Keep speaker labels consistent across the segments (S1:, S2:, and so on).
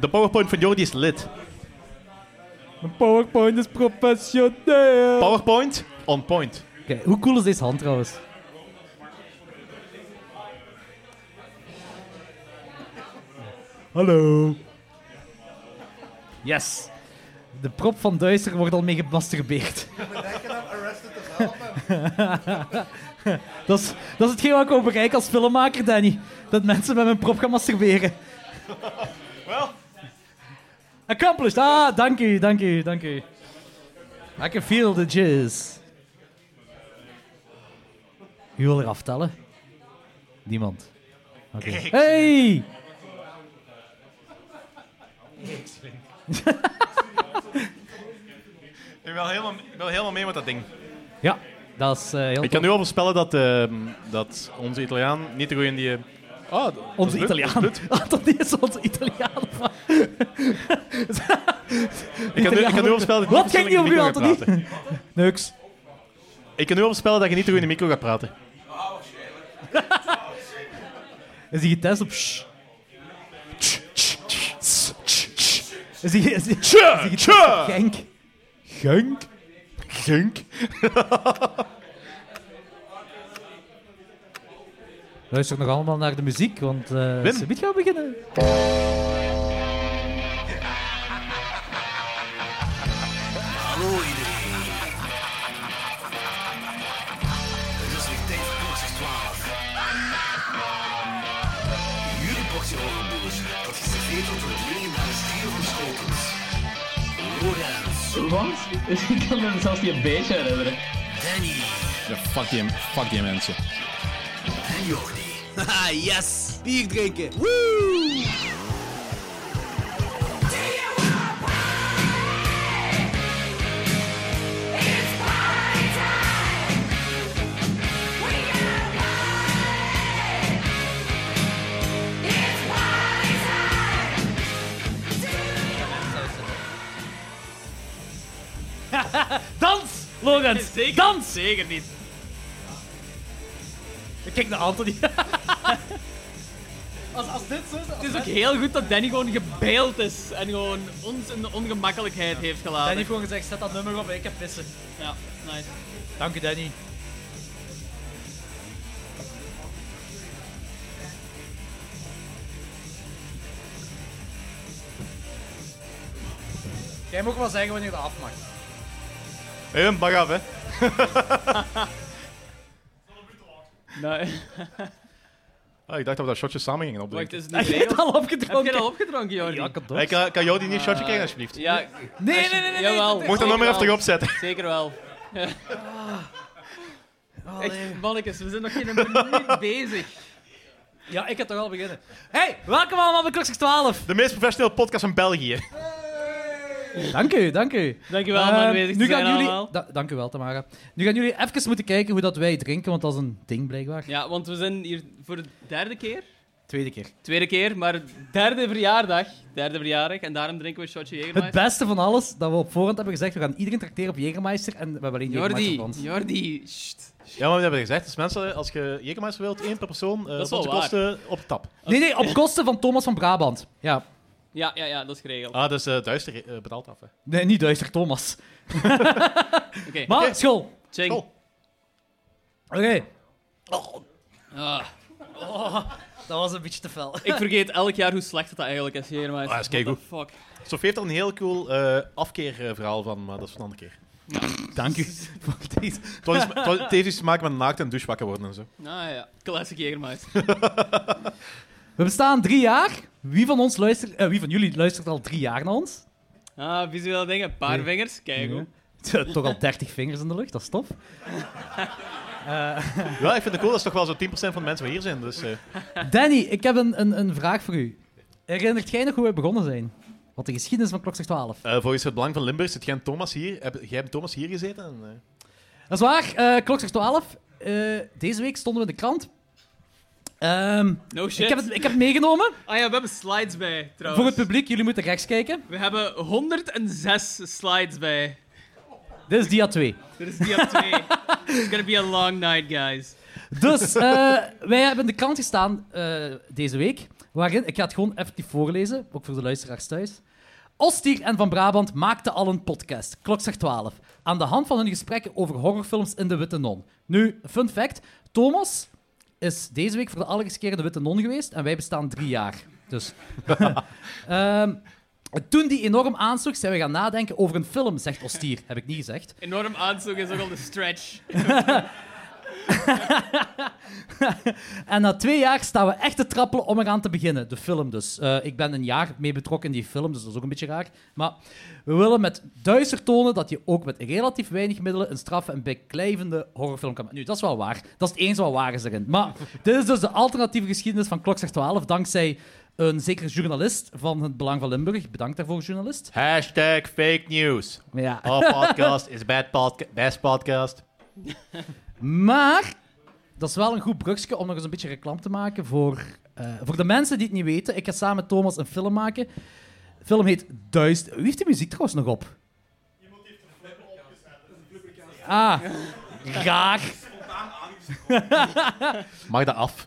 S1: De PowerPoint van Jordi is lit.
S2: Mijn PowerPoint is professioneel.
S1: PowerPoint, on point.
S2: Oké, hoe cool is deze hand trouwens? Hallo.
S1: Yes.
S2: De prop van Duister wordt al mee gemasturbeerd. dat, is, dat is hetgeen wat ik ook bereik als filmmaker, Danny. Dat mensen met mijn prop gaan masturberen.
S1: Wel.
S2: Accomplished! Ah, dank u, dank u, dank u. I can feel the jizz. Wie wil er aftellen? Niemand. Oké. Hey!
S1: Ik wil helemaal, ik wil helemaal mee met dat ding.
S2: Ja, dat is eh, heel
S1: Ik
S2: tof.
S1: kan nu al voorspellen dat, ehm, dat onze Italiaan niet de goeie in die... eh, Oh, dat- dat
S2: Onze
S1: is blut, dat is
S2: Italiaan.
S1: blut.
S2: Ah, dat is onze Italiaan.
S1: Ik kan nu, ik kan nu al voorspellen dat je
S2: Wat kijk je op u,
S1: niet de micro gaat
S2: Anthony?
S1: praten.
S2: Niks.
S1: Ik kan nu al voorspellen dat je niet de goeie in de micro gaat praten.
S2: Is hij getest op sh? Is hij is die- is die
S1: Tja,
S2: getest
S1: tja.
S2: op genk?
S1: Gunk. Gunk.
S2: Luister nog allemaal naar de muziek, want eh
S1: Wim.
S2: ze gaan we beginnen.
S3: Hallo iedereen. Het is weer tijd voor Klokzicht 12. Jullie boxje overboers, dat geserveerd wordt door de jongen naar de stier van Schotens. Lorenz,
S4: Wat? Ik kan me zelfs niet een beetje herinneren.
S3: Danny
S5: Ja, fuck die, fuck die mensen.
S3: en Jordi.
S6: Haha, yes! Bier drinken! Woo!
S2: Dans, Lorenz! Dans!
S4: Zeker niet.
S2: Ik kijk naar Anthony. als, als dit zo
S4: Het is ook heel goed dat Danny gewoon gebeeld is en gewoon ons in de ongemakkelijkheid heeft gelaten.
S2: Danny heeft gewoon gezegd, zet dat nummer op en ik heb pissen.
S4: Ja, nice.
S2: Dank u, Danny. Jij mag wel zeggen wanneer dat af mag.
S1: Hé, bak af, hè.
S4: Nou,
S1: Ah, ik dacht dat we dat shotje samen gingen
S4: wacht,
S1: opdrinken.
S4: is het
S2: Heb
S4: niet
S2: je het
S4: regel?
S2: al
S4: Heb
S2: opgedronken?
S4: jij al opgedronken, Jordi?
S2: Ja, kan toch?
S1: Hey, kan, kan Jordi niet een shotje krijgen, alsjeblieft?
S4: Ja,
S2: Nee, nee, nee, nee.
S4: jawel.
S1: Mocht dat nog maar even
S4: Zeker
S1: terug
S4: wel.
S1: opzetten.
S4: Zeker wel. Ja. Echt, mannetjes, we zijn nog geen minuut bezig.
S2: Ja, ik ga toch al beginnen. Hey, welkom allemaal bij Klokzicht 12.
S1: De meest professionele podcast van België.
S2: Dank u, dank u.
S4: Dankjewel om aanwezig te
S2: Ehm, nu
S4: zijn
S2: gaan jullie,
S4: allemaal.
S2: Da- dank u wel, Tamara. Nu gaan jullie even moeten kijken hoe dat wij drinken, want dat is een ding blijkbaar.
S4: Ja, want we zijn hier voor de derde keer.
S2: Tweede keer.
S4: Tweede keer, maar derde verjaardag. Derde verjaardag. En daarom drinken we een shotje
S2: Het
S4: Jägermeister.
S2: beste van alles, dat we op voorhand hebben gezegd, we gaan iedereen tracteren op Jägermeister en we hebben alleen Jägermeister
S4: Jordi,
S2: voor ons.
S4: Jordi, sst.
S1: Ja, maar we hebben gezegd, dus mensen, als je Jägermeister wilt, één per persoon, eh
S4: is wel
S1: onze
S4: waar.
S1: kosten op de tap.
S2: Nee, nee, op kosten van Thomas van Brabant. Ja.
S4: Ja, ja, ja, dat is geregeld.
S1: Ah, dus eh duister eh, betaalt af, hè.
S2: Nee, niet duister Thomas.
S4: Oké,
S2: Maar,
S1: Oké.
S2: school.
S4: ching.
S2: Oh.
S1: Cool.
S2: Oké.
S4: Ah,
S2: Dat was een beetje te fel.
S4: ik vergeet elk jaar hoe slecht het dat eigenlijk is, Jägermeister.
S1: Ah, is keigoed.
S4: What the fuck.
S1: Sofie heeft er een heel cool eh, afkeerverhaal van, maar dat is van een andere keer.
S2: Dank u. voor deze.
S1: Het, was iets- het was- het heeft iets te maken met naakt en douche wakker worden en zo.
S4: Ah ja, classic Jägermeister.
S2: We bestaan drie jaar. Wie van, ons luistert, eh, wie van jullie luistert al drie jaar naar ons?
S4: Ah, visuele dingen, paar vingers, keigoed.
S2: Ja. Toch al 30 vingers in de lucht, dat is tof.
S1: Ja, ik vind het cool, dat is toch wel zo'n 10% van de mensen die hier zijn. Dus, eh,
S2: Danny, ik heb een, een, een vraag voor u. Herinnert jij nog hoe we begonnen zijn? Wat de geschiedenis van Klokslag 12.
S1: eh, volgens het belang van Limburg zit jij en Thomas hier. Heb, jij en Thomas hier gezeten? En, eh,
S2: Dat is waar, eh Klokslag 12. eh, deze week stonden we in de krant. Ehm,
S4: No shit. Oh.
S2: ik, heb het, ik heb het meegenomen
S4: Ah ja, we hebben slides bij, trouwens.
S2: voor het publiek. Jullie moeten rechts kijken.
S4: We hebben 106 slides bij.
S2: Dit is dia 2.
S4: Dit is dia 2. It's gonna be a long night, guys.
S2: Dus eh, wij hebben in de krant gestaan eh, deze week. Waarin, ik ga het gewoon even voorlezen, ook voor de luisteraars thuis. Ostier en Van Brabant maakten al een podcast, klokslag 12, aan de hand van hun gesprekken over horrorfilms in De Witte Non. Nu, fun fact, Thomas is deze week voor de allereerste keer in De Witte Non geweest en wij bestaan drie jaar. Dus... Ehm, toen die enorm aansloeg, zijn we gaan nadenken over een film, zegt Ostier. Heb ik niet gezegd.
S4: Enorm aanzoek is ook al de stretch.
S2: En na twee jaar staan we echt te trappelen om eraan te beginnen. De film dus. Eh, ik ben een jaar mee betrokken in die film, dus dat is ook een beetje raar. Maar we willen met duister tonen dat je ook met relatief weinig middelen een straffe en beklijvende horrorfilm kan maken. Nu, dat is wel waar. Dat is het eens wat waar is erin. Maar dit is dus de alternatieve geschiedenis van Klokslag 12, dankzij een zekere journalist van het Belang van Limburg. Bedankt daarvoor, journalist.
S1: Hashtag fake news.
S2: Maar Ja.
S1: All podcast is bad podca- best podcast.
S2: Maar dat is wel een goed brugje om nog eens een beetje reclame te maken voor, eh, voor de mensen die het niet weten. Ik ga samen met Thomas een film maken. De film heet Duist. Wie heeft de muziek trouwens nog op? Iemand heeft de flipper opgezet. Ah, graag.
S1: Mag dat af?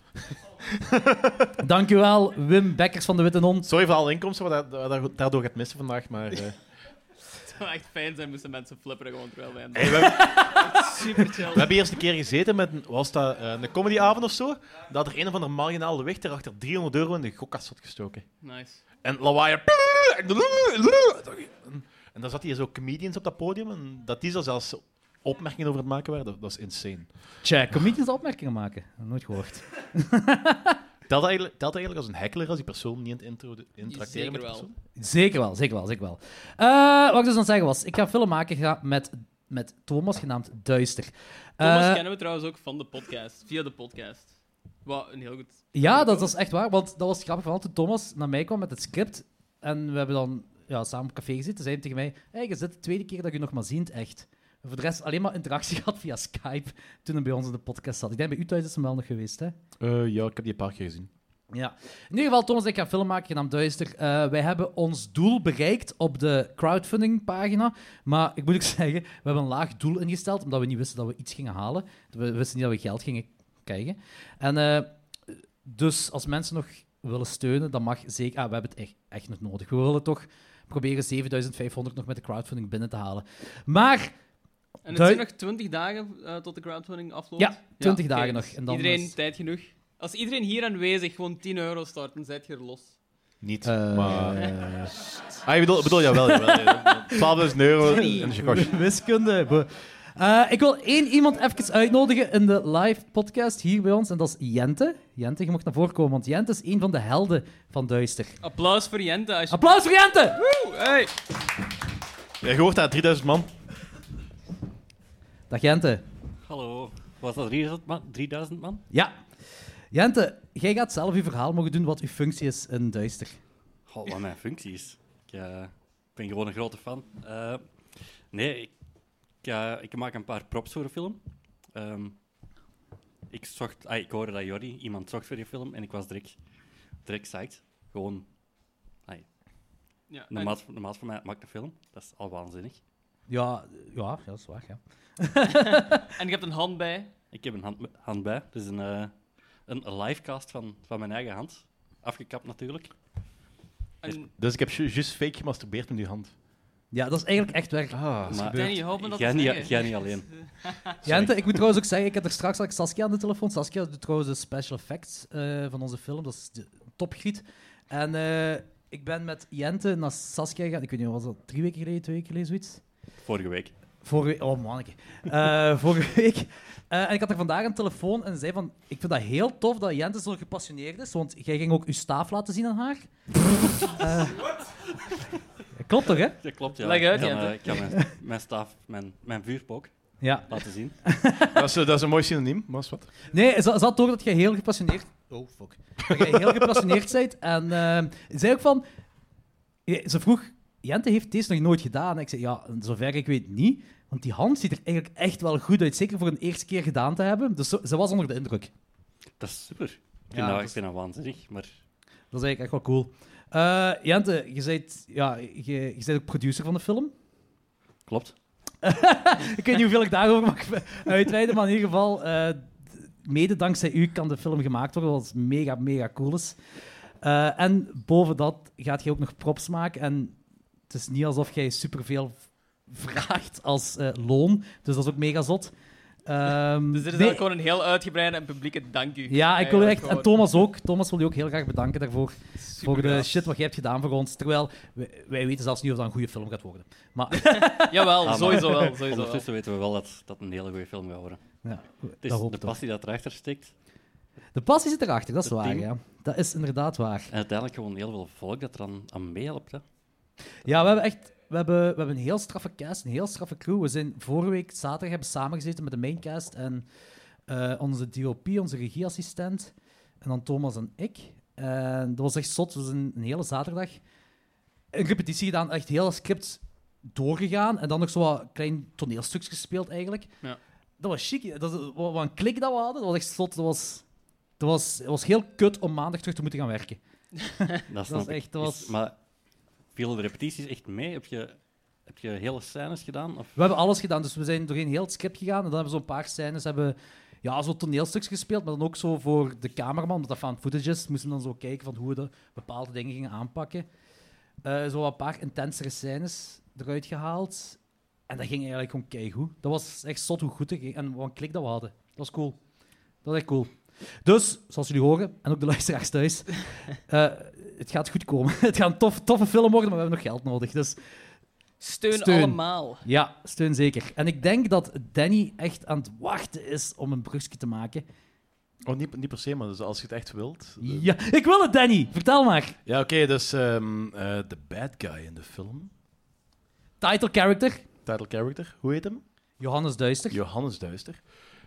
S2: Dankjewel, Wim Bekkers van de Witte Non.
S1: Sorry voor alle inkomsten wat da- da- daardoor gaat missen vandaag, maar... eh,
S4: Het zou echt fijn zijn moesten mensen flipperen gewoon terwijl wij hem
S1: hey, we, hebben,
S4: Super
S1: we
S4: chill.
S1: hebben eerst een keer gezeten met een, was dat, eh, een comedyavond of zo, dat er een of andere marginale wichter achter 300 euro in de gokkast had gestoken.
S4: Nice.
S1: En lawaai. en- En dan zat hij zo comedians op dat podium en dat die zo zelfs opmerkingen over het maken waren, dat, dat is insane.
S2: Check. Comedians opmerkingen maken. Nooit gehoord.
S1: Telt dat eigenlijk, telt dat eigenlijk als een heckler als die persoon niet aan het intro, interacteren met
S4: Zeker
S1: de
S4: wel.
S1: persoon?
S2: Zeker wel, zeker wel, zeker wel. Eh, wat ik dus aan het zeggen was, ik ga een film maken ga met, met Thomas, genaamd Duister.
S4: Thomas
S2: Eh,
S4: kennen we trouwens ook van de podcast, via de podcast. Wat een heel goed.
S2: Ja, dat, dat is echt waar. Want dat was het grappige verhaal. Toen Thomas naar mij kwam met het script. En we hebben dan ja, samen op café gezeten. Zei hij tegen mij: hey, je zit de tweede keer dat ik je nog maar ziet, echt. En Voor de rest alleen maar interactie gehad via Skype. Toen hij bij ons in de podcast zat. Ik denk bij u thuis is hem wel nog geweest, hè?
S1: Eh, ja, ik heb die een paar keer gezien.
S2: Ja. In ieder geval, Thomas, en ik ga een film maken genaamd Duister. Eh, wij hebben ons doel bereikt op de crowdfundingpagina. Maar ik moet ook zeggen, we hebben een laag doel ingesteld, omdat we niet wisten dat we iets gingen halen. We wisten niet dat we geld gingen krijgen. En eh, dus als mensen nog willen steunen, dan mag zeker... Ah, we hebben het echt, echt nog nodig. We willen toch proberen 7500 nog met de crowdfunding binnen te halen. Maar
S4: En het
S2: Dui-
S4: zijn nog 20 dagen eh, tot de crowdfunding afloopt?
S2: Ja, 20 dagen
S4: oké.
S2: nog. En dan
S4: iedereen
S2: is-
S4: tijd genoeg. Als iedereen hier aanwezig gewoon 10 euro start, dan zet je er los.
S1: Niet,
S2: Eh,
S1: maar... Ah, je bedoelt, bedoel, jawel, jawel. 12.000 euro in Chicago.
S2: Wiskunde. Bo- Eh, ik wil één iemand even uitnodigen in de live podcast hier bij ons. En dat is Jente. Jente, je mocht naar voren komen, want Jente is een van de helden van Duister.
S4: Applaus voor Jente. Als je...
S2: Applaus voor Jente!
S4: Woe, hey.
S1: Je hoort dat, 3000 man.
S2: Dag Jente.
S7: Hallo, was dat 3000 man? 3000 man?
S2: Ja. Jente, jij gaat zelf je verhaal mogen doen wat uw functie is in Duister.
S7: Goh, wat mijn functie is. Ik eh, ben gewoon een grote fan. Eh, nee, ik, ik, eh, ik maak een paar props voor de film. Ehm, ik, zocht, ah, ik hoorde dat Jordi iemand zocht voor die film en ik was direct, direct psyched. Gewoon
S4: Ja,
S7: de
S4: en-
S7: maat, de maat van mij maakt een film. Dat is al waanzinnig.
S2: Ja, ja, ja, dat is waar. Ja.
S4: En je hebt een hand bij.
S7: Ik heb een hand, hand bij. Het is een, eh, een livecast van, van mijn eigen hand. Afgekapt natuurlijk.
S4: En
S1: Dus ik heb ju- juist fake gemasturbeerd met die hand.
S2: ja, dat is eigenlijk echt werk.
S1: Ah.
S7: Maar
S4: Danny, help me dat
S7: jij
S4: te
S7: niet,
S4: zeggen.
S7: jij niet alleen.
S2: Jente, ik moet trouwens ook zeggen, ik heb er straks al Saskia aan de telefoon. Saskia doet trouwens de special effects eh, van onze film. Dat is de topgriet. En eh, ik ben met Jente naar Saskia gegaan. Ik weet niet, was dat drie weken geleden, twee weken geleden, zoiets?
S7: Vorige week.
S2: Vorige week, oh manneke. Eh, vorige week. Eh, en ik had er vandaag een telefoon en zei van, ik vind dat heel tof dat Jente zo gepassioneerd is, want jij ging ook uw staaf laten zien aan haar. Eh, klopt toch, hè?
S7: Dat klopt, ja.
S4: Leg uit,
S7: ik kan,
S4: Jente.
S7: eh, ik kan mijn, mijn staaf, mijn, mijn vuurpook
S2: Ja.
S7: laten zien.
S1: Dat is, eh, dat is een mooi synoniem, maar is wat.
S2: Nee, ze ze had door dat jij heel gepassioneerd... Oh, fuck. Dat jij heel gepassioneerd bent. En ehm, ze zei ook van... je- Ze vroeg, Jente heeft deze nog nooit gedaan. En ik zei, ja, zover ik weet niet. Want die hand ziet er eigenlijk echt wel goed uit. Zeker voor een eerste keer gedaan te hebben. Dus zo- ze was onder de indruk.
S7: Dat is super. Ik vind,
S2: Ja,
S7: dat,
S2: dat
S7: ik vind dat waanzinnig, maar
S2: Dat is eigenlijk echt wel cool. Eh, Jente, je bent, ja, je, je bent ook producer van de film.
S7: klopt.
S2: Ik weet niet hoeveel ik daarover mag uitweiden, maar in ieder geval, eh, d- mede dankzij u kan de film gemaakt worden, wat mega, mega cool is. Eh, Eh, en boven dat gaat je ook nog props maken. En het is niet alsof jij superveel v- vraagt als eh, loon. Dus dat is ook mega zot. Ehm,
S4: Dus dit is
S2: nee,
S4: ook gewoon een heel uitgebreide en publieke dank u.
S2: Ja, ik wil
S4: Eigenlijk
S2: echt... En
S4: gewoon.
S2: Thomas ook. Thomas wil je ook heel graag bedanken daarvoor. voor de
S4: Supergaaf.
S2: shit wat jij hebt gedaan voor ons. Terwijl, wij, wij weten zelfs niet of dat een goede film gaat worden. Maar
S4: Jawel,
S7: Ah,
S2: Ah,
S7: maar-
S4: sowieso wel. Sowieso wel.
S7: Ondertussen weten we wel dat dat een hele goede film gaat worden.
S2: ja,
S7: Het is
S2: dat hoop
S7: de
S2: ik toch.
S7: passie die dat erachter steekt.
S2: De passie zit erachter, dat is
S7: Het
S2: waar.
S7: team.
S2: Ja. Dat is inderdaad waar.
S7: En uiteindelijk gewoon heel veel volk dat er aan, aan meehelpt. hè.
S2: Ja, we hebben echt we hebben, we hebben een heel straffe cast, een heel straffe crew. We zijn vorige week zaterdag hebben we samengezeten met de maincast en eh, onze DOP, onze regieassistent, en dan Thomas en ik. En dat was echt zot. We zijn een hele zaterdag een repetitie gedaan, echt heel dat script doorgegaan en dan nog zo wat klein toneelstukjes gespeeld eigenlijk.
S4: Ja.
S2: Dat was chic. Dat, is- wat wat een klik dat we hadden. Dat was echt zot. Dat was, dat was, het was heel kut om maandag terug te moeten gaan werken.
S7: Dat, snap
S2: is
S7: ik.
S2: echt- dat was-
S7: Is- Maar vielen de repetities echt mee? Heb je, heb je hele scènes gedaan? Of
S2: We hebben alles gedaan, dus we zijn doorheen heel het script gegaan. En dan hebben we zo'n paar scènes, hebben ja, zo toneelstuks gespeeld, maar dan ook zo voor de cameraman, omdat dat van footage is, moesten we dan zo kijken van hoe we de bepaalde dingen gingen aanpakken. Eh, zo een paar intensere scènes eruit gehaald. En dat ging eigenlijk gewoon keigoed. Dat was echt zot hoe goed het ging en wat een klik dat we hadden. Dat was cool. Dat was echt cool. Dus, zoals jullie horen, en ook de luisteraars thuis, eh, het gaat goed komen. het gaat een tof, toffe film worden, maar we hebben nog geld nodig. Dus
S4: Steun,
S2: Steun.
S4: allemaal.
S2: ja, steun zeker. En ik denk dat Danny echt aan het wachten is om een brugje te maken.
S1: Oh, niet, niet per se, maar dus als je het echt wilt. de-
S2: Ja, ik wil het, Danny. Vertel maar.
S1: Ja, oké, dus ehm, eh, de bad guy in de film,
S2: Title character,
S1: title character, hoe heet hem?
S2: Johannes Duister.
S1: Johannes Duister.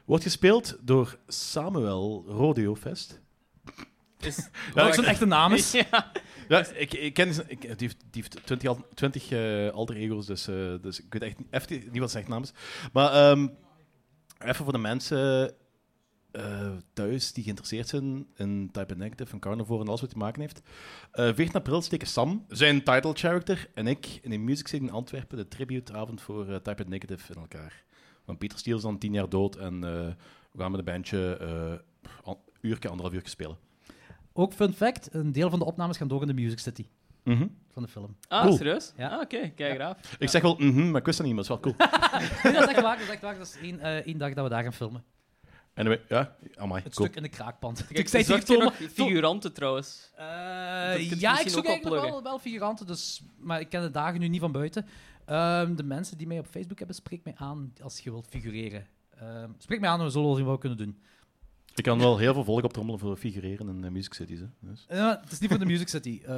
S1: Wordt gespeeld door Samuel Rodeovest.
S4: Is-
S2: Welke zijn echte naam is.
S4: Ja.
S1: Ja, ik, ik ken zijn- ik, die, heeft, die heeft 20, al- 20 eh, alter ego's, dus, eh, dus ik weet echt niet, even niet wat zijn echt naam is. Maar ehm, even voor de mensen eh, thuis die geïnteresseerd zijn in Type Negative en Carnivore en alles wat hij te maken heeft. Eh 14 april steken Sam, zijn title character, en ik in de Music City in Antwerpen de tributeavond voor eh, Type Negative in elkaar. Want Pieter Steele is dan 10 jaar dood en eh, we gaan met een bandje eh een uurtje, anderhalf uurtje spelen.
S2: Ook fun fact, een deel van de opnames gaan door in de Music City
S1: Mhm.
S2: van de film.
S4: Ah,
S1: Cool.
S4: serieus?
S2: Ja.
S4: Ah, oké, kijk graaf.
S1: Ik zeg wel, mhm, maar ik wist dat niet, maar het is wel cool.
S2: Nee, dat is echt waar. Dat is, echt waar. Dat is één, eh, één dag dat we daar gaan filmen.
S1: Anyway, ja, amai.
S2: Het
S1: cool.
S2: stuk in de kraakpand.
S4: Ik
S2: tegen
S4: zei zocht je nog
S2: Thomas-
S4: figuranten trouwens.
S2: Eh,
S4: Dat kunt je
S2: ja, ik
S4: misschien
S2: zoek
S4: ook
S2: eigenlijk nog
S4: oppluggen.
S2: wel, wel figuranten, dus, maar ik ken de dagen nu niet van buiten. Ehm, de mensen die mij op Facebook hebben, spreek mij aan als je wilt figureren. Ehm, spreek mij aan en we zullen wel zien wat we kunnen doen.
S1: Ik kan wel heel veel volk optrommelen voor figureren in eh, Music Cities. Hè. Dus.
S2: Eh, maar het is niet voor de Music City, eh,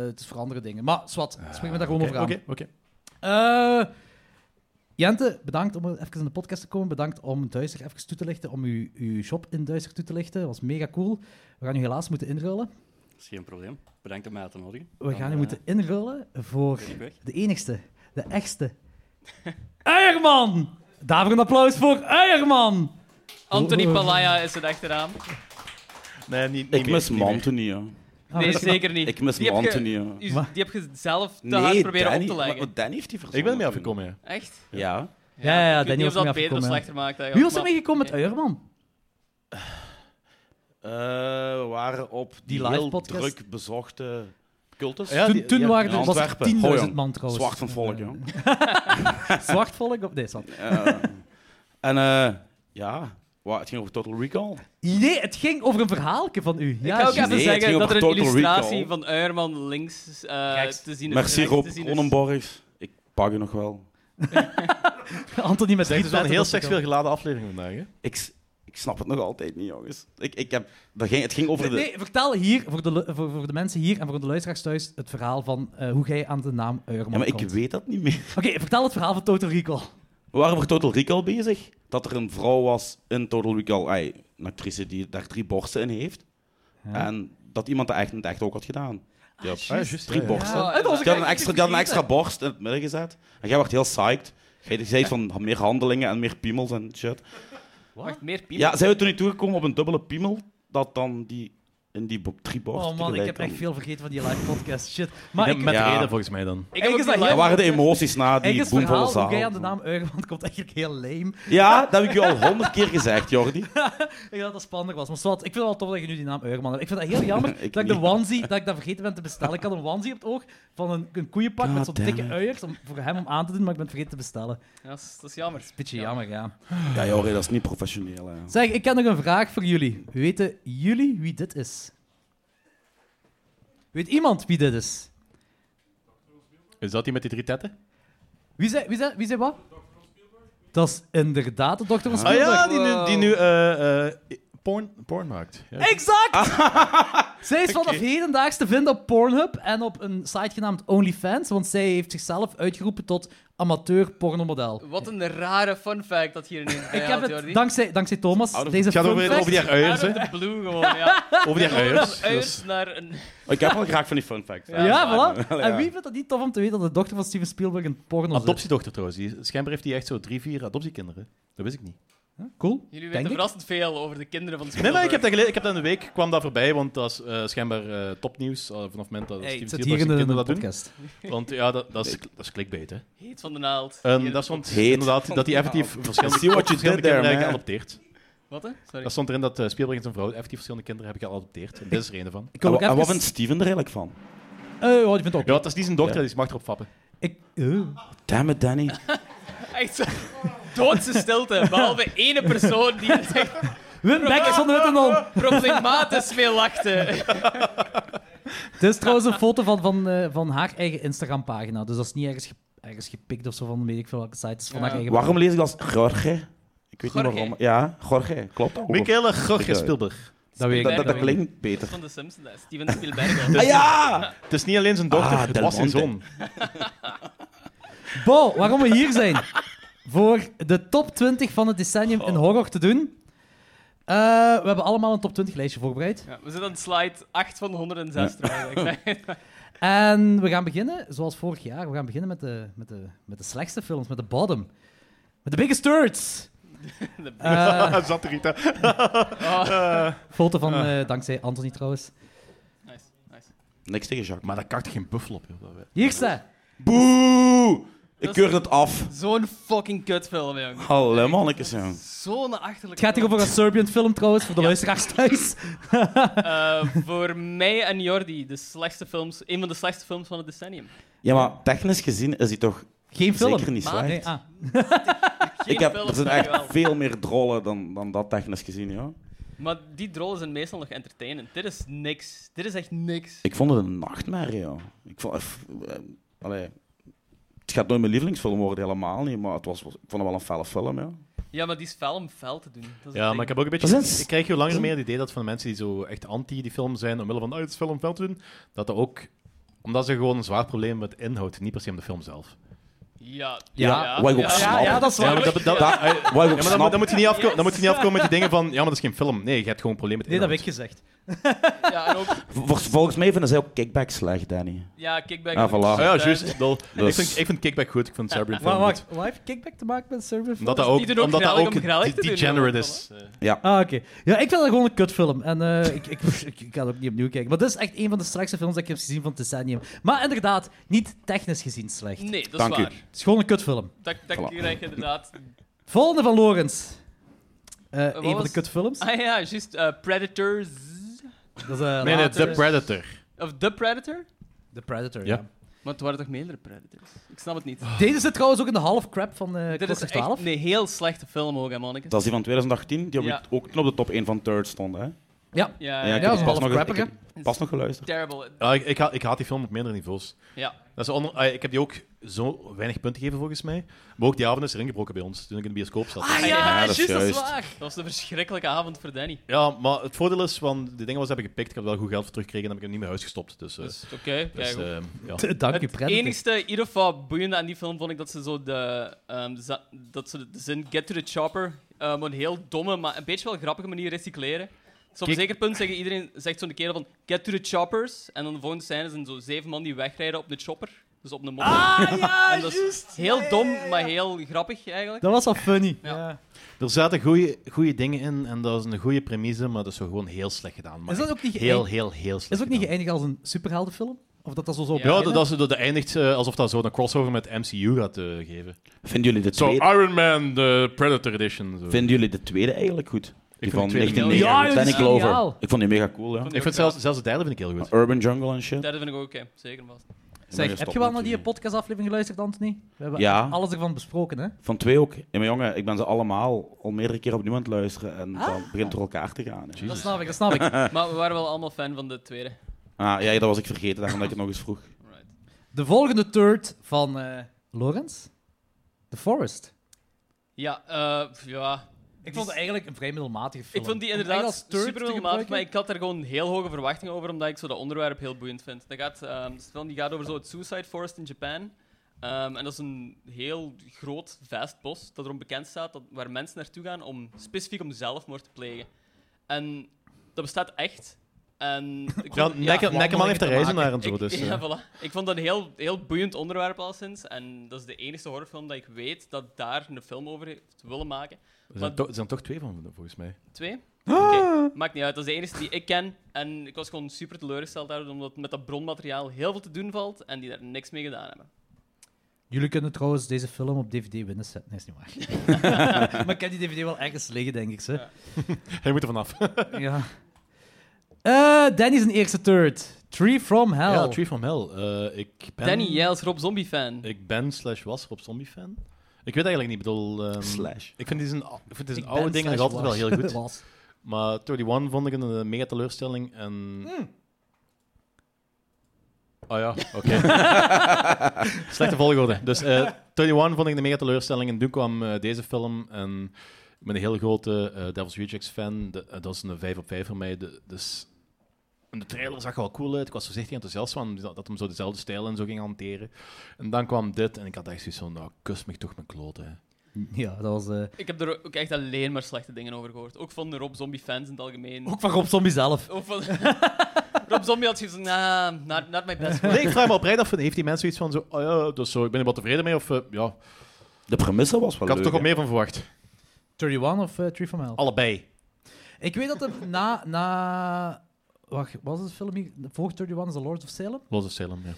S2: het is voor andere dingen. Maar zwart,
S4: Ah,
S2: spreek me daar gewoon
S1: Oké,
S2: over aan.
S1: Oké, oké.
S2: Eh, Jente, bedankt om even in de podcast te komen. Bedankt om Duister even toe te lichten, om uw, uw shop in Duister toe te lichten. Dat was mega cool. We gaan u helaas moeten inrullen.
S7: dat is geen probleem. Bedankt om mij uit te nodigen.
S4: Ah.
S2: We gaan u
S7: eh,
S2: moeten inrullen voor
S7: ben ik weg.
S2: de enigste, de echtste. Eierman! Daarvoor een applaus voor Eierman! Oh,
S4: Anthony Palaya is het achteraan.
S1: Nee, niet, niet
S8: Ik
S1: meer,
S8: mis
S1: niet
S8: mijn
S1: meer.
S8: Anthony, ja.
S2: Ah,
S4: nee,
S2: dat is-
S4: zeker niet.
S8: Ik mis
S4: Die
S8: mijn
S4: heb je-
S8: Anthony, ja.
S4: u-
S2: Maar-
S4: Die heb je zelf te hard proberen
S8: Danny,
S4: op te leggen.
S8: maar Oh, Danny heeft die verzonnen.
S1: Ik ben ermee
S8: toen.
S1: afgekomen, ja.
S4: Echt?
S8: Ja.
S2: Ja, ja, ja,
S4: ik weet
S2: Danny was
S4: niet of dat
S2: ermee
S4: beter of
S2: afgekomen, ja.
S4: slechter maakt eigenlijk.
S2: Wie was er
S4: maar-
S2: mee gekomen met
S4: Nee.
S2: Eierman?
S8: Eh, we waren op die,
S2: Die live
S8: heel
S2: podcast.
S8: druk bezochte cultus.
S1: Ja,
S2: toen
S1: die-
S2: toen
S1: ja,
S2: waren
S8: ja,
S2: er, was er
S8: Antwerpen.
S2: 10.000
S8: Hoi,
S2: man trouwens.
S8: Zwart van volk, ja.
S2: Zwart volk? Op, nee, zwart.
S8: Eh, en eh, ja, wa- het ging over Total Recall.
S2: Nee, het ging over een verhaaltje van u.
S4: Ik
S2: Ja,
S4: ga ook
S8: Nee,
S4: even
S8: het
S4: zeggen
S8: ging
S4: dat
S8: over
S4: er een
S8: Total
S4: illustratie
S8: Recall.
S4: van Uierman links eh,
S2: Rechts.
S4: te zien is.
S8: Merci
S4: rechts
S8: Rob
S4: te zien dus- is.
S8: Onnenborgs. Ik pak je nog wel.
S2: Anthony met
S1: Zeg, het is wel een
S2: gietletter,
S1: heel
S2: dat
S1: seksueel geladen aflevering vandaag. Hè?
S8: Ik, s- ik snap het nog altijd niet, jongens. Ik, ik heb, dat ging, het ging over de...
S2: Nee, nee, vertel hier, voor de, lu- voor, voor de mensen hier en voor de luisteraars thuis, het verhaal van eh, hoe jij aan de naam Eierman
S8: Ja, maar ik
S2: komt.
S8: weet dat niet meer.
S2: Oké, vertel het verhaal van Total Recall.
S8: We waren voor Total Recall bezig. Dat er een vrouw was in Total Recall. Ai, een actrice die daar drie borsten in heeft. En dat iemand dat echt, in het echt ook had gedaan. Die had
S1: Ah, juist,
S8: drie
S1: ja, ja.
S8: borsten.
S2: Ah, dat was ik
S8: Die had, een
S2: eigenlijk
S8: extra, die had een extra borst in het midden gezet. En jij werd heel psyched. Jij zei van meer handelingen en meer piemels en shit.
S4: Wacht, meer piemel.
S8: Ja, zijn we toen niet toegekomen op een dubbele piemel? Dat dan die in die bo- drie borst
S2: Oh man, ik heb
S8: tegelijk
S2: echt
S8: dan.
S2: veel vergeten van die live podcast. Shit. Maar ik,
S1: met
S8: Ja.
S1: reden volgens mij dan.
S4: Ik heb ook
S2: Eigenlijk is dat
S4: die
S8: Dat
S4: live-
S8: waren de emoties na die
S2: Eigenlijk is het
S8: boemvolle
S2: verhaal
S8: zaal.
S2: hoe jij aan de naam Uigerland komt eigenlijk heel lame.
S8: Ja, dat heb ik je al honderd keer gezegd, Jordi.
S2: Ik dacht dat dat spannender was. Maar zwart, ik vind het wel tof dat je nu die naam Uigerman hebt. Ik vind dat heel jammer
S8: Ik
S2: dat ik de
S8: niet.
S2: onesie, dat ik dat vergeten ben te bestellen. Ik had een onesie op het oog van een, een koeienpak met zo'n dikke uiers om, voor hem om aan te doen, maar ik ben het vergeten te bestellen.
S4: Ja, dat is- dat is jammer.
S2: Beetje jammer, ja.
S8: Ja, Jordi, dat is niet professioneel. Hè.
S2: Zeg, ik heb nog een vraag voor jullie. Weten jullie wie dit is? Weet iemand wie dit is?
S1: Is dat die met die drie tetten?
S2: Wie zei, wie zei, wie zei wat? Dat is inderdaad de dokter van
S1: Ah
S2: Spielberg.
S1: ja, die nu, die nu eh, eh, porn, porn maakt. Ja.
S2: Exact! zij is vanaf hedendaags te vinden op Pornhub en op een site genaamd OnlyFans, want zij heeft zichzelf uitgeroepen tot amateur pornomodel.
S4: Wat een rare fun fact dat hier ineens bij
S2: Ik heb
S4: had, Jordi.
S2: het, dankzij, dankzij Thomas,
S8: Out of-
S2: deze
S1: Het gaat
S2: fun
S1: over,
S2: fact-
S1: over die uiers, hè?
S4: Out of the blue gewoon, ja.
S1: Over die uiers. Dat
S4: Uiers
S1: is-
S4: naar een...
S8: Ik heb wel graag van die fun facts.
S2: Ja, voilà.
S8: Ja.
S2: En wie vindt dat niet tof om te weten dat de dochter van Steven Spielberg een
S1: Ah,
S2: porno zit?
S1: Dus- Adoptiedochter trouwens. Die, schijnbaar heeft hij echt zo drie, vier adoptiekinderen. Dat wist ik niet.
S2: Cool.
S4: Jullie
S2: Denk
S4: weten
S2: ik.
S4: verrassend veel over de kinderen van
S1: Nee,
S4: Spielberg.
S1: nee, ik heb dat gelezen. Ik heb dat in de week kwam dat voorbij, want dat is eh, schijnbaar eh, topnieuws eh, vanaf het moment dat
S2: Hey,
S1: Steven
S2: het zit
S1: Spielberg
S2: hier in
S1: zijn kinderen
S2: de,
S1: dat doen.
S2: podcast.
S1: Want ja, dat, dat, is, dat is clickbait, hè.
S4: Heet van de naald.
S1: Ehm
S4: Hier-
S1: dat stond
S8: Heet.
S1: inderdaad dat hij effectief verschillende,
S8: See what you
S1: verschillende
S8: did there,
S1: kinderen
S8: man.
S1: geadopteerd.
S4: Wat, hè? Sorry.
S1: Dat stond erin dat eh, Spielberg en zijn vrouw effectief verschillende kinderen hebben geadopteerd. En dit is er een van.
S2: Ik
S8: En
S2: wil ook
S8: wa- en wat
S2: even...
S8: vindt Steven er eigenlijk van?
S2: Ah, Eh, oh, ik vind het ook.
S1: Ja, het is niet zijn dochter,
S8: Ja.
S1: dus die mag erop fappen.
S2: Ik... eh.
S8: Damn it, Danny.
S4: Echt zo... Doodse stilte, behalve ene persoon die er echt
S2: Wim Beckers van de Witte Non.
S4: problematisch mee lachte.
S2: Het is trouwens een foto van, van, eh, van haar eigen Instagram-pagina. Dus dat is niet ergens, ge- ergens gepikt of zo van weet ik veel welke site. Het is van haar eigen
S8: Waarom lees ik als Jorge? Ik weet
S4: Jorge.
S8: niet waarom. Ja, Jorge. Klopt ook.
S1: Michaela Gorge
S8: Ja.
S1: Spielberg.
S2: Dat weet ik
S8: Dat,
S2: niet.
S8: dat, dat klinkt beter.
S4: Van de Simpsons, hè. Steven Spielberg.
S8: Ah, ja!
S1: Het is niet alleen zijn dochter,
S8: Ah,
S1: het
S8: Del
S1: was zijn zoon.
S8: Monte.
S2: Bo, waarom we hier zijn? Voor de top 20 van het decennium in horror te doen. Eh, we hebben allemaal een top 20 lijstje voorbereid.
S4: Ja, we zitten aan slide 8 van 106 trouwens.
S2: En we gaan beginnen, zoals vorig jaar, we gaan beginnen met de, met de, met de slechtste films, met de bottom. Met de biggest turds. Eh,
S8: Ah.
S1: Zat er iets aan.
S2: foto van, eh, dankzij Anthony trouwens.
S4: Nice, nice.
S8: Niks tegen Jacques.
S1: Maar daar kakt geen buffel op. joh. Dat we-
S2: Hier staat.
S8: Boe! Ik
S4: Dat is-
S8: keur het af.
S4: Zo'n fucking kutfilm, jongen.
S8: Hallo, mannetjes, jong.
S4: Zo'n achterlijke
S2: Het gaat hier
S4: film.
S2: over een Serbian film trouwens, voor de luisteraars thuis.
S4: Eh, voor mij en Jordi, de slechtste films, een van de slechtste films van het decennium.
S8: Ja, maar technisch gezien is hij toch
S2: Geen film.
S8: zeker niet
S4: Maar-
S8: slecht.
S2: Nee, ah.
S4: Geen
S8: ik heb,
S4: film,
S8: er zijn
S4: maar
S8: echt
S4: wel.
S8: veel meer drollen dan, dan dat technisch gezien, ja.
S4: Maar die drollen zijn meestal nog entertainend. Dit is niks. Dit is echt niks.
S8: Ik vond het een nachtmerrie, ja. Ik vond, eff, eh, allee, het gaat nooit mijn lievelingsfilm worden, helemaal niet, maar het was, was- ik vond het wel een felle film, ja.
S4: Ja, maar die is fel om fel te doen. Dat is het
S1: Ja,
S4: ding.
S1: maar ik heb ook een beetje...
S8: Dat is-
S1: Ik krijg hoe langer meer het idee dat van de mensen die zo echt anti die film zijn, omwille van, oh, het is film fel te doen, dat dat ook... Omdat ze gewoon een zwaar probleem met inhoud, niet per se om de film zelf.
S4: Ja,
S2: Ja,
S8: wat ik ook
S4: ja,
S8: snap.
S4: ja, dat is
S1: Ja,
S4: waar.
S1: maar dat- dat- eh,
S8: Da- Wat ik ook
S1: Ja, maar dan,
S8: snap,
S1: moet- dan moet je niet afko- dan moet je niet afkomen met die dingen van, ja, maar dat is geen film. Nee, je hebt gewoon een probleem met
S2: Nee, dat
S1: inhoud.
S2: heb ik gezegd.
S4: Ja, en ook,
S8: vol- vol- volgens mij vinden zij ook kickback slecht, Danny.
S4: ja, Eh, kickback.
S8: Ah,
S4: is ook
S8: voilà.
S1: Ah ja,
S4: slecht.
S1: juist. Ik bedoel, Ik,
S8: Dus-
S1: vind, ik vind Kickback goed, ik vind Serbian film
S2: Wacht,
S1: goed.
S2: wacht. Live kickback te maken met een Serbian film?
S1: Omdat dat
S4: Die
S1: ook,
S4: doen ook
S1: omdat dat
S4: grellig
S1: ook
S4: om grellig
S1: de-
S4: te doen,
S1: degenerate
S4: hoor.
S1: is.
S2: Ah, oké. Ja, ik vind dat gewoon een kutfilm. En eh, ik, ik, ik, ik ga het ook niet opnieuw kijken. Maar dit is echt een van de slechtste films dat ik heb gezien van het decennium. Maar inderdaad, niet technisch gezien slecht.
S4: Nee, dat is
S8: Dank u.
S4: waar.
S2: Het is gewoon een kutfilm.
S4: Dat, dat
S8: Voilà.
S4: krijg je inderdaad.
S2: Volgende van Lorenz. Eh een van
S4: was-
S2: de kutfilms.
S4: Ah ja, juist. eh, Predators.
S2: Dat is, eh,
S1: Nee, nee,
S4: Later.
S1: The Predator.
S4: Of The Predator?
S2: The Predator.
S1: Ja.
S2: Ja.
S4: Maar het waren toch meerdere Predators? Ik snap het niet.
S2: Deze zit trouwens ook in de half crap van eh
S4: Dit is
S2: Klokslag
S4: Eh, echt
S2: 12.
S4: een heel slechte film ook, hè, mannetjes.
S8: Dat is die van 2018, die
S4: Ja.
S8: heb ik ook toen op de top 1 van Third stond, hè.
S2: Ja.
S4: Ja,
S8: Ja, ik
S2: dat
S4: ja,
S8: heb
S2: is
S8: die
S2: half
S8: pas nog,
S2: crappig,
S8: ik heb die pas nog geluisterd.
S4: terrible.
S1: Ja, ik, ik, ha- ik haat die film op meerdere niveaus.
S4: Ja.
S1: Dat is onder, ah, ik heb die ook zo weinig punten gegeven, volgens mij. Maar ook die avond is erin gebroken bij ons, toen ik in de bioscoop zat.
S2: Ah ja,
S4: Ja,
S8: dat is
S2: juist, dat is
S8: juist.
S2: waar.
S4: Dat was een verschrikkelijke avond voor Danny.
S1: Ja, maar het voordeel is, want die dingen was heb ik gepikt, ik heb wel goed geld voor teruggekregen en heb ik hem niet meer huis gestopt. Dus, eh,
S4: Dus oké,
S1: dus,
S4: kijk.
S1: eh, ja.
S2: Dank u,
S4: Het
S2: Predator.
S4: enigste, in ieder geval boeiende aan die film vond ik dat ze zo de, ehm, za- dat ze de zin Get to the Chopper ehm, op een heel domme, maar een beetje wel grappige manier recycleren. Dus op een
S1: Kijk-
S4: zeker punt zeggen iedereen, zegt zo'n kerel van Get to the Choppers. En dan de volgende scène zijn zo zeven man die wegrijden op de chopper. Dus op een mop.
S2: Ah, ja,
S4: En dat is
S2: juist.
S4: Heel
S2: Ja, ja,
S4: dom,
S2: ja, ja.
S4: maar heel grappig eigenlijk.
S2: Dat was al funny.
S4: Ja.
S2: Ja.
S1: Er zaten goede dingen in en dat was een goede premisse, maar dat is gewoon heel slecht gedaan. Maar
S2: Is dat ook niet
S1: heel, heel,
S2: geëindigd?
S1: heel, heel slecht
S2: Is ook niet
S1: gedaan.
S2: geëindigd als een superheldenfilm? Of dat dat zo zo
S1: Ja,
S2: begint?
S1: dat, dat, dat, dat eindigt eh, alsof dat zo'n crossover met MCU gaat eh, geven.
S8: Vinden jullie de
S1: Zo,
S8: tweede,
S1: Iron Man, de Predator Edition. Zo.
S8: vinden jullie de tweede eigenlijk goed? Die
S1: vond
S8: van
S1: de tweede
S4: mega
S8: 1990
S2: goed.
S8: met
S2: Ja, joh,
S8: Danny
S2: die is
S8: Glover.
S2: geniaal.
S8: Ik vond die mega cool, ja.
S1: Ik vind zelfs, zelfs de derde vind ik heel goed.
S8: Urban Jungle en shit.
S4: Derde vind ik ook oké, zeker vast.
S8: Maar
S2: Zeg, heb je wel naar die podcastaflevering geluisterd, Anthony? We hebben
S8: Ja.
S2: alles ervan besproken, hè?
S8: Van twee ook. Ja, maar jongen, ik ben ze allemaal al meerdere keer opnieuw aan het luisteren en dan begint het door elkaar te gaan. hè.
S2: Dat snap ik, dat snap ik.
S1: Ah.
S4: Maar we waren wel allemaal fan van de tweede.
S8: Ah, ja, dat was ik vergeten, daarom dat ik het nog eens vroeg.
S4: Right.
S2: De volgende third van eh Lawrence? The Forest.
S4: Ja, eh, pff, ja,
S2: Ik vond het eigenlijk een vrij middelmatige film.
S4: ik vond die
S2: Om
S4: inderdaad
S2: eigenlijk als third
S4: super
S2: te
S4: middelmatig, maar
S2: gebruiken?
S4: ik had daar gewoon heel hoge verwachtingen over, omdat ik zo dat onderwerp heel boeiend vind. Dat gaat, ehm, het film die gaat over zo het Suicide Forest in Japan. Ehm, en dat is een heel groot, vast bos dat erom bekend staat, dat, waar mensen naartoe gaan om specifiek om zelfmoord te plegen. En dat bestaat echt. En ik
S1: Ja,
S4: vond- ja,
S1: Nek- Nekkerman heeft er reizen naar en zo.
S4: ik,
S1: Dus, eh.
S4: ja, voilà. ik vond dat een heel, heel boeiend onderwerp al sinds. En dat is de enige horrorfilm dat ik weet dat daar een film over heeft willen maken.
S1: Er
S4: Maar-
S1: zijn, toch- er zijn toch twee van, volgens mij.
S4: Twee? Oké,
S1: Ah!
S4: maakt niet uit. Dat is de enige die ik ken. En ik was gewoon super teleurgesteld daardoor, omdat met dat bronmateriaal heel veel te doen valt en die daar niks mee gedaan hebben.
S2: Jullie kunnen trouwens deze film op DVD winnen zetten. Nee, is niet waar. maar ik heb die DVD wel ergens liggen, denk ik. Ze. Ja.
S1: Hij moet er vanaf.
S2: Eh, Danny is een eerste third. Tree from Hell.
S1: Ja, Tree from Hell. Eh, ik ben,
S4: Oh. Danny, jij als Rob Zombie fan.
S1: Ik ben slash was Rob Zombie fan. Ik weet eigenlijk niet, ik bedoel... ehm,
S8: Slash.
S1: Ik vind die zijn, ik vind die
S2: Ik
S1: zijn
S2: ben
S1: oude dingen nog
S2: slash
S1: altijd wel heel
S2: was.
S1: goed.
S2: Was.
S1: Maar 31 vond ik een eh, mega teleurstelling en... Hmm. Oh ja, oké. Slechte volgorde. Dus eh 31 vond ik een mega teleurstelling en toen kwam eh, deze film en... Ik ben een heel grote eh, Devil's Rejects fan. De- eh, dat is een 5 op 5 voor mij. De- dus... En de trailer zag er wel cool uit. Ik was voorzichtig enthousiast van dat, dat hem zo dezelfde stijl en zo ging hanteren. En dan kwam dit en ik had echt zoiets van, nou, kus me toch mijn kloten. hè.
S2: Ja, dat was... eh,
S4: Ik heb er ook echt alleen maar slechte dingen over gehoord. Ook van de Rob Zombie fans in het algemeen.
S2: ook van Rob Zombie zelf.
S4: Ook van... Rob Zombie had zoiets van, nah, not, not my best work.
S1: Nee, ik vraag me oprecht af, heeft die mensen iets van zo, oh ja, dus zo, ik ben er wel tevreden mee, of eh, ja, ik
S8: De premisse was wel
S1: had er
S8: leuk,
S1: toch wat
S8: hè.
S1: meer van verwacht.
S2: 31 of eh, Tree from Hell?
S1: Allebei.
S2: Ik weet dat hem na... na wacht, wat was het film hier? Voor 31 is The Lords of Salem.
S1: Los of Salem, ja.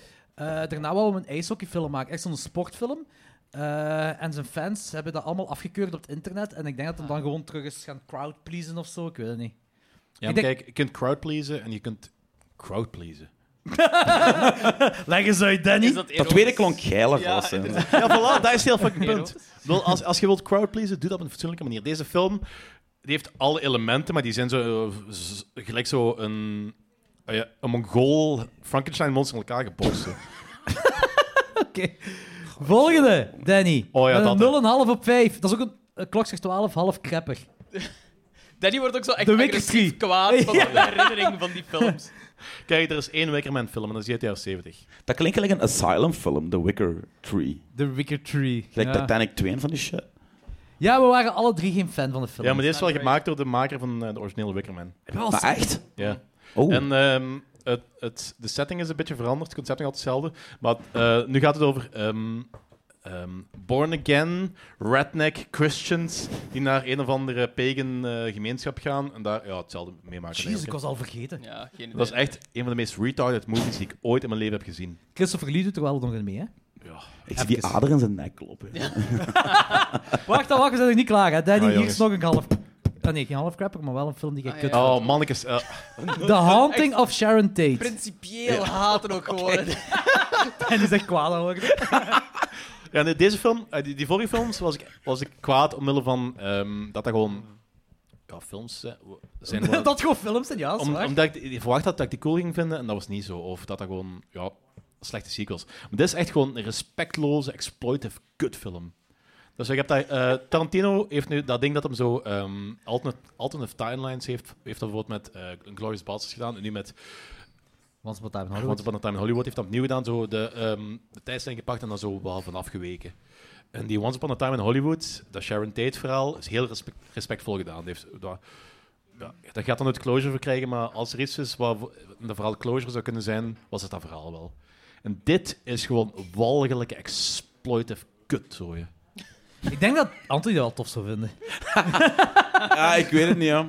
S2: Eh, daarna wou hem een ijshockeyfilm maken. Echt zo'n sportfilm. Eh, en zijn fans hebben dat allemaal afgekeurd op het internet. En ik denk dat hem dan gewoon terug is gaan crowdpleasen of zo. Ik weet het niet.
S1: ja maar
S2: denk-
S1: Kijk, je kunt crowdpleasen en je kunt crowdpleasen.
S2: Leg eens uit, Danny.
S4: Is
S8: Dat tweede klonk geiler was, hè.
S1: Ja, voilà, dat is heel fucking punt.
S4: Erotisch?
S1: Ik bedoel, Als, als je wilt crowdpleasen, doe dat op een fatsoenlijke manier. Deze film die heeft alle elementen, maar die zijn zo eh, z- gelijk zo een, oh ja, een Mongool Frankenstein-monster in elkaar geborsten.
S2: Volgende, Danny.
S1: Oh ja,
S2: Met
S1: dat, hè.
S2: een 0,5 op 5. Dat is ook een, een klok zegt 12, half krepper.
S4: Danny wordt ook zo echt
S2: The Wicker
S4: agressief
S2: Tree.
S4: kwaad van de herinnering van die films.
S1: Kijk, er is één Wickerman-film en dat is die uit de jaren 70.
S8: Dat klinkt gelijk een Asylum-film, The Wicker Tree.
S2: The Wicker Tree.
S8: Gelijk
S2: Ja.
S8: Titanic 2 en van die shit.
S2: ja, we waren alle drie geen fan van de film.
S1: Ja, maar die is wel gemaakt door de maker van eh, de originele Wickerman.
S8: Maar echt?
S1: Ja.
S8: Oh,
S1: En ehm, het, het, de setting is een beetje veranderd, het concept is nog altijd hetzelfde. Maar eh, nu gaat het over ehm, ehm, born again, redneck Christians die naar een of andere pagan eh, gemeenschap gaan en daar ja, hetzelfde meemaken.
S2: Jezus, ik
S1: eigenlijk.
S2: was al vergeten.
S4: Ja, geen idee.
S1: Dat is echt een van de meest retarded movies die ik ooit in mijn leven heb gezien.
S2: Christopher Lee doet er wel nog in mee, hè?
S8: ik zie die ader in zijn nek kloppen.
S2: Wacht, dan, wacht, we zijn nog niet klaar, hè? Danny,
S1: Ah,
S2: hier is
S1: jongens.
S2: nog een half... Ah, nee, geen half crapper, maar wel een film die ik
S4: Ah,
S2: kut
S4: ja.
S1: Oh, mannetjes. eh,
S2: The Haunting of Sharon Tate.
S4: Principieel haten ook gewoon.
S2: En die zegt kwaad aan worden.
S1: ja, nee, deze film, eh, die, die vorige films, was ik, was ik kwaad omwille van ehm, dat dat gewoon... Ja, films eh, zijn wel-
S2: dat gewoon films zijn, ja, is
S1: Om-
S2: waar.
S1: omdat ik die- die verwacht had dat ik die cool ging vinden en dat was niet zo. Of dat dat gewoon, ja, slechte sequels. Maar dit is echt gewoon een respectloze, exploitive kutfilm. Dus ik heb dat, eh, Tarantino heeft nu dat ding dat hem zo ehm alternate, alternative timelines heeft. Heeft dat bijvoorbeeld met eh Glorious Bastards gedaan en nu met
S2: Once Upon a Time in Hollywood.
S1: Once Upon a Time in Hollywood heeft dat opnieuw gedaan. Zo de, ehm de tijdslijn gepakt en dan zo wel van afgeweken. En die Once Upon a Time in Hollywood, dat Sharon Tate verhaal, is heel respect- respectvol gedaan. Die Heeft, dat, ja, dat gaat dan het closure verkrijgen, maar als er iets is wat vo- een verhaal closure zou kunnen zijn, was het dat verhaal wel. En En dit is gewoon walgelijke exploitive kutzooien.
S2: Ik denk dat Anthony dat wel tof zou vinden.
S8: Ah, ik weet het niet, ja.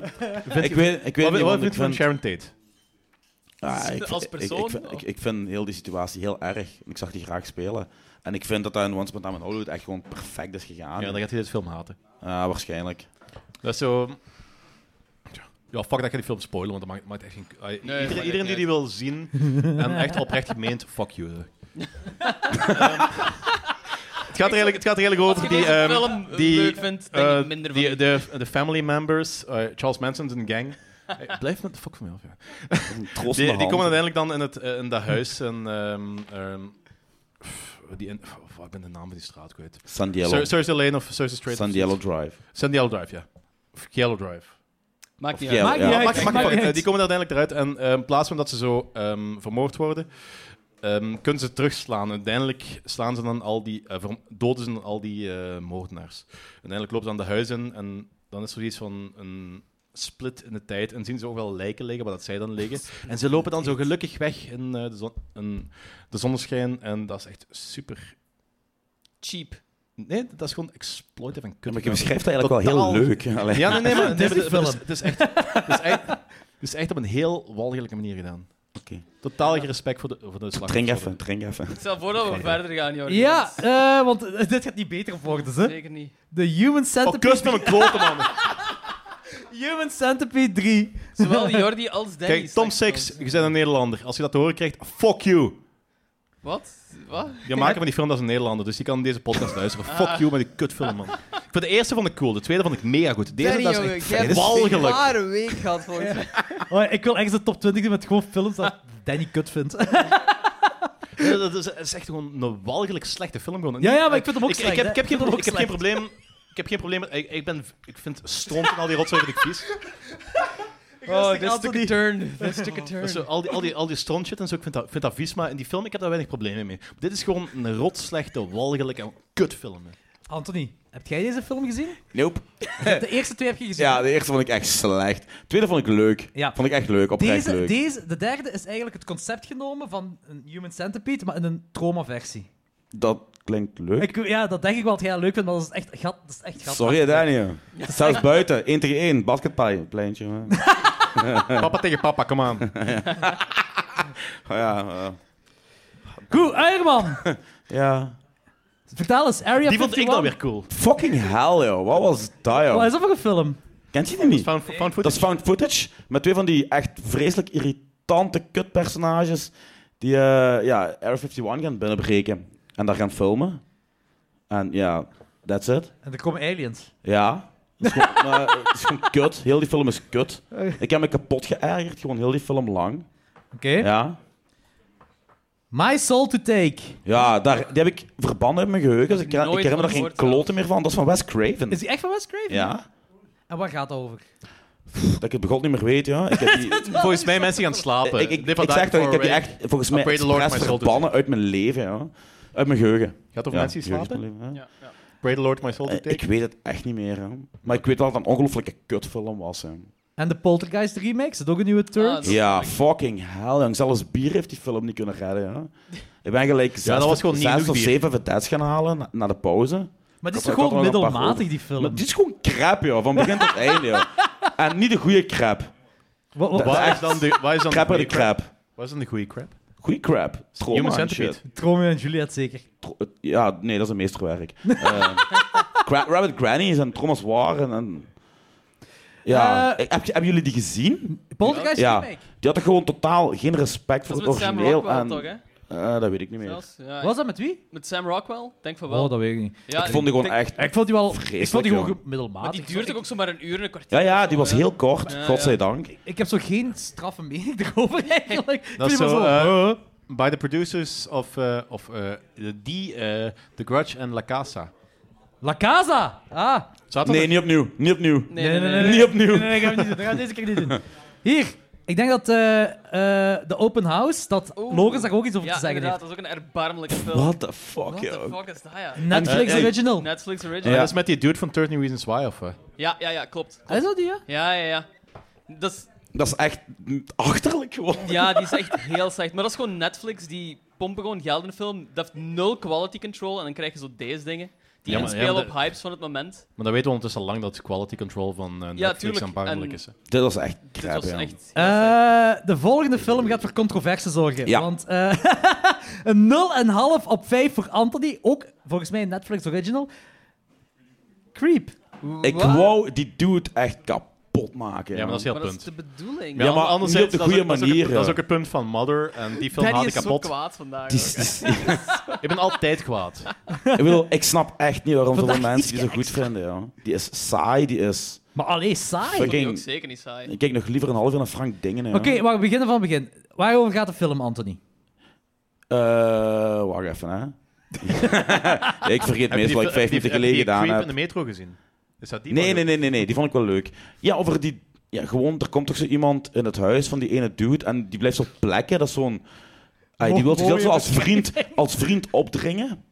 S8: Ik weet, ik weet
S1: Wat, wat
S8: niet, want
S1: vind
S8: ik
S1: je van
S8: vind...
S1: Sharon Tate?
S8: Ah, ik,
S4: Als
S8: ik-
S4: persoon,
S8: Ik, ik, vind-
S4: of?
S8: ik, ik vind heel die situatie heel erg. Ik zag die graag spelen. En ik vind dat dat in Once Upon a Time in Hollywood echt gewoon perfect is gegaan.
S1: Ja, dan gaat hij dit film haten.
S8: Ah, waarschijnlijk.
S1: Dat is zo... Tja. Ja, fuck dat ik die film spoilen, want dat maakt, maakt echt geen... Ah, iedereen
S4: maakt echt
S1: iedereen die
S4: niet
S1: die wil zien en echt oprecht meent, fuck you. Ehm, het, gaat er eigenlijk, het gaat er eigenlijk
S4: Als
S1: over
S4: je
S1: die...
S4: deze
S1: ehm,
S4: film eh,
S1: die,
S4: leuk vindt, denk ik
S1: eh,
S4: minder van
S1: die,
S4: u.
S1: de, de family members, eh, Charles Manson zijn gang. Eh, Blijf met de fuck van mij af, ja.
S8: Troost
S1: Die,
S8: in de
S1: die komen
S8: hand.
S1: uiteindelijk dan in, het, eh, in dat huis en... ehm, ehm, pff, die in, pff, ik ben de naam van die straat kwijt.
S8: San Diego.
S1: Sur- Cersei Lane of Cersei Strait.
S8: San
S1: of-
S8: Diego Drive.
S1: San Diego Drive, ja. Of Yellow Drive.
S4: Maakt niet
S8: Ja,
S4: uit.
S2: Maakt niet
S8: ja.
S2: uit.
S1: Maakt- maakt niet
S2: maakt niet
S1: uit.
S2: uit.
S1: Eh, die komen er uiteindelijk eruit. En eh, in plaats van dat ze zo ehm, vermoord worden, ehm, kunnen ze terugslaan. Uiteindelijk slaan ze dan al die, eh, verm- doden ze dan al die eh, moordenaars. Uiteindelijk lopen ze aan de huizen en dan is er zoiets van een split in de tijd. En zien ze ook wel lijken liggen, waar dat zij dan liggen. En ze lopen dan zo gelukkig weg in, eh, de, zon, in de zonneschijn. En dat is echt super...
S4: Cheap.
S1: Nee, dat is gewoon exploitive en
S8: Ja,
S1: kut.
S8: maar je beschrijft dat eigenlijk wel heel
S1: Totaal-
S8: leuk. Allee.
S1: Ja, nee, nee, maar,
S2: Het
S1: nee,
S2: is
S1: maar
S2: een
S1: het, is,
S2: film.
S1: het, is echt, het, is echt, het is echt op een heel walgelijke manier gedaan.
S8: Oké.
S1: Totaal geen respect voor de, voor de slag.
S8: Drink even, drink even.
S4: Stel voor dat we verder gaan, Jordi.
S2: Ja,
S4: Dat is
S2: eh, want eh, dit gaat niet beter worden, hè?
S4: Zeker niet.
S2: De Human
S1: Oh,
S2: Centipede,
S1: kus met mijn kloten, man.
S2: Human Centipede 3.
S4: Zowel Jordi als Danny.
S1: Kijk, Tom
S4: slecht
S1: Six,
S4: films.
S1: je bent een Nederlander. Als je dat te horen krijgt, fuck you.
S4: Wat? Wat?
S1: Je maakt van die film als een Nederlander, dus die kan deze podcast luisteren. Fuck you met die kutfilm, man. Ik vond de eerste vond ik cool, de tweede vond ik mega goed. Deze
S6: Danny,
S1: dat is
S6: jongen,
S1: echt
S6: jij hebt
S1: vet. walgelijk.
S6: een zware week gehad volgens mij.
S2: Oh, ik wil echt de top 20 doen met gewoon films dat Danny kut vindt.
S1: Nee, Dat is, dat is echt gewoon een walgelijk slechte film. Gewoon.
S2: Ja, ja, maar ik vind hem ook
S1: ik,
S2: slecht,
S1: Ik heb,
S2: hè.
S1: ik heb,
S2: Ik
S1: geen,
S2: vind hem
S1: ik
S2: ook
S1: heb geen
S2: slecht.
S1: probleem... Ik heb geen probleem met... Ik, ik, ben, ik vind stront en al die rotzooi vind ik vies.
S2: Oh,
S4: This took a turn. This took a turn.
S1: Dus zo, al die, al die, al die strontshit en zo, ik vind dat, ik vind dat vies, maar in die film, ik heb daar weinig problemen mee. Dit is gewoon een rot, slechte, walgelijke kutfilm. hè.
S2: Anthony, heb jij deze film gezien?
S8: Nope.
S2: De eerste twee heb je gezien.
S8: Ja, de eerste vond ik echt slecht. De tweede vond ik leuk.
S2: Ja.
S8: Vond ik echt leuk, oprecht
S2: deze,
S8: leuk.
S2: deze, de derde is eigenlijk het concept genomen van een Human Centipede, maar in een trauma-versie.
S8: Dat klinkt leuk.
S2: Ik- Ja, dat denk ik wel dat jij dat leuk vindt, maar dat is echt gat. Dat is echt gat.
S8: Sorry, Daniel. Zelfs buiten, 1 tegen 1, basketbalpleintje. hè. Oh
S1: Papa tegen papa, kom aan.
S8: ja, eh,
S2: Goed, Eierman,
S8: ja.
S2: vertel eens, Area
S1: Die vond ik
S2: 51.
S1: dan weer cool.
S8: Fucking hell, joh. Wat was dat,
S2: Wat is
S8: joh?
S2: dat voor een film?
S8: Kent je die niet?
S1: Found, found
S8: Dat
S1: footage.
S8: is found footage met twee van die echt vreselijk irritante kutpersonages die eh ja, Air 51 gaan binnenbreken en daar gaan filmen. En ja, that's it.
S2: En er komen aliens.
S8: Ja. Het is, gewoon, maar het is gewoon kut. Heel die film is kut. Ik heb me kapot geërgerd, gewoon heel die film lang.
S2: Oké.
S8: Ja,
S2: My Soul to Take.
S8: ja daar, die heb ik verbannen uit mijn geheugen. Dus ik, ik
S4: Nooit
S8: herinner me daar
S4: van
S8: geen
S4: gehoord,
S8: kloten meer van. Dat is van Wes Craven.
S2: Is die echt van Wes Craven?
S8: Ja,
S2: En waar gaat het over?
S8: dat ik het begon niet meer weet, ja. Ik heb die...
S1: Volgens mij mensen gaan slapen.
S8: Ik, ik,
S1: Dit
S8: ik,
S1: van
S8: zeg
S1: Dark
S8: dat, ik heb die
S1: Forward.
S8: echt volgens
S1: I
S8: mij
S1: pray the Lord
S8: expres
S1: my soul to
S8: verbannen uit mijn leven. Ja. Uit mijn geheugen.
S1: Gaat het over
S8: Ja,
S1: mensen die slapen?
S8: geheugen is mijn leven,
S4: Ja, ja.
S1: Pray the Lord my soul to
S8: hè. Eh, Ik
S1: take.
S8: weet het echt niet meer. Hè. Maar ik weet wel dat het een ongelooflijke kutfilm was. Hè.
S2: En de Poltergeist remake, is dat ook een nieuwe turn?
S4: Ah, dat-
S8: Ja, fucking hell. Jong. Zelfs bier heeft die film niet kunnen redden. Hè. Ik ben gelijk zes,
S1: dat was gewoon niet
S8: zes
S1: genoeg
S8: of
S1: bier.
S8: zeven vedettes gaan halen na, na de pauze.
S2: maar die is
S8: Ik
S2: toch
S8: had er
S2: gewoon
S8: nog een paar
S2: middelmatig,
S8: over.
S2: die film?
S8: Maar dit is gewoon crap, joh. Van begin tot einde, joh. En niet de goede crap.
S2: Wat- wat-
S1: Waar is dan de, waar is dan de
S8: Crap uit
S1: goede
S8: de
S1: crap?
S8: crap.
S1: Waar is dan de goede crap?
S8: Goeie crap.
S1: Human
S8: Trauma en shit.
S1: Centipede.
S2: Romeo en Juliet zeker.
S8: Tro- het- Ja, nee, dat is een meesterwerk. Eh, Gra- Rabbit Grannies en Thomas War en... en- ja,
S2: Eh,
S8: Ik- heb, je- hebben jullie die gezien?
S2: Poltergeist
S8: Ja.
S2: remake.
S8: Die hadden gewoon totaal geen respect voor
S4: Dat is
S8: het
S4: met Sam
S8: origineel.
S4: Rockwell
S8: en,
S4: toch, hè?
S8: Eh, dat weet ik niet meer.
S4: Zelfs? Ja,
S2: Wat was dat met wie?
S4: Met Sam Rockwell? Denk van wel.
S2: Oh, dat weet ik niet.
S4: ja,
S8: ik vond die gewoon
S4: denk-
S8: echt...
S2: Ik vond die wel... ik vond
S8: Vreselijk,
S2: die gewoon
S8: jongen.
S2: ge- middelmatig.
S4: Maar die duurde
S2: Ik-
S4: toch ook zomaar een uur en een kwartier?
S8: Ja, ja,
S4: of zo,
S8: die was
S4: hè?
S8: heel kort,
S4: Ja, ja.
S8: godzijdank.
S2: Ik heb zo geen straffe mening erover eigenlijk. Ik
S1: Dat
S2: vind
S1: is
S2: die
S1: zo...
S2: maar
S1: eh, by the producers of, eh, of eh, die, eh, The Grudge en La Casa.
S2: La Casa! Ah.
S1: Zaten
S8: Nee, niet opnieuw. Niet opnieuw.
S4: Nee, nee, nee. nee,
S8: Niet opnieuw.
S2: Nee, nee, nee, gaan we niet doen. Dat gaan we deze keer niet doen. Hier. Ik denk dat eh, eh, de open house, dat
S4: Oeh.
S2: Lorenz daar ook iets over
S4: Oh.
S2: te
S4: Ja,
S2: zeggen
S4: inderdaad,
S2: heeft.
S4: dat is ook een erbarmelijke film.
S8: What the fuck,
S4: What the
S8: joh.
S4: fuck is dat, ja?
S2: Netflix
S8: Eh, eh,
S2: original.
S4: Netflix
S1: Eh,
S4: original.
S1: Dat is met die dude van 13 Reasons Why, of... eh?
S4: Ja, ja, ja, klopt.
S2: Is dat die, ja?
S4: Ja, ja, ja. Dat is
S8: Dat is echt achterlijk gewoon.
S4: Ja, die is echt heel slecht. Maar dat is gewoon Netflix, die pompen gewoon geld in een film. Dat heeft nul quality control en dan krijg je zo deze dingen. Die
S1: Ja, maar-
S4: inspelen
S1: ja, maar
S4: op
S1: dat-
S4: hypes van het moment.
S1: Maar dan weten we ondertussen al lang dat quality control van eh Netflix
S4: tuurlijk.
S1: aanvaardelijk
S4: En-
S1: is. hè.
S8: Dit was echt
S4: Dit
S8: crap,
S4: was
S8: ja.
S4: Dus echt... heel slecht.
S2: Eh, de volgende film gaat voor controverse zorgen.
S8: Ja.
S2: Want eh, een 0,5 op 5 voor Anthony. Ook volgens mij een Netflix original. Creep.
S8: Ik
S4: Wat?
S8: wou die dude echt kapot maken.
S1: Ja, maar dat is heel
S4: Maar dat is
S1: punt.
S4: de bedoeling.
S8: Ja, maar niet op
S1: dat is
S8: de goede
S1: ook- dat is ook-
S8: manier, eh.
S1: Dat is
S8: ja.
S1: ook het punt van Mother. En die film
S4: Danny
S1: haat ik
S4: is zo
S1: kapot.
S4: kwaad vandaag.
S8: Die
S4: ook.
S8: is- die is- die-
S1: Ik ben altijd kwaad.
S8: ik, bedoel, ik snap echt niet waarom zoveel
S2: Vandaag
S8: mensen die zo goed vinden. Ja. Die is saai, die is...
S2: Maar allee, saai.
S4: Dat is ook
S8: Fucking...
S4: zeker niet saai.
S8: Ik kijk nog liever een half uur naar Frank Dingen. ja.
S2: Oké, maar we beginnen van het begin. Waarover gaat de film, Anthony?
S8: Eh, wacht even, hè. ik vergeet
S1: Heb je die
S8: meestal wat ik
S1: fil-
S8: vijf
S1: heb je die- heb je
S8: minuten geleden
S1: die
S8: gedaan
S1: Creep
S8: heb.
S1: in de metro gezien? Is dat die?
S8: Nee,
S1: van-
S8: nee, nee, nee, nee, die vond ik wel leuk. Ja, over die... Ja, gewoon, er komt toch zo iemand in het huis van die ene dude en die blijft zo plekken. Dat is zo'n... Ai, die wil zichzelf zo als vriend, als vriend opdringen.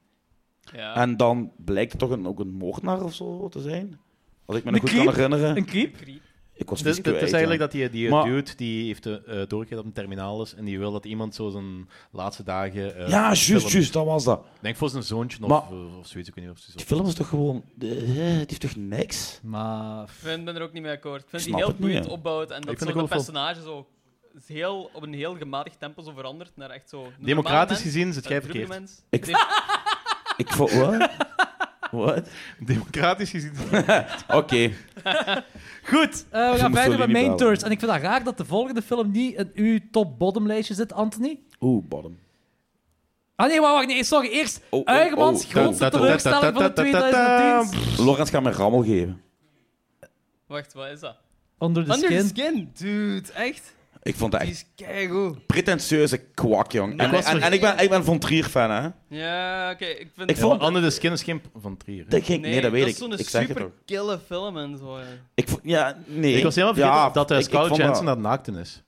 S4: Ja.
S8: En dan blijkt het toch een, ook een moordenaar of zo te zijn. Als ik me
S2: De
S8: nog goed
S2: creep?
S8: kan herinneren.
S2: Een creep?
S8: Ik was
S1: Het is,
S8: niet
S1: het is
S8: kwijt.
S1: eigenlijk
S8: ja.
S1: dat die, die
S8: Maar-
S1: dude die heeft de eh doorgegeven dat een terminaal is en die wil dat iemand zo zijn laatste dagen. eh,
S8: Ja,
S1: film-
S8: juist, juist, dat was dat.
S1: Ik Denk voor zijn zoontje of, eh,
S8: Maar-
S1: of, of zoiets. Ik weet niet of ze zo.
S8: Die film is toch gewoon... eh, die heeft toch niks?
S2: Maar...
S4: Ik vind- ben er ook niet mee akkoord. Ik vind
S8: Snap
S4: die heel
S8: het niet,
S4: boeiend
S8: hè.
S4: opbouwt en dat
S1: vind
S4: zo
S1: het
S4: de
S1: wel veel-
S4: personage zo is heel, op een heel gematigd tempo zo verandert naar echt zo... een normale
S1: Democratisch
S4: mens, eh,
S1: gezien zit
S4: een
S1: jij
S4: drukke
S1: verkeerd.
S4: mens.
S8: Ik-
S4: Dem-
S8: Ik vond... Wat? Wat?
S1: Democratisch gezien.
S8: Oké.
S2: Goed, eh, we gaan
S8: Mussolini
S2: verder met main
S8: bellen.
S2: tours. En ik vind het raar dat de volgende film niet in uw top-bottom lijstje zit, Anthony.
S8: Oeh, bottom.
S2: Ah nee, wacht, wacht, nee, sorry. Eerst
S8: Oh, oh,
S2: Uigermans
S8: oh.
S2: grootste
S1: Da- da- da-
S2: teleurstelling van de
S1: da- da- da- da-
S2: 2010.
S8: Lorenz gaat mij rammel geven.
S4: Wacht, wat is dat?
S2: Under the
S4: Under the
S2: Skin.
S4: Skin, dude. Echt?
S8: Ik vond het
S4: Die
S8: echt
S4: is keigoed.
S8: pretentieuze kwak, jong. En,
S1: was
S8: en, en ik, ben, ik ben Von Trier-fan, hè.
S4: Ja, oké. ik vind...
S8: Ik
S1: Ja, maar
S8: vond...
S1: Anne de Skin is geen van Trier. hè.
S8: dat ging, nee, dat weet ik.
S4: is
S8: Ik
S4: zo'n
S8: zeg het
S4: super
S8: ook.
S4: kille film en zo. ja.
S8: Ik vond, ja, nee.
S1: Ik was helemaal vergeten
S8: Ja,
S1: dat eh,
S8: ik- ik
S1: Scarlett
S8: vond dat-
S1: Johansson naar naakten is.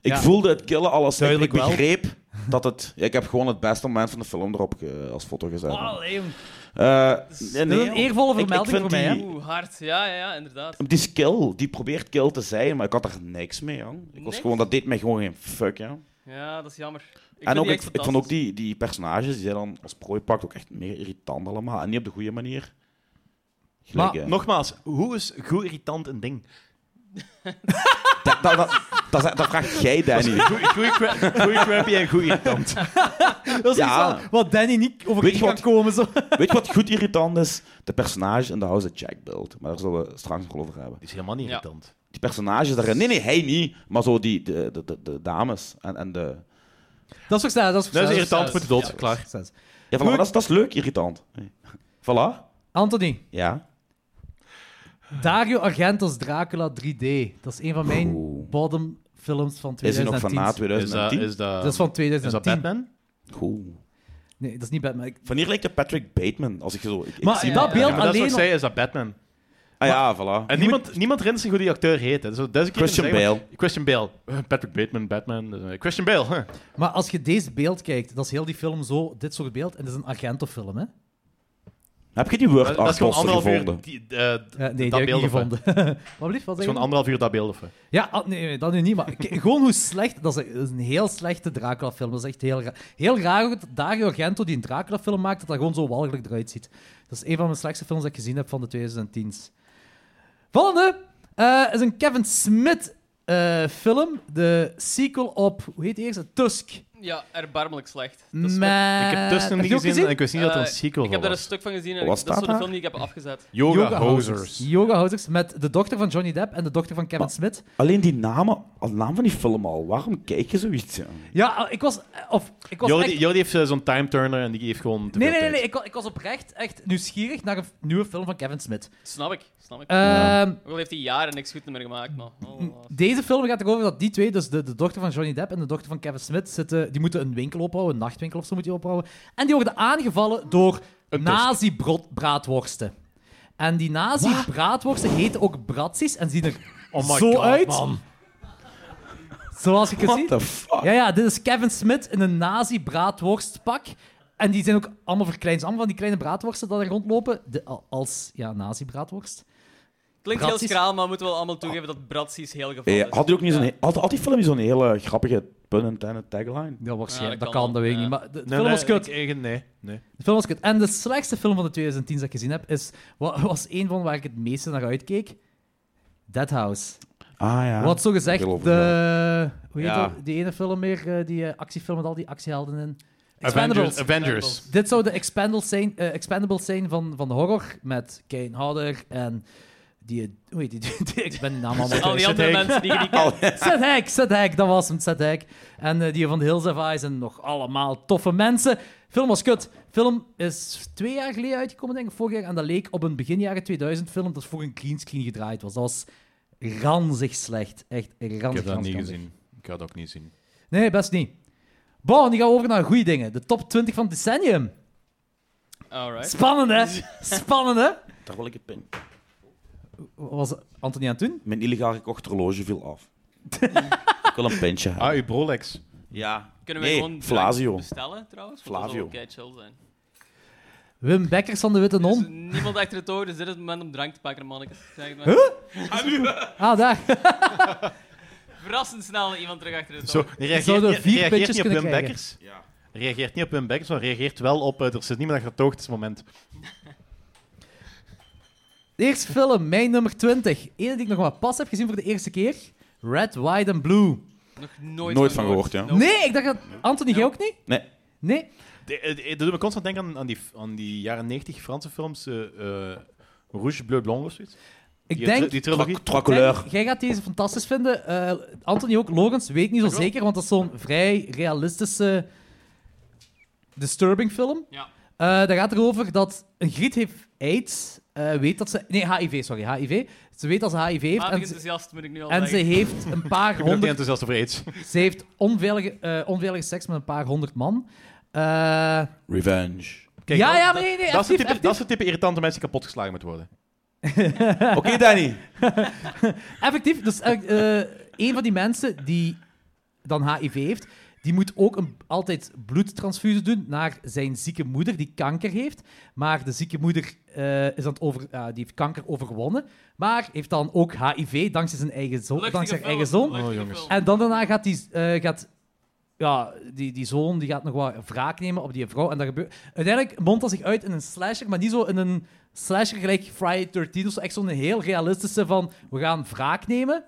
S8: Ik
S2: Ja.
S8: voelde het killen alles. Ik, ik
S2: Duidelijk wel.
S8: begreep dat het... Ik heb gewoon het beste moment van de film erop ge- als foto gezet.
S2: Oh, nee, jong.
S8: Eh, nee,
S2: Dat is
S8: nee.
S2: een eervolle
S8: Ik- ik
S2: vermelding
S8: vind
S2: voor mij, hè.
S8: die-
S4: Oeh, hard. Ja, ja, ja, inderdaad.
S8: Die is kill. Die probeert kill te zijn, maar ik had er niks mee, jong. Ik was
S4: Niks?
S8: gewoon... Dat deed mij gewoon geen fuck, ja.
S4: Ja, dat is jammer. Ik vind
S8: en ook,
S4: die
S8: ik,
S4: echt
S8: ik vond ook
S4: fantastisch.
S8: die, die personages, die zijn dan als prooi pakt, ook echt mega irritant allemaal. En niet op de goede manier. Gelijk,
S2: Maar
S8: eh,
S1: Nogmaals, hoe is goed irritant een ding?
S8: dat, dat, dat, dat, dat vraagt jij, Danny.
S1: Goeie cra- goeie crappy en goeie irritant.
S2: Dat is
S8: Ja.
S2: iets wat- wat Danny niet
S8: Weet
S2: over
S8: je
S2: kan
S8: wat-
S2: komen. Zo.
S8: Weet je wat goed irritant is? De personage in de House of Jack built. Maar daar zullen we straks nog wel over hebben.
S1: Die is helemaal niet
S4: Ja.
S1: irritant.
S8: Die personages daarin... Nee, nee, hij niet. Maar zo die de, de, de, de dames en, en de...
S2: Dat is verstaan, dat is
S1: Dat is
S2: verstaan.
S1: irritant voor de dood, klaar.
S2: Dat is verstaan.
S8: Ja, voilà,
S2: Goed.
S8: dat, is, dat is leuk irritant. Voilà.
S2: Anthony,
S8: Ja.
S2: Dario Argento's Dracula 3D. Dat is een van mijn
S8: Oeh.
S2: bottom films van
S8: Oh. Is hij
S2: 2010.
S8: nog van na
S1: Is dat,
S8: 2010?
S1: is dat,
S2: Dat is van
S1: Ehm, is
S2: 2010.
S1: dat Batman?
S8: Oeh.
S2: Nee, dat is niet Batman. Ik-
S8: Van hier lijkt je Patrick Bateman. Als ik zo... Ik, ik
S2: Maar
S8: zie-
S2: dat
S4: ja,
S2: beeld
S1: Ja, maar dat is wat
S2: alleen...
S1: ik zei, is dat Batman.
S8: Ah ja, voilà.
S1: En niemand, niemand rent zich hoe die acteur heet. Hè. Dus dat is een keer
S8: Christian
S1: zeggen,
S8: Bale.
S1: maar- Christian Bale. Eh, Patrick Bateman, Batman. eh, Christian Bale. huh.
S2: Maar als je deze beeld kijkt, dat is heel die film zo, dit soort beeld. En dat is een Argento-film, hè? Eh,
S8: Heb je die
S1: Dat,
S8: Word
S1: dat is gewoon
S8: artposter
S1: anderhalf
S8: gevonden?
S1: uur die, eh, d-
S2: Eh, nee,
S1: dat
S2: die heb ik
S1: beeld
S2: niet
S1: of wat?
S2: gevonden. Wat blieft, wat
S1: dat is
S2: zeg
S1: gewoon
S2: je?
S1: anderhalf uur dat beeld. Of, wat.
S2: Ja, ah, nee, nee, dat nu niet, maar k- gewoon hoe slecht... Dat is, dat is een heel slechte Dracula-film. Dat is echt heel raar. Heel raar ook dat Dario Argento, die een Dracula-film maakt, dat dat gewoon zo walgelijk eruit ziet. Dat is een van mijn slechtste films dat ik gezien heb van de 2010s. Volgende eh, is een Kevin Smith eh, film. De sequel op, hoe heet die eerste? Tusk.
S4: Ja, erbarmelijk slecht. Dat is wat-
S2: Met...
S1: ik heb Tussen
S2: eh, Heb
S1: niet
S2: je ook
S1: gezien, en ik wist niet dat er een
S4: Eh,
S1: sequel
S4: Ik heb
S1: van
S4: daar
S1: was.
S4: een stuk van gezien en
S8: Wat
S4: ik- dat
S8: staat
S4: is zo'n
S8: daar?
S4: film die ik heb afgezet.
S1: Yoga,
S2: Hosers.
S1: Hosers. Ah.
S2: Yoga Hosers met de dochter van Johnny Depp en de dochter van Kevin
S8: Maar-
S2: Smith.
S8: Alleen die namen, de naam van die film al. Waarom kijk je zoiets? ja?
S2: Ja, eh, ik was... Of, ik was
S1: Jordi,
S2: echt-
S1: Jordi heeft eh, zo'n time turner en die heeft gewoon. te
S2: Nee,
S1: veel
S2: nee, nee, nee.
S1: tijd.
S2: Ik, wa- ik was oprecht echt nieuwsgierig naar een f- nieuwe film van Kevin Smith.
S4: Snap ik, snap ik.
S2: Ehm,
S4: Ook al heeft hij jaren niks goed meer gemaakt, maar... oh, oh.
S2: deze film gaat erover dat die twee, dus de, de dochter van Johnny Depp en de dochter van Kevin Smith, zitten, die moeten een winkel opbouwen, een nachtwinkel of zo moet die opbouwen. En die worden aangevallen door nazi-braadworsten. En die nazi-braadworsten heten ook bratsies en zien er
S1: Oh my
S2: zo
S1: God,
S2: uit.
S1: man.
S2: Zoals ik het
S8: What
S2: zie.
S8: the fuck?
S2: Ja, ja, dit is Kevin Smith in een nazi-braadworstpak. En die zijn ook allemaal verkleind. Allemaal van die kleine braadworsten dat er rondlopen. De, al- als ja, nazi-braadworst.
S4: Klinkt heel
S2: Bratsies?
S4: schraal, maar moeten we wel allemaal toegeven dat Bratsies heel geval
S8: Eh,
S4: is.
S8: had, die ook niet zo'n,
S4: Ja.
S8: he- had, had die film niet zo'n hele grappige pun-intended tagline?
S2: Ja, waarschijnlijk.
S4: Ja,
S2: dat kan, dat weet ik
S4: ja.
S2: niet. Maar de, de film was kut.
S1: Nee, nee. nee.
S2: De film was kut. En de slechtste film van de 2010 dat ik gezien heb, is, wa- was één van waar ik het meeste naar uitkeek. Dead House.
S8: Ah ja.
S2: Wat zo gezegd,
S8: Heel
S2: de... Hoe heet
S8: Ja.
S2: dat? Die ene film meer, eh, die eh, actiefilm met al die actiehelden in. Expendables.
S1: Avengers. Avengers.
S2: Dit zou de Expendables zijn, eh, Expendables zijn van, van de horror, met Kane Hodder en die... eh, Hoe heet die? die- ik ben die naam allemaal
S4: Al die
S2: kwijt.
S4: andere mensen die je niet kent.
S2: Seth Hack, Seth Hack, dat was hem, Seth Hack. En eh, die van The Hills Have Eyes en nog allemaal toffe mensen. Film was kut. Film is twee jaar geleden uitgekomen, denk ik, vorig jaar. En dat leek op een begin jaren 2000 film dat voor een greenscreen gedraaid was. Dat was ranzig slecht. Echt ranzig.
S1: Ik heb dat niet
S2: ranzig, ranzig.
S1: gezien. Ik ga dat ook niet zien.
S2: Nee, best niet. Bon, die gaan we over naar goede dingen. De top 20 van het decennium.
S4: Alright.
S2: Spannend, hè? Spannend, hè?
S8: Daar wil ik een pin.
S2: Was Anthony aan het doen?
S8: Mijn illegaal gekocht horloge viel af. ik wil een pintje hebben.
S1: Ah, uw Brolex.
S8: Ja.
S4: Kunnen we
S8: Nee,
S4: gewoon
S8: Flavio.
S4: bestellen trouwens? Want
S8: Flavio.
S4: Dat zou ook kei chill zijn.
S2: Wim Bekkers van de Witte
S4: Er is
S2: Non.
S4: niemand achter het oor, dus dit is het moment om drank te pakken, mannetjes. Zeg het maar.
S2: Ah, daar.
S4: Verrassend snel iemand terug achter het
S1: Zo,
S4: oor.
S1: die reageert,
S2: Zouden we
S1: niet-
S2: vier
S1: reageert
S2: puntjes
S1: niet op
S2: kunnen
S1: Wim
S2: krijgen?
S1: Bekkers. Reageert niet op Wim Bekkers, maar reageert wel op... eh, er zit niemand achter het oog, het is het moment.
S2: De eerste film, mijn nummer 20. Eén die ik nog maar pas heb gezien voor de eerste keer. Red, White and Blue.
S4: Nog nooit,
S8: Nooit van gehoord, ja.
S4: Nope.
S2: Nee, ik dacht dat... Anthony, jij ook niet?
S8: Nee.
S2: Nee?
S1: De- eh, de- Dat doet me constant denken aan, aan, die, aan die jaren 90 Franse films. eh eh, Rouge, Bleu, Blanc of zoiets.
S2: Ik
S1: Die,
S2: denk...
S1: tri- die trilogie.
S8: Trois
S2: Jij-
S8: couleurs.
S2: Jij gaat deze fantastisch vinden. Eh, Anthony ook. Logans weet niet zo zeker, want dat is zo'n vrij realistische... Disturbing film.
S4: Ja.
S2: Eh, dat gaat erover dat een griet heeft AIDS. eh, weet dat ze... Nee, HIV, sorry. HIV. Ze weet dat ze HIV heeft.
S4: Matig
S2: En ze,
S4: enthousiast moet ik nu al
S2: en ze
S4: zeggen.
S2: heeft een
S1: Ik ben
S2: paar
S1: ook niet
S2: honderd
S1: enthousiast over AIDS.
S2: Ze heeft onveilige, eh, onveilige seks met een paar honderd man. Eh,
S8: Revenge.
S1: Kijk,
S2: ja,
S1: dat-
S2: ja, maar nee, nee,
S1: dat, is het
S2: actief,
S1: type,
S2: actief.
S1: dat is het type irritante mensen die kapot geslagen moet worden.
S8: Oké, Danny.
S2: Effectief, dus eh, eh, een van die mensen die dan HIV heeft, die moet ook een, altijd bloedtransfusie doen naar zijn zieke moeder, die kanker heeft. Maar de zieke moeder eh, is aan het over, ja, die heeft kanker overwonnen, maar heeft dan ook HIV dankzij zijn eigen, zo-
S4: Luchtige
S2: Oh, dankzij zijn eigen
S4: film,
S2: zoon.
S4: luchtige
S1: Oh, jongens.
S4: film.
S2: En dan daarna gaat die, eh, gaat, ja, die, die zoon die gaat nog wat wraak nemen op die vrouw. En dat gebeurt... Uiteindelijk mondt dat zich uit in een slasher, maar niet zo in een slasher gelijk Friday 13 of zo. Echt zo'n heel realistische van, we gaan wraak nemen.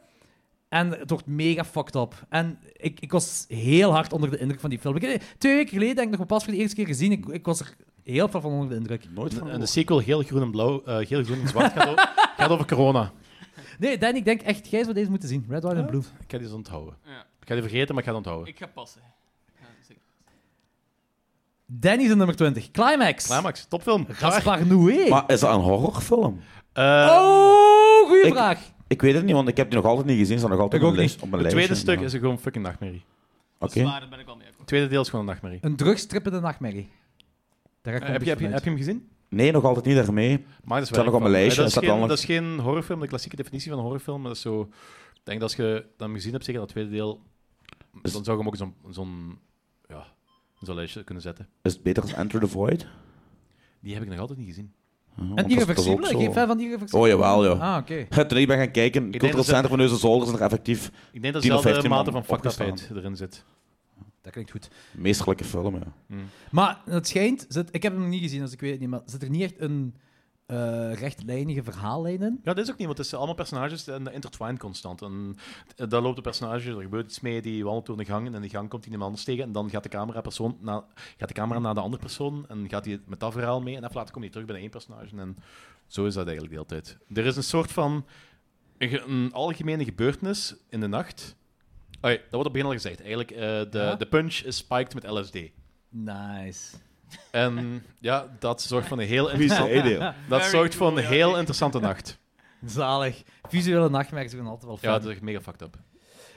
S2: En het wordt mega fucked up. En ik, ik was heel hard onder de indruk van die film. Ik, twee weken geleden denk ik nog maar pas voor de eerste keer gezien. Ik, ik was er heel veel van onder de indruk.
S8: Nooit van
S1: En de sequel geel, groen en blauw, eh, geel, groen en zwart gaat, over, gaat over corona.
S2: Nee, Danny, ik denk echt, jij zou deze moeten zien. Red, White and Blue.
S1: Ik ga die eens onthouden.
S4: Ja.
S1: Ik ga die vergeten, maar ik ga het onthouden.
S4: Ik ga passen. Ja, dus zeker.
S2: Danny is de nummer 20. Climax.
S1: Climax, topfilm. Klaar.
S2: Gaspar Noé.
S8: Maar is dat een horrorfilm?
S1: Eh,
S2: Oh, goeie
S8: Ik-
S2: vraag.
S8: Ik weet het niet, want ik heb die nog altijd niet gezien. Ze nog altijd
S2: Ik
S8: op
S2: ook
S8: mijn
S2: niet.
S8: lijst- op mijn
S1: het
S8: lijstje.
S1: tweede stuk
S8: Ja.
S1: is gewoon fucking nachtmerrie.
S8: Oké.
S4: Dat is waar, Dus daar ben ik al mee akkoord.
S1: Het tweede deel is gewoon een nachtmerrie.
S2: Een drugstrippende nachtmerrie. Daar ga
S1: Eh,
S2: ik
S1: heb, je, heb, je, heb je hem gezien?
S8: Nee, nog altijd niet daarmee.
S1: Maar dat is
S8: Staat nog op mijn lijstje,
S1: Eh, Dat is,
S8: staat
S1: geen,
S8: allemaal-
S1: dat is geen horrorfilm, de klassieke definitie van een horrorfilm. Maar dat is zo... Ik denk dat als je dat hem gezien hebt, zeker dat tweede deel,
S8: Is-
S1: dan zou je hem ook zo'n zo'n ja, in zo'n lijstje kunnen zetten.
S8: Is het beter als Enter the Void?
S1: Die heb ik nog altijd niet gezien.
S8: Ja, want dat
S2: En
S8: is- dat is ook
S2: irreversibele?
S8: zo.
S2: Geen fan van irreversibele?
S8: Oh, jawel, ja.
S2: Ah, oké.
S8: Toen ik ben gaan kijken,
S1: denk
S8: het cultureel
S1: dat ze-
S8: centrum van Neuze Zolder is nog effectief
S1: Ik denk dat
S8: 10 of
S1: dezelfde
S8: 15
S1: mate
S8: man
S1: van fucked
S8: opgestaan.
S1: upheid erin zit.
S2: Dat klinkt goed.
S8: een meesterlijke film. Ja.
S2: Maar het schijnt... Zit, ik heb hem nog niet gezien, dus ik weet het niet. Maar zit er niet echt een eh, rechtlijnige verhaallijn in?
S1: Ja, dat is ook niet, want het zijn allemaal personages en dat intertwined constant. En eh, daar loopt een personage, er gebeurt iets mee, die wandelt door de gang en in de gang komt iemand anders tegen en dan gaat de camera, persoon na, gaat de camera naar de andere persoon en gaat hij met dat verhaal mee en even later komt hij terug bij de één personage en zo is dat eigenlijk de hele tijd. Er is een soort van een, ge- een algemene gebeurtenis in de nacht. Oei, dat wordt op het begin al gezegd. Eigenlijk, eh, de,
S2: Ja?
S1: de punch is spiked met LSD.
S2: Nice.
S1: En ja, dat zorgt van een heel,
S8: Wie is
S1: interessant-
S8: de idee?
S1: dat
S4: Very
S1: zorgt
S4: cool,
S1: van een
S4: ja.
S1: heel interessante nacht.
S2: Zalig. Visuele nachtmerries zijn altijd wel fijn.
S1: Ja, dus- dat is echt mega fucked up.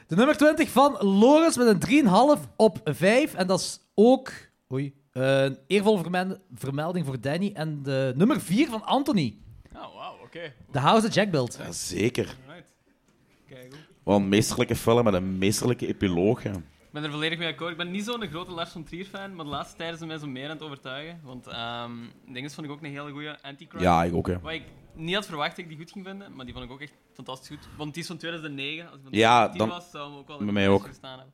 S2: De nummer 20 van Lawrence met een 3,5 op 5. En dat is ook oei, een eervolle vermen- vermelding voor Danny. En de nummer 4 van Anthony.
S4: Oh, wauw, oké.
S2: The House that Jack Built.
S8: Ja, zeker.
S4: Alright. Kijk, goed.
S8: Wel een meesterlijke film met een meesterlijke epiloog. Ja.
S4: Ik ben er volledig mee akkoord. Ik ben niet zo'n grote Lars von Trier fan, maar de laatste tijd is hij mij zo meer aan het overtuigen. Want ehm dingen vond ik ook een hele goede anti-crime.
S8: Ja, ik ook. Hè.
S4: Wat ik niet had verwacht dat ik die goed ging vinden, maar die vond ik ook echt fantastisch goed. Want die is van 2009. Als ik van
S8: Ja,
S4: 2010
S8: dan-
S4: was, zou hem ook wel in
S8: bij
S4: de
S8: mij
S4: lijst
S8: ook.
S4: gestaan hebben.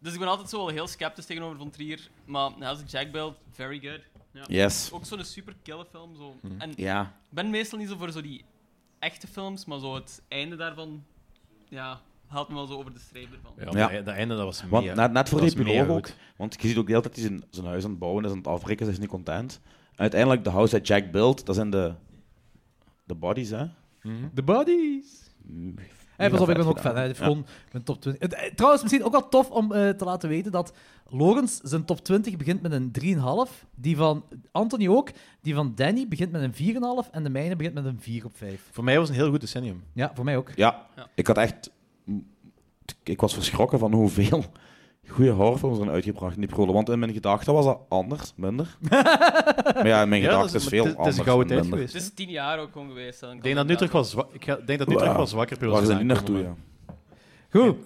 S4: Dus ik ben altijd zo wel heel sceptisch tegenover Von Trier. Maar nou, als ik Jack beeld, very good. Ja.
S8: Yes.
S4: Ook zo'n super kille film. Zo.
S8: Mhm.
S4: En
S8: Ja.
S4: ik ben meestal niet zo voor zo die echte films, maar zo het einde daarvan ja, haalt me wel zo over de streep ervan.
S1: Ja,
S8: Ja.
S1: maar Dat einde dat was
S8: Want
S1: mega-
S8: net, net voor
S1: dat
S8: die
S1: was mega
S8: epiloog ook.
S1: goed.
S8: Want je ziet ook de hele tijd dat hij zijn, zijn huis aan het bouwen is, aan het afbreken, is, hij is niet content. En uiteindelijk, de house that Jack built, dat zijn de, de bodies, hè?
S2: The Bodies. Hey, pas op, ik ben ook fan. Hè. Dit is Gewoon mijn top 20. Het- eh, Trouwens, misschien ook wel tof om eh, te laten weten dat Logans zijn top 20 begint met een 3,5. Die van Anthony ook. Die van Danny begint met een 4,5. En de mijne begint met een 4 op 5.
S1: Voor mij was het een heel goed decennium.
S2: Ja, voor mij ook.
S8: Ja,
S4: Ja.
S8: ik had echt... Ik was verschrokken van hoeveel goede horrorfilms zijn uitgebracht in die periode. Want in mijn gedachten was dat anders, minder. maar ja, in mijn
S1: Ja, dat
S8: gedachten
S1: is-
S8: is
S1: maar
S8: veel
S1: het is-
S8: anders.
S1: Het is een gouden tijd
S8: minder.
S1: geweest.
S4: Het is tien jaar ook gewoon geweest. hè. Dan
S1: Ik
S4: kan
S1: denk dat nu
S4: het
S1: terug
S4: wel-
S1: wel, zwa- ik ga- ik denk dat nu terug wel zwakker
S8: Waar
S1: piloot
S8: ze niet naartoe, ja.
S2: Goed.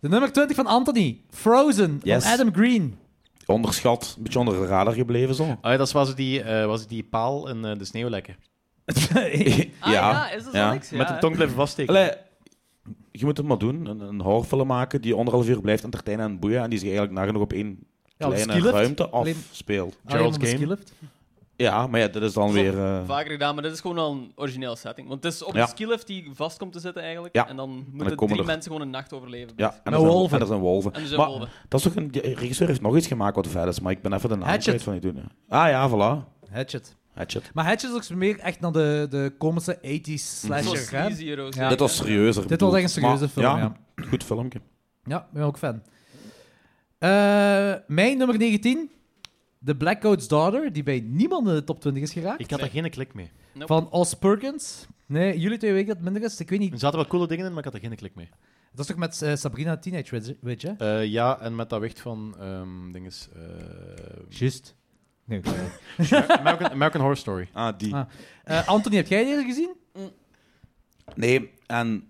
S2: De nummer 20 van Anthony. Frozen.
S8: Yes.
S2: Van Adam Green.
S8: Onderschat, een beetje onder de radar gebleven zo.
S1: Ah, ja, dat is- was die, eh, was die paal in eh, de sneeuw lekker.
S4: Ah, ja. is dat
S8: ja.
S4: niks? Ja,
S1: Met de
S4: hè.
S1: tong blijven vaststeken.
S8: Allee, je moet het maar doen. Een, een horrorfilm maken die anderhalf uur blijft entertainen en boeien. En die zich eigenlijk nagenoeg op één
S2: op de
S8: kleine
S2: skilift.
S8: ruimte
S2: Alleen-
S8: afspeelt.
S1: Gerald's
S2: Alleen
S1: Game.
S2: maar de skilift.
S8: Ja, maar ja, dat is dan
S4: Dat is
S8: weer...
S4: al
S8: eh,
S4: Vaker gedaan, maar dit is gewoon al een origineel setting. Want het is op
S8: Ja.
S4: een skilift die vast komt te zitten eigenlijk.
S8: Ja.
S4: En dan moeten
S8: komen
S4: drie
S8: er-
S4: mensen gewoon een nacht overleven.
S8: ja, en
S2: Met
S8: er, zijn,
S2: wolven.
S8: en er zijn wolven.
S4: En dus
S8: Maar-
S4: wolven.
S8: Dat is toch een, die regisseur heeft nog iets gemaakt wat vet is, maar ik ben even de naam
S2: Hatchet.
S8: kwijt van die doen. Ah ja, voilà.
S2: Hatchet.
S8: Hatchet.
S2: Maar Hatchet is ook meer echt naar de, de komische 80s
S4: Zo
S2: slasher. hè?
S4: sleazy heroes.
S2: Ja.
S8: Dit was serieuzer.
S2: Dit was echt een
S8: bedoeld.
S2: serieuze film,
S8: Maar-
S2: ja.
S8: Goed filmpje.
S2: Ja, ik ben ook fan. Eh, mijn nummer 19, The Black Coat's Daughter, die bij niemand in de top 20 is geraakt.
S1: Ik had daar geen klik mee.
S2: Van Oz Perkins. Nee, jullie twee weken dat het minder is. dus Ik weet niet.
S1: Er zaten wel coole dingen in, maar ik had er geen klik mee.
S2: Dat is toch met eh, Sabrina Teenage Witch- Witch, hè?
S1: Eh, ja, en met dat wicht van... ehm dinges, eh,
S2: Juist. Nee.
S1: American, American Horror Story.
S8: Ah, die.
S2: Ah. Eh, Anthony, heb jij deze gezien?
S8: Nee, en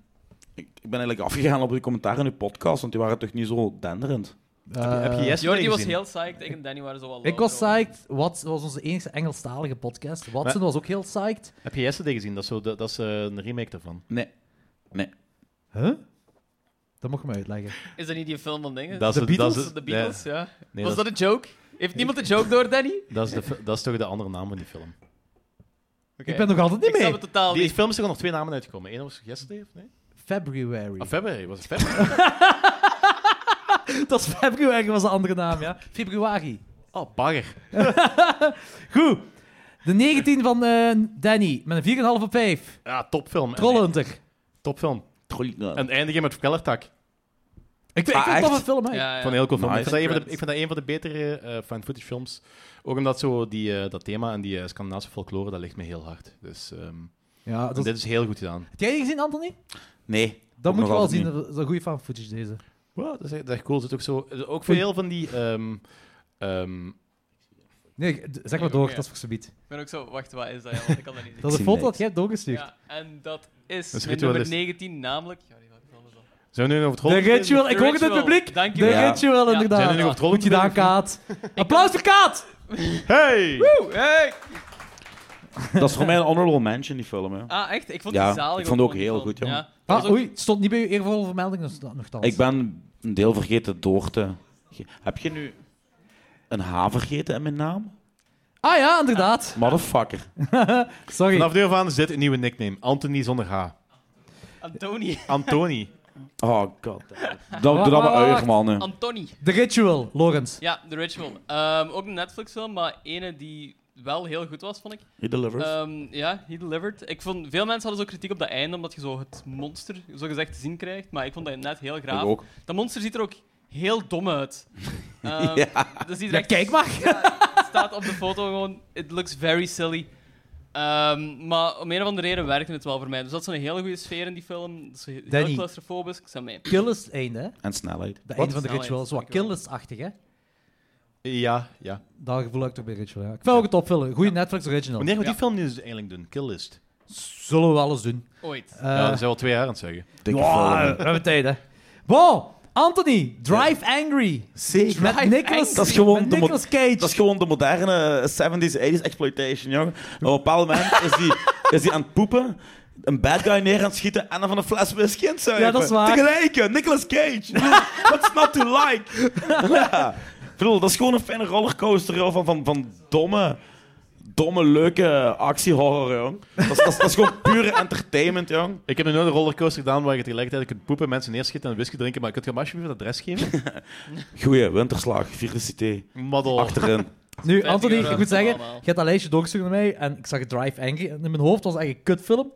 S8: ik, ik ben eigenlijk afgegaan op die commentaar in uw podcast, want die waren toch niet zo denderend.
S1: heb, je, heb je
S2: Eh,
S1: Yes
S4: Jordi was
S1: gezien?
S4: heel psyched. Ik en Danny waren zo wel
S2: Ik
S4: low
S2: was
S4: erover.
S2: psyched. Watson was onze enige Engelstalige podcast. Watson was ook heel psyched.
S1: Heb je Yesterday gezien? Dat is, zo, dat, dat is eh, een remake daarvan.
S8: Nee.
S2: Huh? Dat mocht je me uitleggen.
S4: Is dat niet die film van dingen?
S1: Dat is
S4: de
S1: het- dat
S4: Beatles?
S1: is het-
S4: de Beatles, ja.
S1: Nee,
S4: was
S1: dat,
S4: dat een joke? Heeft niemand de joke door, Danny?
S1: is, dat, is de, fi- dat is toch de andere naam van die film?
S4: Oké.
S2: Ik ben nog altijd
S4: Ik
S2: niet
S4: snap
S2: mee.
S4: het totaal
S1: Die
S4: niet.
S1: film is er nog twee namen uitgekomen. Eén was Yesterday, of nee?
S2: February.
S1: Ah, February. Was het February?
S2: Dat is February was de andere naam, ja. Februari.
S1: Oh, bagger.
S2: Goed. De 19 van eh, Danny, met een 4,5 op 5.
S1: Ja, topfilm. En-
S2: Trollhunter.
S1: Topfilm. En
S8: Troll-
S1: het eindigen met Kellertak.
S2: Ik vind ik
S8: Ah,
S2: vind het
S8: echt?
S2: een film, hè.
S4: Ja, ja.
S1: Van heel cool film.
S8: Nice.
S1: Ik vind, dat een van de,
S4: Credits.
S1: ik vind dat een van de betere eh fan footage films. Ook omdat zo die, eh, dat thema en die eh, Scandinavische folklore, dat ligt me heel hard. Dus ehm,
S2: Ja, dat is-
S1: dit is heel goed gedaan.
S2: Heb jij die gezien, Anthony?
S8: Nee.
S2: Dat
S8: Ook
S2: moet je
S8: nog
S2: wel
S8: altijd
S2: zien.
S8: niet.
S2: Dat is een goede fan footage, deze.
S1: Wow, dat, is echt, dat is echt cool. Er zit ook, zo, er- ook veel van die... ehm, ehm,
S2: Nee, d- zeg maar
S4: oké,
S2: door,
S4: ja.
S2: dat is voor subiet.
S4: Ik ben ook zo... Wacht, wat is dat? Ja, want ik kan dat niet zien.
S2: Dat is een
S8: zie
S2: foto
S8: niks.
S2: dat jij hebt doorgestuurd.
S4: Ja, en dat is,
S1: Dat is
S4: mijn nummer
S1: ritualist.
S4: 19, namelijk... Ja, die- wat is dat?
S1: zijn we nu over het
S2: De
S1: rollen?
S2: Ritual, ik
S4: The
S2: hoor het in het
S4: Ritual.
S2: publiek.
S4: Dank je
S2: De
S4: wel.
S2: Ritual,
S4: Ja.
S2: inderdaad.
S1: Zijn jullie nog op het
S2: Goed gedaan,
S1: rollen?
S2: Kaat. Applaus voor Kaat!
S1: Hey!
S4: Hey!
S8: Dat is voor mij een honorable mention, die film. Hè.
S4: Ah, echt? Ik vond
S8: Ja,
S4: die zalig
S8: ik vond het ook
S4: gewoon, die
S8: heel
S4: film.
S8: goed, jongen.
S4: Dat was
S2: Ah,
S4: ook-
S2: oei, het stond niet bij uw eervolle vermelding, dus dat nogthans.
S8: Ik ben een deel vergeten door te... ge- Heb je nu een H vergeten in mijn naam?
S2: Ah ja, inderdaad.
S8: Motherfucker.
S2: Sorry.
S1: Vanaf nu af aan is dit een nieuwe nickname. Anthony zonder H.
S4: Antoni.
S1: Antoni.
S8: Oh, god. Dat
S2: wacht,
S8: doe dat maar
S2: wacht.
S8: uier, man. hè.
S4: Antoni.
S2: The Ritual, Lorens.
S4: Ja, The Ritual. Ehm, ook een Netflix-film, maar ene die wel heel goed was, vond ik.
S8: He delivers.
S4: Ehm, ja, He Delivered. Ik vond, veel mensen hadden zo kritiek op dat einde, omdat je zo het monster zogezegd te zien krijgt. Maar ik vond dat net heel
S8: Ik
S4: graaf.
S8: ook.
S4: Dat monster ziet er ook heel dom uit. Ehm, dus die
S2: Ja, kijk maar.
S4: staat op de foto gewoon... It looks very silly. Ehm, maar om een of andere reden werkte het wel voor mij. Dus dat is een hele goede sfeer in die film. Dat is heel
S2: Danny.
S4: claustrofobisch. Ik sta mee.
S2: Kill is het einde, hè?
S8: En snelheid.
S2: De
S8: Wat?
S2: einde van de
S4: Snelheid,
S2: ritual. Zo wat
S4: dankjewel.
S2: Killers-achtig, hè?
S1: Ja, ja.
S2: Dat gevoel heb ik toch bij ritual, ja. Ik vind ook het opvullen. Goede Netflix original.
S1: Wanneer gaan we die
S4: Ja.
S1: film nu dus eigenlijk doen? Kill List.
S2: Zullen we alles doen.
S4: Ooit.
S2: Eh,
S1: ja, dat zijn we al twee jaar aan het zeggen.
S8: Dikke
S2: ja,
S8: film.
S2: we hebben tijd, hè. Wow! Anthony, Drive Angry.
S8: Zeker.
S2: Met Nicolas,
S8: Dat is gewoon
S2: met
S8: de mo-
S2: Nicolas Cage.
S8: Dat is gewoon de moderne 70s, 80s exploitation, jongen. Op een bepaald moment is die, is die aan het poepen, een bad guy neer aan het schieten en dan van een fles whisky aan het zuipen.
S2: Ja, dat is waar.
S8: Tegelijk, eh, Nicolas Cage. Ik bedoel, What's not to like? ja. Ik bedoel, dat is gewoon een fijne rollercoaster joh, van, van, van domme, domme, leuke actiehorror, jong. Dat, is- dat, is- dat is gewoon pure entertainment, jong.
S1: Ik heb nog nooit een rollercoaster gedaan waar je tegelijkertijd kunt poepen, mensen neerschieten en whisky drinken, maar kunt je me alsjeblieft het adres geven?
S8: Goeie, winterslag, virusité,
S1: Model.
S8: achterin.
S2: Nu, Anthony,
S4: euro
S2: ik moet zeggen,
S4: allemaal.
S2: je hebt dat lijstje doorgestuurd naar mij en ik zag Drive Angry. En in mijn hoofd was het eigenlijk een kutfilm.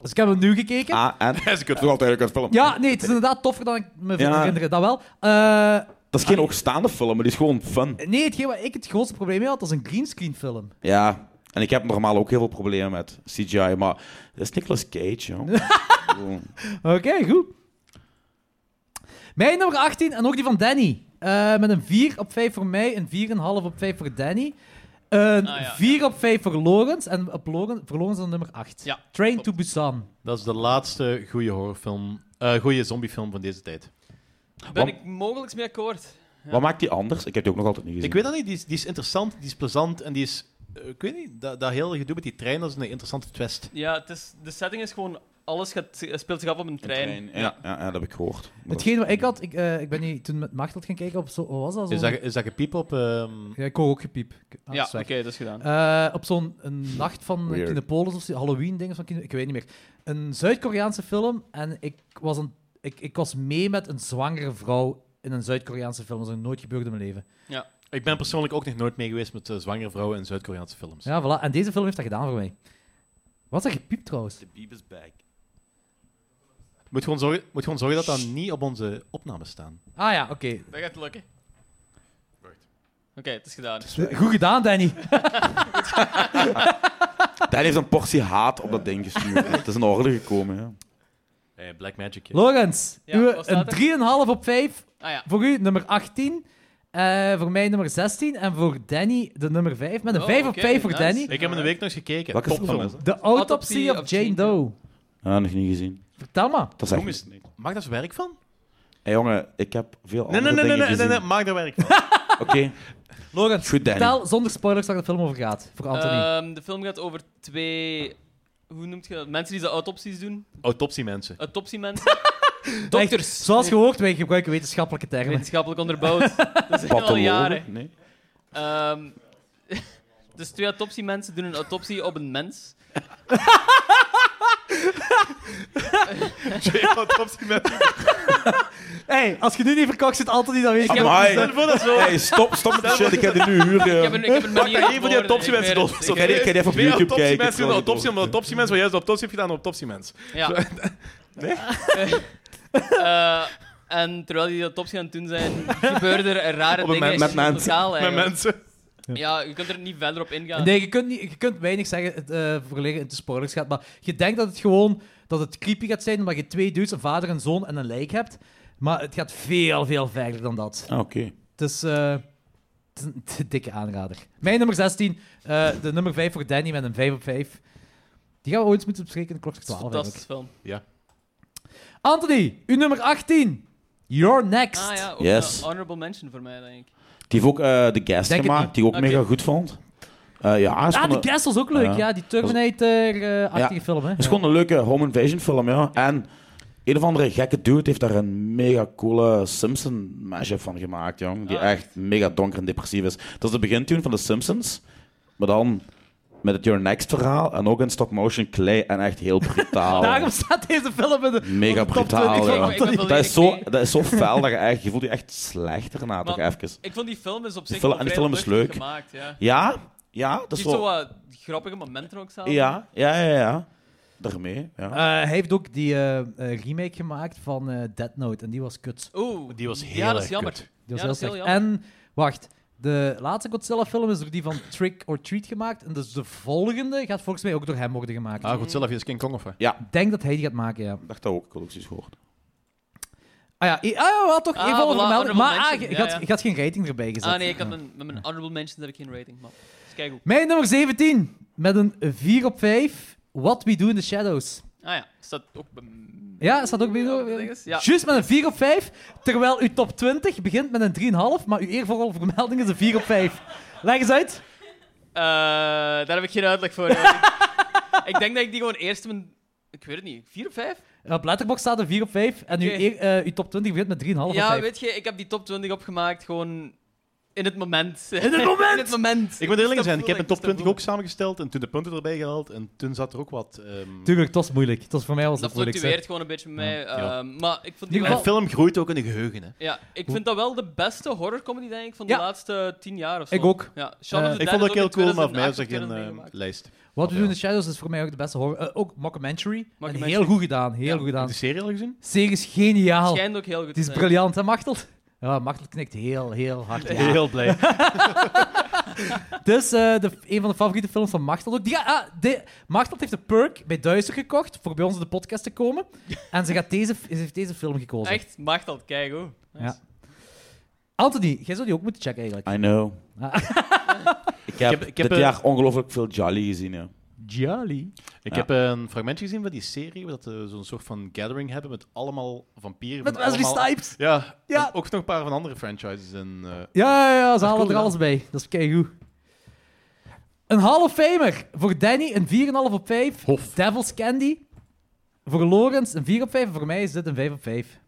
S2: Dus ik heb hem nu gekeken.
S8: Ah, en...
S1: Dat is een kut.
S8: Toch altijd een film.
S2: Ja, nee, het is inderdaad toffer dan ik me
S8: Ja.
S2: herinnerde. Dat wel. Eh,
S8: Dat is geen hoogstaande film, maar die is gewoon fun.
S2: nee, hetgeen waar ik het grootste probleem mee had, was een greenscreen film.
S8: Ja, en ik heb normaal ook heel veel problemen met CGI, maar dat is Nicolas Cage, joh.
S2: Oké, goed. Mijn nummer 18 en ook die van Danny. Eh, met een 4 op 5 voor mij, een 4,5 op 5 voor Danny. Een
S4: Ah, ja.
S2: 4 op 5 voor Logans en op Logan, voor Logans dan nummer 8.
S4: Ja,
S2: Train
S4: klopt.
S2: to Busan.
S1: Dat is de laatste goede horrorfilm, eh goede zombiefilm van deze tijd.
S4: Ben
S8: Wat-
S4: ik mogelijk mee akkoord?
S8: Wat maakt die anders? Ik heb die ook nog altijd niet gezien.
S1: Ik weet dat niet, die is, die is interessant, die is plezant en die is... eh, ik weet niet, dat, dat hele gedoe met die trein, dat is een interessante twist.
S4: Ja, het is, de setting is gewoon... Alles gaat, speelt zich af op een
S8: Een
S4: trein.
S8: Ja, ja, ja, dat heb ik gehoord. Maar
S2: Hetgeen wat ik had, ik, eh, ik ben hier toen met Machteld gaan kijken op zo, wat was dat?
S1: Is
S2: zo'n-
S1: dat, is dat gepiep op... ehm,
S2: Ja, ik hoor ook gepiep. Ik- ah,
S4: Ja,
S2: is
S4: oké,
S2: weg.
S4: dat is gedaan.
S2: Eh, op zo'n een nacht van
S8: Weird.
S2: Kinepolis of zo, Halloween dingen van Kine, ik weet niet meer. Een Zuid-Koreaanse film en ik was, een, ik, ik was mee met een zwangere vrouw in een Zuid-Koreaanse film. Dat is nog nooit gebeurd in mijn leven.
S1: Ik ben persoonlijk ook nog nooit mee geweest met eh, zwangere vrouwen in Zuid-Koreaanse films.
S2: Ja, voilà. En deze film heeft dat gedaan voor mij. Wat is dat gepiept trouwens?
S8: The Beavis Bag.
S1: Moet, gewoon zorgen, moet gewoon zorgen dat dat niet op onze opnames staan.
S2: Ah ja, oké.
S4: Dat gaat lukken. Oké, het is gedaan.
S2: Eh, Goed gedaan, Danny.
S8: Dan heeft een portie haat op dat ding gestuurd. het is in orde gekomen, ja.
S1: Eh, Black Magic. ja.
S2: Logans,
S4: Ja,
S2: uw-
S4: wat staat er?
S2: een 3,5 op 5.
S4: Ah ja.
S2: Voor u nummer 18. eh, voor mij nummer 16. En voor Danny de nummer 5. Met een
S4: Oh,
S2: 5 op
S4: oké,
S2: 5 voor
S4: nice.
S2: Danny.
S1: Ik heb in de week nog eens gekeken.
S8: Welke
S1: Topfilm.
S8: film is dat?
S2: De autopsie of Jane Doe.
S8: Ja, nog niet gezien.
S2: Vertel maar.
S8: Dat is echt...
S1: Jongens, maak daar eens werk van?
S8: Oh, Hey, jongen, ik heb veel
S1: Nee,
S8: andere
S1: nee, nee, nee,
S8: dingen
S1: nee, nee,
S8: gezien.
S1: nee, maak daar werk van.
S8: Oké,
S2: Logans,
S8: goed, Danny.
S2: vertel zonder spoilers waar de film over gaat. Voor Anthony.
S4: Ehm, de film gaat over twee... Hoe noemt je dat? Mensen die de autopsies doen.
S1: Autopsie, mensen.
S4: Autopsiemensen.
S2: Echt, zoals gehoord, wij gebruiken wetenschappelijke termen.
S4: Wetenschappelijk onderbouwd. Dat is al
S8: Pathologen?
S4: jaren.
S8: Nee.
S4: Ehm, dus twee autopsiemensen doen een autopsie op een mens.
S1: autopsie, mensen.
S2: hey, als je nu niet verkocht zit, Anthony, dan weet ik.
S4: heb-
S8: Amai.
S1: Stel voor dat zo.
S8: Hey, stop, stop met die shit. Ik heb die nu eh. huren.
S4: Ik heb een, ik heb een manier
S1: Pak één van die
S4: voor,
S1: autopsiemensen
S4: ik weet
S1: dood.
S4: het,
S1: Zo,
S4: ik weet
S8: ga die-
S4: het.
S8: ik ga die even op
S1: Twee
S8: YouTube kijken.
S1: autopsiemensen doen
S8: Sorry,
S1: een autopsie, omdat autopsiemensen waar juist de autopsie heeft gedaan, een autopsiemens.
S4: Ja. Eh, en terwijl die autopsie aan het doen zijn, gebeurden er rare
S1: Op een
S4: dingen
S1: mens-
S4: in
S1: met
S4: het
S8: mensen.
S4: lokaal
S1: Met
S4: eigenlijk.
S1: mensen.
S4: Ja, je kunt er niet verder op ingaan.
S2: Nee, je kunt, niet, je kunt weinig zeggen het, eh voorlegen in de spoilers gaat. Maar je denkt dat het gewoon dat het creepy gaat zijn, omdat je twee dudes, een vader, een zoon en een lijk hebt. Maar het gaat veel, veel verder dan dat.
S8: Ah, Oké.
S2: Het is, eh, het is een te dikke aanrader. Mijn nummer 16, eh, de nummer 5 voor Danny met een 5 op 5. Die gaan we ooit eens moeten bespreken in de klokje
S4: Het is een
S2: 12.
S4: fantastisch
S2: eigenlijk.
S4: film.
S2: Anthony, uw nummer 18. You're next.
S4: Ah ja, ook
S8: Yes.
S4: een honorable mention voor mij, denk ik.
S8: Die heeft ook eh The Guest
S2: Denk het
S8: gemaakt,
S2: niet.
S8: die ik ook
S4: Oké.
S8: mega goed vond. Eh, ja,
S2: Ah,
S8: is gewoon
S2: de
S8: een-
S2: Guest was ook leuk.
S8: Ja.
S2: Ja, die Terminator-achtige
S8: Ja.
S2: film. Hè?
S8: Het is gewoon een leuke home invasion film, ja. En een of andere gekke dude heeft daar een mega coole Simpson mashup van gemaakt, jong. Die
S4: Ah.
S8: echt mega donker en depressief is. Dat is de begintune van de Simpsons, maar dan met het Your Next verhaal en ook in stop-motion clay en echt heel brutaal.
S2: Daarom staat deze film in de
S8: Mega
S2: op de top
S8: brutaal,
S2: 20 van
S8: ja.
S2: Anthony.
S4: Ik ben
S8: dat, is zo,
S4: mee.
S8: dat is zo fel dat je echt, je voelt je echt slechter na, toch
S4: Maar-
S8: even.
S4: Ik vond die film is op zich
S8: film-
S4: wel
S8: en die
S4: vrij
S8: film is
S4: luchtig
S8: leuk.
S4: gemaakt, ja.
S8: Ja, ja, dat
S4: Die
S8: is
S4: heeft zo
S8: zo.
S4: wat grappige momenten ook zelf.
S8: Ja, ja, ja, ja. Daarmee, ja.
S2: Eh, hij heeft ook die eh, eh, remake gemaakt van eh Dead Note. En die was kut.
S4: Oeh,
S1: Die was heel
S4: Ja, dat is
S1: erg
S4: jammer.
S1: kut.
S2: Die was
S4: Ja,
S2: heel
S4: dat is heel
S2: slecht.
S4: jammer.
S2: en, wacht. De laatste Godzilla-film is door die van Trick or Treat gemaakt. En dus de volgende gaat volgens mij ook door hem worden gemaakt.
S1: Ah, Godzilla vs. King Kong of wat?
S2: Ik denk dat hij die gaat maken, ja.
S8: Ik dacht dat ook, ik had ook zoiets gehoord.
S2: Ah ja, i- ah, ja, we hadden toch
S4: Ah,
S2: even over
S4: voilà,
S2: vermeld.
S4: honorable
S2: Maar ah, je
S4: mention.
S2: je
S4: Ja,
S2: had-
S4: ja.
S2: je had geen rating erbij gezet.
S4: Ah nee, ik had
S2: Ja.
S4: mijn, met mijn honorable mentions had ik geen rating. Maar dus kijk hoe.
S2: Mijn nummer 17, met een 4 op 5. What We Do in the Shadows.
S4: Ah ja, staat ook bij m-
S2: Ja, staat ook Bingo.
S4: dinges, ja.
S2: Juist met een 4 op 5, terwijl uw top 20 begint met een 3,5, maar uw eervolle vermelding is een 4 op 5. Leg eens uit.
S4: Eh, daar heb ik geen uitleg voor. eigenlijk. ik denk dat ik die gewoon eerst mijn... Ik weet het niet. Vier of vijf?
S2: Op Letterboxd staat een 4 op 5 en uw,
S4: Oké.
S2: eer- eh, uw top 20 begint met 3,5 op 5.
S4: Ja, weet je, ik heb die top 20 opgemaakt gewoon in het moment. In
S2: het moment?
S4: in het moment.
S1: Ik moet eerlijk
S4: Dus dat
S1: zijn, ik heb mijn
S4: voelde
S1: top
S4: dus dat
S1: 20 ook samengesteld en toen de punten erbij gehaald en toen zat er ook wat... ehm,
S2: Tuurlijk, het was moeilijk. Het was voor mij was
S4: Dat
S2: het moeilijk. zeg.
S4: fluctueert gewoon een beetje met mij.
S1: Ja.
S4: ehm, maar ik vond die
S2: Nu
S1: En
S4: wel...
S1: film groeit ook in de geheugen, hè.
S4: Ja, ik vind dat wel de beste horrorcomedy, denk ik, van de
S2: Ja.
S4: laatste tien jaar of zo.
S2: Ik ook.
S4: Ja, Shaun of
S2: Eh,
S4: the
S1: Ik vond
S4: Dead is
S1: dat
S4: ook
S1: heel
S4: in
S1: cool, maar voor mij is
S4: 2008
S1: dat
S4: of
S1: geen
S4: 2009
S1: eh,
S4: gemaakt.
S1: lijst.
S2: Wat we
S1: Ja.
S2: doen in Shadows is voor mij ook de beste horror. eh, ook mockumentary. En
S4: Mockumentary.
S2: heel goed gedaan, heel goed gedaan.
S1: Heb je de serie al gezien?
S2: Serie is
S1: eh,
S2: geniaal.
S4: Schijnt ook heel goed
S2: Het is
S4: te zijn.
S2: briljant, hè, Machtel? Ja, Machtel knikt heel, heel hard. Ja.
S1: Heel blij.
S2: Dus eh, de, een van de favoriete films van Machtel ook. Die ga- ah, de, Machtel heeft de perk bij Duister gekocht voor bij ons in de podcast te komen. En ze, gaat deze, ze heeft deze film gekozen.
S4: Echt, mag dat, kijk hoor.
S2: Ja. Anthony, jij zou die ook moeten checken eigenlijk.
S8: I know.
S2: Ah.
S8: ik heb,
S1: heb- ik heb
S8: dit
S1: een-
S8: jaar ongelooflijk veel Jolly gezien. Ja.
S2: Jolly.
S1: Ik
S8: Ja.
S1: heb een fragmentje gezien van die serie, dat ze zo'n soort van gathering hebben met allemaal vampieren.
S2: Met
S1: van
S2: Wesley
S1: allemaal...
S2: Snipes.
S1: Ja,
S2: Ja.
S1: en ook nog een paar van andere franchises. En, eh,
S2: Ja, ja, ja ze halen
S1: cool
S2: er
S1: gedaan.
S2: alles bij. Dat is keigoed. Een Hall of Famer. Voor Danny een 4,5 op 5. Devil's Candy. Voor Lorenz een 4 op 5. En voor mij is dit een 5 op 5.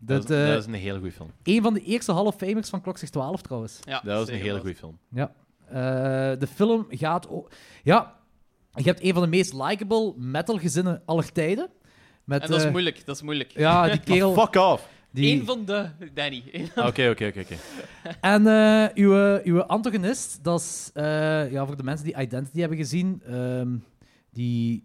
S1: dat,
S2: Dit,
S1: is,
S2: eh,
S1: dat is een hele goede film.
S2: Een van de eerste Hall of Famers van Klokzicht 12 trouwens.
S4: Ja,
S1: Dat is een
S4: zeker
S1: hele
S4: wel.
S1: goede film.
S2: Eh, de film gaat o- Ja, je hebt een van de meest likable metalgezinnen aller tijden. Met,
S4: En dat is
S2: eh,
S4: moeilijk, dat is moeilijk.
S2: Ja, die kerel...
S1: Maar fuck off!
S2: die...
S4: Eén van de, Danny.
S1: Ah, Oké, oké, oké. oké.
S2: En eh, uw, uw antagonist, dat is eh, ja, voor de mensen die Identity hebben gezien, ehm, die,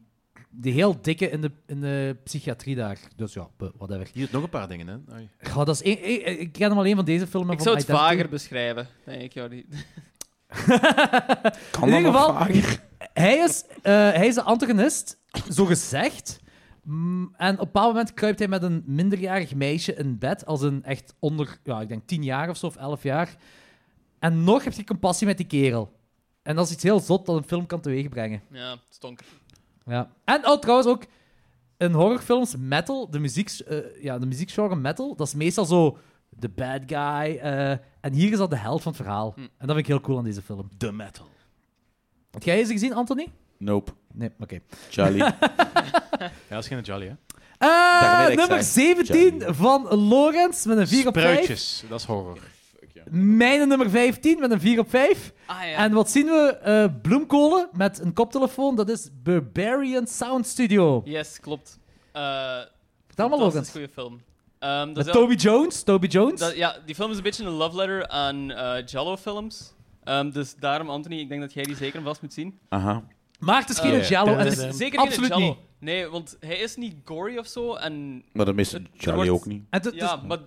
S2: die heel dikke in de, in de psychiatrie daar. Dus ja, bu- whatever.
S1: Hier nog een paar dingen, hè. Oei.
S2: Goh, dat is één- één- ik, ken hem alleen van deze film.
S4: Ik
S2: van
S4: zou het
S2: Identity.
S4: vager beschrijven, denk ik. Ja, die-
S8: Kan
S2: In ieder
S8: dat nog
S2: geval-
S8: vager?
S2: Hij is, eh, hij is de antagonist, zo gezegd. Mm, En op een bepaald moment kruipt hij met een minderjarig meisje in bed. Als een echt onder, ja, ik denk 10 jaar of zo, of 11 jaar. En nog heb je compassie met die kerel. En dat is iets heel zot dat een film kan teweegbrengen.
S4: ja, stonker.
S2: Ja. En oh, trouwens ook in horrorfilms metal, de, muziek, eh, ja, de muziekgenre metal, dat is meestal zo de bad guy. eh, en hier is dat de held van het verhaal. En dat vind ik heel cool aan deze film.
S1: The Metal.
S2: Heb jij deze gezien, Anthony?
S8: Nope.
S2: Nee, oké.
S8: Jolly.
S1: Ja, dat is geen jolly, hè.
S2: Eh,
S8: wil ik
S2: nummer
S8: zijn.
S2: 17
S8: Johnny.
S2: van Lorenz met een 4 op 5.
S1: Spruitjes, dat is horror.
S2: Mijn nummer 15 met een 4 op 5.
S4: Ah ja.
S2: En wat zien we? Eh, bloemkolen met een koptelefoon. Dat is Barbarian Sound Studio.
S4: Yes, klopt. Eh
S2: Vertel maar,
S4: dat is
S2: Lorenz.
S4: een goede film. Ehm, dat
S2: Met
S4: is wel-
S2: Toby Jones. Toby Jones.
S4: dat- ja, die film is een beetje een love letter aan eh Jallo-films. Ehm, dus daarom, Anthony, ik denk dat jij die zeker en vast moet zien.
S8: Aha.
S2: Maar het is geen
S4: Eh,
S2: uh, Jello. en
S4: Het
S2: het
S4: is
S2: is
S4: zeker
S2: absoluut
S4: geen Jallo.
S2: niet.
S4: Nee, want hij is niet gory of zo. En
S8: Maar dat mist
S4: Het- er
S8: Jolly
S4: wordt-
S8: ook niet.
S2: En het, het
S4: ja,
S2: is,
S4: maar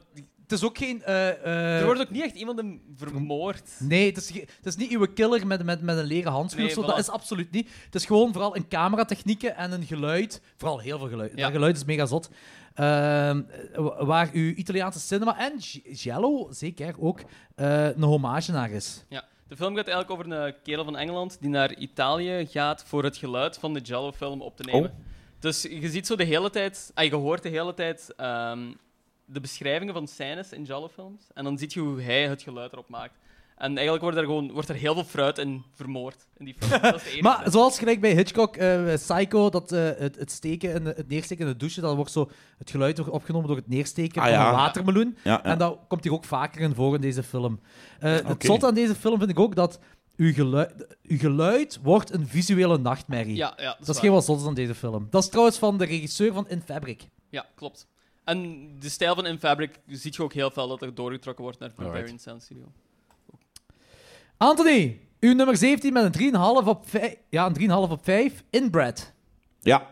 S2: het is ook geen. eh, eh,
S4: er wordt ook niet echt iemand hem vermoord.
S2: Nee, het is, ge- het is niet uw killer met, met, met een leren handschoen
S4: Nee,
S2: of zo.
S4: voilà.
S2: Dat is absoluut niet. Het is gewoon vooral een cameratechnieken en een geluid. Vooral heel veel geluid.
S4: Ja.
S2: Dat geluid is mega zot. Ehm, wa- waar uw Italiaanse cinema en G- Giallo zeker ook eh, een hommage naar is.
S4: Ja, de film gaat eigenlijk over een eh, kerel van Engeland die naar Italië gaat voor het geluid van de Jello-film op te nemen. Dus je ziet zo de hele tijd, ah, je hoort de hele tijd ehm, de beschrijvingen van scènes in Jello-films. En dan ziet je hoe hij het geluid erop maakt. En eigenlijk wordt er, gewoon, wordt er heel veel fruit in vermoord in die film. Dat is de enige
S2: Maar zoals gelijk bij Hitchcock, eh, Psycho, dat eh, het, het, steken en het neersteken in de douche, dat wordt zo, het geluid wordt opgenomen door het neersteken
S8: Ah,
S2: van
S8: ja.
S2: een watermeloen.
S8: Ja, ja.
S2: En dat komt hier ook vaker in voor in deze film. Eh, Het
S8: Oké.
S2: zot aan deze film vind ik ook dat uw geluid, uw geluid wordt een visuele nachtmerrie.
S4: Ja, ja, dat is
S2: dat is
S4: waar.
S2: geen wat zots aan deze film. Dat is trouwens van de regisseur van In Fabric.
S4: Ja, klopt. En de stijl van In Fabric ziet je ook heel veel dat er doorgetrokken wordt naar Barbarian
S1: Alright.
S4: Sound Studio.
S2: Anthony, uw nummer 17 met een 3,5 op 5. Ja, een 3,5 op 5. Inbred.
S8: Ja.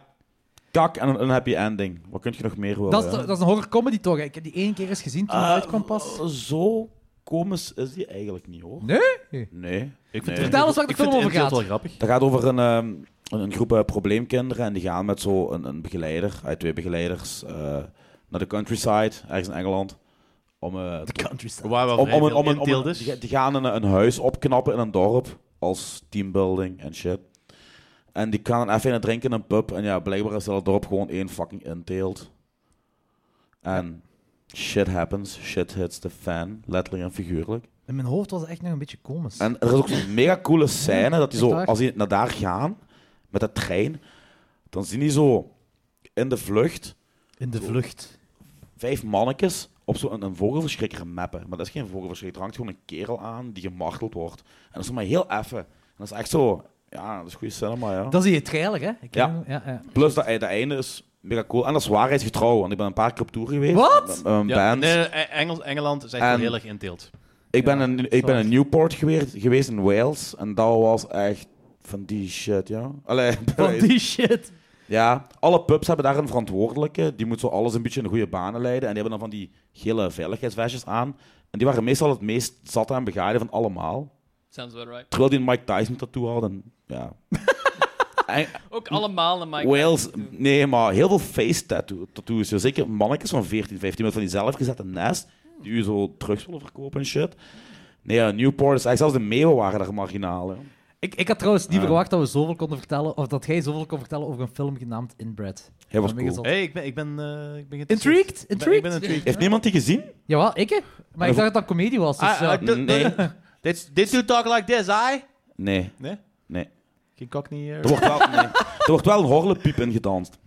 S8: Kak en een een happy ending. Wat kun je nog meer willen?
S2: Dat is,
S8: hè?
S2: dat is een horror comedy toch? hè? Ik heb die één keer eens gezien toen het
S8: Eh,
S2: uitkwam pas.
S8: Zo komisch is die eigenlijk niet, hoor.
S2: Nee?
S8: Nee.
S1: Ik vind
S8: Nee.
S2: Vertel eens waar de
S1: ik vind
S2: film over
S1: het
S2: gaat.
S1: wel grappig.
S8: Dat gaat over een, ehm, een, een groep eh, probleemkinderen en die gaan met zo'n een, een begeleider, uit twee begeleiders, eh, naar de countryside, ergens in Engeland. Om, eh, te-
S2: Countryside.
S1: Waar wel
S8: om, om,
S1: vrij
S8: een-
S1: veel
S8: om, een- om,
S1: inteelt
S8: een-
S1: is.
S8: die, die gaan een, een huis opknappen in een dorp als teambuilding en shit. En die gaan even in het drinken in een pub en ja, blijkbaar is dat dorp gewoon één fucking inteelt. En shit happens, shit hits the fan, letterlijk en figuurlijk.
S2: In mijn hoofd was het echt nog een beetje komisch.
S8: En er is ook zo'n mega coole scène dat die
S2: Echt
S8: zo,
S2: waar?
S8: als die naar daar gaan met de trein, dan zien die zo in de vlucht
S2: in de vlucht.
S8: vijf mannetjes op zo'n een vogelverschrikker mappen. Maar dat is geen vogelverschrikker, er hangt gewoon een kerel aan die gemarteld wordt. En dat is maar heel effen. En dat is echt zo, ja, dat is goede cinema, ja.
S2: Dat is die trailer, hè? Ik
S8: Ja.
S2: ken- ja, ja.
S8: Plus dat, dat einde is mega cool. En dat is waarheidsgetrouw, want ik ben een paar keer op tour geweest.
S2: Wat?
S8: Met- met Een
S1: Ja,
S8: band.
S1: nee, nee, nee, Engels, Engeland is echt wel
S8: En-
S1: heel erg inteelt.
S8: Ik ben,
S2: Ja,
S8: in, ik ben
S2: sorry.
S8: in Newport geweest, geweest in Wales en dat was echt van die shit, ja. Allee,
S2: Van die shit.
S8: Ja, alle pubs hebben daar een verantwoordelijke. Die moet zo alles een beetje in de goede banen leiden. En die hebben dan van die gele veiligheidsvestjes aan. En die waren meestal het meest zat en begaaide van allemaal.
S4: Sounds about right.
S8: Terwijl die een Mike Tyson tattoo had. En, ja. En
S4: Ook allemaal een Mike.
S8: Wales,
S4: Tyson tattoo.
S8: nee, maar heel veel face tattoo- tattoos. Ja, Zeker mannetjes van 14, 15 met van die zelfgezette nest. Die u zo drugs willen verkopen en shit. Nee, ja, Newport is eigenlijk zelfs de meeuwen waren daar marginaal. hè.
S2: Ik, ik had trouwens
S1: Ah.
S2: niet
S8: Ja.
S2: verwacht dat we zoveel konden vertellen, of dat jij zoveel kon vertellen over een film genaamd Inbred.
S8: Hij was
S2: Ja,
S8: cool.
S2: meegezond.
S1: Hey, ik ben, ik ben, eh, ik ben geïnteresseerd.
S2: Intrigued?
S1: Ik ben, ik
S2: Intrigued?
S1: ben intrigued.
S8: Heeft niemand die gezien?
S2: Jawel, ik hè. Maar ik dacht dat dat comedie was. Dus,
S1: Ah,
S2: ja.
S1: ah, d- d-
S8: Nee.
S1: This, this dude talk like this, I?
S8: Nee.
S1: Nee?
S8: Nee.
S1: Geen eh. cockney hier.
S8: Er wordt wel, nee. er wordt wel een horlepiep in gedanst.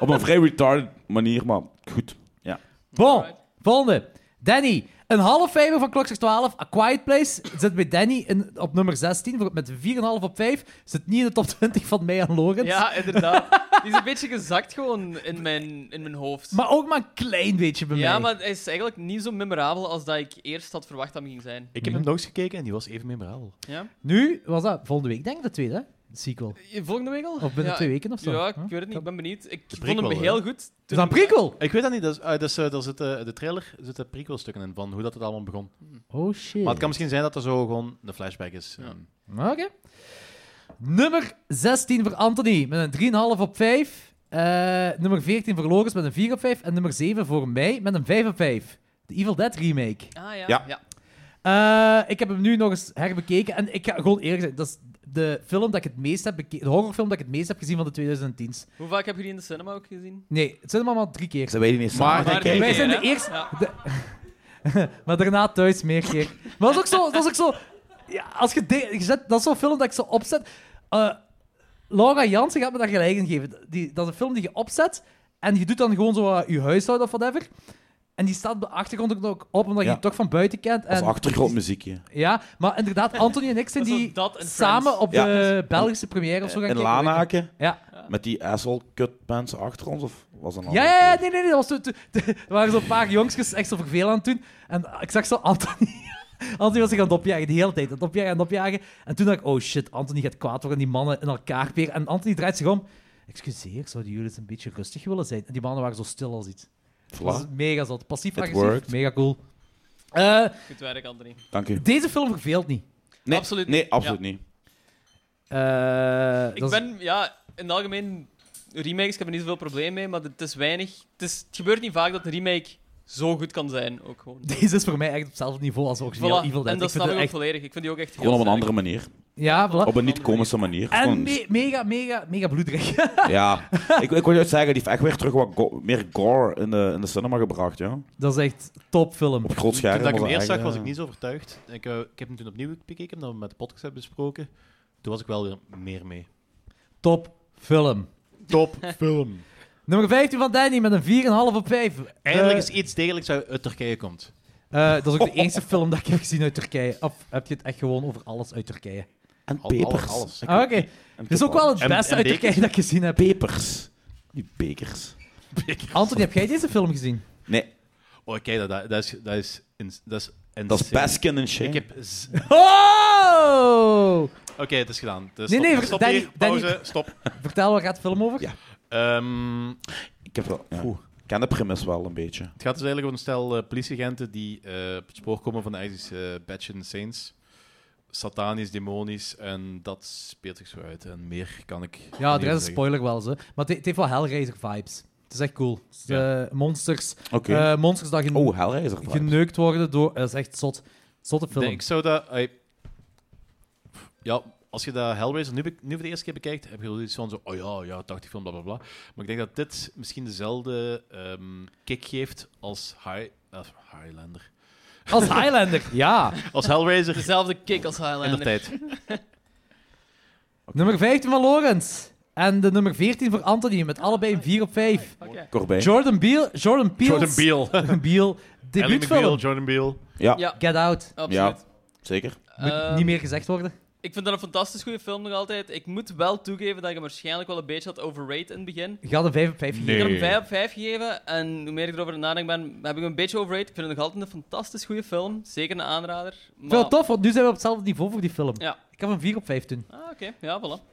S8: Op een vrij retarded manier, maar goed. Ja.
S2: Bon,
S4: Alright.
S2: volgende. Danny. Een half vijver van klokslag 12. A Quiet Place zit bij Danny in, op nummer 16 voor- met 4,5 op 5. Zit niet in de top 20 van mij en Lorenz.
S4: Ja, inderdaad. Die is een beetje gezakt gewoon in mijn, in mijn hoofd.
S2: Maar ook maar een klein beetje bij
S4: ja,
S2: mij.
S4: maar hij is eigenlijk niet zo memorabel als dat ik eerst had verwacht dat hij ging zijn.
S1: Ik heb hem nog eens gekeken en die was even memorabel.
S4: Ja?
S2: Nu was dat volgende week, denk ik, de tweede. hè? De sequel.
S4: Volgende week al?
S2: Of binnen
S4: ja.
S2: twee weken of zo.
S4: Ja, ik
S2: Huh?
S4: weet het niet. Ik ben benieuwd. Ik vond hem
S1: prequel,
S4: heel
S1: hè?
S4: goed.
S2: Is dat een prequel?
S1: Ik weet dat niet. Dat is, eh, dat is, eh, daar zitten de trailer zitten prequelstukken in van hoe dat het allemaal begon.
S2: Oh shit.
S1: Maar het kan misschien zijn dat er zo gewoon een flashback is. ehm.
S4: Ja.
S1: En-
S2: Oké. Nummer 16 voor Anthony met een 3,5 op 5. Eh, nummer 14 voor Loris met een 4 op 5. En nummer 7 voor mij met een 5 op 5. De Evil Dead remake.
S4: Ah ja.
S8: Ja.
S4: ja.
S2: Eh, ik heb hem nu nog eens herbekeken. En ik ga gewoon eerlijk zijn, dat is de film dat ik het meest heb bekeken. De horrorfilm dat ik het meest heb gezien van de 2010s.
S4: Hoe vaak heb je die in de cinema ook gezien?
S2: Nee, het zijn er maar, maar drie keer.
S8: Ze weten niet
S1: Maar-
S8: samen.
S1: Oké.
S2: Wij
S4: keer,
S2: zijn de
S4: hè?
S2: eerste.
S4: Ja.
S2: de- maar daarna thuis meer keer. Maar dat is ook zo. Dat is ook zo ja, als je de- je zet, dat is zo'n film dat ik zo opzet. Eh, Laura Jansen gaat me daar gelijk in geven. Die, dat is een film die je opzet en je doet dan gewoon zo eh, je huishouden of whatever. En die staat op de achtergrond ook nog op, omdat je
S8: Ja.
S2: het toch van buiten kent.
S8: Dat is
S2: En,
S8: achtergrondmuziekje.
S2: ja, maar inderdaad, Anthony en ik zijn
S4: Dat is
S2: die
S4: zo dat en
S2: samen
S4: Friends.
S2: op
S8: Ja.
S2: de Belgische première of zo gaan
S8: In
S2: kijken.
S8: Lanaken,
S2: Ja.
S8: met die asshole kut mensen achter ons, of was dat een
S2: Ja,
S8: andere
S2: ja, ja,
S8: keer?
S2: nee, nee, nee. Dat was toen, toen- er waren zo'n paar jongsjes echt zo vervelend aan het doen. En ik zag zo Anthony. Anthony was zich aan het opjagen, de hele tijd. Aan het opjagen, aan het opjagen. En toen dacht ik, oh shit, Anthony gaat kwaad worden. Die mannen in elkaar peren. En Anthony draait zich om. Excuseer, zouden jullie eens een beetje rustig willen zijn? En die mannen waren zo stil als iets. Dat is
S8: Voilà.
S2: mega zot. Passief
S8: It
S2: agressief,
S8: worked.
S2: mega cool. Eh,
S4: Goed werk, Anthony.
S8: Dank u.
S2: deze film verveelt niet.
S8: Nee,
S4: Absoluut
S8: Nee,
S4: niet.
S8: absoluut
S4: Ja.
S8: niet.
S2: Eh,
S4: Ik
S2: dat is-
S4: ben, ja, in het algemeen, remakes, ik heb er niet zoveel probleem mee, maar het is weinig. Het, is, het gebeurt niet vaak dat een remake zo goed kan zijn, ook gewoon.
S2: Deze is voor mij echt op hetzelfde niveau als de origineel
S4: Voilà,
S2: Evil Dead.
S4: en dat
S2: ik
S4: snap
S2: vind
S4: ik
S2: het
S4: ook
S2: echt...
S4: volledig. Ik vind die ook echt
S8: Gewoon op een
S4: sterk.
S8: andere manier.
S2: Ja, voilà.
S8: Op een niet-komische manier.
S2: En
S8: Gewoon-
S2: me- mega, mega, mega bloederig.
S8: Ja. Ik, ik wil juist zeggen, die heeft echt weer terug wat go- meer gore in de, in de cinema gebracht, ja.
S2: Dat is echt topfilm.
S8: Op groot
S1: Toen
S8: scherm.
S1: dat ik hem
S8: was
S1: eerst
S8: dat
S1: zag,
S8: echt,
S1: was
S8: ja.
S1: ik niet zo overtuigd. Ik, eh, ik heb hem toen opnieuw bekeken, omdat we met de podcast hebben besproken. Toen was ik wel weer meer mee.
S2: Topfilm.
S1: Top film.
S2: Nummer 15 van Danny met een 4,5 op 5.
S1: Eindelijk
S2: Eh,
S1: is iets degelijks uit, uit Turkije komt.
S2: eh, dat is ook de eerste film dat ik heb gezien uit Turkije. Of heb je het echt gewoon over alles uit Turkije?
S8: En
S1: Al- al-
S8: pepers.
S1: alles.
S2: Ah, Oké.
S8: En
S2: Het is ook wel het
S1: En-
S2: beste
S1: en
S2: uit
S1: bekers.
S2: Turkije dat ik gezien heb.
S8: Pepers. Die bekers.
S2: Anthony, heb jij deze film gezien?
S8: Nee,
S1: Oh, kijk, dat, dat, dat is... Dat is, ins- dat is,
S8: dat is
S1: insane.
S8: Baskin en
S1: Ik
S8: shit.
S1: heb... z-
S2: Oh!
S1: Oké, het is gedaan. Dus
S2: Nee,
S1: stop,
S2: nee,
S1: stop
S2: Danny-
S1: hier. Pauze,
S2: Danny-
S1: stop.
S2: Vertel, waar gaat de film over?
S8: Ja.
S1: Ehm,
S8: Ik heb wel. ja.
S1: Oeh.
S8: Ik ken de premise wel een beetje.
S1: het gaat dus eigenlijk om een stel eh, politieagenten die eh, op het spoor komen van de ISIS uh, Batch Saints. Satanisch, demonisch, en dat speelt zich zo uit. En meer kan ik
S2: Ja,
S1: niet
S2: de rest is
S1: zeggen.
S2: spoiler wel eens. hè. Maar het- het heeft wel Hellraiser vibes. Het is echt cool. Het is,
S1: Ja.
S2: eh, monsters.
S8: Oké.
S2: eh, monsters dat gen-
S8: oh, Hellraiser. vibes.
S2: geneukt worden door... Dat is echt zot. Zotte
S1: Ik
S2: film.
S1: denk, ik zou dat... I- ja, als je dat Hellraiser nu, be- nu voor de eerste keer bekijkt, heb je wel iets van zo, oh ja, ja, 80 film, bla bla bla. Maar ik denk dat dit misschien dezelfde ehm, kick geeft als High, of Highlander.
S2: Als Highlander, ja.
S1: Als Hellraiser
S4: Dezelfde kick als
S1: in de
S4: Highlander.
S1: tijd.
S2: Nummer 15 van Lawrence. En de nummer 14 voor Anthony, met allebei 4 op 5.
S4: Oké.
S8: Corbijn.
S2: Jordan Beale. Jordan Peele.
S1: Jordan Beale. Ellie
S2: Beale.
S1: McBeal,
S2: Debuutfilm.
S1: Jordan Beale.
S8: Ja,
S4: Ja,
S2: Get Out.
S4: absoluut.
S8: zeker.
S2: Moet
S4: Ehm,
S2: niet meer gezegd worden.
S4: Ik vind dat een fantastisch goede film nog altijd. Ik moet wel toegeven dat ik hem waarschijnlijk wel een beetje had overrated in het begin.
S2: Ik had een 5 op 5 gegeven.
S4: Ik heb hem
S1: Nee.
S4: 5 op 5 gegeven en hoe meer ik erover nadenk ben, heb ik hem een beetje overrated. Ik vind het nog altijd een fantastisch goede film. Zeker een aanrader.
S2: Ik
S4: Maar...
S2: vind het tof, want nu zijn we op hetzelfde niveau voor die film.
S4: Ja.
S2: Ik heb een 4 op 5 toen.
S4: Ah, oké. Ja, voilà.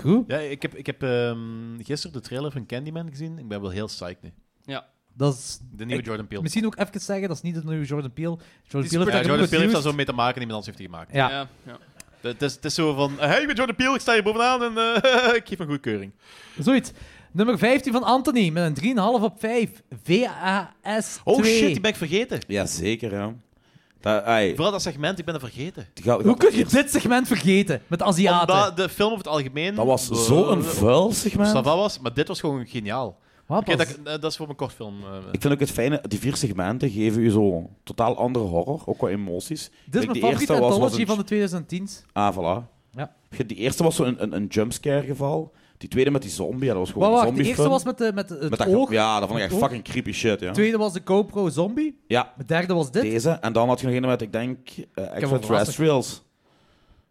S2: Goed.
S1: Ja, ik heb, ik heb ehm, gisteren de trailer van Candyman gezien. Ik ben wel heel psyched nu.
S2: Dat is...
S1: De nieuwe
S2: Ik-
S1: Jordan Peele.
S2: Misschien ook even zeggen, dat is niet de nieuwe Jordan Peele. Jordan
S1: Ja,
S2: Peele heeft daar
S1: Jordan
S2: een
S1: Peele heeft daar
S2: produced.
S1: zo mee te maken, niemand anders heeft die gemaakt.
S2: Ja.
S4: Ja, ja.
S1: Het is, het is zo van, eh, hey, ik ben Jordan Peele, ik sta hier bovenaan en eh, ik geef een goedkeuring.
S2: Zoiets. Nummer 15 van Anthony met een 3,5 op 5. VAS 2.
S1: Oh shit, die ben ik vergeten.
S8: Ja, zeker, ja. Dat, ai,
S1: Vooral dat segment, ik ben het vergeten.
S8: ga- ga-
S2: Hoe kun je dit segment vergeten? Met Aziaten.
S1: Omdat de film over het algemeen...
S8: Dat was zo'n vuil segment.
S1: Sava was, maar dit was gewoon geniaal.
S2: Wat
S1: Oké,
S2: was-
S1: dat, eh, dat is voor mijn kortfilm. eh.
S8: Ik vind ook het fijne, die vier segmenten geven je zo totaal andere horror, ook qua
S2: Dit
S8: emoties.
S2: is
S8: Kijk,
S2: mijn
S8: die eerste
S2: favoriete
S8: was- was
S2: anthology
S8: een-
S2: van de 2010s.
S8: Ah, voilà.
S2: Ja.
S8: Die eerste was zo'n een, een, een jumpscare geval. Die tweede met die zombie, ja, dat was
S2: Maar
S8: gewoon een
S2: wacht, de
S8: zombie
S2: eerste was met, de, met eh, het oog.
S8: Ja, dat vond ik echt
S2: Het oog.
S8: fucking creepy shit, ja.
S2: De tweede was de GoPro zombie.
S8: Ja,
S2: De derde was dit.
S8: deze. En dan had je nog een met, ik denk, eh extraterrestrials.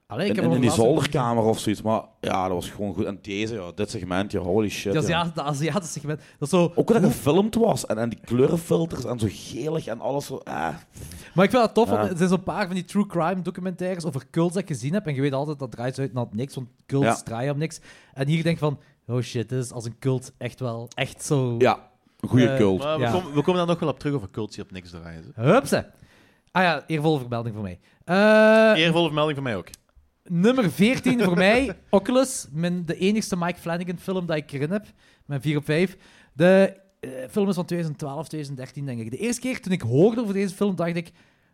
S2: Allee,
S8: In,
S2: ik heb
S8: in, in
S2: hem
S8: die
S2: laatst ook
S8: zolderkamer of zoiets. Maar ja, dat was gewoon goed. En deze, ja, dit segmentje, holy shit.
S2: gezien. Die
S8: ja.
S2: Azia- De Aziatische segment. Dat is zo...
S8: Ook hoe dat gefilmd was. En, en die kleurenfilters en zo gelig en alles. Zo, ah.
S2: Maar ik vind dat tof, want
S8: Ja.
S2: er zijn zo'n paar van die true crime documentaires over cults dat ik gezien heb. En je weet altijd, dat draait uit naar het niks, want cults
S8: Ja.
S2: draaien om niks. En hier denk ik van, oh shit, dit is als een cult echt wel, echt zo...
S8: Ja, een goede
S2: Eh,
S8: cult.
S1: Maar we,
S2: Ja.
S1: komen, we komen daar nog wel op terug over cultie op niks draaien. zo.
S2: Hupsa. Ah ja, eervolle vermelding voor mij. Eh,
S1: Eervolle vermelding van mij ook.
S2: Nummer 14 voor mij, Oculus. Mijn, de enigste Mike Flanagan film dat ik erin heb. Mijn 4 op 5. De eh, film is van 2012, 2013, denk ik. De eerste keer toen ik hoorde over deze film, dacht ik...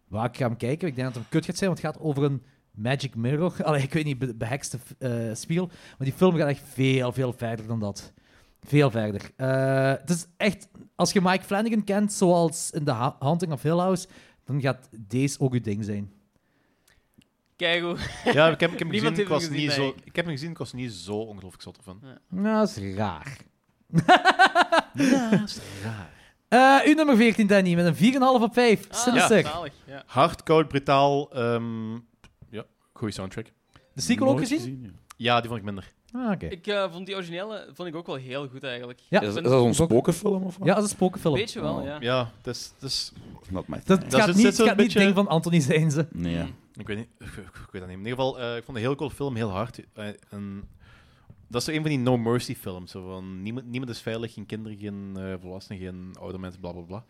S2: Waar ik ga hem kijken. Ik denk dat het een kut gaat zijn, want het gaat over een magic mirror. Allee, ik weet niet, be- behekste eh, spiegel. Maar die film gaat echt veel, veel verder dan dat. Veel verder. Eh, het is echt... Als je Mike Flanagan kent, zoals in The Ha- Haunting of Hill House, dan gaat deze ook je ding zijn.
S4: Kijk hoe.
S1: Ja, ik heb, ik heb hem gezien, ik
S4: Niemand heeft hem
S1: was
S4: gezien,
S1: niet zo,
S4: eigenlijk.
S1: ik heb hem gezien, ik was niet zo ongelooflijk zot ervan.
S2: Nou, dat is raar.
S4: Ah,
S1: Naast raar.
S2: Eh uw nummer 14, Danny, met een 4,5 op 5. Sinister.
S4: Ah. zalig. Ja.
S1: Hard, koud, brutaal. ehm, ja, goede soundtrack.
S2: De sequel ook
S8: Nooit
S2: gezien?
S8: ja.
S1: Ja, die vond ik minder.
S2: Ah, oké.
S4: Ik eh, vond die originele vond ik ook wel heel goed eigenlijk.
S2: Ja.
S8: Is,
S4: Ik
S8: is
S4: vind-
S8: dat zo'n spokenfilm of wat?
S2: Ja, dat is een spokenfilm.
S4: Weet je wel, ja.
S1: Ja, het is, het is-
S8: Not my
S2: Dat,
S8: thing.
S2: het
S1: Dat
S2: gaat
S1: is-
S2: niet,
S1: zit
S2: het
S1: zo'n
S2: gaat niet
S1: beetje-
S2: ding van Anthony Zijnze.
S8: Nee.
S1: ik weet niet, ik, weet dat niet. In ieder geval, eh, ik vond een heel cool film, heel hard. Eh, en dat is zo een van die No Mercy films. Zo van, niemand, niemand is veilig, geen kinderen, geen eh, volwassenen, geen oude mensen, bla bla bla.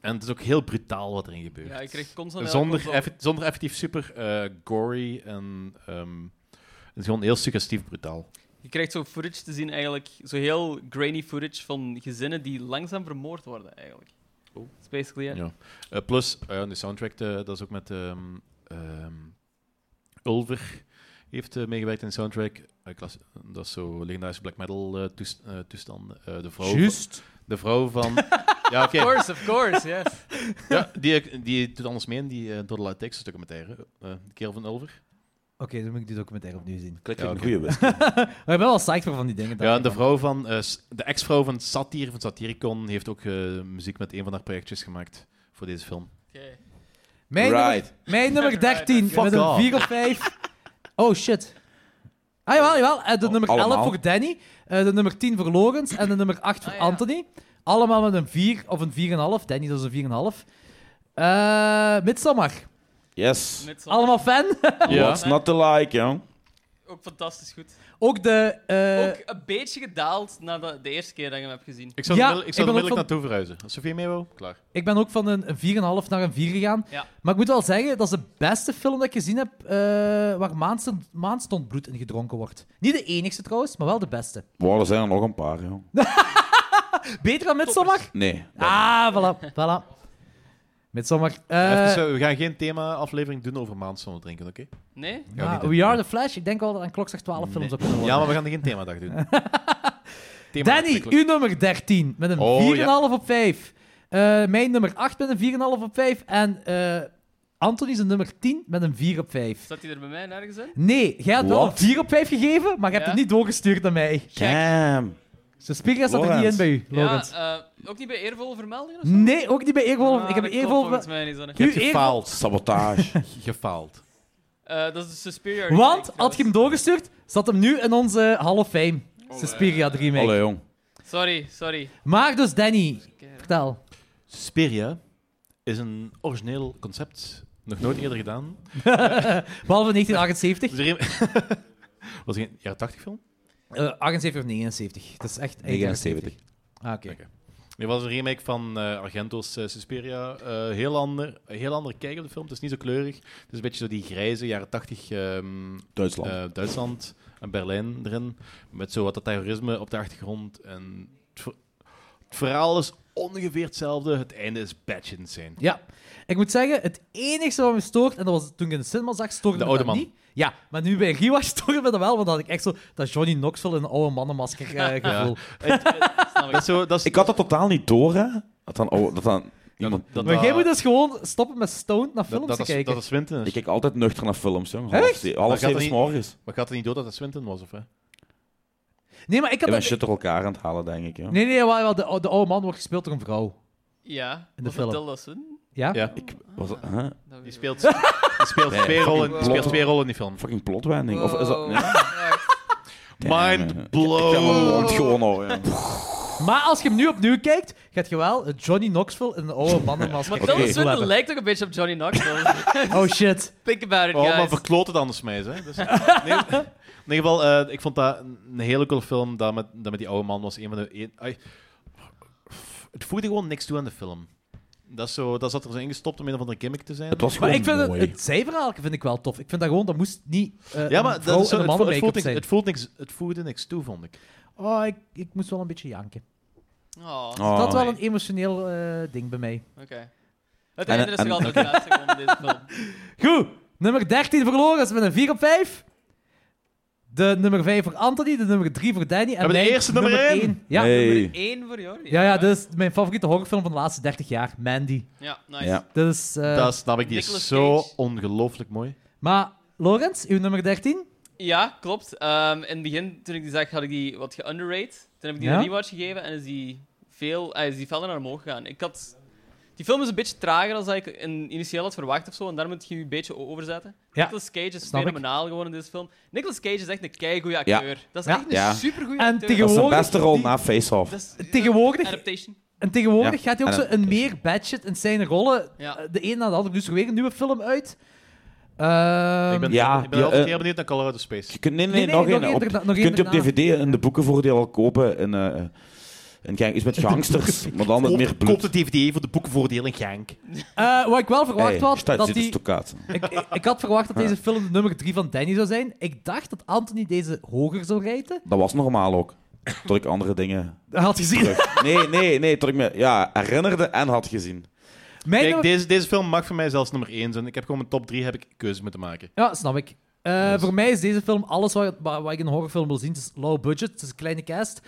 S1: En het is ook heel brutaal wat erin gebeurt.
S4: Ja, ik kreeg constant
S1: zonder,
S4: constant-
S1: effe- zonder effectief super eh, gory en ehm, het is gewoon heel suggestief brutaal.
S4: Je krijgt zo footage te zien eigenlijk, zo heel grainy footage van gezinnen die langzaam vermoord worden eigenlijk. Oh. That's basically it.
S1: Ja. Eh, plus, eh, de soundtrack, eh, dat is ook met ehm, ehm, Ulver, heeft eh, meegewerkt in de soundtrack. Eh, klas- dat is zo legendarische black metal eh, toest- eh, toestanden. Eh, de, vrouw van, de vrouw van... ja, oké.
S4: Of course, of course, yes.
S1: Ja, die, die doet anders mee in die eh Total Light Texas documentaire. eh de kerel van Ulver.
S2: Oké, dan moet ik die documentaire opnieuw zien.
S8: Klik
S1: Ja,
S8: een
S1: oké.
S8: goede wist.
S2: Maar ik ben wel psyched voor van die dingen.
S1: Ja, en de vrouw van... eh, s- de ex-vrouw van Satir, van Satiricon, heeft ook eh, muziek met een van haar projectjes gemaakt voor deze film.
S4: Oké.
S2: Mijn, nummer,
S8: Right.
S2: mijn nummer
S4: Right.
S2: 13
S4: Fuck
S2: met een
S1: off.
S2: 4 op 5. Oh, shit. Ah, jawel, jawel. Eh,
S1: Oh,
S2: De nummer 11
S8: allemaal.
S2: voor Danny, eh, de nummer 10 voor Logans en de nummer 8 voor
S4: Ah, ja.
S2: Anthony. Allemaal met een 4 of een 4,5. Danny, dat is een 4,5. Eh Midsommar.
S8: Yes.
S4: Met z'n-
S2: Allemaal fan.
S1: Ja.
S8: What's not to like, jong?
S4: Ook fantastisch goed.
S2: Ook de... eh,
S4: Ook een beetje gedaald na de, de eerste keer dat ik hem heb gezien.
S1: Ik zou
S2: Ja,
S1: er onmiddellijk- ik zou
S2: ik ben
S1: er onmiddellijk
S2: ook van-
S1: naartoe verhuizen. Als Sofie mee wil, klaar.
S2: Ik ben ook van een 4,5 naar een 4 gegaan.
S4: Ja.
S2: Maar ik moet wel zeggen, dat is de beste film dat ik gezien heb eh, waar maandstond, maandstondbloed in gedronken wordt. Niet de enigste trouwens, maar wel de beste.
S8: Wow, er zijn er nog een paar, jong.
S2: Beter dan Midsommar?
S8: Nee.
S2: Ah, voilà. voilà. Midsommar.
S1: Even
S2: Eh
S1: zo, we gaan geen thema-aflevering doen over maandzon drinken, oké?
S4: Nee?
S1: Gaan
S2: maar
S1: niet doen.
S2: ah, We Are The Flash, ik denk wel dat aan klokslag 12 films op kunnen worden.
S1: Ja, maar we gaan er geen themadag doen. Thema
S2: Danny,
S1: ontwikkelen.
S2: uw nummer 13 met een
S1: Oh,
S2: 4,5 op 5. Eh, mijn nummer 8 met een 4,5 op 5. En eh Anthony zijn nummer 10 met een 4 op 5.
S4: Zat hij er bij mij nergens in?
S2: Nee, jij had wel
S8: Wat?
S2: een 4 op 5 gegeven, maar je hebt
S4: Ja.
S2: het niet doorgestuurd naar mij.
S8: Damn.
S2: Dus de spiegel staat er niet in
S8: Lawrence.
S2: bij u, Lorenz.
S4: Ja, eh, ook niet bij eervolle vermeldingen of zo?
S2: Nee, ook niet bij Eerwolf.
S4: Ah,
S2: ik heb
S4: dat klopt
S2: Eerwolf...
S4: volgens mij niet, Zanne.
S1: Je hebt
S2: uw eer-
S1: gefaald.
S8: Sabotage.
S1: Gefaald.
S4: Eh, dat is dus- de Superior.
S2: Want, had je hem doorgestuurd, zat hem nu in onze Hall of Fame.
S1: Oh,
S2: Suspiria 3 mee.
S8: Allee, jong.
S4: Sorry, sorry.
S2: Maar dus, Danny, vertel.
S1: Suspiria is een origineel concept. Nog nooit eerder gedaan.
S2: Behalve 1978.
S1: Is er een- Was het een jaren 80 film?
S2: Eh, 78 of 79. Dat is echt... eind jaren
S8: 79.
S2: Ah, oké.
S1: Oké. Er was een remake van eh, Argento's eh, Suspiria. Eh, heel, ander, een heel andere kijk op de film. Het is niet zo kleurig. Het is een beetje zo die grijze jaren 80 ehm,
S8: Duitsland.
S1: eh, Duitsland en Berlijn erin. Met zo wat dat terrorisme op de achtergrond. En het, ver- het verhaal is ongeveer hetzelfde. Het einde is batshit insane.
S2: Ja. Ik moet zeggen, het enige wat me stoort, en dat was toen ik in de cinema zag, stoorde
S1: De
S2: me
S1: oude
S2: dat
S1: man.
S2: niet. Ja, maar nu bij Rewatch stoorde me dat wel, want dan had ik echt zo dat Johnny Knoxville in een oude mannenmasker eh, gevoel. Nou,
S1: Dat is zo, dat is,
S8: Ik had dat totaal niet door, hè. Dat dan, oh, dat dan iemand...
S1: dat-
S2: Maar jij
S1: dat-
S2: moet dus gewoon stoppen met stoned naar films
S1: dat, dat
S2: te
S1: is,
S2: kijken.
S1: dat is Swinton.
S8: Ik kijk altijd nuchter naar films, jong. Half
S2: Echt?
S8: ze-
S1: Maar
S8: Half
S1: gaat
S8: zeven
S1: er
S8: is
S1: niet-
S8: morgens.
S1: Maar gaat het niet door dat het Swinton was? Of, hè?
S2: Ah. Nee, maar ik
S8: Ik
S2: had
S8: ben
S2: dat...
S8: shit door elkaar aan het halen, denk ik. Jong.
S2: Nee, nee, wel, wel, de, ou- de oude man wordt gespeeld door een vrouw.
S4: Ja,
S2: de
S4: was
S2: film.
S4: dat Tilda Swinton?
S2: Ja?
S1: Ja.
S8: Ik was... Huh?
S4: Dat weet
S1: Die
S4: ik
S1: speelt, die speelt,
S8: Nee,
S1: twee, rollen, die
S8: fucking
S1: speelt
S8: plot.
S1: twee rollen in die film.
S8: Fucking plotwending. Of is dat...
S4: Wow.
S8: Nee. Damn,
S1: Mind
S8: eh. Ik- Ik heb mijn
S1: blown.
S8: mond gewoon al, jong.
S2: Maar als je hem nu opnieuw kijkt, gaat je wel het Johnny Knoxville in een oude mannenmasker
S4: Maar
S2: gevoel
S4: Tilda Swinton
S2: hebben.
S4: lijkt ook een beetje op Johnny Knoxville.
S2: Oh shit.
S4: Think about it,
S1: Oh,
S4: guys.
S1: maar verkloot het anders mee. Hè? Dus, in ieder- in ieder geval, eh, ik vond dat een een hele coole film. Dat met, dat met die oude man was een van de. een- ai. het voegde gewoon niks toe aan de film. Dat, is zo, dat zat er zo ingestopt om een of andere gimmick te zijn.
S8: Het was gewoon
S2: Maar ik vind het,
S8: mooi.
S2: het zijverhaal vind ik wel tof. Ik vind dat gewoon, dat moest niet eh
S1: ja,
S2: een
S1: maar
S2: vrouw
S1: dat is zo,
S2: in een
S1: het, vo- het,
S2: mannenmake-up
S1: voelt niks,
S2: zijn.
S1: het, voelt niks, het voegde niks toe, vond ik.
S2: Oh, ik, ik moest wel een beetje janken.
S4: Oh, oké.
S8: Oh.
S2: dat wel een emotioneel eh, ding bij mij.
S4: Het
S8: En-
S4: einde is
S8: en-
S4: toch altijd het laatste gewoon in deze film.
S2: Goed, nummer 13 voor Lorenz met een 4 op 5. De nummer 5 voor Anthony, de nummer 3 voor Danny. En
S1: Hebben we de
S2: mijn
S1: eerste nummer één?
S2: één. Ja.
S8: Hey.
S4: Eén voor Jordi.
S2: Ja, ja, dit is mijn favoriete horrorfilm van de laatste 30 jaar, Mandy.
S4: Ja, nice.
S8: Ja.
S2: Dit is, eh,
S1: dat snap ik, die
S4: Nicolas
S1: is zo
S4: Cage.
S1: ongelooflijk mooi.
S2: Maar Lorenz, uw nummer 13?
S4: Ja, klopt. Ehm, in het begin, toen ik die zag, had ik die wat geunderrated. Toen heb ik die
S2: Ja?
S4: een rewatch gegeven en is die, veel, eh, is die verder naar omhoog gegaan. Ik had... Die film is een beetje trager dan dat ik in, initieel had verwacht of zo, en daar moet je je een beetje o- overzetten.
S2: Ja,
S4: Nicolas Cage is
S2: snap ik.
S4: fenomenaal gewoon in deze film. Nicolas Cage is echt een keigoede acteur. Dat is
S2: Ja.
S4: echt een
S8: Ja.
S4: supergoeie
S2: En
S4: acteur.
S8: Dat is zijn
S2: Tegenwoordig-
S8: beste rol
S2: die-
S8: na Face Off.
S4: Dat is-
S2: Tegenwoordig-
S4: Adaptation.
S2: En tegenwoordig
S8: Ja,
S2: gaat hij ook
S8: en
S2: zo een meer badshit in zijn rollen.
S4: Ja.
S2: eh, De een na de ander. Nu is er weer een nieuwe film uit. Ehm,
S1: ik ben,
S8: ja,
S1: ik ben
S8: ja,
S1: altijd
S8: eh,
S1: heel benieuwd naar Colorado Space.
S8: Je kunt, nee,
S2: Nee,
S8: nee,
S2: nee,
S8: nog
S2: nog
S8: één.
S2: één
S8: Op,
S2: erna- nog één
S8: je kunt die op
S2: erna.
S8: DVD en de boekenvoordeel al kopen. En, eh en kijk, iets met gangsters, maar dan met meer
S1: Koop, koop
S8: bloed.
S1: de DVD voor de boekenvoordeel in Genk.
S2: eh, wat ik wel verwacht
S8: Hey,
S2: had,
S8: staat
S2: dat
S8: zit een
S2: die...
S8: stokkaat.
S2: Ik, ik, ik had verwacht dat deze film de nummer 3 van Danny zou zijn. Ik dacht dat Anthony deze hoger zou rijden.
S8: Dat was normaal ook. Tot ik andere dingen...
S2: Dat had gezien.
S8: terug- Nee, nee, nee. Tot ik me ja, herinnerde en had gezien.
S2: Mijn
S1: Kijk,
S2: nummer-
S1: deze, deze film mag voor mij zelfs nummer 1 zijn. Ik heb gewoon mijn top 3 heb ik keuzes moeten maken.
S2: Ja, snap ik. Eh, Voor mij is deze film alles wat, wat, wat ik in een horrorfilm wil zien. Het is low budget, het is een kleine cast.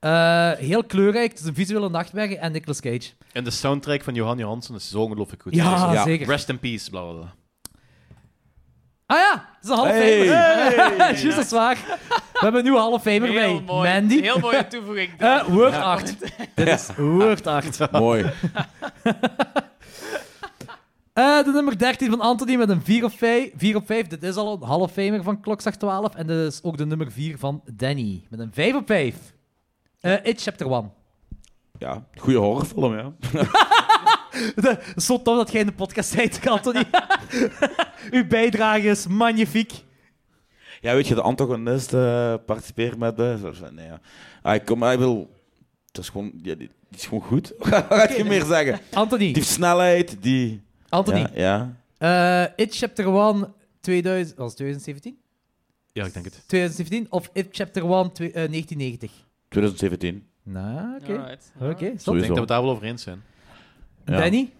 S2: Eh, heel kleurrijk, het is een visuele nachtmerrie en Nicolas Cage.
S1: En de soundtrack van Johan Johansson is zo ongelooflijk goed.
S2: Ja,
S8: Ja.
S2: zeker.
S1: Rest in peace, bla bla bla.
S2: Ah ja, het is een half
S8: Hey.
S2: famer. Juist, dat is waar. We hebben een nieuwe half famer bij.
S4: Heel mooi.
S2: Mandy.
S4: Heel mooie toevoeging.
S2: Eh, Word 8. Dit is Word 8.
S8: Mooi.
S2: Eh, de nummer 13 van Anthony met een 4 op 5. 4 op 5. Dit is al een half famer van klokslag 12. En dit is ook de nummer 4 van Danny met een 5 op 5. Eh It Chapter 1.
S8: Ja, goede horrorfilm, ja.
S2: Zo tof dat jij in de podcast zit, Anthony. Uw bijdrage is magnifiek.
S8: Ja, weet je, de antagonist eh, participeert met... eh, zo- zo- nee, ja. Ah, ik kom, ah, ik wil... Dat is gewoon... Ja, die, die is gewoon goed. Wat ga je meer zeggen? Die
S2: Anthony,
S8: heeft snelheid, die...
S2: Anthony.
S8: Ja, ja.
S2: Eh, It Chapter 1 2000, was het 2017?
S1: Ja, ik denk het.
S2: 2017 of It Chapter 1 twe- eh, 1990?
S8: 2017.
S2: Nou, oké.
S4: Alright.
S2: Oké, stop.
S1: Ik denk
S8: Sowieso.
S1: dat we daar wel over eens zijn.
S8: Ja.
S2: Danny?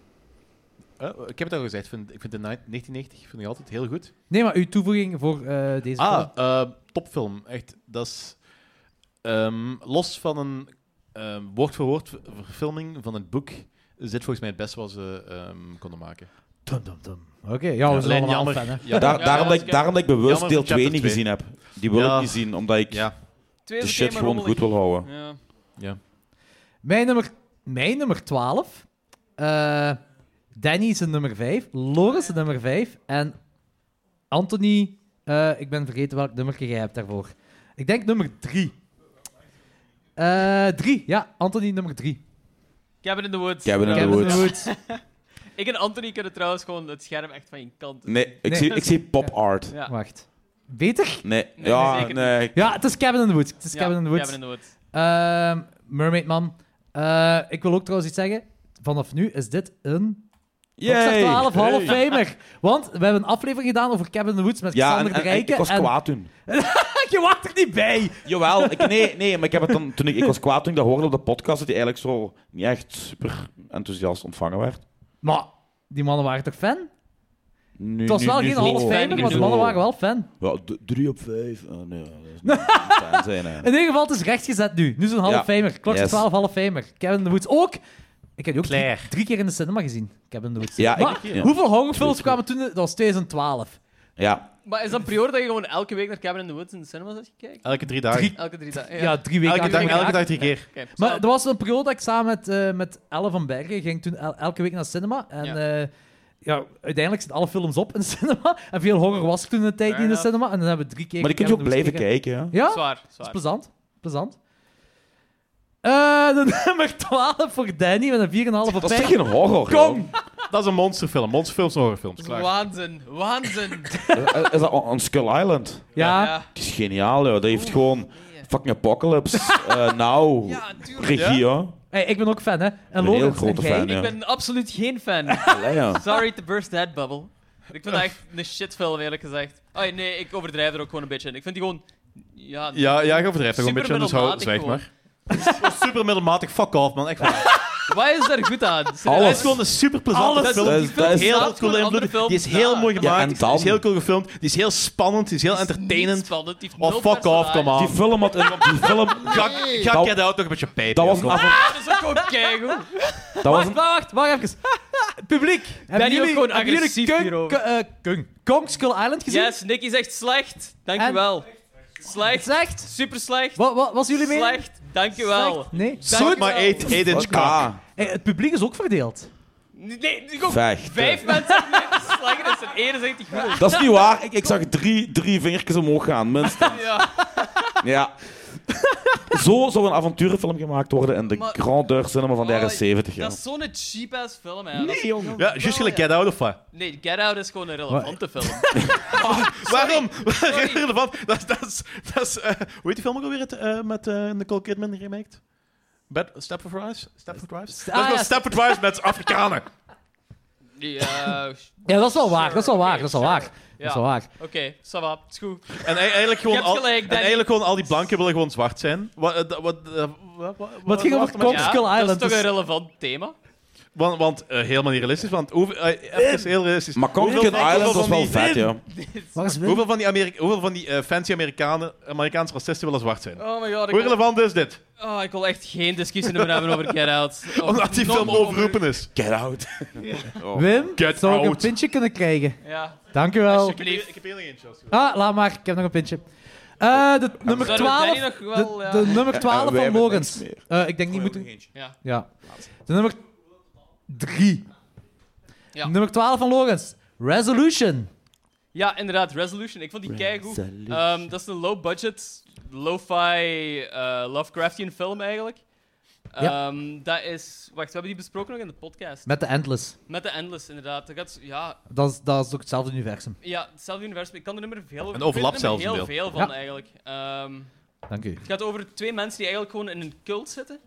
S1: Eh, ik heb het al gezegd, ik vind, ik vind de ni- 1990 vind ik altijd heel goed.
S2: Nee, maar uw toevoeging voor eh, deze
S1: Ah,
S2: film.
S1: eh, topfilm. Echt, dat is... ehm, los van een ehm, woord voor woord ver- verfilming van het boek, is dit volgens mij het beste wat ze ehm, konden maken.
S2: Dum, dum, dum. Oké, ja, we zijn
S1: Alleen jammer.
S2: allemaal fan, hè.
S1: Ja,
S8: Daar-
S4: ja,
S8: daarom,
S4: ja,
S8: dat
S4: ik
S8: ik,
S4: heb-
S8: daarom dat ik bewust
S1: Jammer
S8: deel
S1: voor
S8: 2 niet
S1: chapter
S8: gezien heb. Die wil
S1: Ja.
S8: ik niet zien, omdat ik
S1: ja.
S4: Twee
S8: de
S4: is
S8: shit
S4: oké, maar
S8: gewoon goed
S4: rommelig.
S8: wil houden.
S4: Ja.
S2: Mijn nummer, mijn nummer 12. Eh, Danny is een nummer 5. Loris een nummer 5. En Anthony, eh, ik ben vergeten welk nummer jij hebt daarvoor. Ik denk nummer 3. Eh 3, ja, Anthony nummer 3.
S4: Cabin in the Woods.
S8: Cabin in the
S2: Cabin in
S8: Woods.
S2: the Woods.
S4: Ik en Anthony kunnen trouwens gewoon het scherm echt van je kant.
S8: Nee, ik,
S2: Nee.
S8: Zie, ik zie pop art.
S4: Ja.
S2: Wacht. Beter?
S8: Nee,
S4: Nee,
S8: ja,
S4: zeker niet.
S8: nee.
S2: Ja, het is Cabin in the Woods. Het is
S4: Ja,
S2: Cabin in the Woods.
S4: Cabin in the Woods.
S2: Ehm, Mermaidman. Eh, ik wil ook trouwens iets zeggen. Vanaf nu is dit een Rockstar
S8: Yay.
S2: 12 half famer. Want we hebben een aflevering gedaan over Cabin in the Woods met
S8: Ja, en,
S2: Xander de
S8: en- en
S2: Rijken.
S8: ik was
S2: en-
S8: kwaad toen.
S2: Je wacht er niet bij.
S8: Jawel, ik, nee, nee, maar ik heb het dan, toen ik, ik was kwaad toen ik dat hoorde op de podcast, dat hij eigenlijk zo niet echt super enthousiast ontvangen werd.
S2: Maar die mannen waren toch fan?
S8: Nu,
S2: Het was
S8: nu-
S2: wel
S8: nu
S2: geen
S8: zo.
S2: half famer,
S4: nu
S2: maar de
S4: zo.
S2: mannen waren wel fan.
S8: Ja, d- drie op vijf. Oh, nee, dat is niet fan zijn, hè.
S2: In ieder geval, het is rechtgezet nu. Nu is het een half
S8: Ja.
S2: famer. Klok is
S8: Yes.
S2: 12, half famer. Kevin de Woods ook. Ik heb die ook drie,
S1: Claire.
S2: drie keer in de cinema gezien. Kevin de Woods.
S8: Ja, ik-
S2: maar
S8: ja.
S2: hoeveel horrorfilms kwamen toen? Dat was 2012.
S8: Ja,
S4: Maar is dat prior dat je gewoon elke week naar Cabin in the Woods in de cinema zit kijken?
S1: Elke drie dagen.
S2: Drie-
S4: Elke drie dagen.
S2: Ja, drie weken
S1: elke,
S2: achter
S1: dag,
S4: elke
S2: elkaar.
S1: elke dag drie keer.
S4: Oké,
S2: Maar
S4: zo.
S2: er was een periode dat ik samen met, eh, met Elle van Bergen ging toen el- elke week naar de cinema. En
S4: Ja.
S2: eh, ja, uiteindelijk zitten alle films op in de cinema. En veel horror was ik toen een tijd
S4: Fair
S2: niet in de
S4: enough.
S2: cinema. En dan hebben we drie keer...
S8: maar die kun je ook
S2: Cabin in the
S8: blijven
S2: Woods
S8: kijken. Hè.
S2: gekeken. Ja,
S4: Zwaar,
S2: Dat
S4: zwaar.
S2: is plezant. Plezant. Eh, de nummer 12 voor Danny met een 4,5 op
S8: Dat is toch
S2: 5.
S8: geen horror?
S2: Kom!
S1: Dat is een monsterfilm. Monsterfilms zijn horrorfilms.
S4: Dat is
S1: Klaar.
S4: Waanzin, waanzin.
S8: joh? Eh, Is dat on, on Skull Island?
S2: Ja,
S4: Ja,
S8: Die is geniaal, joh. Dat heeft gewoon fucking apocalypse. eh nou,
S4: ja tuurlijk.
S8: regie, hoor.
S2: hey, ik ben ook fan, hè. En
S8: ben heel
S2: Lorenz, en
S8: grote
S2: jij?
S8: fan, ja.
S4: Ik ben absoluut geen fan.
S8: Allee, joh.
S4: Sorry to burst that bubble. Ik vind dat echt een shitfilm, eerlijk gezegd. Oh, nee, ik overdrijf er ook gewoon een beetje in. Ik vind die gewoon... Ja,
S1: Ja, ja, ik overdrijf toch een
S4: Super
S1: beetje, dus hou,
S4: middelmatig
S1: zwijg
S4: gewoon.
S1: maar. super middelmatig, fuck off man, echt waar.
S4: wat is daar goed aan?
S1: Het
S8: Alles.
S1: is gewoon een super plezante
S8: Alles.
S1: film.
S8: Dat is-
S1: Die
S8: dat
S1: film
S8: is-
S1: heel
S4: dat
S1: erg
S4: is
S1: cool
S4: gewoon een andere
S1: invloed. Die is
S4: film.
S1: heel
S4: Ja.
S1: mooi
S8: Ja,
S1: gemaakt,
S8: en
S1: die
S8: dan?
S1: is heel cool gefilmd, die is heel spannend, die is heel entertainend.
S4: Spannend. Die heeft
S1: Oh
S4: nul
S1: fuck off,
S4: personage.
S1: kom aan.
S8: Die film had... een- Die film,
S1: Ga, ga
S8: Dat-
S1: Get Out nog een beetje pijpen.
S8: dat was een
S1: joh.
S8: avond...
S4: Dat is ook gewoon keigoed.
S8: Dat was
S2: Wacht,
S8: een...
S2: wacht, wacht, wacht even. Publiek, hebben
S4: ook
S2: jullie,
S4: gewoon
S2: hebben jullie
S4: agressief
S2: Kung-
S4: hierover?
S2: K- eh, Kung- Kong Skull Island gezien?
S4: Yes, Nicky zegt slecht. Dankjewel. Slecht.
S2: Slecht?
S4: Super slecht.
S2: Wat, wat was jullie mee?
S4: Slecht. Dankjewel.
S2: Nee?
S1: Suck my 8 inch cock.
S8: Ah,
S2: Hey, het publiek is ook verdeeld.
S4: Nee, ik ook
S8: vecht.
S4: vijf mensen met slecht is. En één zegt die goed is.
S8: Dat is niet waar. Ik, ik zag drie, drie vingertjes omhoog gaan, minstens.
S4: Ja.
S8: Ja. Zo zou een avonturenfilm gemaakt worden in de
S4: Maar-
S8: grandeur cinema van de jaren
S4: Oh,
S8: 70. joh.
S4: Dat is zo'n cheap-ass film, hè. Dat is-
S8: jongen.
S1: Ja, juist gelijk Get Out of wat?
S4: Nee, Get Out is gewoon een relevante film.
S1: Waarom? Relevant. Dat, is- dat is... Dat is eh, hoe heet die film ook alweer het, eh, met eh, Nicole Kidman remaked? Bad, Stepford Wives? Stepford Wives? dat is wel
S2: ja.
S1: Stepford Wives met Afrikanen.
S4: Ja,
S2: Ja, dat is wel waar, dat is wel waar,
S4: Oké,
S2: dat is wel
S4: sure.
S2: waar. Dat
S4: Ja.
S2: is wel waar.
S4: Oké, okay, ça va, is goed.
S1: En, e- eigenlijk gewoon
S4: Je hebt
S1: al,
S4: gelijk,
S1: en
S4: Danny.
S1: eigenlijk gewoon al die blanken willen gewoon zwart zijn. Wat, eh, dat- wat, eh, wa- wa- wa-
S2: Maar het ging over
S1: wacht, maar-
S2: Kong Skull Island.
S4: dat is toch
S2: dus-
S4: een relevant thema?
S1: Want, want eh, helemaal niet realistisch, want hoeveel, eh, even heel realistisch.
S8: Maar Kong
S1: Hoeveel-
S8: Kid
S1: hoeveel
S8: Island
S1: van
S8: was wel
S1: die-
S8: vet, ja.
S2: Waar is Wim?
S1: Hoeveel van die, Ameri- hoeveel van die eh, fancy Amerikanen, Amerikaanse racisten willen zwart zijn?
S4: Oh my god, ik
S1: Hoe
S4: wil,
S1: relevant is dit?
S4: oh, ik wil echt geen discussie meer hebben over Get Out. Of
S1: Omdat die
S4: nog
S1: film
S4: over-
S1: overroepen is.
S8: Get out.
S2: Wim,
S1: Get
S2: zou ik een
S1: out.
S2: pintje kunnen krijgen?
S4: Ja,
S2: Dank u wel.
S4: alsjeblieft.
S1: heb heel eentje.
S2: Ah, laat maar. Ik heb nog een pintje. Eh, de nummer
S4: Sorry,
S2: 12,
S4: Danny nog wel,
S2: de,
S4: ja.
S2: de nummer 12
S8: wij
S2: van
S8: hebben
S2: Lorenz.
S8: niks
S2: Eh, ik denk niet moeten...
S4: Ja.
S2: Ja. De nummer 3.
S4: Ja.
S2: Nummer 12 van Lorenz. Resolution.
S4: ja, inderdaad, Resolution. Ik vond die keigoed. Ehm dat is een low-budget, lo-fi, eh, Lovecraftian film eigenlijk.
S2: Ja.
S4: Ehm, dat is... Wacht, we hebben die besproken nog in de podcast.
S2: Met de Endless.
S4: Met de Endless, inderdaad. Dat gaat, ja,
S2: Dat is, dat is ook hetzelfde universum.
S4: ja, hetzelfde universum. Ik kan er niet meer veel over...
S1: En overlap
S4: ik weet er niet meer
S1: zelfs een
S4: heel veel
S2: Ja.
S4: van, eigenlijk. Ehm,
S2: Dank u.
S4: Het gaat over twee mensen die eigenlijk gewoon in een cult zitten.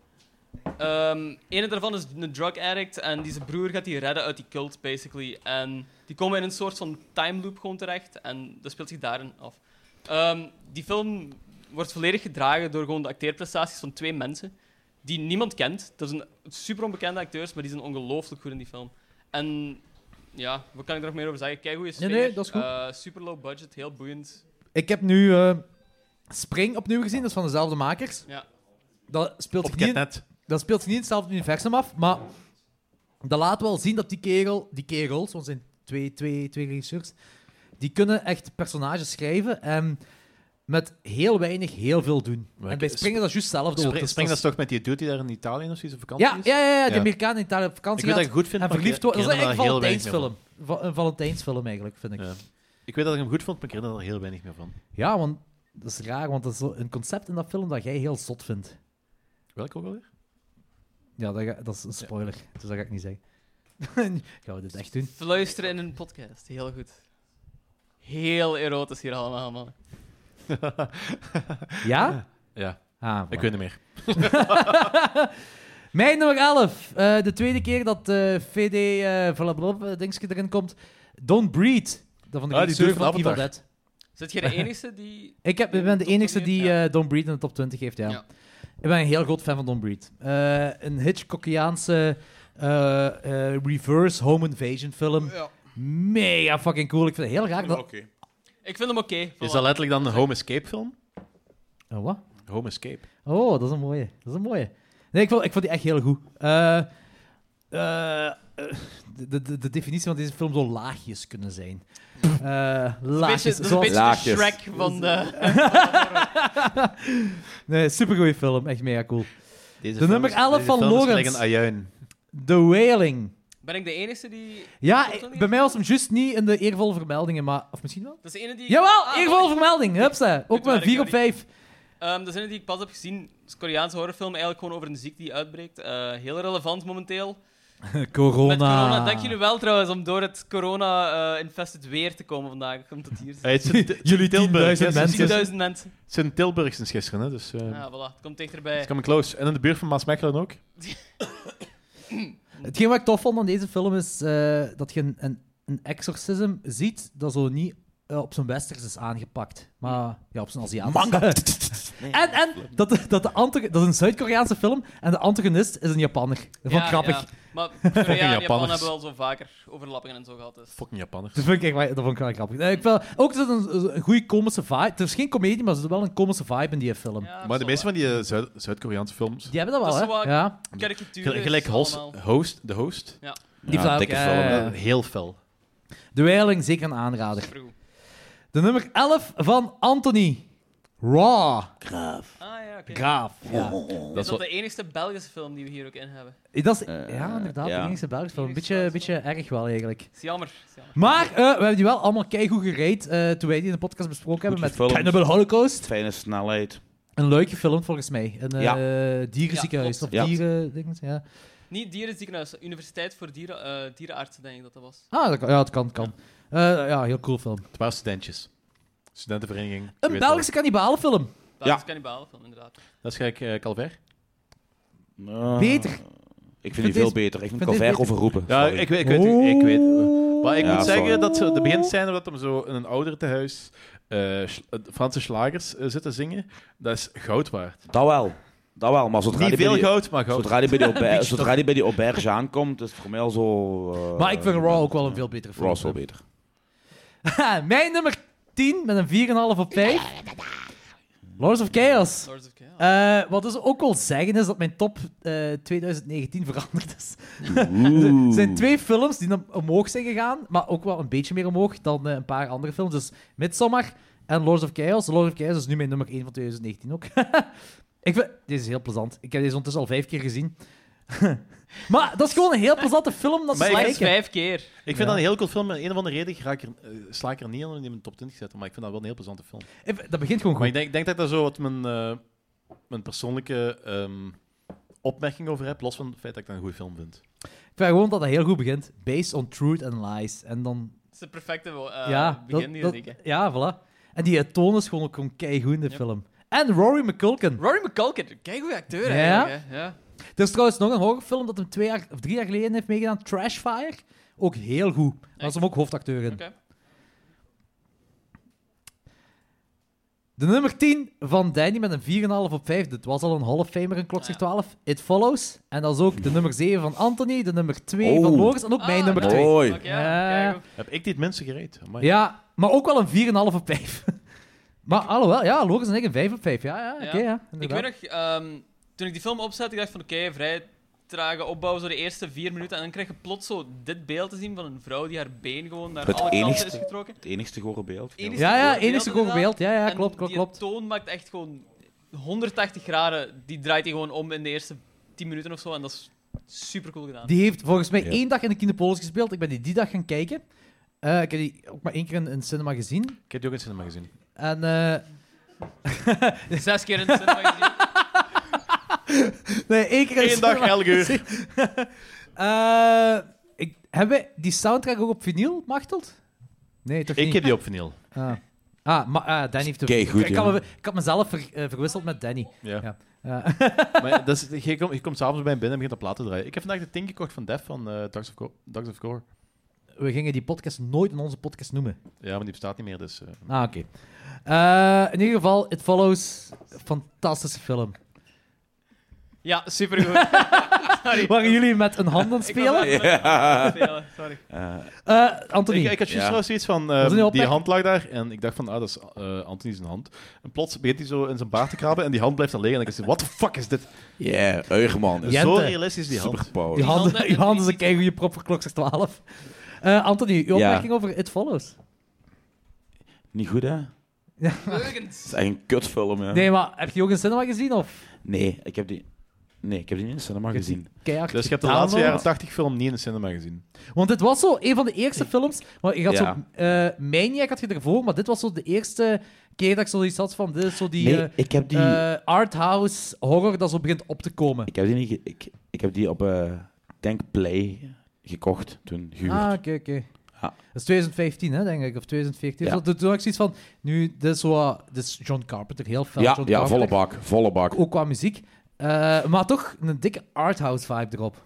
S4: Ehm Eén daarvan is een drug addict en die zijn broer gaat die redden uit die cult, basically. En die komen in een soort van time loop gewoon terecht en dat speelt zich daarin af. Ehm, die film wordt volledig gedragen door gewoon de acteerprestaties van twee mensen die niemand kent. Dat zijn super onbekende acteurs, maar die zijn ongelooflijk goed in die film. En ja, wat kan ik er nog meer over zeggen? Kijk hoe je
S2: Nee, nee, dat is goed.
S4: super low budget, heel boeiend.
S2: Ik heb nu eh, Spring opnieuw gezien, dat is van dezelfde makers.
S4: Ja.
S2: Dat speelt,
S1: Op
S2: zich niet, in-
S1: Catnet.
S2: dat speelt zich niet in hetzelfde universum af, maar dat laat wel zien dat die kerel, die kerels, want het zijn twee, twee, twee regisseurs, die kunnen echt personages schrijven en met heel weinig heel veel doen. en bij Spring is dat juist hetzelfde. ook.
S1: Spring,
S2: Dus
S1: spring dat
S2: dat is-
S1: is toch met die dude die daar in Italië of zoiets op vakantie
S2: ja,
S1: is?
S2: ja, ja, ja, die
S1: Ja.
S2: Amerikaan in Italië op
S1: Ik
S2: vakantie
S1: weet dat
S2: gaat
S1: ik goed vind,
S2: en
S1: maar ik
S2: verliefd worden. Dat is
S1: herinner me
S2: eigenlijk
S1: daar
S2: een
S1: heel weinig meer
S2: Valentijnsfilm. Va- Een Valentijnsfilm eigenlijk, vind ik.
S1: Ja. Ik weet dat ik hem goed vond, maar ik herinner er heel weinig meer van.
S2: Ja, want dat is raar, want dat is zo een concept in dat film dat jij heel zot vindt.
S1: Welke ook alweer?
S2: Ja, dat, ga- dat is een spoiler, dus dat ga ik niet zeggen. Gaan we dit echt doen?
S4: Fluisteren in een podcast, heel goed. Heel erotisch hier allemaal, man.
S2: Ja?
S1: Ja,
S2: Ah,
S1: ik
S2: voilà.
S1: weet niet meer.
S2: Mijn nummer 11. eh, de tweede keer dat eh VD eh Vlablop eh, dingetje erin komt. Don't Breed. Dat van de
S1: Ah, die
S2: regisseur
S1: doet
S2: van Evil
S1: Avatar.
S2: Dead.
S4: Zit jij de enige die...
S2: Ik heb, ik
S4: Top
S2: ben de
S4: 20
S2: enige
S4: heeft,
S2: die
S4: ja.
S2: eh, Don't Breed in de top 20 heeft, ja.
S4: Ja.
S2: Ik ben een heel groot fan van Don't Breed. Eh, een Hitchcockiaanse eh, eh, reverse home invasion film. Mega fucking cool. Ik vind het heel raar dat...
S8: Oké.
S4: Ik vind hem oké.
S1: Is
S4: voilà.
S1: dat letterlijk dan een home escape film?
S2: Oh, wat?
S1: Home escape.
S2: Oh, dat is een mooie. Dat is een mooie. Nee, ik vond, ik vond die echt heel goed. Eh, eh, eh, de, de, de definitie van deze film zou laagjes kunnen zijn. Eh
S4: Dat is een
S2: laagjes.
S4: beetje, dat is een
S2: Zoals...
S4: beetje
S8: Laagjes.
S4: de Shrek van de...
S2: Nee, supergoeie film. Echt mega cool.
S1: Deze
S2: De
S1: film
S2: nummer
S1: is-
S2: 11
S1: deze
S2: van
S1: film is
S2: Lawrence.
S1: gelijk een ajuin.
S2: The Wailing.
S4: Ben ik de enige die...
S2: Ja,
S4: Top
S2: ik-
S4: 20?
S2: bij mij was hem juist niet in de eervolle vermeldingen, maar... Of misschien wel?
S4: Dat is de ene die...
S2: Jawel,
S4: Ah,
S2: eervolle vermelding. Hupsa. Ook
S4: Goed
S2: maar
S4: werk,
S2: 4 op
S4: Johnny.
S2: 5.
S4: Ehm, dat is een die ik pas heb gezien. Het is een Koreaanse horrorfilm, eigenlijk gewoon over een ziekte die uitbreekt. Eh, heel relevant momenteel.
S2: Corona.
S4: Met corona, dank jullie wel trouwens om door het corona-infested weer te komen vandaag. Komt dat hier?
S1: Hey, het is in-
S2: Jullie
S1: in Tilburg.
S2: 10.000
S1: hè, sinds-
S2: mensen.
S1: sinds-
S4: 10.000 mensen.
S1: Het is in Tilburg sinds gisteren, hè, dus...
S2: Ehm.
S1: eh
S4: Ja, voilà. Het komt dichterbij.
S1: It's coming close. En in de buurt van Maasmechelen ook.
S2: Hetgeen wat ik tof vond aan deze film is eh, dat je een, een, een exorcism ziet dat zo niet eh, op zijn westers is aangepakt, maar ja, op zijn Aziatisch.
S8: Manga.
S2: en en dat, de- dat, de antago- dat is een Zuid-Koreaanse film en de antagonist is een Japanner. Dat vond ik
S4: Ja,
S2: grappig.
S4: ja. Maar Korea en Japan
S1: Japanners.
S4: hebben wel zo vaker overlappingen en zo gehad. Dus.
S1: Fucking Japanners.
S2: Dat vond ik, echt, wel- dat vond ik wel grappig. Eh, Ik vind, ook dat het een, een goede komische vibe. Het is geen comedie, maar er zit wel een komische vibe in die film.
S4: Ja,
S1: Maar de
S4: zo
S1: meeste van
S4: wat.
S1: die eh, Zuid- Zuid-Koreaanse films...
S2: Die hebben dat
S4: Dat
S2: wel,
S4: is
S2: hè?
S4: wel-
S2: ja.
S4: Karikaturen.
S1: Gelijk, gelijk
S4: is
S1: host,
S4: allemaal-
S1: host, de host.
S2: Die vrouw-
S8: dikke
S2: eh,
S8: film, hè.
S1: Eh, heel fel.
S2: De Weiling, zeker een aanrader.
S4: Supergoed.
S2: De nummer 11 van Anthony. Raw.
S4: Ah ja, oké.
S2: Graaf. Ja.
S4: Dat is dat de enige Belgische film die we hier ook in hebben.
S2: Eh, Dat is,
S8: Eh,
S2: ja, inderdaad,
S8: ja.
S2: de enige Belgische film. Een
S4: Enigste
S2: beetje,
S4: Belgische
S2: beetje erg wel, eigenlijk.
S4: Is jammer. Is jammer.
S2: Maar eh, we hebben die wel allemaal keigoed gereed eh, toen wij die in de podcast besproken hebben met
S8: gefilmd.
S2: Cannibal Holocaust.
S8: Fijne snelheid.
S2: Een leuk gefilmd, volgens mij. Een eh
S8: Ja.
S2: dierenziekenhuis
S4: Ja,
S2: of
S8: klopt. Ja.
S2: dieren... dinges, ja.
S4: Niet dierenziekenhuis, Universiteit voor dieren, eh, Dierenartsen, denk ik dat dat was.
S2: Ah, dat kan, ja, het kan, kan. Eh, ja, heel cool film.
S1: Het waren studentjes. Studentenvereniging. je
S2: Een
S1: weet wel.
S2: Belgische kannibalenfilm.
S4: Belgische kannibalenfilm, inderdaad.
S1: Dat is gelijk eh Calvert.
S8: Eh,
S2: Beter.
S8: Ik
S2: vind
S8: vind die veel
S2: deze-
S8: beter. Ik vind
S2: vind deze
S8: Calvert
S2: beter.
S8: overroepen.
S1: Ja,
S8: Sorry.
S1: ik weet, ik weet, het, ik weet. het.
S2: Oeh.
S1: Maar ik
S8: Ja,
S1: moet
S8: sorry.
S1: zeggen dat ze de beginscène dat hem zo in een ouderentehuis eh sch- eh, Franse slagers eh, zit te zingen, dat is goud waard.
S8: Dat wel. Dat wel, maar zodra
S1: Niet
S8: die bij
S1: veel
S8: die-
S1: goud, maar goud.
S8: Zodra die bij die, auber- zodra die bij die auberge aankomt, is het voor mij al zo... eh,
S2: Maar ik vind Raw ook wel een veel betere film.
S8: Raw is wel beter.
S2: Mijn nummer 10 met een 4,5 op 5. Lords of Chaos.
S4: Lords of Chaos.
S2: Eh, wat dus ook wil zeggen is dat mijn top eh, 2019 veranderd is. er zijn twee films die dan omhoog zijn gegaan, maar ook wel een beetje meer omhoog dan eh, een paar andere films. Dus Midsommar en Lords of Chaos. Lords of Chaos is nu mijn nummer 1 van 2019 ook. ik vind, deze is heel plezant. Ik heb deze ondertussen al vijf keer gezien. maar dat is gewoon een heel plezante film. Dat
S1: Maar
S2: is
S1: ik-
S4: Slechts vijf keer.
S1: Ik vind dat een heel cool film. En een of andere reden ga ik er, eh, sla ik er niet aan om die in mijn top 20 te zetten, maar ik vind dat wel een heel plezante film.
S2: Dat begint gewoon
S1: Maar
S2: goed.
S1: ik denk, ik denk dat ik daar zo wat mijn, eh, mijn persoonlijke ehm, opmerking over heb, los van het feit dat ik dat een goede film vind.
S2: Ik vind gewoon dat dat heel goed begint. Based on truth and lies. En dan
S4: Het is de perfecte eh,
S2: ja,
S4: begin
S2: dat-
S4: hier,
S2: dat-
S4: denk ik.
S2: ja, voilà. En die eh, toon is gewoon ook gewoon keigoed in de
S4: Ja.
S2: film. En Rory McCulkin.
S4: Rory McCulkin, kijk hoe acteur
S2: Ja?
S4: eigenlijk. Hè? Ja.
S2: Er is trouwens nog een horrorfilm dat hem twee jaar, of drie jaar geleden heeft meegedaan. Trashfire. Ook heel goed. Daar is hem ook hoofdacteur in.
S4: Oké.
S2: De nummer 10 van Danny met een 4,5 op 5. Dit was al een Hall of Famer in Klokzicht 12. It Follows. En dat is ook de nummer 7 van Anthony, de nummer 2 van
S8: Oh.
S2: Loris en ook
S4: Ah.
S2: mijn nummer
S8: nice.
S2: 2.
S8: Mooi.
S4: Oké, ja,
S2: Ja.
S4: kijk, ook.
S1: Heb ik dit mensen gereed? Amai.
S2: Ja, maar ook wel een 4,5 op 5. maar alhoewel, ja, Loris en ik een 5 op 5. Ja, ja, oké,
S4: Ja.
S2: ja.
S4: Ik
S2: inderdaad.
S4: weet nog, ehm, toen ik die film opzette, ik dacht van oké, vrij trage opbouw, zo de eerste vier minuten. En dan krijg je plots zo dit beeld te zien van een vrouw die haar been gewoon naar
S8: Het
S4: alle kanten is
S8: enigste-
S4: getrokken.
S8: Het enigste gore beeld.
S4: Enigste
S2: Ja, ja,
S4: gore beeld
S2: enigste gore
S4: inderdaad.
S2: beeld. Ja, ja,
S4: En
S2: klopt, klopt,
S4: die
S2: klopt.
S4: toon maakt echt gewoon 180 graden. Die draait hij gewoon om in de eerste 10 minuten of zo. En dat is super cool gedaan.
S2: Die heeft volgens mij
S8: Ja.
S2: één dag in de Kinepolis gespeeld. Ik ben die die dag gaan kijken. Eh, ik heb die ook maar één keer in een cinema gezien.
S1: Ik heb die ook in het cinema gezien.
S2: En eh,
S4: Zes keer in de cinema gezien.
S2: nee, één keer in
S1: Eén dag, elk uur.
S2: Eh, ik, hebben we die soundtrack ook op vinyl, Machteld? Nee, toch
S1: Ik
S2: niet?
S1: heb die op vinyl.
S2: Ah, ah, maar, ah, Danny heeft... de-
S8: Kei goed,
S2: ik, had
S8: ja.
S2: me- ik had mezelf ver- eh, verwisseld met Danny.
S1: Ja.
S2: Ja. Eh,
S1: Maar dat is, je, komt, je komt s'avonds bij hem binnen en begint dat plaat te draaien. Ik heb vandaag de ting gekocht van Def van eh Dogs, of Go- Dogs of Gore.
S2: we gingen die podcast nooit in onze podcast noemen.
S1: Ja, maar die bestaat niet meer, dus... eh,
S2: Ah, oké. Eh, in ieder geval, It Follows. Fantastische film.
S4: Ja, super goed.
S2: Waren jullie met een hand aan het spelen?
S8: Ah.
S4: Sorry.
S2: Eh, Anthony.
S1: Ik, ik had juist
S8: Ja.
S1: trouwens zoiets van,
S2: is
S1: ehm,
S2: een heel
S1: die
S2: pek.
S1: hand lag daar en ik dacht van, ah, dat is eh Anthony zijn hand. En plots begint hij zo in zijn baard te krabben en die hand blijft dan liggen. En ik dacht, what the fuck is dit?
S8: Ja, Eugerman. is
S2: Jente.
S1: Zo realistisch die hand.
S2: Je
S8: Superpower.
S2: handen,
S4: handen-
S2: je handen zijn kei goede prop voor klok 12. Eh Anthony, uw
S8: Ja.
S2: opmerking over It Follows.
S8: Niet goed, hè? Het is echt een kutfilm, ja. Nee.
S2: Nee, maar heb je die ook in cinema gezien? Of
S8: ik heb die... Nee, ik heb die niet in de cinema
S2: hebt die-
S8: gezien.
S2: keihard
S1: Dus je hebt de
S2: gedownload?
S1: laatste jaren 80 film niet in de cinema gezien.
S2: Want dit was zo een van de eerste films. Maar je had
S8: Ja.
S2: zo, eh, Maniac had je ervoor, maar dit was zo de eerste keer dat ik zoiets had van. Dit is zo die,
S8: Nee,
S2: eh,
S8: ik heb die...
S2: eh, arthouse horror dat zo begint op te komen.
S8: Ik heb die niet... ge- Ik, ik heb die op, eh denk, Play gekocht toen, gehuurd.
S2: Ah, oké, oké.
S8: Ja.
S2: Dat is 2015, hè, denk ik, of 2014.
S8: Ja.
S2: Dus toen toen had ik zoiets van, nu, dit is, zo, wat- dit is John Carpenter, heel fel
S8: ja,
S2: John
S8: ja,
S2: Carpenter.
S8: volle bak, volle bak.
S2: Ook qua muziek. Eh, maar toch een dikke arthouse vibe erop.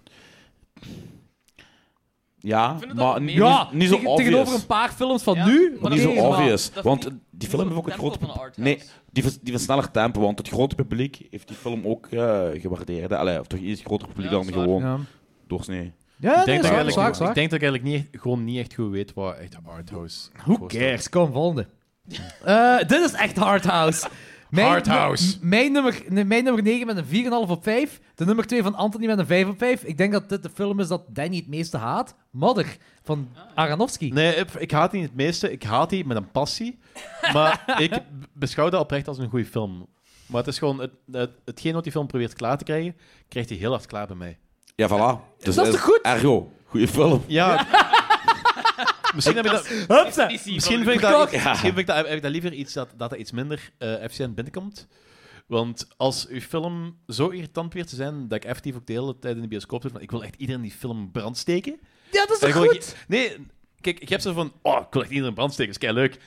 S8: Ja,
S4: vind het al
S8: maar
S4: meer-
S8: niet,
S2: ja,
S8: niet zo
S2: tegen-
S8: obvious.
S2: tegenover een paar films van
S4: Ja,
S2: nu.
S4: maar
S8: niet
S4: dat
S8: zo
S4: is- maar
S8: obvious.
S4: dat is
S8: want
S4: niet-
S8: die film heeft ook het grote... pub-
S4: grote...
S8: Nee, die, vers- die versneller tempo, want het grote publiek heeft die film ook eh gewaardeerd. hè. Allee, of toch iets groter publiek
S4: Ja,
S8: dan
S4: dat is waar.
S8: gewoon
S2: Ja, ja
S8: doorsnee.
S1: ik, denk
S2: Ah, nee,
S1: dat
S2: zwaar,
S1: eigenlijk-
S2: zwaar, zwaar.
S1: ik denk dat ik eigenlijk niet, echt- gewoon niet echt goed weet wat echt arthouse...
S2: Who cares? Kom, volgende. Eh, dit is echt Hardhouse. Mijn,
S1: Hardhouse.
S2: m- Mijn nummer, nee, mijn nummer 9 met een 4,5 op 5. De nummer 2 van Anthony met een 5 op 5. Ik denk dat dit de film is dat Danny het meeste haat. Mother van
S1: Ah.
S2: Aronofsky.
S1: Nee, ik, ik haat die niet het meeste. Ik haat die met een passie. Maar ik b- beschouw dat oprecht als een goede film. Maar het is gewoon... Het, het, hetgeen wat die film probeert klaar te krijgen, krijgt hij heel hard klaar bij mij.
S8: Ja, voilà. Dus
S2: Dat is toch goed?
S8: Ergo, goede film.
S1: Ja. misschien heb ik dat...
S2: Hupsa.
S1: Misschien vind ik dat, misschien vind ik dat, heb ik dat liever iets dat, dat er iets minder eh efficiënt binnenkomt. Want als uw film zo irritant weer te zijn, dat ik effectief ook de hele tijd in de bioscoop zit, van ik wil echt iedereen die film in brand steken.
S2: Ja, dat is toch
S1: En gewoon-
S2: goed?
S1: Nee, kijk, ik heb zo van, oh, ik wil echt iedereen in brand steken, is leuk.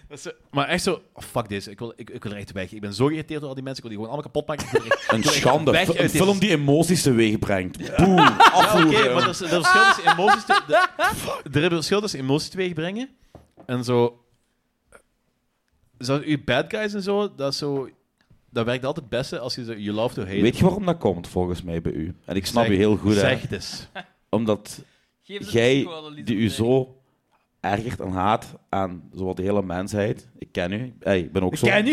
S1: Maar echt zo, oh, fuck deze, ik wil, ik, ik wil er echt weg. Ik ben zo geïrriteerd door al die mensen, ik wil die gewoon allemaal kapot maken. Ik wil er echt-
S8: Een
S1: ik wil echt
S8: schande.
S1: weg
S8: Fi-
S1: uit
S8: een
S1: deze-
S8: film die emoties teweeg brengt. Boe,
S1: Ja,
S8: afvoer.
S1: Ah, Oké, maar er is- er is een verschil tussen emoties... Te, de- er is een verschil tussen emoties teweegbrengen en zo... Zo, je bad guys en zo, dat is zo... Dat werkt altijd het beste als je zo, you love to hate.
S8: Weet je waarom dat komt, volgens mij, bij u? En ik snap
S1: Zeg-
S8: je heel goed, hè.
S1: Zeg het eens.
S8: Omdat jij, die u zo ergert en haat aan zowat de hele mensheid... Ik ken u. Hey, ik ben ook zo.
S2: Ken je?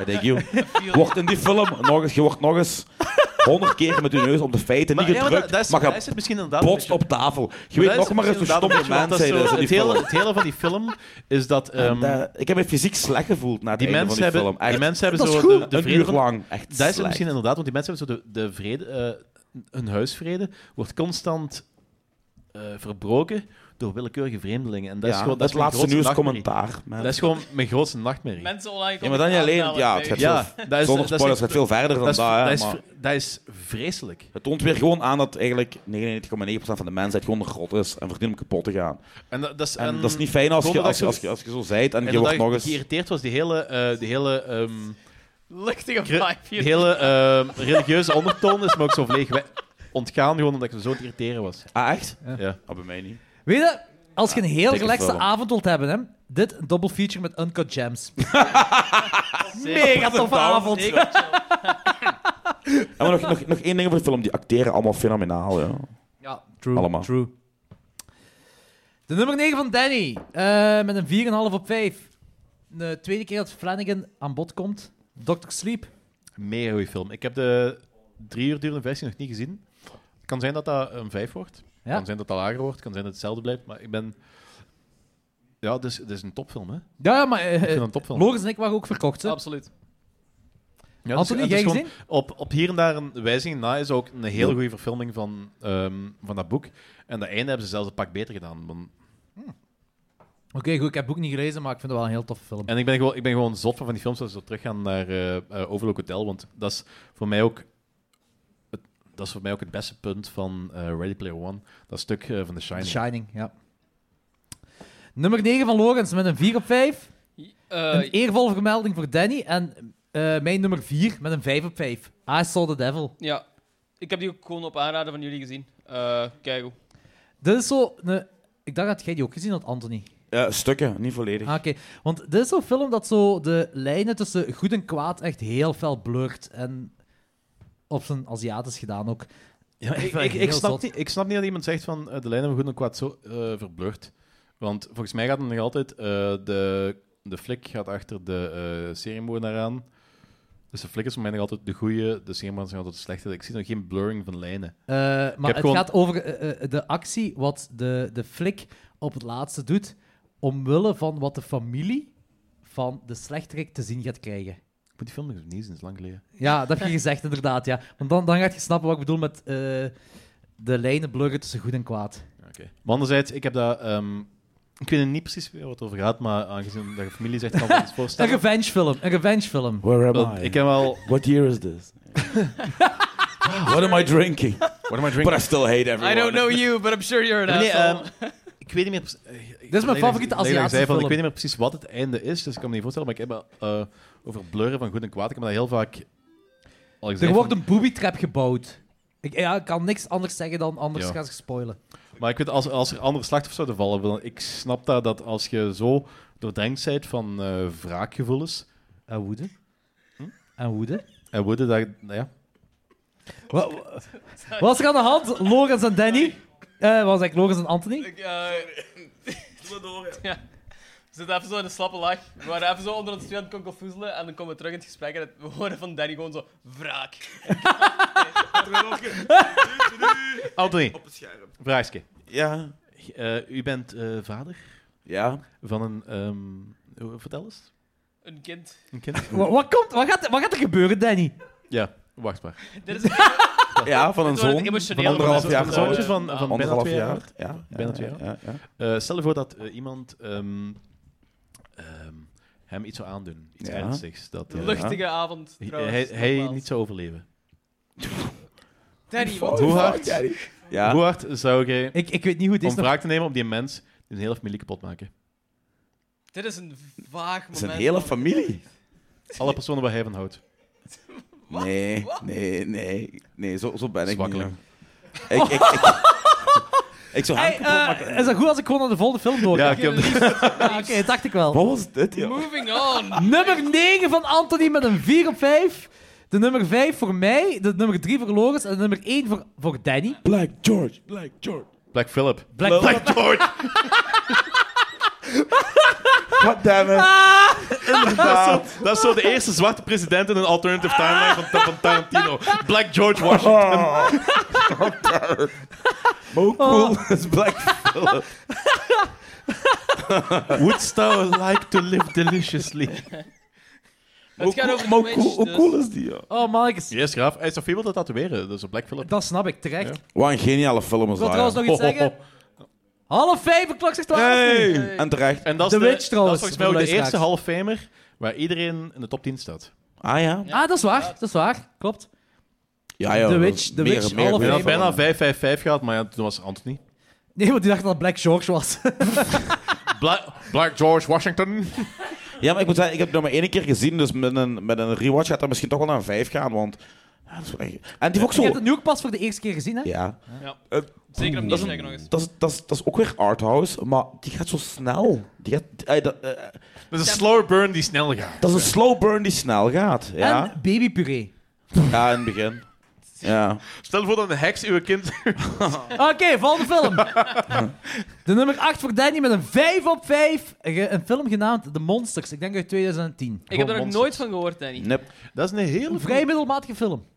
S8: I thank you. Wordt in die film nog eens... Je wordt nog eens honderd keer met je neus op de feiten
S1: Maar,
S8: niet
S1: ja, maar dat,
S8: gedrukt,
S1: dat is,
S8: maar
S1: daar
S8: je
S1: is het misschien inderdaad... een
S8: botst
S1: beetje-
S8: op tafel. Je weet
S1: dat is
S8: nog maar eens hoe
S1: misschien
S8: stom
S1: inderdaad
S8: je
S1: een beetje, want dat is
S8: mensheid is
S1: zo- het,
S8: in die
S1: hele,
S8: film.
S1: het hele van die film is dat... ehm,
S8: En, eh, ik heb me fysiek slecht gevoeld na het
S1: die,
S8: einde
S1: mensen
S8: van die
S1: hebben,
S8: film. Echt.
S1: die mensen hebben
S2: dat
S1: zo
S2: is goed.
S1: de, de
S8: een
S1: vrede
S8: uur
S1: van-
S8: lang. Echt
S1: Dat is het
S8: slecht.
S1: misschien inderdaad, want die mensen hebben zo de, de vrede, eh, hun huisvrede wordt constant eh, verbroken door willekeurige vreemdelingen. En dat is
S8: Ja,
S1: gewoon
S8: dat is
S1: mijn
S8: laatste
S1: grootste
S8: nieuwscommentaar. man.
S1: nachtmerrie. Dat is gewoon mijn grootste nachtmerrie.
S4: Mensen online
S8: Ja, maar dan niet alleen...
S4: aanmelden,
S8: Ja,
S4: ik
S8: het gaat
S4: weet
S1: Ja,
S8: veel-
S1: dat is-
S8: zonder
S1: dat is echt-
S8: spoilers, het gaat veel verder dan
S1: dat, is,
S8: dat.
S1: dat,
S8: hè,
S1: is,
S8: maar
S1: dat is vreselijk.
S8: Het toont weer gewoon aan dat eigenlijk 99,9% van de mensheid gewoon een grot is en verdient om kapot te gaan.
S1: En dat, dat is,
S8: En
S1: een-
S8: dat is niet fijn als je,
S1: donderdag
S8: als, je-
S1: zo-
S8: als, je, als je zo zijt en
S1: en
S8: je
S1: dat
S8: wordt
S1: ik
S8: nog eens...
S1: geïrriteerd was, die hele, eh, die hele, ehm,
S4: Luchtige
S1: Gre-
S4: vibe
S1: die
S4: hier.
S1: hele ehm, religieuze ondertoon is me ook zo vleeg we- ontgaan, gewoon omdat ik me zo te irriteren was.
S8: Ah, echt?
S1: Ja.
S8: Ah, bij mij niet.
S2: Weet je, als je een heel
S8: dikke
S2: relaxte
S8: film.
S2: avond wilt hebben, hè, dit een double feature met Uncut Gems.
S8: mega te
S2: toffe
S8: down.
S2: avond.
S8: En maar nog, nog, nog één ding over de film. Die acteren allemaal fenomenaal. Ja.
S2: Ja, true.
S8: Allemaal.
S2: True. De nummer 9 van Danny, eh, met een 4,5 op 5. De tweede keer dat Flanagan aan bod komt. Dr. Sleep.
S1: Meer goede film. Ik heb de drie uur durende versie nog niet gezien. Het kan zijn dat dat een vijf wordt.
S2: Ja.
S1: Kan zijn dat dat lager wordt. Kan zijn dat het hetzelfde blijft. Maar ik ben... Ja, het is, het is een topfilm, hè? Ik
S2: Ja, maar eh,
S1: vind het
S2: eh,
S1: een topfilm.
S2: Loris en ik waren ook verkocht. Hè?
S4: Absoluut.
S1: Ja, het is-
S2: Anthony,
S1: het is
S2: jij
S1: gewoon-
S2: gezien?
S1: op, op hier en daar een wijziging na is ook een heel
S8: Ja.
S1: goede verfilming van, ehm, van dat boek. En dat einde hebben ze zelfs een pak beter gedaan. Want-
S2: Oké, goed. Ik heb het boek niet gelezen, maar ik vind het wel een heel toffe film.
S1: En ik ben gewoon, ik ben gewoon zot van, van die films als we teruggaan naar eh eh, Overlook Hotel. Want dat is voor mij ook het, dat is voor mij ook het beste punt van eh, Ready Player One. Dat stuk eh, van The Shining.
S2: The Shining, ja. Nummer 9 van Lorenz met een 4 op 5.
S4: Eh,
S2: Een eervolle vermelding voor Danny. En eh, mijn nummer 4 met een 5 op 5. I Saw the Devil.
S4: ja, ik heb die ook gewoon op aanraden van jullie gezien. Eh kijk hoe.
S2: Dit is zo... Een... Ik dacht dat jij die ook gezien had, Anthony.
S8: Eh, stukken, niet volledig.
S2: Ah, Oké, want dit is zo'n film dat zo de lijnen tussen goed en kwaad echt heel fel blurt. En op zijn Aziatisch gedaan ook.
S1: Ja, ik,
S2: vind
S1: ik,
S2: het
S1: ik
S2: heel
S1: snap
S2: zot.
S1: niet, ik snap niet dat iemand zegt van eh, de lijnen van goed en kwaad zo eh verblurred. Want volgens mij gaat het nog altijd... eh, de, de flik gaat achter de eh seriemoordenaar aan. Dus de flik is voor mij nog altijd de goede, de seriemoordenaar zijn altijd de slechte. Ik zie nog geen blurring van lijnen.
S2: Eh, maar
S1: heb
S2: het
S1: gewoon-
S2: gaat over eh, eh, de actie wat de, de flik op het laatste doet. Omwille van wat de familie van de slechterik te zien gaat krijgen.
S1: Ik moet die film nog eens opnieuw zien, dat is lang geleden.
S2: Ja, dat heb je gezegd, inderdaad. Ja. Want dan, dan gaat je snappen wat ik bedoel met eh, de lijnen blurren tussen goed en kwaad.
S1: Maar anderzijds, ik heb dat... ehm, ik weet niet precies waar het over gaat, maar aangezien dat je familie zegt, kan ik me iets
S2: Een
S1: voorstellen.
S2: revenge film, een revenge film.
S8: Where am
S1: Want
S8: I?
S1: Ik heb wel...
S8: What year is this? What am I drinking?
S1: What am I
S8: But I still hate everyone.
S6: I don't know you, but I'm sure you're an
S1: Nee,
S6: asshole.
S1: ehm, ik weet niet meer... precies- eh, ik-
S2: mijn
S1: Lena-
S2: favoriete
S1: Lena zei
S2: Aziatische
S1: van,
S2: film.
S1: Ik weet niet meer precies wat het einde is, dus ik kan me niet voorstellen. Maar ik heb wel, eh, over blurren van goed en kwaad, ik heb dat heel vaak al gezegd.
S2: Er wordt
S1: van-
S2: een booby trap gebouwd. Ik, ja, ik kan niks anders zeggen dan anders
S1: Ja.
S2: gaan ze spoilen.
S1: Maar ik weet, als, als er andere slachtoffers zouden vallen, dan, ik snap dat, dat als je zo doordrenkt bent van eh, wraakgevoelens
S2: En woede. Hm? En woede.
S1: en woede, dat... Nou ja,
S2: Wa- wa- Wat was er aan de hand? Lorenz en Danny? Eh wat was ik? Lorenz en Anthony?
S4: Ik, eh, ja. We zitten even zo in een slappe lach. We waren even zo onder ons twee aan het konkelfoezelen en dan komen we terug in het gesprek en het- we horen van Danny gewoon zo wraak.
S1: Anthony,
S3: Op het scherm.
S1: vraagje.
S8: Ja.
S1: Eh, u bent eh, vader
S8: Ja.
S1: van een... ehm, hoe- vertel eens.
S4: Een kind.
S1: Een kind?
S2: Wa- Wat, komt, wat, gaat, wat gaat er gebeuren, Danny?
S1: ja, wacht maar.
S4: Dit is
S8: Ja, van een
S4: Dit wordt
S8: zoon.
S4: emotioneel,
S8: Van anderhalf
S4: maar
S8: jaar
S4: dat
S1: Een
S4: is ook
S8: oud.
S4: zo.
S1: zoontje van, van bijna
S8: Anderhalf
S1: twee jaar.
S8: jaar. Ja. ja,
S1: Bijna twee
S8: ja,
S1: jaar.
S8: ja, ja.
S1: Eh, stel je voor dat eh, iemand ehm, ehm, hem iets zou aandoen. Iets
S8: Ja.
S1: ernstigs. Dat, eh,
S4: een luchtige avond.
S1: hij-
S4: trouwens,
S1: hij, hij
S4: nogmaals.
S1: niet zou overleven.
S4: Danny,
S8: Oh,
S4: wat
S8: fuck,
S1: hard?
S8: Daddy. Ja.
S1: Hoe hard zou jij,
S2: Ik, ik weet niet hoe het
S1: om
S2: is. nog-
S1: wraak te nemen op die mens, een hele familie kapot maken?
S4: Dit is een vaag moment.
S8: Het is een hele
S4: van-
S8: familie.
S1: Alle personen waar hij van houdt.
S8: Nee, nee, nee. Nee, zo, zo ben ik niet.
S1: Zwakkeling.
S8: ja. Ik, ik, ik, ik zou hem
S2: Hey,
S8: kapot
S2: eh,
S8: maken.
S2: is dat goed als ik gewoon naar de volgende film doorga?
S1: Ja, ik heb-
S2: Ah, Oké, dat dacht ik wel.
S8: Wat was dit, joh?
S4: Moving on.
S2: Nummer 9 van Anthony met een 4 op 5. De nummer 5 voor mij, de nummer 3 voor Lorenz en de nummer 1 voor, voor Danny.
S8: Black George, Black George.
S1: Black Philip.
S2: Black,
S1: Black George!
S8: God damn it. Inderdaad.
S1: Dat is zo de eerste zwarte president in een alternative timeline van, van Tarantino. Black George Washington.
S8: Oh. God damn it. Maar hoe cool is Black Phillip?
S1: Wouldst thou like to live deliciously?
S4: Het gaat
S8: Hoe
S4: over
S8: cool- maar
S4: Twitch,
S8: hoe cool- hoe
S4: dus-
S8: cool is die, joh?
S2: Oh, mannetjes.
S1: Yes, graaf. Hij is toch veel wil dat tatoeëren, dus een Black Philip.
S2: Dat snap ik, terecht.
S1: Ja.
S8: Wat een geniale film is
S2: Ik wil
S8: dat.
S2: trouwens
S8: joh.
S2: nog iets zeggen. Half vijf, de klok zegt twaalf.
S8: Hey.
S2: nu.
S8: En terecht.
S1: En dat is
S2: The Witch trouwens,
S1: Dat is volgens
S2: voor
S1: mij ook
S2: de
S1: de eerste
S2: luisteraars.
S1: halffamer waar iedereen in de top 10 staat.
S8: Ah ja?
S2: Ah, dat is waar, dat is waar. Klopt.
S8: Ja, joh.
S2: The Witch, The
S8: meer,
S2: Witch,
S8: meer,
S2: alle
S1: We
S8: meer
S1: hadden
S8: filmen.
S1: bijna 5-5-5 gehad, maar ja, toen was Anthony.
S2: Nee, want die dacht dat het Black George was.
S1: Black, Black George Washington.
S8: Ja, maar ik moet zeggen, ik heb het nog maar één keer gezien, dus met een, met een rewatch gaat dat misschien toch wel naar een vijf gaan, want Ja, dat is wel echt- En die heeft ook
S2: Je hebt
S8: zo...
S2: het nu ook pas voor de eerste keer gezien, hè?
S8: Ja.
S4: Ja.
S8: Eh,
S4: Zeker opnieuw
S8: dat is,
S4: zeggen nog eens.
S8: dat, is, dat, is, dat is ook weer arthouse, maar die gaat zo snel. Die gaat, eh, dat, eh,
S1: Dat is een slower burn die snel gaat.
S8: dat is een slow burn die snel gaat. Ja,
S2: En babypuree.
S8: ja in het begin. Ja.
S1: Stel voor dat een heks uw kind...
S2: Oké, volgende film. De nummer 8 voor Danny met een 5 op 5. Ge- Een film genaamd The Monsters. Ik denk uit 2010.
S4: Ik heb er nog
S1: monsters.
S4: nooit van gehoord, Danny.
S8: Nep.
S1: Dat is een hele...
S2: Een vrij middelmatige film.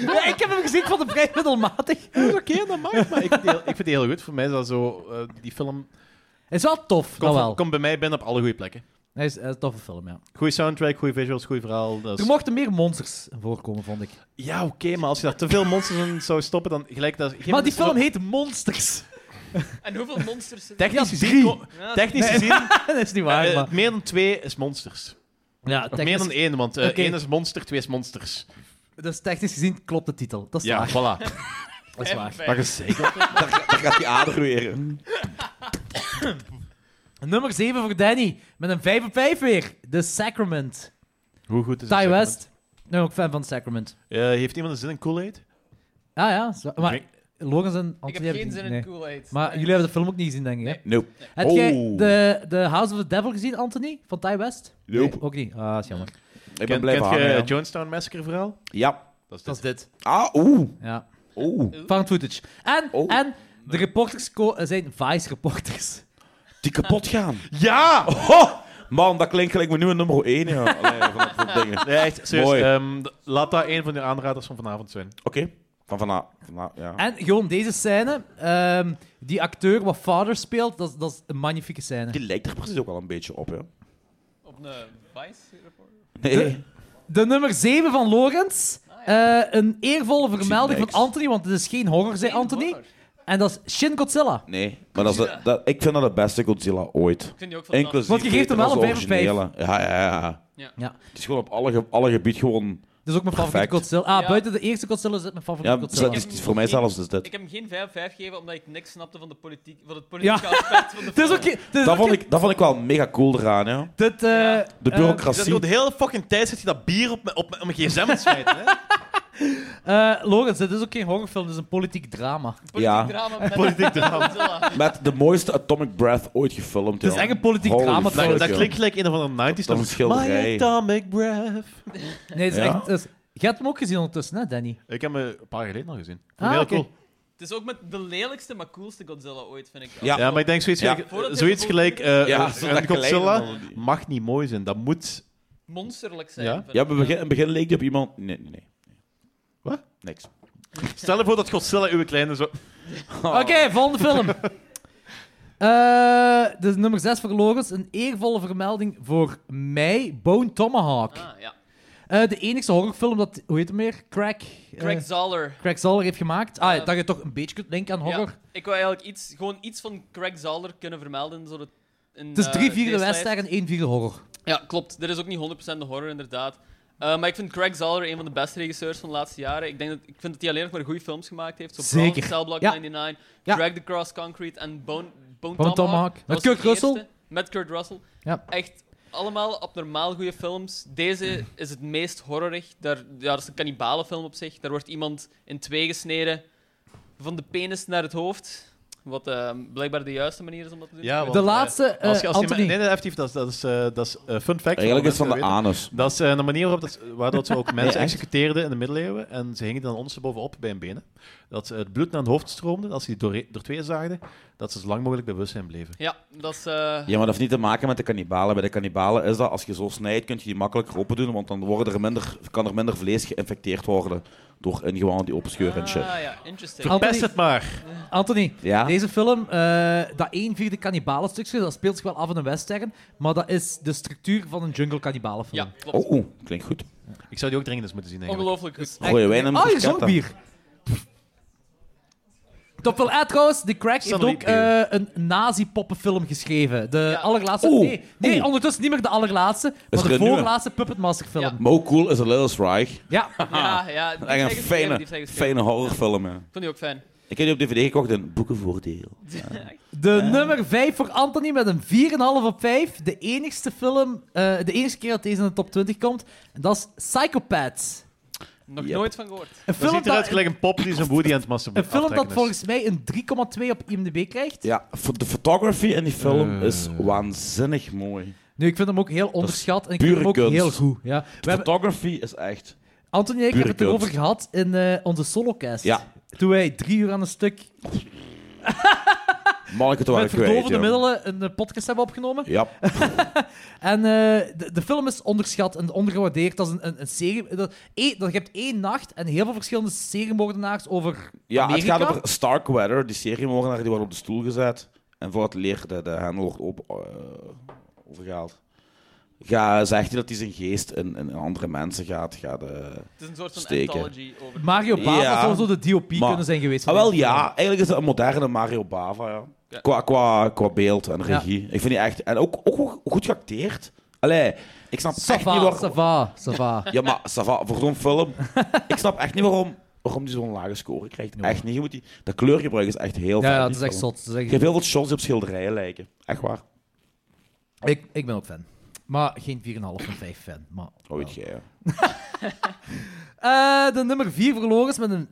S2: ja, ik heb hem gezien van de vrij middelmatig.
S1: Dat is oké, dat mag. Maar ik vind, die heel, ik vind die heel goed. Voor mij is dat zo... eh, die film
S2: Is wel tof,
S1: komt
S2: dat wel.
S1: komt bij mij binnen op alle goede plekken.
S2: Hij is eh, een toffe film, ja.
S1: Goeie soundtrack, goede visuals, goed verhaal. dat is-
S2: Er mochten meer monsters voorkomen, vond ik.
S1: Ja, oké, maar als je daar te veel monsters in zou stoppen, dan gelijk dat... geen
S2: Maar die
S1: mensen
S2: film
S1: zo-
S2: heet Monsters.
S4: En hoeveel monsters zitten
S1: Technisch
S2: Ja,
S1: gezien...
S2: drie.
S1: ko-
S4: Ja,
S1: Technisch
S2: Nee.
S1: gezien...
S2: dat is niet
S1: eh,
S2: waar, maar...
S1: meer dan twee is monsters.
S2: Ja,
S1: Of meer
S2: technisch,
S1: dan één, want eh,
S2: Oké.
S1: één is monster, twee is monsters.
S2: dus technisch gezien klopt de titel. Dat is
S1: Ja,
S2: waar.
S1: voilà.
S2: Dat is waar.
S8: Dat is zeker. daar, daar gaat die ader weer.
S2: Nummer 7 voor Danny. Met een 5 op 5 weer. The Sacrament.
S1: Hoe goed is
S2: Ty
S1: het?
S2: West. Ik ben ook fan van Sacrament.
S1: Eh, heeft iemand een zin in Kool-Aid?
S2: Ah ja, is waar. maar
S1: Ik-
S2: Logan en Anthony
S4: Ik heb
S2: hebben
S4: geen
S2: die-
S4: zin in
S2: nee.
S4: Kool-Aid.
S2: Maar
S4: Nee.
S2: jullie hebben de film ook niet gezien, denk ik. Hè?
S4: Nee.
S8: Nope.
S2: Heb jij
S8: Oh.
S2: de, de House of the Devil gezien, Anthony? Van Ty West?
S8: Nope.
S2: Nee, ook niet. Ah, is jammer.
S8: Ik ben
S1: Kent-
S8: blij
S1: kent
S8: van
S1: je
S8: ja.
S1: het Jonestown Massacre verhaal?
S8: ja.
S1: Dat is
S2: Dat
S1: dit.
S2: is dit.
S8: Ah, oeh.
S2: Ja.
S8: Oeh.
S2: Found footage. En,
S8: Oh.
S2: en de reporters ko- eh, zijn Vice-reporters.
S8: Die
S2: Ah.
S8: kapot gaan.
S1: Ja!
S8: Oh, man, dat klinkt gelijk mijn nieuwe nummer 1. Ja. Allee, van dat soort dingen. Oké,
S1: Nee, echt, serieus.
S8: Mooi.
S1: ehm, d- laat dat een van de aanraders van vanavond zijn.
S8: van vanavond. Vana, ja.
S2: En gewoon deze scène. ehm, die acteur wat Father speelt, dat, is- dat is een magnifieke scène.
S8: Die lijkt er precies ook al een beetje op, ja.
S4: Op een Vice-rapport?
S8: Nee.
S2: De nummer 7 van Lorenz. Eh, een eervolle vermelding van
S8: niks.
S2: Anthony, want het is geen horror, zei Anthony. En dat is Shin Godzilla.
S8: Nee, maar dat is de- dat, ik vind dat de beste Godzilla ooit.
S4: Ik vind die ook fantastisch.
S8: Inclusief
S2: Want je geeft hem wel
S8: beter
S2: een
S8: dan zijn
S2: vijf op
S8: originele. Ja, ja, ja.
S2: Ja.
S8: Het is gewoon op alle, ge- alle gebied gewoon...
S2: Dat is ook mijn favoriete
S8: Perfect.
S2: Godzilla. Ah,
S4: Ja.
S2: buiten de eerste Godzilla is het mijn favoriete
S8: Ja,
S2: Godzilla.
S8: het is- voor mij zelfs is dit.
S4: Ik heb hem geen 5 op 5 gegeven omdat ik niks snapte van, de politiek, van het
S2: Ja.
S4: politieke aspect van de
S2: Het is
S4: film.
S2: ook... geen- Het is
S8: Dat
S2: ook
S8: vond
S2: geen-
S8: ik, dat vond ik wel mega cool eraan, ja.
S2: dit, eh,
S4: Ja.
S8: De
S2: eh,
S1: Dus dat
S8: bureaucratie.
S1: door de hele fucking tijd zit je dat bier op mijn, op mijn, op mijn gsm te smijten. Hè?
S2: eh, Lorenz, dit is ook geen horrorfilm, dit is een politiek drama.
S4: Politiek
S8: Ja.
S4: drama met
S1: Politiek drama.
S4: Godzilla.
S8: Met de mooiste Atomic Breath ooit gefilmd,
S2: Het is
S8: ja.
S2: echt een politiek
S8: Holy
S2: drama
S8: fuck,
S1: Dat,
S2: trouwens.
S1: dat
S8: ja.
S1: klinkt gelijk een of andere 90s.
S8: Dat is een schilderij.
S1: My atomic breath.
S2: Nee, het is
S8: Ja.
S2: echt... het is- Jij hebt hem ook gezien ondertussen, hè, Danny?
S1: Ik heb hem een paar jaar geleden al gezien. Vond ik
S2: Ah,
S1: heel
S2: oké.
S1: cool.
S4: Het is ook met de lelijkste, maar coolste Godzilla ooit, vind ik.
S8: Ja.
S1: Ja, maar ik denk zoiets
S8: Ja.
S1: gelijk,
S4: Voordat hij
S1: zoiets
S4: de
S1: gelijk eh,
S8: Ja,
S1: eh,
S8: zo
S1: een
S8: dat
S1: Godzilla
S8: kleine dan.
S1: mag niet mooi zijn. Dat moet...
S4: Monsterlijk zijn.
S1: Ja.
S4: vind ik.
S8: Ja, maar begin, in het begin leek die op iemand... Nee, nee, nee.
S1: Wat?
S8: Niks.
S1: Stel je voor dat Godzilla uw kleine zo... Oh.
S2: Oké, volgende film. Eh de nummer 6 voor Lorenz. Een eervolle vermelding voor mij, Bone Tomahawk.
S4: Ah, ja.
S2: Eh, de enigste horrorfilm dat, hoe heet hem meer? Crack. eh,
S4: Craig Zahler.
S2: Craig Zahler heeft gemaakt. Ah,
S4: Eh,
S2: dat je toch een beetje kunt linken aan horror.
S4: Ja. Ik wil eigenlijk iets, gewoon iets van Craig Zahler kunnen vermelden. Zodat in,
S2: Het is
S4: eh,
S2: drie vierde
S4: deze
S2: western en één vierde horror.
S4: Ja, klopt. Dit is ook niet 100% de horror, inderdaad. Eh, maar ik vind Craig Zahler een van de beste regisseurs van de laatste jaren. Ik, denk dat, ik vind dat hij alleen nog maar goede films gemaakt heeft. Zo Brown,
S2: Zeker.
S4: Cell Block
S2: Ja.
S4: 99,
S2: Ja.
S4: Drag the Cross Concrete en Bone, Bone,
S2: Bone Tomahawk.
S4: Dat
S2: Met
S4: was de
S2: Kurt Russell.
S4: eerste. Met Kurt Russell.
S2: Ja.
S4: Echt allemaal abnormaal goede films. Deze
S8: Mm.
S4: is het meest horrorig. Daar, ja, dat is een kannibalenfilm op zich. Daar wordt iemand in twee gesneden. Van de penis naar het hoofd. Wat eh, blijkbaar de juiste manier is om dat te doen.
S1: Ja, want,
S2: De
S1: eh,
S2: laatste, eh,
S1: als je- als je-
S2: Anthony.
S1: Nee, nee, effectief, dat is, dat is, eh, dat is eh, fun fact.
S8: Eigenlijk is
S1: voor
S8: het
S1: mensen
S8: van de
S1: dat weten.
S8: anus.
S1: Dat is eh, de manier waarop dat, ze- waardoor ze ook mensen
S8: echt?
S1: executeerden in de middeleeuwen. En ze hingen dan onderstebovenop bij hun benen. Dat ze het bloed naar hun hoofd stroomde. Als ze die door, door twee zaagden, dat ze zo lang mogelijk bij bewustzijn bleven.
S4: Ja, dat is... eh,
S8: Ja, maar dat heeft niet te maken met de kannibalen. Bij de kannibalen is dat als je zo snijdt, kun je die makkelijker open doen, want dan worden er minder, kan er minder vlees geïnfecteerd worden door ingewanden die openscheuren en shit.
S4: Ah ja, interesting.
S2: Anthony-
S1: Pest het maar!
S2: Anthony,
S8: Ja?
S2: deze film, eh, dat één vierde kannibalenstukje, dat speelt zich wel af in een western, maar dat is de structuur van een jungle kannibalenfilm.
S4: Ja, klopt.
S8: Oh, oeh, klinkt goed.
S1: Ik zou die ook dringend eens moeten zien, eigenlijk.
S4: Ongelooflijk goed.
S2: Echt-
S8: Gooi je wijn en
S2: Ah, je
S8: bruschetta.
S2: zonk bier. Top veel uit trouwens, de Crack heeft ook
S1: Satelliet bier.
S2: eh, een nazi-poppenfilm geschreven. De
S4: Ja.
S2: allerlaatste...
S8: Oeh,
S2: nee, nee
S8: oeh.
S2: ondertussen niet meer de allerlaatste, maar
S8: Oh, er
S2: de
S8: een nieuwe?
S2: voorlaatste Puppet Master film.
S8: Maar hoe cool is A Little Strike?
S2: Ja.
S4: Ja, ja. die
S8: Echt
S4: heeft
S8: een
S4: hij geschreven, die heeft hij
S8: fijne,
S4: geschreven.
S8: fijne horrorfilm, hè.
S4: Ik vond die ook fijn.
S8: Ik heb die op DVD gekocht in Boekenvoordeel.
S2: De
S8: Eh.
S2: nummer 5 voor Anthony met een 4,5 op 5. De enigste film, eh, de enige keer dat deze in de top 20 komt. En dat is Psychopaths.
S4: Nog
S8: Yep.
S4: nooit van gehoord.
S2: Een
S1: Dat
S2: film
S1: ziet eruit
S2: dat,
S1: gelijk een pop die zijn Woody aan het
S2: een
S1: masturberen
S2: film dat
S1: aftrekken is.
S2: volgens mij een 3,2 op IMDb krijgt.
S8: Ja, voor de photography in die film
S1: Eh.
S8: is waanzinnig mooi.
S2: Nu, ik vind hem ook heel onderschat en ik
S8: pure
S2: vind hem ook
S8: kunst.
S2: heel goed. Ja. We
S8: De
S2: hebben,
S8: photography is echt...
S2: Anthony en ik hebben het
S8: pure
S2: erover gehad in eh, onze solocast.
S8: Ja.
S2: Toen wij drie uur aan een stuk
S8: Manneke, het waren
S2: met
S8: kwijt,
S2: verdovende
S8: joh.
S2: middelen een eh, podcast hebben opgenomen.
S8: Ja,
S2: En eh, de, de film is onderschat en ondergewaardeerd. Dat is een, een, een serie. Dat, één- dat, je hebt één nacht en heel veel verschillende seriemoordenaars over.
S8: ja het
S2: Amerika?
S8: gaat over Starkweather, die seriemoordenaar, die wordt op de stoel gezet. En voor het leer de, de hendel wordt op, eh, overgehaald. Ga, zegt hij dat hij zijn geest in, in andere mensen gaat? gaat eh,
S4: Het is een soort van
S8: Steken.
S4: anthology over.
S2: Mario Bava
S8: Ja.
S2: zou zo de DOP
S8: Maar-
S2: kunnen zijn geweest.
S8: Ah, wel ja, eigenlijk is het een moderne Mario Bava. Ja.
S4: Ja.
S8: Qua, qua, qua beeld en regie. Ik vind die echt. En ook, ook, ook goed geacteerd. Allee, ik snap echt niet
S2: Sava,
S8: waar-
S2: Sava, Sava.
S8: Ja, maar Sava, voor zo'n film. ik snap echt niet waarom, waarom die zo'n lage score krijgt. Echt niet. Je moet die, dat kleurgebruik is echt heel
S2: Ja,
S8: fijn,
S2: ja,
S8: die
S2: dat is echt
S8: film.
S2: zot. Dat is
S8: Je
S2: echt-
S8: hebt heel veel shots die op schilderijen lijken. Echt waar.
S2: Ik, ik ben ook fan. Maar geen 4,5 van 5 fan. Maar,
S8: Ooit jij. ja.
S2: Eh, de nummer 4 verloren is met een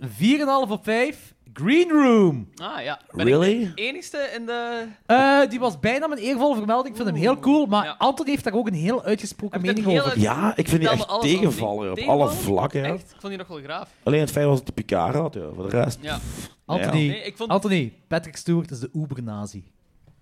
S2: 4,5 op 5. Green Room.
S4: Ah ja. Ben ik
S8: Really?
S4: de enigste in de.
S2: Eh, die was bijna mijn eervolle vermelding. Ik vind hem heel cool. Maar
S4: Ja.
S2: Anton heeft daar ook een heel uitgesproken
S4: Heb ik dat
S2: mening
S4: heel
S2: over.
S4: uit-
S8: Ja, ik vind die
S4: Vertel me
S8: echt
S4: alles over die.
S8: tegenvallen. Op alle
S4: Tegenvallen?
S8: vlakken. ja.
S4: Echt? Ik vond die nog wel graaf.
S8: Alleen het feit was dat de Picard had. Ja. Voor de rest.
S4: Ja.
S2: Anthony,
S4: Nee, ik vond-
S2: Anthony, Patrick Stewart is de uber-nazi.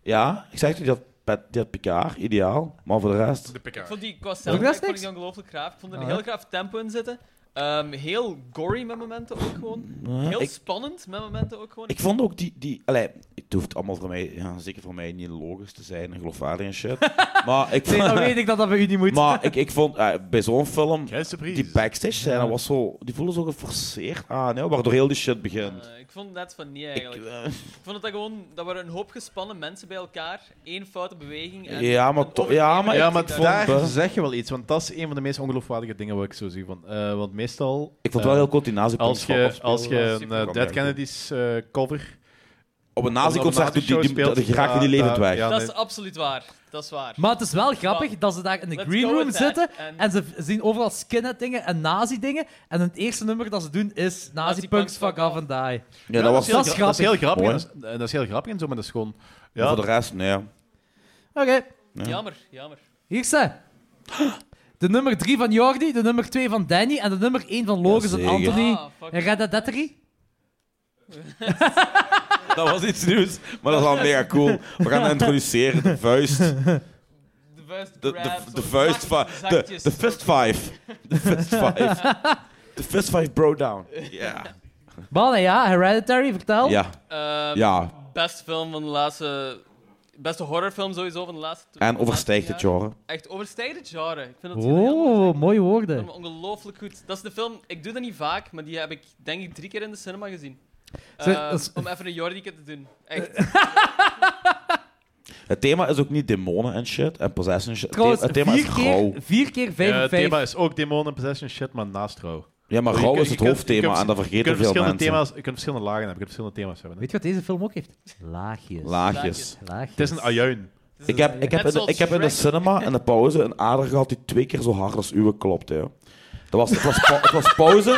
S8: Ja, ik zeg je dat. Pat- Die had Picard, ideaal. Maar voor de rest.
S4: Ik vond die qua
S2: Vond ik dat
S4: soundtrack vond ik
S2: niks?
S4: die ongelooflijk graaf. Ik vond er
S2: Ah,
S4: een
S2: ja.
S4: heel graaf tempo in zitten. Ehm, heel gory met momenten ook gewoon. Heel
S8: Ah, ik-
S4: spannend met momenten ook gewoon.
S8: Ik vond ook die... die allee, het hoeft allemaal voor mij... Ja, zeker voor mij niet logisch te zijn en geloofwaardig en shit. maar ik
S2: Nee,
S8: vond...
S2: dan weet ik dat dat bij u niet moet.
S8: maar ik, ik vond eh, bij zo'n film...
S1: Geen surprise.
S8: Die backstage scène was zo... Die voelen zo geforceerd aan, hè, waardoor heel die shit begint.
S4: Eh, ik vond het net van niet
S8: Ik,
S4: eigenlijk. Ik,
S8: eh,
S4: vond het dat gewoon, dat waren een hoop gespannen mensen bij elkaar. Één foute beweging. En
S8: ja, maar
S4: een
S8: toch...
S4: overleven.
S8: Ja, maar...
S1: ja,
S8: ik,
S1: maar
S8: vond,
S1: daar
S8: eh,
S1: zeg je wel iets, want dat is een van de meest ongeloofwaardige dingen wat ik zo zie. Van, eh, want meestal...
S8: ik vond wel
S1: eh,
S8: heel cool die
S1: Als je,
S8: nazi-concert
S1: als je een eh,
S8: Supercomeback.
S1: Dead Kennedys eh, cover...
S8: Op een
S1: op een
S8: nazi-concert doet die, die,
S1: nazi-show
S8: die, die raakt
S1: speelt,
S8: die levend
S1: ja,
S8: weg.
S1: ja,
S4: Dat
S1: nee.
S4: is absoluut waar. Dat is waar.
S2: Maar het is wel grappig dat ze daar in de
S4: Let's
S2: green
S4: go
S2: room
S4: with that.
S2: zitten
S4: En-
S2: en ze v- zien overal skinhead dingen en nazi dingen. En het eerste nummer dat ze doen is nazi punks fuck off and die.
S8: Ja, dat was...
S1: heel
S2: dat is
S1: gra- dat is heel grappig.
S8: Mooi.
S1: en dat is- En dat is heel grappig en zo, maar dat is gewoon...
S8: maar
S1: Ja,
S8: Voor de rest, nee.
S2: Oké,
S4: Jammer, jammer.
S2: hier is ze. De nummer 3 van Jordi, de nummer 2 van Danny en de nummer 1 van Logan en
S8: Jazeker.
S2: Anthony.
S4: Ah, fuck.
S2: En Red Dead Dead 3?
S8: Dat was iets nieuws, maar dat is al mega cool. We gaan introduceren, de vuist.
S4: De vuist,
S8: De,
S4: grab,
S8: de,
S4: zo
S8: de vuist van.
S4: zachtjes,
S8: De,
S4: zachtjes.
S8: de fist five. De fist five. De fist five bro down. Ja.
S2: Mannen, ja, Hereditary, vertel.
S8: Ja,
S4: Ehm,
S2: Um,
S8: ja.
S4: Beste film van de laatste... Beste horrorfilm sowieso van de laatste... tw-
S8: En overstijgt het
S4: laatste
S8: genre.
S4: jaar. Echt, overstijgt het genre. Ik vind dat heel
S2: Oh, mooie
S4: Ik
S2: woorden.
S4: vond hem ongelooflijk goed. Dat is de film, ik doe dat niet vaak, maar die heb ik denk ik drie keer in de cinema gezien.
S2: Zeg,
S4: Ehm,
S2: dat is- Eh,
S4: Om even een Jordieke te doen. Echt.
S8: Het thema is ook niet demonen en shit en possession en shit. Het thema-
S2: Trouwens,
S8: Het thema is
S2: 4
S8: rouw.
S2: keer, vier keer 5
S1: eh,
S2: en
S1: het
S2: 5.
S1: thema is ook Demon en Possession shit, maar naast rouw.
S8: Ja, maar
S1: Je
S8: rouw
S1: kunt-
S8: is
S1: je
S8: het
S1: kunt- je
S8: hoofdthema
S1: kunt-
S8: en dat
S1: Je
S8: vergeten
S1: kunt
S8: veel
S1: verschillende
S8: mensen.
S1: thema's, je kunt verschillende lagen hebben, je kunt verschillende thema's hebben.
S2: Weet je wat deze film ook heeft? Laagjes.
S8: Laagjes.
S2: Laagjes.
S1: Het is een ajuin.
S8: Ik heb, ik, heb in de, ik heb in de cinema in de pauze een ader gehad die twee keer zo hard als uwe klopt. Hè. Dat was, het, was pa- het was pauze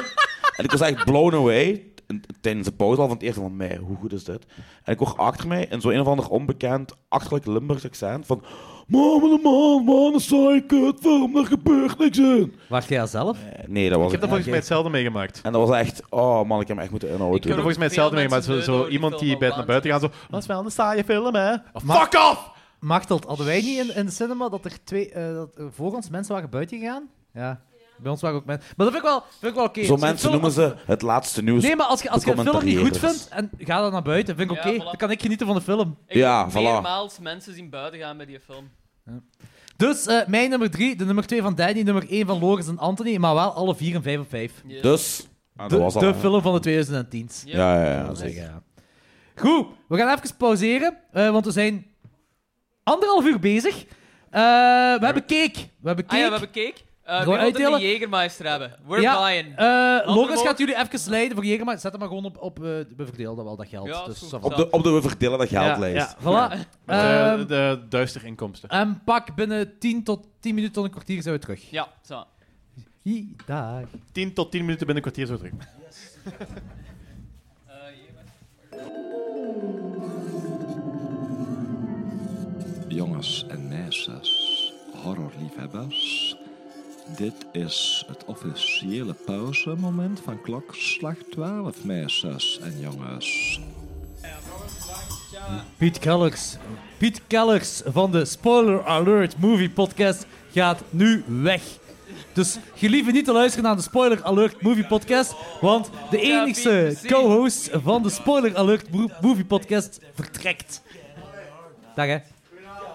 S8: en ik was echt blown away. En Tijdens de pauze al van het eerste van mij, hoe goed is dit? En ik hoor achter mij in zo'n een of ander onbekend achterlijk Limburgs accent van. Mama, man, man, dat is saai kut, waarom er gebeurt niks in?
S2: Wacht jij zelf?
S8: Eh, Nee, dat was
S1: Ik heb dat
S8: het
S1: volgens mij hetzelfde meegemaakt. Ik
S8: niet. En dat was echt, oh man, ik heb hem echt moeten
S4: Ik
S8: inhouden.
S1: heb dat
S4: heb
S1: volgens mij
S4: veel
S1: hetzelfde meegemaakt. Zo, zo
S4: mensen dood door die
S1: iemand
S4: film
S1: die
S4: al
S1: bij- naar buiten gaat zo... Dat is wel een saaie film, hè? Of fuck off!
S2: Machtelt, hadden wij niet in, in de cinema dat er twee, eh, dat er voor ons mensen waren buiten gegaan? Ja. Bij ons waren ook mensen. Maar dat vind ik wel, vind ik wel oké. Als je
S8: Zo
S2: een
S8: mensen
S2: film-
S8: noemen ze het laatste nieuws.
S2: Nee, maar als je, als je een film niet goed
S8: Commentarierers.
S2: vindt, en ga dan naar buiten. Vind ik
S4: Ja,
S2: oké.
S4: voilà.
S2: Dan kan ik genieten van de film.
S8: Ja,
S4: heb
S8: voilà.
S4: meermaals mensen zien buiten gaan bij die film.
S2: Dus eh, mijn nummer 3, de nummer 2 van Danny, nummer 1 van Loris en Anthony, maar wel alle 4 en 5 op 5.
S4: Ja.
S8: Dus, ah, dat
S2: De,
S8: was al.
S2: de
S8: hè.
S2: film van de 2010's.
S4: Ja.
S8: Ja, ja, ja, zeker.
S2: Ja. Goed, we gaan even pauzeren, eh, want we zijn anderhalf uur bezig. Eh, we hebben cake. We hebben
S4: Ah
S2: cake.
S4: ja, we hebben cake. Eh, Eh,
S2: Gewoon
S4: wie wil er
S2: uitdelen?
S4: een Jägermeister hebben? We're
S2: Ja,
S4: buying.
S2: Eh Logos
S4: omhoog.
S2: gaat jullie even leiden voor Jäger, maar zet hem maar gewoon op. op eh, we verdelen dat wel, dat geld.
S4: Ja, is
S2: dus,
S4: goed.
S2: ça va.
S8: Op de, op de we verdelen dat
S2: Ja,
S8: geldlijst.
S2: ja, voilà.
S1: Eh,
S2: Ehm,
S1: de duister inkomsten.
S2: en pak binnen 10 tot 10 minuten tot een kwartier zijn we terug.
S4: Ja, zo.
S2: Hi, dag.
S1: 10 tot 10 minuten binnen een kwartier zo terug.
S9: Jongens en meisjes, horrorliefhebbers. Dit is het officiële pauzemoment van klokslag 12, meisjes en jongens.
S2: Piet Kellers. Piet Kellers van de Spoiler Alert Movie Podcast gaat nu weg. Dus gelieve niet te luisteren naar de Spoiler Alert Movie Podcast, want de enigste co-host van de Spoiler Alert Mo- Movie Podcast vertrekt. Dag hè.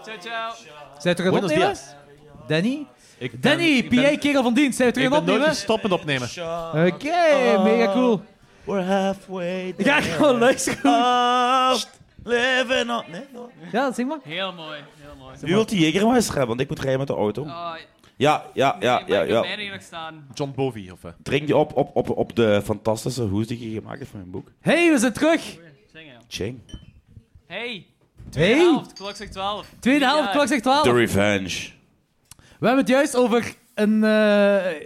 S4: Ciao, ciao.
S2: Zijn we terug aan het
S1: Buenos
S2: opnemen?
S1: dias.
S2: Danny?
S1: Ik
S2: Danny,
S1: ben- ik ben-
S2: PA kerel van dienst, zijn we terug
S1: Ik
S2: aan
S1: ben
S2: het
S1: nooit
S2: opnemen?
S1: gestopt met opnemen.
S2: Oké, mega cool.
S8: We're halfway there.
S2: Ga gewoon luisteren.
S8: Up, living on... Nee, no.
S2: Ah. Ja, zeg maar.
S4: Heel mooi, heel mooi.
S8: U wilt die Jägermeister hebben, want ik moet rijden met de auto.
S4: Ah,
S8: Ja, ja, ja,
S4: nee, maar
S8: ja.
S4: Ik heb
S8: ja.
S4: bijna hier nog staan.
S1: John Bovey, of... eh,
S8: Drink je op, op, op, op de fantastische hoes die je gemaakt hebt van mijn boek.
S2: Hey, we zijn terug.
S4: Zing, ja.
S8: Ching.
S4: Hey,
S2: Hey,
S4: helft, klok zegt 12.
S2: tweede helft,
S4: Ja.
S2: klok zegt 12.
S8: The Revenge.
S2: We hebben het juist over een, eh,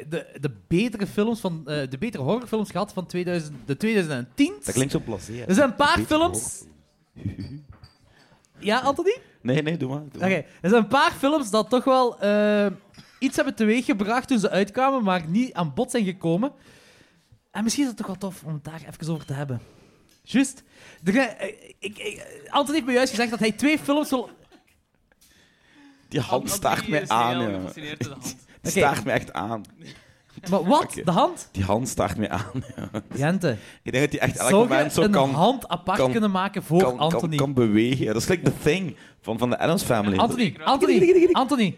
S2: de, de betere films van eh, de betere horrorfilms gehad van 2000, de 2010.
S8: Dat klinkt zo blasé. hè.
S2: Er zijn een paar
S8: Betere
S2: films. Ja, Anthony?
S8: Nee, nee, doe maar. doe
S2: Oké,
S8: maar.
S2: er zijn een paar films dat toch wel eh, iets hebben teweeggebracht toen ze uitkwamen, maar niet aan bod zijn gekomen. En misschien is het toch wel tof om het daar even over te hebben. Juist. Er zijn- eh, ik, ik, Anthony heeft me juist gezegd dat hij twee films wil.
S8: Die hand staart mij aan,
S4: Ik
S8: jongen.
S4: gefascineerd door de hand.
S8: Die
S2: Oké.
S8: staart mij echt aan.
S2: Maar wat?
S8: Oké.
S2: De hand?
S8: Die hand staart mij aan.
S2: Jente.
S8: Ik denk dat die echt elk
S2: Zou
S8: moment
S2: je
S8: zo
S2: een
S8: kan,
S2: hand apart
S8: kan-
S2: kunnen maken voor
S8: kan, kan,
S2: Anthony?
S8: kan bewegen. Dat is gelijk The Thing van, van de Addams Family.
S2: Anthony,
S4: Zeker.
S2: Anthony, Anthony.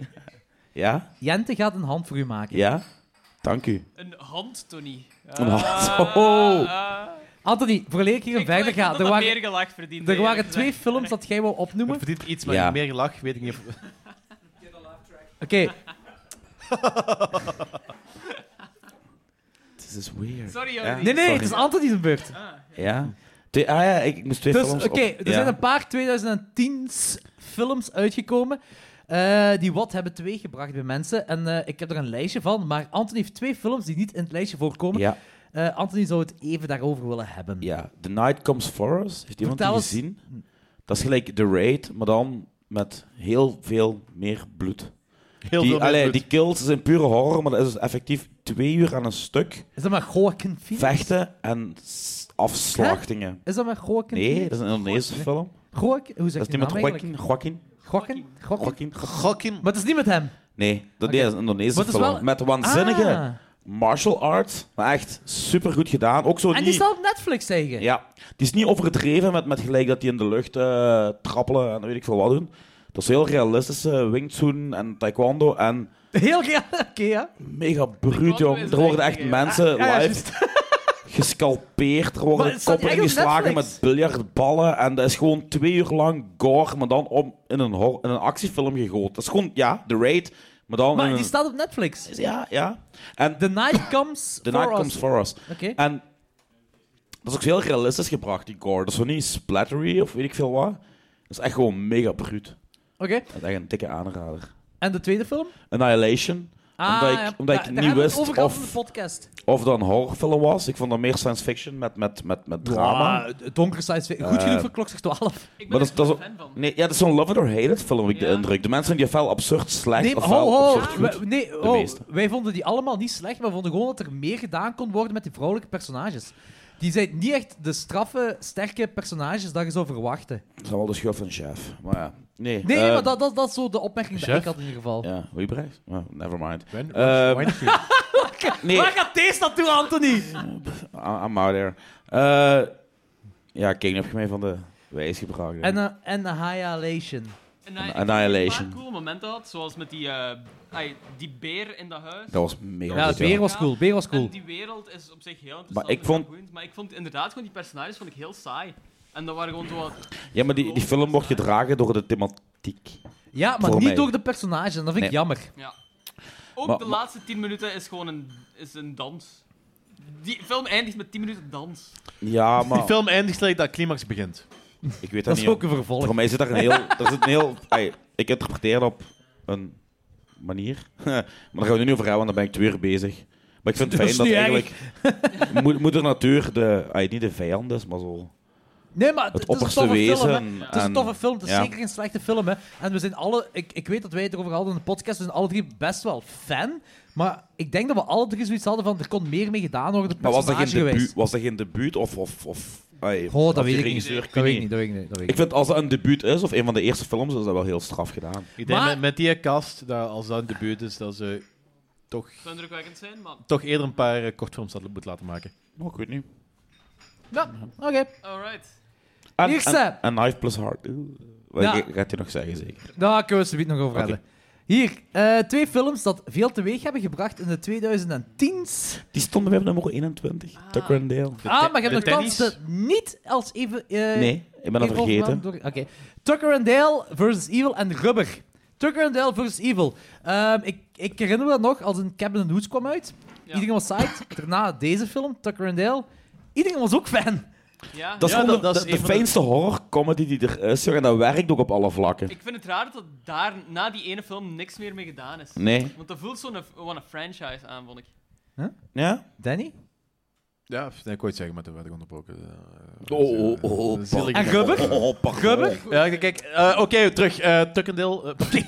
S8: Ja?
S2: Jente gaat een hand voor u maken.
S8: Ja? Dank u.
S4: Een Eh, hand, Tony.
S8: Een hand. Oh.
S2: Anthony, voordat ik hier verder ga, er waren,
S4: meer gelach verdiend.
S2: er waren
S4: eerlijk
S2: twee
S4: gezegd.
S2: films dat jij wou opnoemen.
S1: Het verdient iets, maar
S8: Ja.
S1: meer gelach, weet ik niet of...
S2: Oké,
S8: This is weird.
S4: Sorry,
S8: Ja.
S4: Jordi.
S2: nee, nee,
S8: Sorry.
S2: het is Anthony zijn beurt.
S8: Ja. Twee- ah ja, ik, ik moest twee
S2: Dus
S8: films
S2: oké,
S8: op-
S2: er
S8: ja.
S2: zijn een paar 2010 films uitgekomen eh, die wat hebben teweeggebracht bij mensen. En eh, ik heb er een lijstje van, maar Anthony heeft twee films die niet in het lijstje voorkomen.
S8: Ja,
S2: Eh, Anthony zou het even daarover willen hebben.
S8: ja. The Night Comes For Us. Heeft iemand
S2: Vertel
S8: die
S2: eens.
S8: gezien? Dat is gelijk The Raid, maar dan met heel veel meer bloed.
S1: Heel
S8: die,
S1: veel
S8: allee,
S1: meer
S8: die kills zijn pure horror, maar dat is dus effectief twee uur aan een stuk
S2: Is dat maar Joaquin Phoenix?
S8: vechten en s- afslachtingen.
S2: Is dat maar Joaquin
S8: Nee,
S2: Phoenix?
S8: dat is een Indonesische film.
S2: Joaquin? Hoe
S8: Dat
S2: zeg
S8: is
S2: je
S8: niet
S2: dat
S8: met
S2: eigenlijk?
S8: Joaquin. Joaquin?
S2: Joaquin? Joaquin?
S8: Joaquin?
S1: Gokkin.
S2: Maar het is niet met hem.
S8: Nee, dat
S2: Oké.
S8: nee, dat is een Indonesische
S2: Maar het is
S8: film.
S2: wel-
S8: Met waanzinnige
S2: Ah.
S8: martial arts. Maar echt super goed gedaan. Ook zo
S2: En die
S8: niet...
S2: staat op Netflix, zeggen.
S8: Ja, die is niet overdreven met, met gelijk dat die in de lucht eh, trappelen en weet ik veel wat doen. Dat is heel realistische wingsuit en taekwondo en
S2: Heel ja, oké, ja.
S8: mega bruut, jong.
S4: is
S8: Er worden
S4: echt
S8: echt
S4: niet,
S8: mensen
S2: ja,
S8: live gescalpeerd, er
S2: Maar
S8: worden
S2: het staat
S8: koppen
S2: echt op
S8: ingeslagen
S2: Netflix.
S8: met biljartballen en dat is gewoon twee uur lang gore, maar dan om in een, hor- in een actiefilm gegooid. Dat is gewoon, ja, The Raid, maar dan in
S2: Maar die
S8: een-
S2: staat op Netflix.
S8: Ja, ja. En
S2: The Night Comes
S8: The
S2: For
S8: Night
S2: Us.
S8: Comes For Us.
S2: Oké.
S8: En dat is ook heel realistisch gebracht, die gore. Dat is zo niet splattery of weet ik veel wat. Dat is echt gewoon mega bruut.
S2: Oké.
S8: Dat is echt een dikke aanrader.
S2: En de tweede film? Ah,
S8: Annihilation. Omdat ik- omdat ik
S2: daar hebben
S8: niet
S2: we het
S8: wist
S2: over gehad
S8: of-
S2: in de podcast.
S8: Of dat een horrorfilm was. Ik vond dat meer science fiction met, met, met, met drama.
S2: Ah, donkere science fiction. Goed
S8: Eh.
S2: genoeg voor klok 12.
S4: Ik
S8: Maar
S4: ben
S8: dat
S4: er
S8: is- dat is
S4: een fan van.
S8: Nee, ja, dat is zo'n love it or hate it film, heb ik de
S4: Ja.
S8: indruk. De mensen die fel absurd slecht
S2: Nee,
S8: of
S2: ho,
S8: fel
S2: ho,
S8: absurd goed.
S2: we- nee,
S8: De
S2: ho,
S8: meeste.
S2: wij vonden die allemaal niet slecht, maar we vonden gewoon dat er meer gedaan kon worden met die vrouwelijke personages. Die zijn niet echt de straffe, sterke personages dat je zou verwachten.
S8: Dat is wel de schuld van chef. Maar ja, nee.
S2: Nee,
S8: eh,
S2: maar dat, dat, dat is zo de opmerking die
S1: Chef?
S2: ik had in ieder geval.
S8: Ja, hoe je bereikt? Oh, never mind.
S1: When-
S8: Eh,
S1: when- when-
S8: nee,
S2: Waar gaat deze naartoe, Anthony?
S8: I- I'm out there. Eh, ja, King heb je mij van de wijs gebracht. hè.
S2: En, eh, en Annihilation.
S4: En hij- ik vond dat hij
S8: Annihilation.
S4: Een paar coole momenten had, zoals met die, eh, ai, die beer in dat huis.
S8: Dat was mega
S2: Ja,
S8: goed,
S2: Beer was
S4: Ja.
S2: cool. Beer was cool.
S4: En die wereld is op zich heel interessant.
S8: Maar ik
S4: en
S8: vond-
S4: boeiend, maar ik vond inderdaad gewoon die personages vond ik heel saai. En dat waren gewoon zo wat...
S8: Ja, maar die, die film wordt gedragen door de thematiek.
S2: Ja, maar
S8: Voor
S2: niet
S8: mij.
S2: door de personage. En dat vind ik
S8: Nee.
S2: jammer.
S4: Ja. Ook
S8: Maar-
S4: de
S8: maar-
S4: laatste 10 minuten is gewoon een, is een dans. Die film eindigt met 10 minuten dans.
S8: Ja,
S1: Die
S8: maar
S1: film eindigt gelijk dat climax begint.
S8: ik weet dat,
S2: Dat is
S8: niet.
S2: ook
S8: Ook...
S2: een vervolg.
S8: Voor mij zit daar een heel... Er zit een heel ai, ik interpreteer dat op een manier. maar daar gaan we nu niet over hebben, want dan ben ik twee uur bezig. Maar ik vind het
S2: Dat
S8: fijn
S2: is
S8: dat
S2: niet
S8: eigenlijk... Mo- Moeder Natuur de... ai, niet de vijand is, maar zo...
S2: Nee, maar het,
S8: Het
S2: het is een
S8: opperste
S2: toffe film. hè.
S8: wezen.
S2: Het is een
S8: en-
S2: toffe film. Het is
S8: ja.
S2: zeker geen slechte film. Hè. En we zijn alle... Ik, ik weet dat wij het erover hadden in de podcast. We zijn alle drie best wel fan. Maar ik denk dat we alle drie zoiets hadden van... Er kon meer mee gedaan worden. Het
S8: Maar was dat geen
S2: personage
S8: debuut?
S2: geweest.
S8: Was dat geen debuut? Of... of, of ai,
S2: Oh, dat
S8: had
S2: weet
S8: die
S2: ik niet.
S8: regisseur-
S2: Dat weet ik niet. Dat weet ik niet. Dat weet ik
S8: Ik vind als dat een debuut is, of een van de eerste films, is dat wel heel straf gedaan.
S1: Ik denk
S2: Maar-
S1: met, met die cast, dat als dat een debuut is, dat ze toch,
S4: Het zou indrukwekkend zijn, maar...
S1: toch eerder een paar eh, kortfilms hadden moeten laten maken.
S8: Maar Oh, ik weet niet.
S2: niet. Ja, oké.
S4: Alright.
S8: En,
S2: Eerste.
S8: en, en Knife plus Heart. Oeh. Wat
S2: Ja.
S8: ga- gaat hij nog zeggen, zeker?
S2: Daar kunnen we het nog over
S8: Oké.
S2: hebben. Hier, eh, twee films dat veel teweeg hebben gebracht in de 2010s.
S8: Die stond bij mij op nummer 21. Tucker and Dale.
S2: ah, maar je
S1: de
S2: hebt de
S1: tennis?
S2: kansen niet als even... eh,
S8: Nee, ik ben dat
S2: Evil
S8: vergeten.
S2: Van Dor- Oké. Tucker and Dale versus Evil en Rubber. Tucker and Dale versus Evil. Ehm, ik, ik herinner me dat nog als een Cabin in the Woods kwam uit. Iedereen was psyched. Daarna deze film, Tucker and Dale. Iedereen was ook fan.
S4: Ja.
S8: Dat is
S1: Ja,
S8: gewoon
S1: dat- dat
S8: de,
S1: is
S8: de, de
S1: een van de-
S8: fijnste horrorcomedy die er is. jongen, En dat werkt ook op alle vlakken.
S4: Ik vind het raar dat daar na die ene film niks meer mee gedaan is.
S8: Nee.
S4: Want dat voelt zo'n gewoon een franchise aan, vond ik.
S8: Ja?
S2: Danny?
S1: Ja, dat kon je het zeggen, maar toen werd ik onderbroken. Eh,
S8: Oh, oh, oh, oh.
S1: eh, zielig.
S2: En Rubber?
S8: Oh, oh, pardon.
S2: Rubber?
S1: Ja, kijk, eh, oké, terug. eh Tuckendale. eh,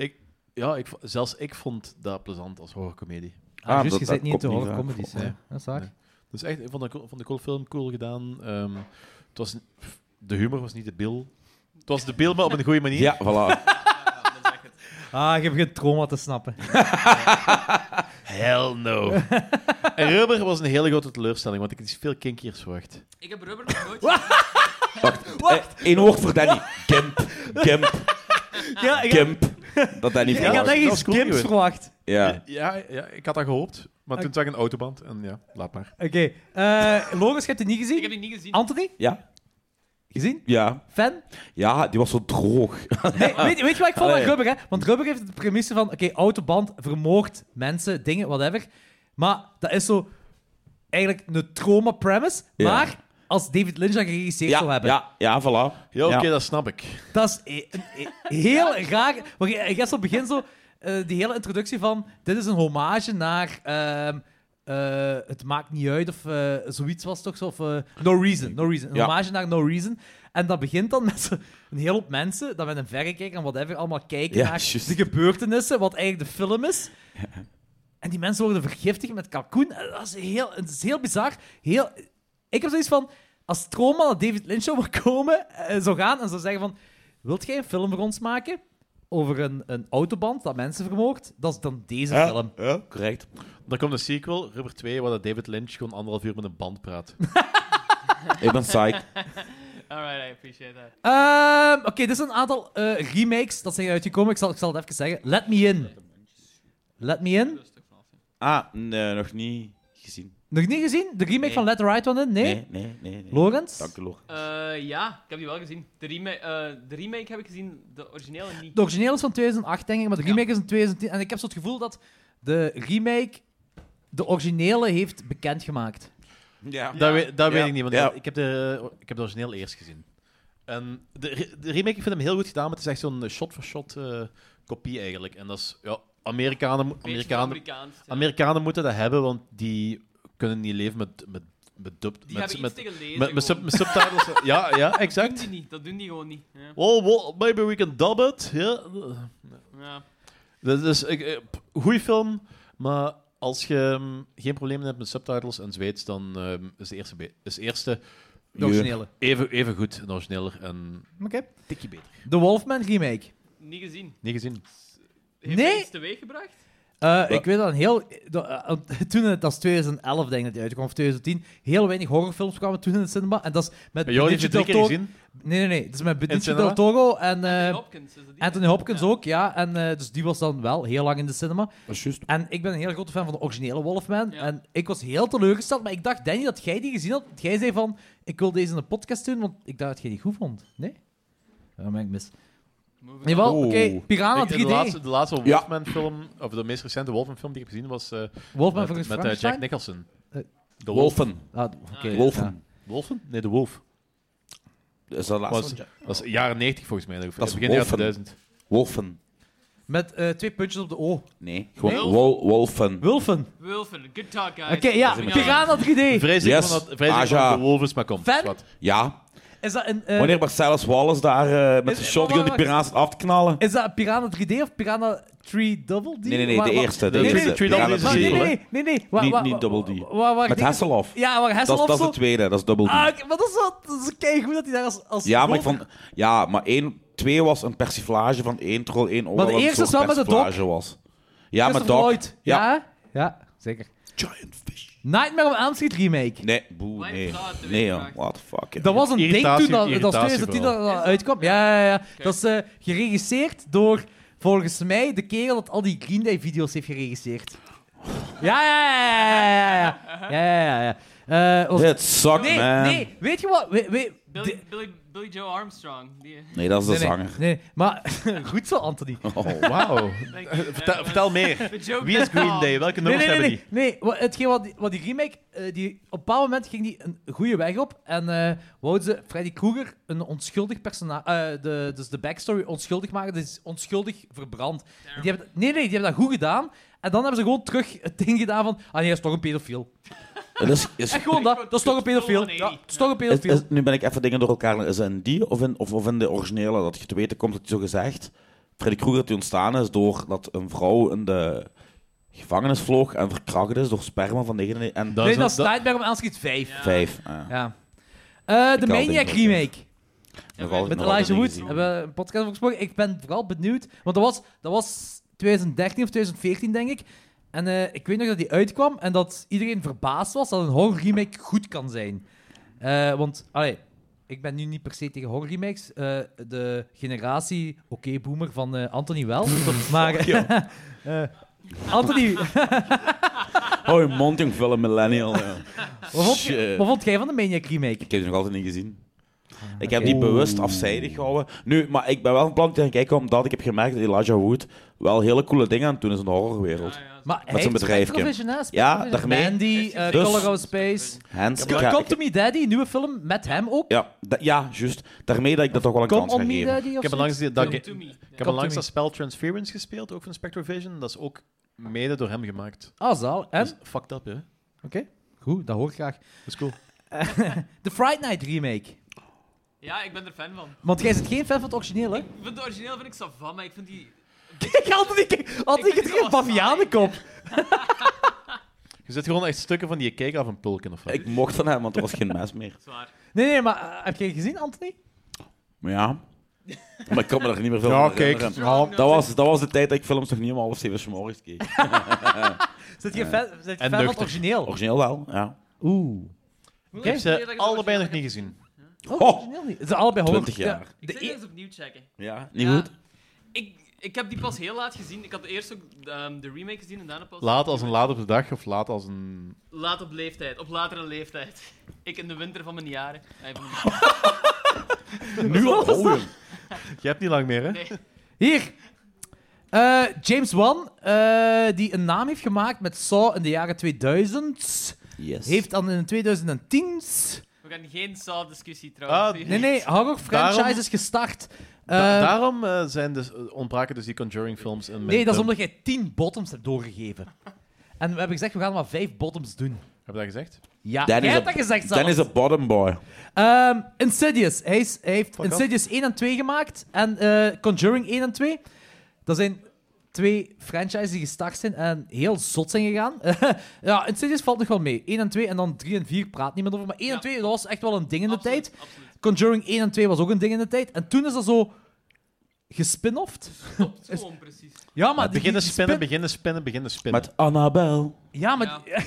S1: ik, ja, ik, vo- zelfs ik vond dat plezant als horrorcomedie.
S2: Ah,
S8: Ah,
S2: juist,
S8: dat-
S2: je
S8: dat
S2: zit niet
S8: komt
S2: te
S8: niet
S2: horen
S8: vaak
S2: comedies.
S8: voor,
S2: hè.
S1: nee.
S2: Dat is waar.
S1: Nee. Dus echt, ik vond de, cool- vond de cool film cool gedaan. Ehm, het was, de humor was niet de bil. Het was de bil, maar op een goede manier.
S8: Ja, voilà.
S2: Ah, je begint trauma te snappen.
S4: Ah.
S1: Hell no. en Rubber was een hele grote teleurstelling, want ik had iets veel kinkiers verwacht.
S4: Ik heb Rubber nog nooit gezien.
S8: Eén Eh, woord voor Danny. Gimp. Gimp.
S2: ja, ik,
S8: Gimp. Dat Danny
S2: ik had
S1: dat
S8: verwacht.
S2: echt
S1: was
S2: iets
S1: cool,
S2: Kims
S1: joh.
S2: verwacht.
S8: Ja.
S1: Ja, ja, ik had dat gehoopt, maar toen zag ik een autoband en ja, laat maar.
S2: Oké. eh Loris, je hebt het niet
S4: Ik
S2: gezien.
S4: heb die niet gezien.
S2: Anthony?
S8: Ja.
S2: Gezien?
S8: Ja.
S2: Fan?
S8: Ja, die was zo droog.
S2: Nee, weet, weet je wat ik vond aan
S8: Allee.
S2: Rubber? Hè? Want Rubber heeft de premisse van... Oké, autoband, vermoord, mensen, dingen, whatever. Maar dat is zo... Eigenlijk een trauma-premise.
S8: Ja.
S2: Maar als David Lynch dat geregisseerd zou
S8: Ja,
S2: hebben.
S8: ja, ja, voilà.
S1: Ja, oké,
S8: Ja.
S1: dat snap ik.
S2: Dat is e- een e- heel raar... Want je, je hebt zo begin zo... eh, die hele introductie van... Dit is een hommage naar... ehm, eh, het maakt niet uit of eh, zoiets was toch zo. Of, eh, no Reason. No reason. Een
S8: Ja.
S2: hommage naar No Reason. En dat begint dan met zo een hele hoop mensen dat met een verrekijker en whatever allemaal kijken
S8: Ja,
S2: naar
S8: juist.
S2: de gebeurtenissen, wat eigenlijk de film is. En die mensen worden vergiftigd met kalkoen. En Dat is heel, het is heel bizar. Heel, ik heb zoiets van, als Troma naar David Lynch zou komen, eh, zou gaan en zou zeggen van, wilt jij een film voor ons maken over een, een autoband dat mensen vermoordt? Dat is dan deze
S8: Ja,
S2: film.
S8: ja, correct.
S1: Dan komt de sequel, Rubber 2, waar dat David Lynch gewoon anderhalf uur met een band praat.
S8: Ik ben psyched.
S4: Alright, I appreciate that.
S2: Ehm, Oké, dit is een aantal eh, remakes dat zijn uitgekomen. Ik zal, ik zal het even zeggen. Let Me In. Let Me In.
S8: Ah, nee, nog niet gezien.
S2: Nog niet gezien? De remake van Let the Right One In? Nee?
S8: Nee, nee, nee. nee.
S2: Lorenz?
S8: Dank u, Lorenz.
S4: Eh, ja, ik heb die wel gezien. De, remake, eh, de remake heb ik gezien, de originele niet.
S2: De origineel is van 2008, denk ik, maar de remake is van 2010. En ik heb zo het gevoel dat de remake de originele heeft bekendgemaakt.
S8: Ja.
S4: Ah,
S1: Dat, weet, dat
S8: Ja.
S1: weet ik niet, want
S8: Ja.
S1: ik- ik, heb de, ik heb de origineel eerst gezien. En de, re- de remake, ik vind hem heel goed gedaan, maar het is echt zo'n eh, shot-for-shot eh, kopie eigenlijk. En dat is, ja, Amerikanen, mo-
S4: Beetje
S1: Amerikanen,
S4: Amerikaans. ja.
S1: Amerikanen moeten dat hebben, want die kunnen niet leven met, met, met, dub-
S4: Die
S1: met,
S4: hebben
S1: met,
S4: iets tegen lezen.
S1: met, met sub-
S4: gewoon.
S1: met subtitles. ja, ja,
S4: dat doen
S1: exact.
S4: die niet. Dat doen die gewoon niet. Ja.
S1: Well, well, maybe we can dub it. Yeah.
S4: Ja.
S1: Dat is een goede film, maar als je ehm, geen problemen hebt met subtitles en Zweeds, dan ehm, is de eerste, be- is de eerste
S2: De originele.
S1: even, even goed en origineler en
S2: Oké.
S1: een tikje beter.
S2: De Wolfman remake.
S4: Niet gezien.
S1: Niet gezien.
S4: Heeft
S2: Nee.
S4: hij iets teweeggebracht?
S2: Eh, ik weet dat een heel... de- eh, toen het als 2011, denk ik, dat die uitkwam, of 2010, heel weinig horrorfilms kwamen toen in de cinema. En dat is met
S1: Maar Jordi heeft je
S2: Benicio
S1: drie
S2: del
S1: keer
S2: Toro-
S1: gezien.
S2: Nee, nee, nee. Dat is met Benicio
S1: cinema?
S2: Del Toro en
S4: Anthony
S2: eh,
S4: Hopkins, is dat die?
S2: Anthony Hopkins
S4: Ja.
S2: ook, ja. En, eh, dus die was dan wel heel lang in de cinema.
S8: Dat is juist.
S2: En ik ben een heel grote fan van de originele Wolfman.
S4: Ja.
S2: En ik was heel teleurgesteld. Maar ik dacht, Danny, dat jij die gezien had. Want jij zei van, ik wil deze in een podcast doen, want ik dacht dat jij die goed vond. Nee? Dan ben ik mis. Jawel, oké.
S1: Oeh.
S2: Piranha
S1: Ik-
S2: 3D.
S1: de laatste, de laatste
S8: Ja.
S1: Wolfman-film, of de meest recente Wolfman-film die ik heb gezien, was eh,
S2: Wolfman
S1: met,
S2: versus
S1: met eh,
S2: Frankenstein?
S1: Jack Nicholson.
S2: Eh,
S1: De Wolf.
S8: Wolfen.
S2: Ah, d- oké, ja.
S8: Wolfen.
S1: Wolfen? Nee, de Wolf.
S8: Is dat de
S1: Was,
S8: laatste?
S1: was jaren 90 volgens mij.
S8: Ah, Dat is
S1: begin jaren
S8: Wolfen.
S1: 2000.
S8: Wolfen.
S2: Met eh, twee puntjes op de O.
S8: Nee, gewoon
S2: Nee?
S8: Wol- Wolfen.
S2: Wilfen.
S6: Wilfen, good talk, guys.
S8: Ah,
S2: Oké, ja.
S6: Moving on.
S2: Piranha 3D.
S1: Vrees ik
S8: Yes.
S1: van dat- vrees ik van
S8: Aja.
S1: dat de Wolf is, maar kom.
S2: Fan?
S1: zwart.
S8: Ja.
S2: Is dat een... eh,
S8: Wanneer Marcellus Wallace daar eh, met
S2: Is-
S8: zijn shotgun die
S2: wacht, wacht.
S8: piraten af te knallen?
S2: Is dat Piranha 3D of Piranha 3 Double D?
S8: Nee, nee, nee,
S2: Waar-
S8: de
S2: waar-
S8: eerste. De
S1: Nee,
S8: eerste.
S1: nee, nee,
S8: Piraten
S1: Double D is
S2: Maar
S8: drie,
S2: nee,
S1: sequel,
S2: nee, nee, nee. Waar-
S8: Niet-
S2: waar-
S8: niet Double D.
S2: waar- waar-
S8: Met
S2: dingen-
S8: Hasselhoff.
S2: Ja, waar
S8: Dat, is-
S2: Hasselhoff
S8: dat is
S2: zo...
S8: de tweede, dat is Double D.
S2: Ah, oké, maar dat is wel... Dat is keigoed dat hij daar als... als
S8: ja, maar ik
S2: wolf-
S8: vond... Ja, maar één... Twee was een persiflage van één troll, één oor.
S2: Maar de
S8: wat een
S2: eerste
S8: soort
S2: is wel met de dok.
S8: persiflage was. Ja, met
S2: Christopher
S8: Doc.
S2: Lloyd.
S8: Ja.
S2: Ja? Ja, zeker.
S8: Giant fish.
S2: Nightmare on Elm Street remake.
S8: Nee, boe,
S6: Blijf
S8: nee.
S6: praten,
S8: Nee,
S6: weet
S8: joh.
S6: je maar.
S8: What the fuck, joh.
S2: Dat was een ding
S1: Irritatie-
S2: toen dat, dat was
S1: irritatie
S2: 2010 dat dat uitkwam. Ja, ja, ja. Dat is eh, geregisseerd door, volgens mij, de kerel dat al die Green Day-video's heeft geregisseerd. Ja, ja, ja, ja, ja, ja. ja, ja, ja, ja. Eh, was-
S8: It sucked,
S2: nee,
S8: man. Nee.
S2: nee, weet je wat? We, we,
S6: Billy, Billy, Billy Joe Armstrong. Die,
S8: dat is de
S2: nee, nee,
S8: zanger.
S2: nee, maar goed zo, Anthony.
S8: Oh.
S1: Wauw.
S6: Thank you. That
S1: vertel,
S6: was
S1: vertel meer.
S6: eh, the joke
S1: Wie is
S6: that
S1: Green
S6: bombed.
S1: Day? Welke
S2: Nee,
S1: nummers
S2: nee, nee,
S1: hebben
S2: nee, nee. Wa- Hetgeen wat die, wat die remake, eh, die, op een bepaald moment ging die een goede weg op. En eh wouden ze Freddy Krueger een onschuldig personage, de, dus de backstory onschuldig maken. Dus onschuldig verbrand. En Die hebben, nee, nee, die hebben dat goed gedaan. En dan hebben ze gewoon terug het ding gedaan van, ah nee, dat is toch een pedofiel.
S8: Het is, is,
S2: Echt gewoon dat, dat is toch een pedofiel. Ja, dat is toch een
S8: is-
S2: pedofiel.
S8: is- nu ben ik even dingen door elkaar. Is het in die of in, of, of in de originele dat je te weten komt dat je zo gezegd. Freddy Krueger die ontstaan is doordat een vrouw in de gevangenis vloog en verkracht is door sperma van 99 en
S1: Dat
S2: Nee,
S1: is
S2: dat is
S1: dat-
S2: Nightmare on Elm Street 5. Ja.
S8: 5. Ah,
S2: Eh, de
S8: Ik haal
S2: Maniac
S8: dit nog, ja.
S2: remake.
S8: nogal,
S2: Met
S8: nogal
S2: Elijah
S8: dingen
S2: Wood
S8: gezien.
S2: hebben we een podcast over gesproken. Ik ben vooral benieuwd, want dat was, dat was 2013 of 2014, denk ik. En eh, ik weet nog dat die uitkwam en dat iedereen verbaasd was dat een horror remake goed kan zijn. Eh, want, allee, ik ben nu niet per se tegen horror remakes. Eh, de generatie oké-boomer van eh, Anthony wel. maar... eh, Anthony,
S8: Oh, je mond, jong, vuile millennial. ja.
S2: wat vond, je-
S8: Shit.
S2: wat vond jij van de Maniac remake?
S8: Ik heb die nog altijd niet gezien. Ah, Ik heb die bewust afzijdig gehouden. Nu, maar ik ben wel een plan te gaan kijken, omdat ik heb gemerkt dat Elijah Wood wel hele coole dingen aan het doen is in de horrorwereld.
S2: Maar hij
S8: zijn
S2: heeft
S8: bedrijfje.
S2: Spectrovision, hè?
S8: Ja,
S2: Spectrovision.
S8: daarmee.
S2: Mandy, eh,
S8: Dus-
S2: Color Out of Space.
S8: Hans, ik ga-
S2: Come
S8: ik-
S2: to Me Daddy, nieuwe film met hem ook.
S8: ja, da- ja, juist. Daarmee dat ik dat toch wel een
S2: Come
S8: kans ga
S2: on Me
S8: geven.
S2: Daddy.
S1: Ik heb
S2: of
S1: langs, die, dat,
S6: Come
S1: ik
S6: to me.
S1: heb
S2: to
S1: langs
S2: me.
S1: dat spel Transference gespeeld, ook van Spectrovision. Dat is ook mede door hem gemaakt.
S2: Ah, zaal. En?
S1: Dat is fucked up, hè? Dat
S2: Goed, dat hoor ik graag.
S1: is cool.
S2: De Fright Night remake.
S6: Ja, ik ben er fan van.
S2: Want jij bent geen fan van het origineel, hè?
S6: Ik vind het origineel vind ik savant, maar ik vind die...
S2: Kijk, altijd ik altijd
S6: Ik vind
S2: ik het
S6: het wel
S2: geen bavianenkop.
S1: Je zet gewoon echt stukken van die je kijkt af een pulken of wat.
S8: Ik mocht van hem, want er was geen mes meer.
S6: Zwaar.
S2: Nee, nee, maar eh, heb jij gezien, Anthony?
S8: Maar ja. Maar ik kan me er niet meer veel
S1: Ja,
S8: van
S1: kijk.
S8: herinneren.
S1: Ja.
S8: Dat was, dat was de tijd dat ik films nog niet om half zeven 's morgens keek.
S2: Zit je fan, zit je fan
S1: En
S2: van het
S1: nuchter.
S2: origineel?
S8: Origineel wel, ja.
S2: Oeh.
S1: Ik heb ze allebei nog niet gezien.
S2: Oh,
S8: Ho!
S2: het origineel niet. Ze zijn allebei horror.
S8: 20 jaar.
S2: Ja, de
S6: ik
S2: e-
S6: eens opnieuw checken.
S8: Ja, niet
S6: Ja,
S8: goed?
S6: Ik, ik heb die pas heel laat gezien. Ik had eerst ook ehm, de remake gezien en daarna pas...
S1: Laat als een laat op de dag of laat als een.
S6: Laat op leeftijd. Op latere leeftijd. Ik in de winter van mijn jaren. Nee, van-
S8: Nu al hoor.
S1: Je hebt niet lang meer, hè?
S6: Nee.
S2: Hier. Eh, James Wan, eh, die een naam heeft gemaakt met Saw in de jaren 2000,
S8: Yes.
S2: heeft dan in 2010
S6: We gaan geen Saw-discussie trouwens.
S1: Ah,
S2: Nee, nee, horror franchise
S1: Daarom-
S2: is gestart.
S1: Da-
S2: Eh,
S1: daarom eh, zijn dus, eh, ontbraken dus die Conjuring films. In
S2: nee,
S1: mijn
S2: dat is
S1: top.
S2: omdat jij tien bottoms hebt doorgegeven. En we hebben gezegd, we gaan maar vijf bottoms doen.
S1: Heb je dat gezegd?
S2: Ja,
S8: Dan
S2: jij
S8: is
S2: hebt
S8: het-
S2: dat gezegd zelf.
S8: Dan is een bottom boy.
S2: Ehm, Insidious. Hij, is- hij heeft
S1: Fuck off.
S2: Insidious 1 en 2 gemaakt. En eh, Conjuring 1 en 2. Dat zijn twee franchises die gestart zijn en heel zot zijn gegaan. ja, Insidious valt nog wel mee. 1 en 2 en dan 3 en 4 praat niemand over. Maar 1 en
S6: Ja.
S2: 2, dat was echt wel een ding in de tijd.
S6: Absoluut.
S2: Conjuring 1 en 2 was ook een ding in de tijd. En toen is dat zo gespin-offed.
S6: Klopt,
S2: Dus-
S6: gewoon precies.
S2: Ja, maar... die-
S1: Beginnen
S2: die
S1: spinnen,
S2: spin-
S1: beginnen spinnen, beginnen spinnen.
S8: Met Annabel.
S2: Ja, maar...
S6: Ja.
S2: Ja,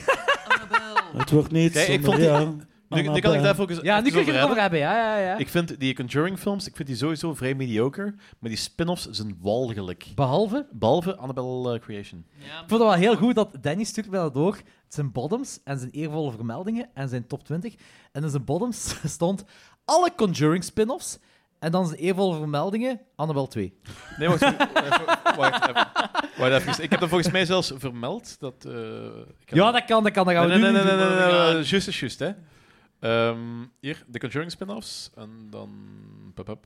S6: Annabel.
S8: Het wordt niet
S1: Kijk, ik
S8: zonder
S1: vond die-
S8: jou.
S1: nu, nu kan ik
S8: Annabel.
S1: daar focus
S2: nu kun je het over hebben. Ja, ja, ja.
S1: Ik vind die Conjuring-films, ik vind die sowieso vrij mediocre, maar die spin-offs zijn walgelijk.
S2: Behalve...
S1: Behalve Annabelle eh, Creation.
S6: Ja.
S2: Ik vond het wel heel goed dat Danny stuurt mij dat door. Het zijn bottoms en zijn eervolle vermeldingen en zijn top 20. En in zijn bottoms stond alle Conjuring spin-offs En dan zijn eervolle vermeldingen, Annabel 2.
S1: Nee, wacht even. Wacht, wacht even. Wacht even. Ik heb dat volgens mij zelfs vermeld. Dat, eh, ik heb-
S2: Ja, dat kan, dat kan. Dat gaan we
S1: nee, nee,
S2: nu
S1: nee,
S2: niet
S1: nee,
S2: doen.
S1: nee, nee,
S4: Ja.
S1: nee, juist is juist, hè. Ehm, hier, de Conjuring spin-offs. En dan... Pap, pap.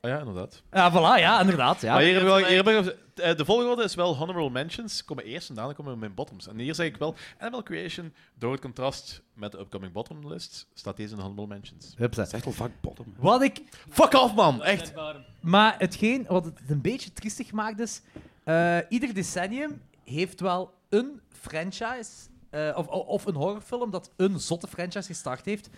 S1: Ah ja, inderdaad.
S2: Ja, voilà, ja, inderdaad. Ja.
S1: maar hier hebben we wel- hier hebben we- eh, de volgorde is wel honorable mentions. Komen eerst en daarna komen mijn bottoms. En hier zeg ik wel, Animal Creation, door het contrast met de upcoming bottom list, staat deze in de honorable mentions.
S2: Hupsa.
S8: is echt al vaak bottom.
S2: Wat ik
S1: Fuck off, man! Echt!
S2: Maar hetgeen wat het een beetje triestig maakt is, eh, ieder decennium heeft wel een franchise eh, of, of een horrorfilm dat een zotte franchise gestart heeft.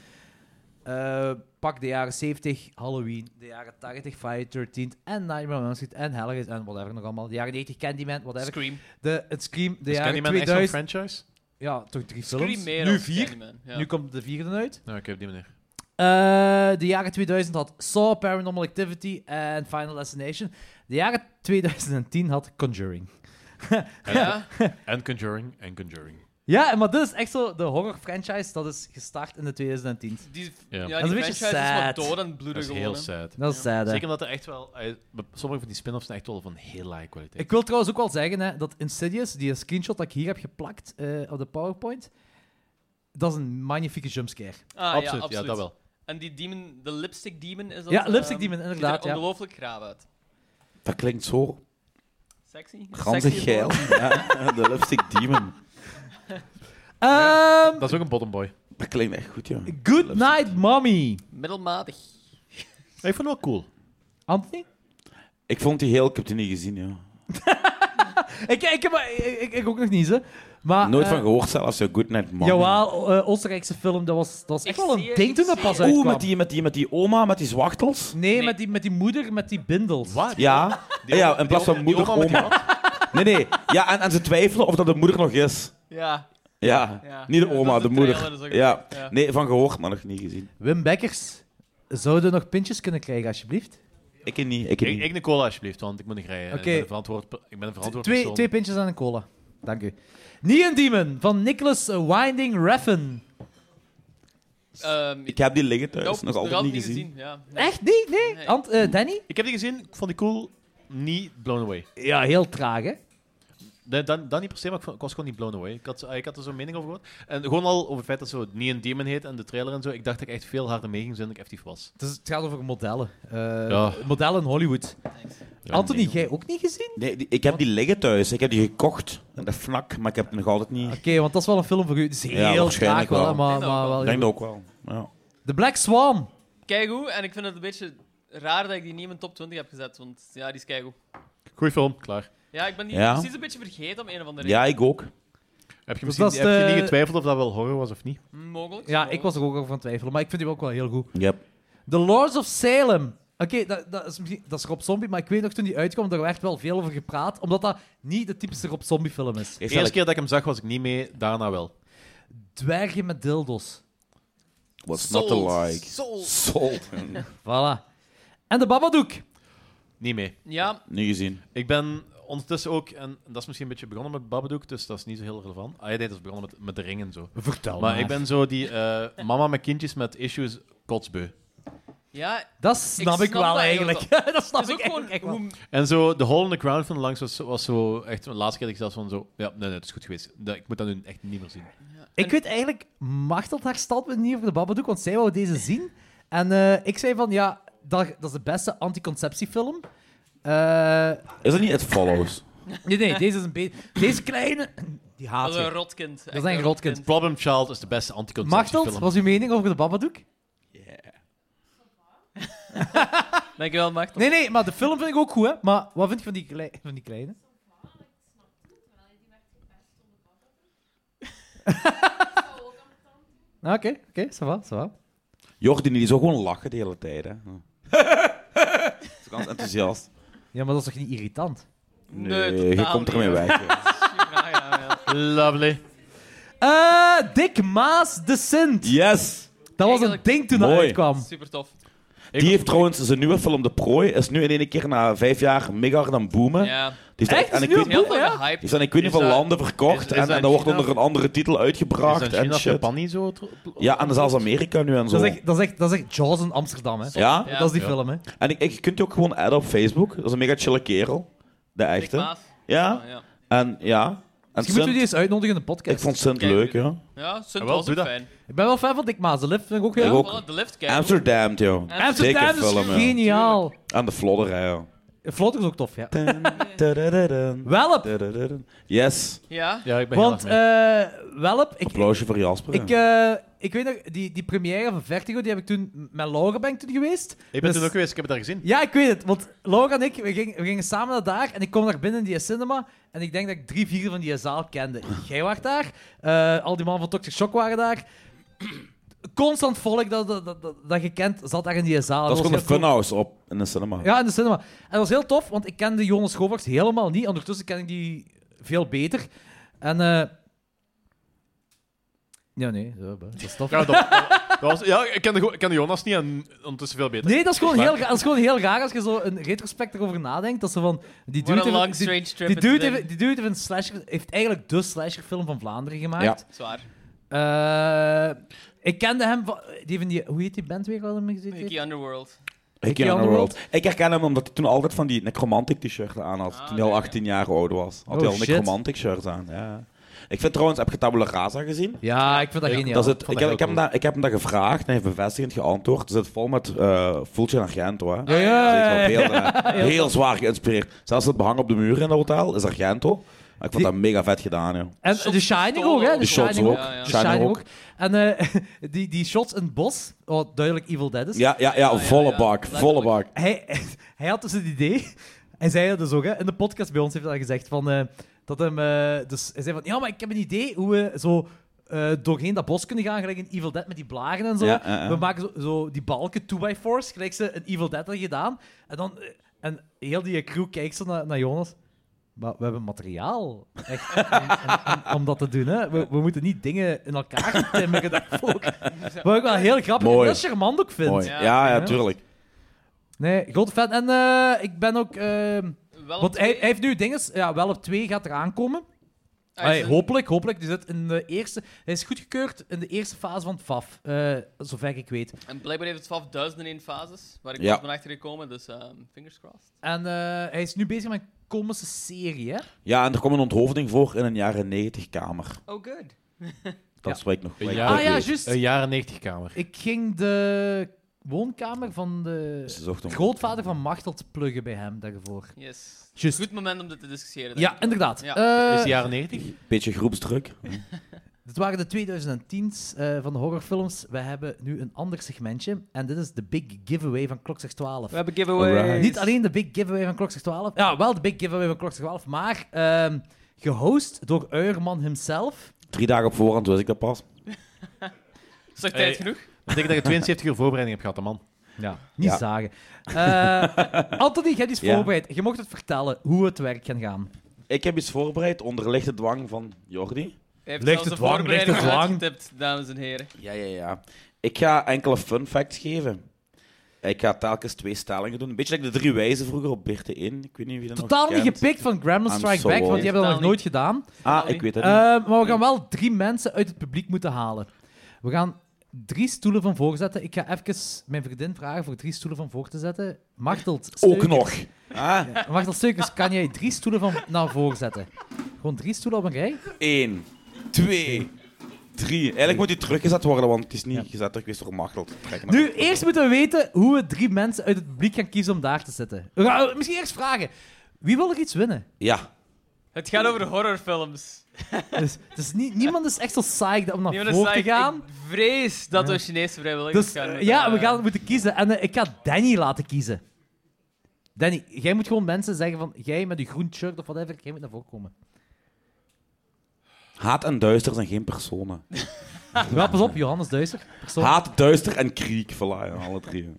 S2: Eh, pak de jaren 70, Halloween, de jaren 80, Friday 13 en Nightmare on Elm Street en Hellraiser en whatever nog allemaal. De jaren 90, Candyman, whatever.
S4: Scream.
S2: De, het Scream, de
S1: Is
S2: jaren
S1: Candyman Dus echt zo'n
S2: 2000.
S1: franchise?
S2: Ja, toch drie
S4: Scream
S2: films.
S4: meer
S2: nu
S4: als
S2: vier.
S4: Candyman, ja.
S2: Nu komt de vierde uit.
S1: Nou, oké, op die manier.
S2: Eh, de jaren 2000 had Saw, Paranormal Activity en Final Destination. De jaren 2010 had Conjuring.
S1: En, en Conjuring, en Conjuring.
S2: Ja, maar dit is echt zo de horror franchise dat is gestart in de 2010.
S4: Die,
S1: Ja.
S4: ja.
S1: Dat
S2: is een
S4: die
S2: beetje
S4: franchise is dus
S2: sad.
S4: wat dood en
S1: Dat
S4: bloedig
S1: is heel
S4: geworden.
S1: sad.
S2: Dat is sad, hè.
S1: Zeker omdat er echt wel... eh, Sommige van die spin-offs zijn echt wel van heel laag kwaliteit.
S2: Ik wil trouwens ook wel zeggen hè, dat Insidious, die screenshot dat ik hier heb geplakt eh, op de PowerPoint, dat is een magnifieke jumpscare.
S4: Ah,
S1: absoluut,
S4: ja,
S1: ja, dat wel.
S4: En die demon, de lipstick demon is dat...
S2: Ja, Lipstick
S4: ehm,
S2: Demon,
S4: ziet er
S2: inderdaad, ja.
S4: ongelooflijk graaf uit.
S8: Dat klinkt zo
S4: Sexy?
S8: ranzig
S4: Sexy
S8: geil. Ja, de Lipstick Demon.
S2: Ehm,
S1: Dat is ook een bottomboy.
S8: Dat klinkt echt goed, ja.
S2: Good Night Mommy.
S4: Middelmatig.
S1: Ik vond het wel cool.
S2: Anthony?
S8: Ik vond die heel... Ik heb die niet gezien, ja.
S2: Ik, ik, heb, ik, ik- ik ook nog niet, hè. Maar,
S1: Ah,
S8: Nooit
S2: eh,
S8: van gehoord zelfs, ja. Good Night Mommy.
S2: Jawel, eh, Oostenrijkse film, dat was, dat was echt
S4: Ik
S2: wel
S4: zie
S2: een
S4: het,
S2: ding
S4: ik
S2: toen dat
S4: zie
S2: pas
S4: het.
S2: uitkwam.
S8: Oeh, met die, met, die, met die oma, met die zwachtels?
S2: Nee,
S4: Nee.
S2: Met, die, met die moeder, met die bindels.
S1: Wat?
S8: Ja. ja, in plaats van moeder, oma. Nee, nee. Ja, en, en ze twijfelen of dat de moeder nog is.
S4: Ja.
S8: Ja,
S4: Ja.
S8: niet de
S4: Ja,
S8: oma,
S4: dat
S8: de
S4: is de
S8: moeder.
S4: trailer, dat is ook-
S8: ja.
S4: ja.
S8: Nee, van gehoord, maar nog niet gezien.
S2: Wim Bekkers, zouden we nog pintjes kunnen krijgen, alsjeblieft?
S8: Ik ken niet, ik ken
S1: Ik,
S8: niet.
S1: ik een cola, alsjeblieft, want ik moet niet rijden.
S2: Oké.
S1: Ik ben een verantwoord, per- ik ben een verantwoord
S2: Twee,
S1: persoon.
S2: twee pintjes en een cola. Dank u. Neon Demon van Nicholas Winding Refn.
S4: Ehm,
S8: Ik heb die liggen thuis,
S4: nope,
S8: nog altijd niet gezien.
S4: Ja. Nee.
S2: Echt? Nee? Nee?
S4: Nee.
S2: Ant, eh, Danny?
S1: Ik heb die gezien, ik vond die cool, niet blown away.
S2: Ja, heel traag, hè?
S1: Nee, dan, dan niet per se, maar ik, vond- ik was gewoon niet blown away. Ik had, ik had er zo'n mening over gehoord. En gewoon al over het feit dat zo Neon Demon heet en de trailer en zo, ik dacht dat ik echt veel harder mee ging zijn dan ik effectief was.
S2: Dus het gaat over modellen. Eh,
S1: Ja.
S2: Modellen in Hollywood.
S1: Ja,
S2: Anthony, jij ook niet gezien?
S8: Nee, die- ik heb die liggen thuis. Ik heb die gekocht. En dat fnak, maar ik heb die nog altijd niet.
S2: Oké, want dat is wel een film voor u. Het is heel traag
S8: waarschijnlijk
S2: wel, hè,
S8: wel.
S2: maar,
S4: Ik denk
S2: maar
S4: dat
S2: wel
S8: Ik
S2: heel
S8: denk dat ook wel. Ja.
S2: goed. The Black Swan.
S4: Keigoed, en ik vind het een beetje raar dat ik die niet in mijn top 20 heb gezet, want ja, die is keigoed.
S1: Goeie film, klaar.
S4: Ja, ik ben die
S8: Ja.
S4: precies een beetje vergeten om een of andere
S8: ja, ik ook.
S1: Heb je,
S2: Dus
S1: misschien,
S2: dat is
S1: heb je
S2: de-
S1: niet getwijfeld of dat wel horror was of niet?
S4: reden. Hm, Mogelijk.
S2: Ja,
S4: mogelijk.
S2: ik was er ook over van twijfelen, maar ik vind die ook wel heel goed.
S8: Yep.
S2: The Lords of Salem. Oké, dat, dat, is misschien- dat is Rob Zombie, maar ik weet nog toen die uitkwam, daar werd wel veel over gepraat, omdat dat niet de typische Rob Zombie film is.
S1: De eerste keer dat ik hem zag was ik niet mee, daarna wel.
S2: Dwergen met dildos.
S8: What's not
S4: Sold.
S8: to like?
S4: Sold.
S8: Sold.
S2: Voilà. En de Babadook.
S1: Niet mee.
S4: Ja,
S8: Niet gezien.
S1: Ik ben ondertussen ook, en dat is misschien een beetje begonnen met Babadook, dus dat is niet zo heel relevant. Ah, ja, nee, dat is begonnen met, met de ring en zo.
S2: Vertel
S1: Maar ik ben zo die eh, mama met kindjes met issues kotsbeu.
S4: ja,
S2: Dat snap ik,
S4: Ik snap
S2: wel
S4: dat
S2: eigenlijk.
S4: eigenlijk
S2: dat snap
S4: Het is
S2: ik
S4: ook gewoon
S2: eigenlijk echt wel.
S4: hoe-
S1: En zo, de hole in the ground van langs was, was zo echt de laatste keer dat ik zelfs van zo... Ja, nee, nee, het is goed geweest. Dat, ik moet dat nu echt niet meer zien.
S2: Ik weet eigenlijk, machtelt haar standpunt niet over de Babadook, want zij wou deze zien. En eh, ik zei van, ja, dat, dat is de beste anticonceptiefilm. Eh
S8: Is dat niet It Follows?
S2: nee, nee, deze is een beetje... Deze kleine... Die haat
S4: dat is een
S2: ik.
S4: rotkind.
S2: Dat is een rotkind.
S1: Problem Child is de beste anticonceptiefilm.
S2: Machtelt, wat is uw mening over de Babadook?
S4: Dankjewel, Macht.
S2: Nee, nee, maar de film vind ik ook goed, hè. Maar wat vind je van die, klei- van die kleine? Nou, Oké, oké, ça va, ça va.
S8: Jordi, die zou gewoon lachen de hele tijd. Hè. Hm. Ze is Ganz enthousiast.
S2: Ja, maar dat is toch niet irritant?
S4: Nee,
S8: je
S4: totaal
S8: komt ermee
S4: niet.
S8: weg. hè.
S4: Ja, ja, ja.
S1: Lovely.
S2: Eh Dick Maas de Sint.
S8: Yes!
S2: Dat was een
S4: Eigenlijk-
S2: ding toen dat
S8: Mooi.
S2: uitkwam.
S4: Super tof.
S1: Ik-
S8: Die heeft trouwens zijn nieuwe film De Prooi. Is nu in één keer na vijf jaar mega hard aan boomen.
S4: Ja,
S8: Die is daar-
S2: Echt?
S8: En
S2: Is
S8: ik
S2: nu
S8: weet,
S2: een
S8: die
S4: heel
S2: boel,
S4: veel
S2: ja?
S4: hype.
S8: is in ik weet niet
S1: Is
S8: veel
S1: dat-
S8: landen verkocht.
S1: is- is
S8: en,
S1: dat
S8: en dat wordt
S1: China?
S8: onder een andere titel uitgebracht.
S1: Is dat
S8: en
S1: China of
S8: shit.
S1: Japan niet zo?
S8: Ja, en zelfs Amerika nu en zo.
S2: Dat is, echt, dat, is echt, dat is echt Jaws in Amsterdam, hè.
S8: Ja,
S4: Ja.
S2: Dat is die
S1: Ja.
S2: film, hè.
S8: en ik, ik, je kunt die ook gewoon adden op Facebook. Dat is een mega chille kerel. De
S4: Dick
S8: echte.
S4: Maas.
S8: Ja,
S4: ja.
S8: en ja. En
S2: Misschien moeten we Dus die
S8: Sint-
S2: eens uitnodigen in de
S8: ik
S2: podcast.
S8: vond Sint
S4: Kijk,
S8: leuk, ja.
S4: Ja, Sunt
S1: Jawel,
S4: was
S1: doe
S4: ook
S1: dat.
S4: fijn.
S2: Ik ben wel fan van Dick Maas. De lift vind ik ook heel...
S8: Ik ook.
S4: Voilà, de lift kijken.
S8: Amsterdam, joh.
S2: Amsterdam
S8: Dikke
S2: is
S8: film, ja.
S2: geniaal.
S8: Aan de vlodderij, joh.
S2: Vlot is ook tof, ja.
S8: Dun, dadadadun,
S2: Welp,
S8: dadadadun. Yes.
S4: Ja.
S1: Ja, ik ben
S2: want
S1: heel erg
S2: eh Welp, ik,
S8: Applausje voor Jasper.
S2: ik,
S8: ja.
S2: eh, ik weet nog, die, die première van Vertigo, die heb ik toen met Laura ben ik toen geweest.
S1: mee. Ik ben
S2: dus-
S1: toen ook geweest, ik heb het daar gezien.
S2: Ja, ik weet het, want Laura en ik, we gingen, we gingen samen naar daar en ik kom daar binnen in die cinema en ik denk dat ik drie, vier van die zaal kende. Jij was daar, eh, al die mannen van Toxic Shock waren daar. Constant volk dat, dat, dat, dat- dat je kent zat daar in die zaal.
S8: Dat is
S2: was
S8: gewoon een
S2: heel cool.
S8: funhouse op in de cinema.
S2: Ja, in de cinema. En dat was heel tof, want ik kende Jonas Schobaks helemaal niet. Ondertussen ken ik die veel beter. En... eh, Ja, nee, zo, bah, dat is tof.
S1: Ja, dat, dat was, ja ik kende Go- ik kende Jonas niet en ondertussen veel beter.
S2: Nee, dat is, gewoon
S1: Maar-
S2: heel, ra- dat is gewoon heel raar als je zo een retrospect erover nadenkt. Dat ze van... Die
S4: What
S2: dude,
S4: a
S2: heeft-
S4: long,
S2: die,
S4: strange trip.
S2: die
S4: it's
S2: dude,
S4: been.
S2: heeft, die dude heeft, een slasher, heeft eigenlijk de slasherfilm van Vlaanderen
S8: Ja.
S2: gemaakt.
S4: Zwaar.
S2: Eh, ik kende hem van... Die heeft in die, hoe heet die band weer? Wat hem gezien heeft?
S4: Mickey Underworld.
S8: Hickey on the World. Ik herken hem omdat hij toen altijd van die necromantic t-shirt aan had. toen hij al 18 jaar oud was. Had hij
S2: Oh,
S8: al
S2: shit.
S8: necromantic shirts aan. Ja. Ik vind trouwens, heb je Tabula Rasa gezien?
S2: Ja, ik vind dat geniaal.
S8: dat is het,
S1: vond
S8: ik,
S1: dat
S8: heb, ik,
S1: heel
S8: heb hem daar, ik heb hem daar gevraagd en hij heeft bevestigend geantwoord. Het zit vol met eh Fulci en Argento. Hè.
S2: Ja, ja, ja, ja.
S8: Dat is wel beelden, hè. Dus Heel zwaar geïnspireerd. Zelfs het behang op de muur in dat hotel is Argento. Maar ik vond dat mega vet gedaan, joh.
S2: En
S4: Shots
S2: The Shining ook,
S4: pistolen
S2: hè?
S4: ook.
S2: The
S8: De shots
S2: Shining
S8: ook.
S2: ook.
S4: Ja, ja.
S2: The
S8: Shining
S2: Shining
S8: ook.
S2: ook. En eh, die, die shots in het bos, wat duidelijk Evil Dead is.
S8: Ja, ja, ja,
S2: Ah,
S8: volle
S4: ja.
S8: bak, volle bak.
S2: Hij, hij had dus het idee, hij zei dat dus ook, hè, in de podcast bij ons heeft hij dat gezegd, van, eh, dat hem, eh, dus hij zei van, ja, maar ik heb een idee hoe we zo eh, doorheen dat bos kunnen gaan, gelijk in Evil Dead met die blaren en zo.
S8: Ja, ja, ja.
S2: We maken zo, zo die balken 2x4's, gelijk ze in Evil Dead hadden gedaan. En dan, eh, en heel die crew kijkt zo naar, naar Jonas. Maar we hebben materiaal echt, om, om- om- om dat te doen. Hè. We, we moeten niet dingen in elkaar timmeren. dat volk. Wat ik wel heel grappig en
S8: Mooi.
S2: heel charmant ook vind.
S8: Mooi.
S4: Ja,
S8: Ja, ja,
S2: ja.
S8: tuurlijk.
S2: Nee, grote fan. En eh, ik ben ook. ehm,
S4: Wel
S2: want
S4: twee-
S2: hij, hij heeft nu dinges. Ja, wel op 2 gaat eraan komen.
S4: Ah, hij
S2: Allee,
S4: is een-
S2: hopelijk, hopelijk. Die zit in de eerste, hij is goedgekeurd in de eerste fase van het FAF. eh, zover ik weet.
S4: En blijkbaar heeft het 12.001 fases, waar ik
S8: Ja.
S4: pas ben achter gekomen, dus ehm, fingers crossed.
S2: En eh, hij is nu bezig met een komische serie, hè?
S8: Ja, en er kwam een onthoofding voor in een jaren 90 kamer.
S4: Oh, good.
S8: Dat
S2: Ja.
S8: spreekt nog
S1: Een
S8: wel.
S1: jaar-
S2: Ah ja,
S8: Oké.
S2: juist.
S1: Een Eh, jaren 90 kamer.
S2: Ik ging de woonkamer van de
S8: Ze zocht hem.
S2: grootvader van Machtel te pluggen bij hem daarvoor.
S4: Yes.
S2: Juist.
S4: Goed moment om dit te discussiëren. denk
S2: Ja,
S4: ik.
S2: inderdaad.
S4: Ja.
S2: Eh,
S1: Is het jaren 90?
S8: Beetje groepsdruk.
S2: Dit waren de 2010's eh, van de horrorfilms. We hebben nu een ander segmentje. En dit is de Big Giveaway van Klokzeg 12.
S4: We hebben
S8: Alright.
S4: giveaways.
S2: Niet alleen de Big Giveaway van Klokzeg 12. Ja, wel de Big Giveaway van Klokzeg 12. Maar ehm, gehost door Uierman himself.
S8: Drie dagen op voorhand wist ik dat pas.
S4: Zeg
S1: Hey.
S4: tijd genoeg?
S1: Dat betekent dat je 72 uur voorbereiding hebt gehad, hè, man.
S2: Ja. Niet
S8: Ja.
S2: zagen. Eh, Anthony, jij hebt iets
S8: Ja.
S2: voorbereid. Je mocht het vertellen hoe het werk gaat gaan.
S8: Ik heb iets voorbereid onder lichte dwang van Jordi.
S4: Hij heeft
S2: Ligt
S4: zelfs
S2: het
S4: de
S2: lang,
S4: voorbereiding
S2: ligt het lang.
S4: uitgetipt, dames en heren.
S8: Ja, ja, ja. Ik ga enkele fun facts geven. Ik ga telkens twee stellingen doen. Een beetje like de drie wijzen vroeger op Birte 1. Ik weet niet wie dat
S2: Totaal
S8: nog
S2: niet
S8: kent.
S2: gepikt van Gremlin
S8: I'm
S2: Strike
S8: so
S2: Back, want
S8: old.
S2: die hebben dat nog
S4: Totaal
S2: nooit gedaan.
S8: Ah, ik weet het niet.
S2: Eh, maar we gaan wel drie mensen uit het publiek moeten halen. We gaan drie stoelen van voor zetten. Ik ga even mijn vriendin vragen voor drie stoelen van voor te zetten. Martelt
S8: Ook
S2: Steukers,
S8: nog. Ah,
S2: Martelt Steukers, kan jij drie stoelen van naar voren zetten? Gewoon drie stoelen op een rij.
S8: Eén, twee, drie. Eigenlijk moet die teruggezet worden, want het is niet gezet. Ik wist door Machteld. Trek maar.
S2: Nu, eerst moeten we weten hoe we drie mensen uit het publiek gaan kiezen om daar te zitten. We gaan- misschien eerst vragen. Wie wil er iets winnen?
S8: Ja.
S4: Het gaat over horrorfilms.
S2: Dus, dus nie- niemand is echt zo psyched om naar
S4: Niemand
S2: voren Ah, te
S4: zei,
S2: gaan.
S4: Ik vrees dat we Chinese vrijwilligers
S2: Dus
S4: gaan
S2: eh,
S4: moeten,
S2: ja, we
S4: eh,
S2: gaan moeten kiezen. En eh, ik ga Danny laten kiezen. Danny, jij moet gewoon mensen zeggen van... Jij met je groen shirt of whatever, jij moet naar voren komen.
S8: Haat en duister zijn geen personen.
S2: Wel, pas op, Johannes Duister. Persoon.
S8: Haat, duister en kriek. Voilà, ja, alle drie.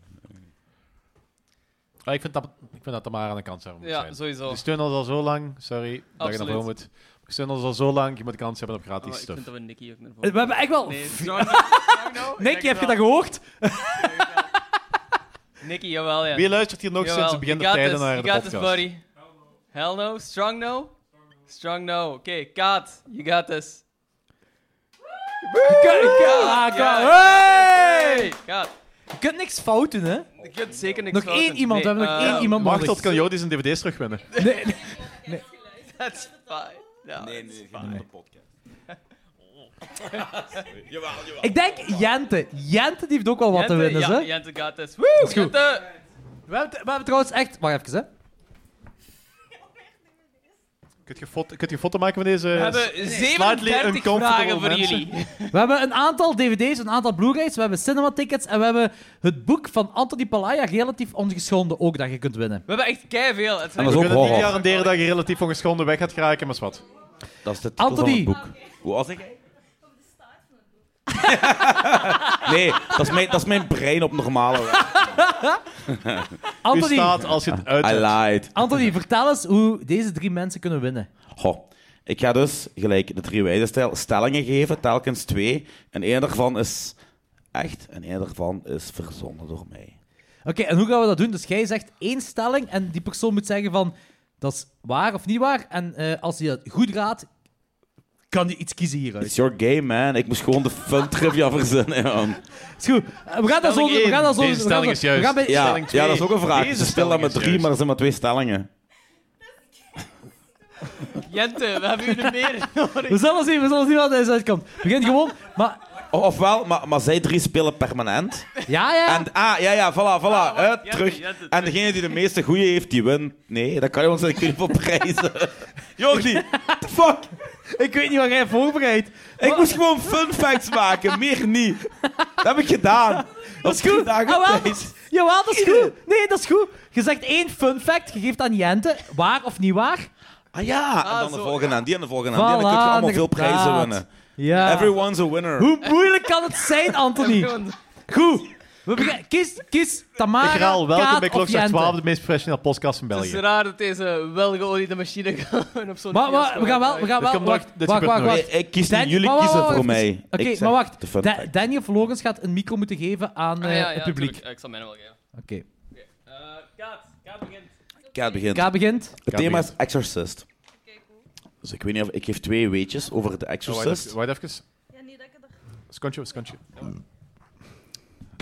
S1: Ah, ik, vind dat, ik vind dat Tamara aan de kant zou moeten
S4: Ja,
S1: zijn.
S4: sowieso.
S1: Je steunt ons al zo lang. Sorry dat je naar
S4: Absoluut.
S1: voren moet. Je steunt ons al zo lang. Je moet kans hebben op
S4: Oh,
S1: gratis
S4: ik
S1: stuff.
S4: vind dat we Nicky ook naar
S2: Eh, We
S4: voren
S2: hebben echt wel...
S4: Nee,
S2: Nee,
S4: John, John, no, ik denk
S2: heb je
S4: wel.
S2: dat gehoord?
S4: Nicky, jawel, ja.
S1: Wie luistert hier nog
S4: Jawel,
S1: sinds het begin
S4: you
S1: der
S4: got
S1: tijden
S4: this,
S1: naar de
S4: you got
S1: podcast?
S4: this, buddy. Hell no. Strong no? Strong no. Oké, Kaat, you got this. Kaat, Kaat, Kaat. Hey! Kaat,
S2: Ah, Je kunt niks fout doen, hè?
S4: ik heb zeker niks
S2: Nog
S4: fouten.
S2: één iemand, we hebben nog
S4: eh,
S2: één iemand
S1: Machtel
S2: nodig.
S1: kan jou zijn dvd's terugwinnen.
S2: Nee, nee.
S4: That's fine. No, nee,
S2: Ik denk Jente. Jente die heeft ook wel wat te winnen,
S4: ja,
S2: hè?
S4: Jente got this. Woo,
S2: is goed.
S4: Jente!
S2: We hebben, we hebben trouwens echt... Wacht even, hè.
S1: Kunt je, foto, kunt je een foto maken van deze?
S4: We hebben 37
S1: uncomfortable
S4: vragen voor
S1: mensen.
S4: jullie.
S2: We hebben een aantal dvd's, een aantal blu-rays, we hebben cinematickets en we hebben het boek van Anthony Palaya, relatief ongeschonden, ook dat je kunt winnen.
S4: We hebben echt keiveel. Het
S8: En
S4: zijn
S8: dat
S1: We
S8: is ook
S1: kunnen niet
S8: horror.
S1: garanderen dat je relatief ongeschonden weg gaat geraken, maar is wat.
S8: Dat is de titel van
S2: Anthony.
S8: het boek. Hoe was ik? Nee, dat is mijn, dat is mijn brein op normale.
S1: U
S2: Anthony,
S1: staat als je het uit
S8: I
S1: hebt.
S8: lied.
S2: Anthony, vertel eens hoe deze drie mensen kunnen winnen.
S8: Goh. Ik ga dus, gelijk de drie wijze stijl, stellingen geven, telkens twee. En één daarvan is echt en één daarvan is verzonnen door mij.
S2: Oké, en hoe gaan we dat doen? Dus jij zegt één stelling en die persoon moet zeggen van dat is waar of niet waar. En eh, als hij dat goed raadt, kan hij iets kiezen hieruit.
S8: It's your game, man. Ik moest gewoon de fun trivia verzinnen. man.
S2: Is goed. Eh, We gaan dat zo
S1: Stelling
S2: doen. We
S1: één.
S2: gaan dat zo
S1: Deze
S2: doen. We
S1: stelling
S2: gaan dat-
S1: is juist.
S2: we gaan bij-
S8: Ja,
S1: Stelling twee.
S8: ja, dat is ook een vraag.
S1: Deze
S8: Ze spelen
S1: stelling
S8: met
S1: is
S8: drie,
S1: juist.
S8: maar er zijn maar twee stellingen.
S4: Jente, we hebben jullie meer
S2: We
S4: nodig.
S2: zullen zien, we zullen zien wat er uitkomt. Begin gewoon. Maar
S8: O- Ofwel, maar, maar zij drie spelen permanent.
S2: ja, ja.
S8: En, ah, ja, ja, voilà, voilà. hè, terug.
S4: ja, dit-
S8: en degene die de meeste goeie heeft, die wint. Nee, dat kan je ons niet voor prijzen. Jordi, the fuck.
S2: ik weet niet wat jij hebt voorbereid.
S8: Ik moest gewoon fun facts maken, meer niet. Dat heb ik gedaan. Dat is goed.
S2: Ah, wel, dat is- jawel, dat is goed. Nee, dat is goed. Je zegt één fun fact, je geeft aan Jente, waar of niet waar.
S8: Ah ja, en dan de
S4: zo,
S8: volgende aan die en de volgende aan die. En dan kun je
S2: Voilà,
S8: allemaal veel
S2: inderdaad.
S8: prijzen winnen.
S2: Ja.
S8: Everyone's a winner.
S2: Hoe moeilijk kan het zijn, Anthony? Goed. We begin- kies, kies
S1: Ik
S2: Tamara,
S1: herhaal, welkom
S2: Kaat
S1: bij
S2: of
S1: Klokslag
S2: Jente.
S1: 12, de meest professionele podcast in
S4: Het is
S1: België.
S4: raar dat deze welgeoliede machine gewoon op zo'n
S2: Maar, maar,
S4: fiasco
S2: we gaan wel, we gaan
S4: uitdraait.
S1: Dit
S2: wel,
S1: komt
S2: wacht,
S1: nooit- dit
S2: wacht,
S1: gebeurt
S2: wacht,
S1: nooit.
S8: Nee,
S2: wacht.
S8: ik kies
S2: Dan-
S8: niet, jullie
S2: wacht, wacht,
S8: kiezen
S2: wacht,
S8: voor
S2: wacht,
S8: mij.
S2: even. Oké,
S8: Ik zeg
S2: maar
S8: de
S2: wacht.
S8: fun
S2: Da-
S8: fact.
S2: Daniel Vlogens gaat een micro moeten geven aan
S4: Ah,
S2: eh,
S4: ja, ja,
S2: het publiek.
S4: tuurlijk. Eh, Ik zal mij nog wel geven.
S2: Oké.
S4: Eh, Kaat, Kaat begint.
S8: Kaat begint.
S2: Kaat begint.
S8: Het thema is Exorcist. Dus ik weet niet of ik geef twee weetjes over de Exorcist.
S1: Oh, Wacht even.
S3: Ja, niet dat ik het er...
S1: Skontje, skontje.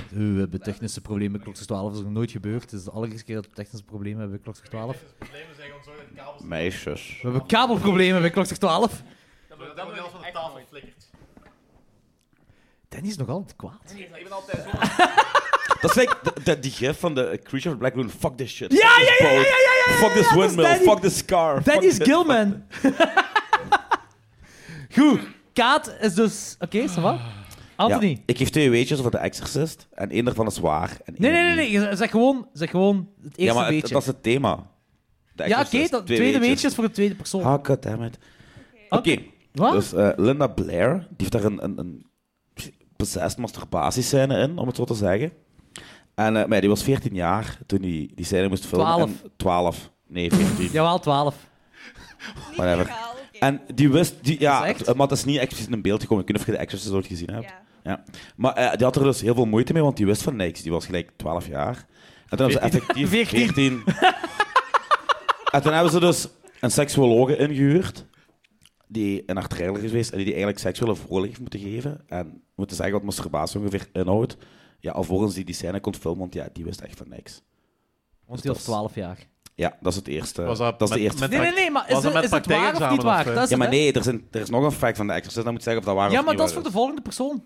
S2: We hebben technische problemen bij Klokslag 12. Dat is nog nooit gebeurd. Het is de allereerste keer dat we technische problemen hebben bij Klokslag 12.
S8: Meisjes.
S2: We hebben kabelproblemen bij Klokslag 12.
S1: Dat wordt van de tafel flikkert.
S2: Danny is nog altijd kwaad.
S8: Dat is like de- de- die gif van de Creature of Black Lagoon. Fuck this shit.
S2: Ja,
S8: Fuck
S2: ja,
S8: this
S2: ja, ja,
S8: boat.
S2: ja, ja, ja,
S8: Fuck this
S2: ja, dat is
S8: windmill.
S2: Danny.
S8: Fuck this car.
S2: Danny
S8: fuck
S2: is
S8: this-
S2: Gilman. Goed. Kaat is dus... Oké, is dat wat? Anthony.
S8: Ah. Ja, ik geef twee weetjes over de Exorcist. En één daarvan is waar. En één
S2: Nee, nee, nee,
S8: niet.
S2: nee. je Zeg gewoon, zeg gewoon het
S8: Ja,
S2: eerste
S8: maar het-
S2: beetje.
S8: dat is het thema. De
S2: ja,
S8: Exorcist,
S2: oké, dat tweede beetje
S8: weetjes.
S2: is voor de tweede persoon.
S8: Ah, goddammit. Oké.
S2: Wat?
S8: Dus eh, Linda Blair, die heeft daar een, een, een possessed masturbatiescène in, om het zo te zeggen. En eh, maar ja, die was 14 jaar toen die, die scène moest filmen.
S2: Twaalf.
S8: En 12. Nee, 14.
S2: Jawel, 12.
S3: Niet
S8: Whatever.
S3: legaal, oké.
S8: En die wist... Die, ja,
S2: Dat is echt?
S8: het- maar het is niet expliciet in beeld gekomen. Ik weet niet of je de Exorcist ooit gezien hebt.
S3: Ja.
S8: Maar eh, die had er dus heel veel moeite mee, want die wist van niks. Die was gelijk 12 jaar. En toen hebben ze effectief
S2: 14.
S8: 14. en toen hebben ze dus een seksuologe ingehuurd, die in haar trailer is geweest en die, die eigenlijk seksuele voorlichting heeft moeten geven. En moeten zeggen wat masturbatie ongeveer inhoudt. Ja, alvorens die die scène kon filmen, want ja, die wist echt van niks. Dus
S2: Want die
S8: dat
S2: was
S8: is-
S2: 12 jaar.
S8: Ja, dat is het eerste.
S1: Was dat
S8: dat is de
S1: met-
S8: eerste
S1: met-
S2: Nee, nee, nee, maar is,
S1: Was dat
S2: het,
S1: met
S2: is het waar of
S1: praktijkexamen
S2: niet waar?
S1: of, eh?
S2: Dat is
S8: Ja,
S2: het,
S8: maar
S2: hè?
S8: nee, er, zijn, er is nog een fact van de Exorcist. Dan moet zeggen of dat waar
S2: Ja,
S8: of
S2: maar
S8: niet
S2: dat is
S8: waar
S2: voor de volgende persoon.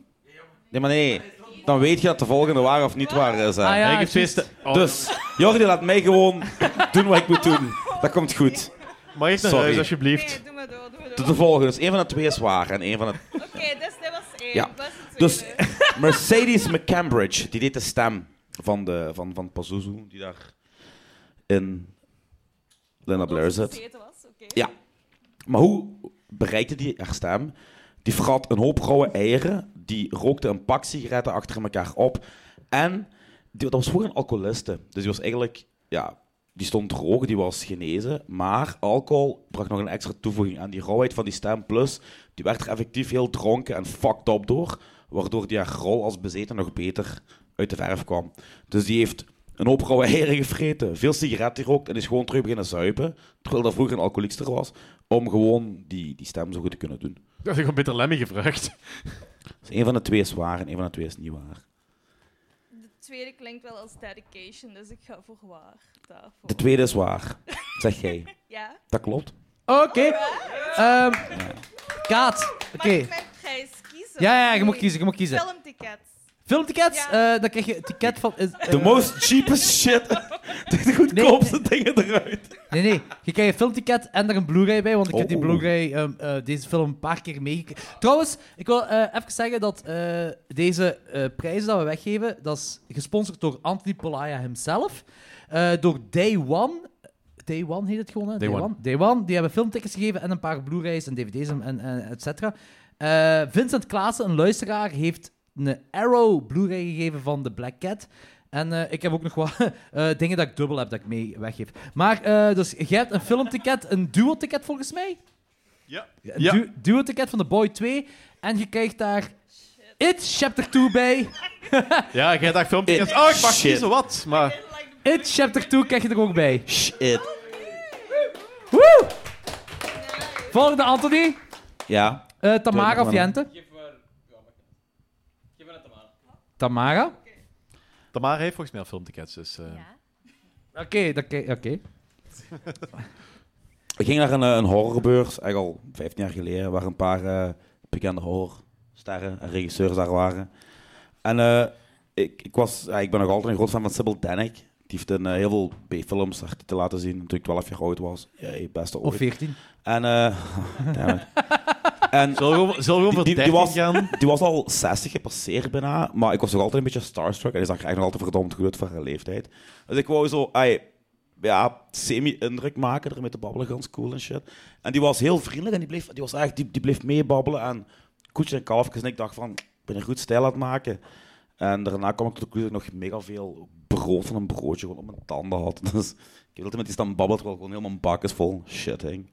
S8: Nee, maar nee. Dan weet je dat de volgende waar of niet waar is. hè.
S2: Ah, ja,
S1: ik heb twee
S2: juist.
S1: ste- oh,
S8: Dus, Jordi, laat mij gewoon doen wat ik moet doen. Dat komt goed.
S1: Mag ik naar
S8: Sorry.
S1: huis, alsjeblieft?
S3: Nee, doe maar door, doe maar
S8: Tot
S3: door.
S8: de volgende. Dus één van de twee is waar en één van de...
S3: Oké, dus dat was één.
S8: Ja.
S3: Dat was het
S8: Dus
S3: tweede.
S8: Mercedes McCambridge, die deed de stem van, de, van, van Pazuzu, die daar in Linda Blair
S3: Dat
S8: zit.
S3: het tweede was, oké.
S8: Ja. Maar hoe bereikte die haar stem? Die vergat een hoop rauwe eieren. Die rookte een pak sigaretten achter elkaar op. En die, dat was vroeger een alcoholiste. Dus die was eigenlijk... Ja, die stond te roken, die was genezen. Maar alcohol bracht nog een extra toevoeging aan die rauwheid van die stem. Plus, die werd er effectief heel dronken en fucked up door. Waardoor die haar rol als bezeten nog beter uit de verf kwam. Dus die heeft een hoop rauwe eieren gevreten, veel sigaretten gerookt en is gewoon terug beginnen zuipen. Terwijl dat vroeger een alcoholieker was, om gewoon die, die stem zo goed te kunnen doen.
S1: Dat is gewoon Peter Lemmy gevraagd.
S8: Dus een van de twee is waar en een van de twee is niet waar.
S10: De tweede klinkt wel als dedication, dus ik ga voor waar. Daarvoor.
S8: De tweede is waar, zeg jij.
S10: Ja.
S8: Dat klopt.
S2: Oké. Ehm, Kaat, oké.
S10: Mag ik mijn prijs kiezen?
S2: Ja, ja, je
S10: Oei.
S2: mag kiezen, je mag kiezen.
S10: Filmtickets.
S2: Filmtickets,
S10: Ja.
S2: eh, dan krijg je het ticket van... is- eh,
S8: The most cheapest shit. De goedkoopste dingen eruit.
S2: Nee, nee. Je krijgt een filmticket en er een Blu-ray bij, want ik heb die
S8: Oh.
S2: Blu-ray, ehm, eh, deze film, een paar keer meegekregen. Trouwens, ik wil eh, even zeggen dat eh, deze eh, prijzen dat we weggeven, dat is gesponsord door Anthony Polaya himself, eh, door Day One... Day One heet het gewoon, hè?
S1: Day One.
S2: Day One. Die hebben filmtickets gegeven en een paar Blu-rays en DVD's en, en, en et cetera. Eh, Vincent Klaassen, een luisteraar, heeft een Arrow Blu-ray gegeven van The Black Cat. En eh, ik heb ook nog wat eh, dingen dat ik dubbel heb dat ik mee weggeef. Maar, eh, dus jij hebt een filmticket, een duo-ticket volgens mij?
S1: Ja.
S2: Een du- duo-ticket van The Boy 2. En je krijgt daar It Chapter 2 bij.
S1: Ja, jij dacht filmpje.
S8: It-
S1: Oh, ik mag
S8: shit.
S1: kiezen wat. Maar
S2: It Chapter 2 krijg je er ook bij.
S8: Shit.
S2: Woe! Volgende, Anthony.
S8: Ja.
S2: Eh, Tamara of
S8: Tweede
S2: Jente? Tamara.
S1: Tamara heeft volgens mij al filmtickets. Dus, eh,
S10: Ja.
S2: Oké, dat oké. oké.
S8: Ik ging naar een, eh, een horrorbeurs, eigenlijk al 15 jaar geleden, waar een paar eh, bekende horrorsterren en regisseurs daar waren. En eh, ik, ik, was, ja, ik ben nog altijd een groot fan van Sybil Dennick. Die heeft een, eh, heel veel B-films daar te laten zien toen ik 12 jaar oud was. Jee, beste
S2: Of
S8: ooit.
S2: 14.
S8: En, eh damn it. en
S1: Zullen we gewoon- zullen we gewoon voor
S8: die, die,
S1: 13
S8: die was,
S1: gaan?
S8: die was al 60 gepasseerd bijna, maar ik was nog altijd een beetje starstruck. En die zag er eigenlijk nog altijd verdomd goed uit voor haar leeftijd. Dus ik wou zo, ai, ja, semi-indruk maken, er met de babbelen, ganz cool en shit. En die was heel vriendelijk en die bleef, die was echt, die, die bleef meebabbelen. En koetje en kalfjes en ik dacht van, ik ben een goed stijl aan het maken. En daarna kwam ik tot de conclusie dat ik nog mega veel brood van een broodje gewoon op mijn tanden had. Dus ik wilde met die staan babbelen, terwijl gewoon helemaal mijn bak is vol shit hing.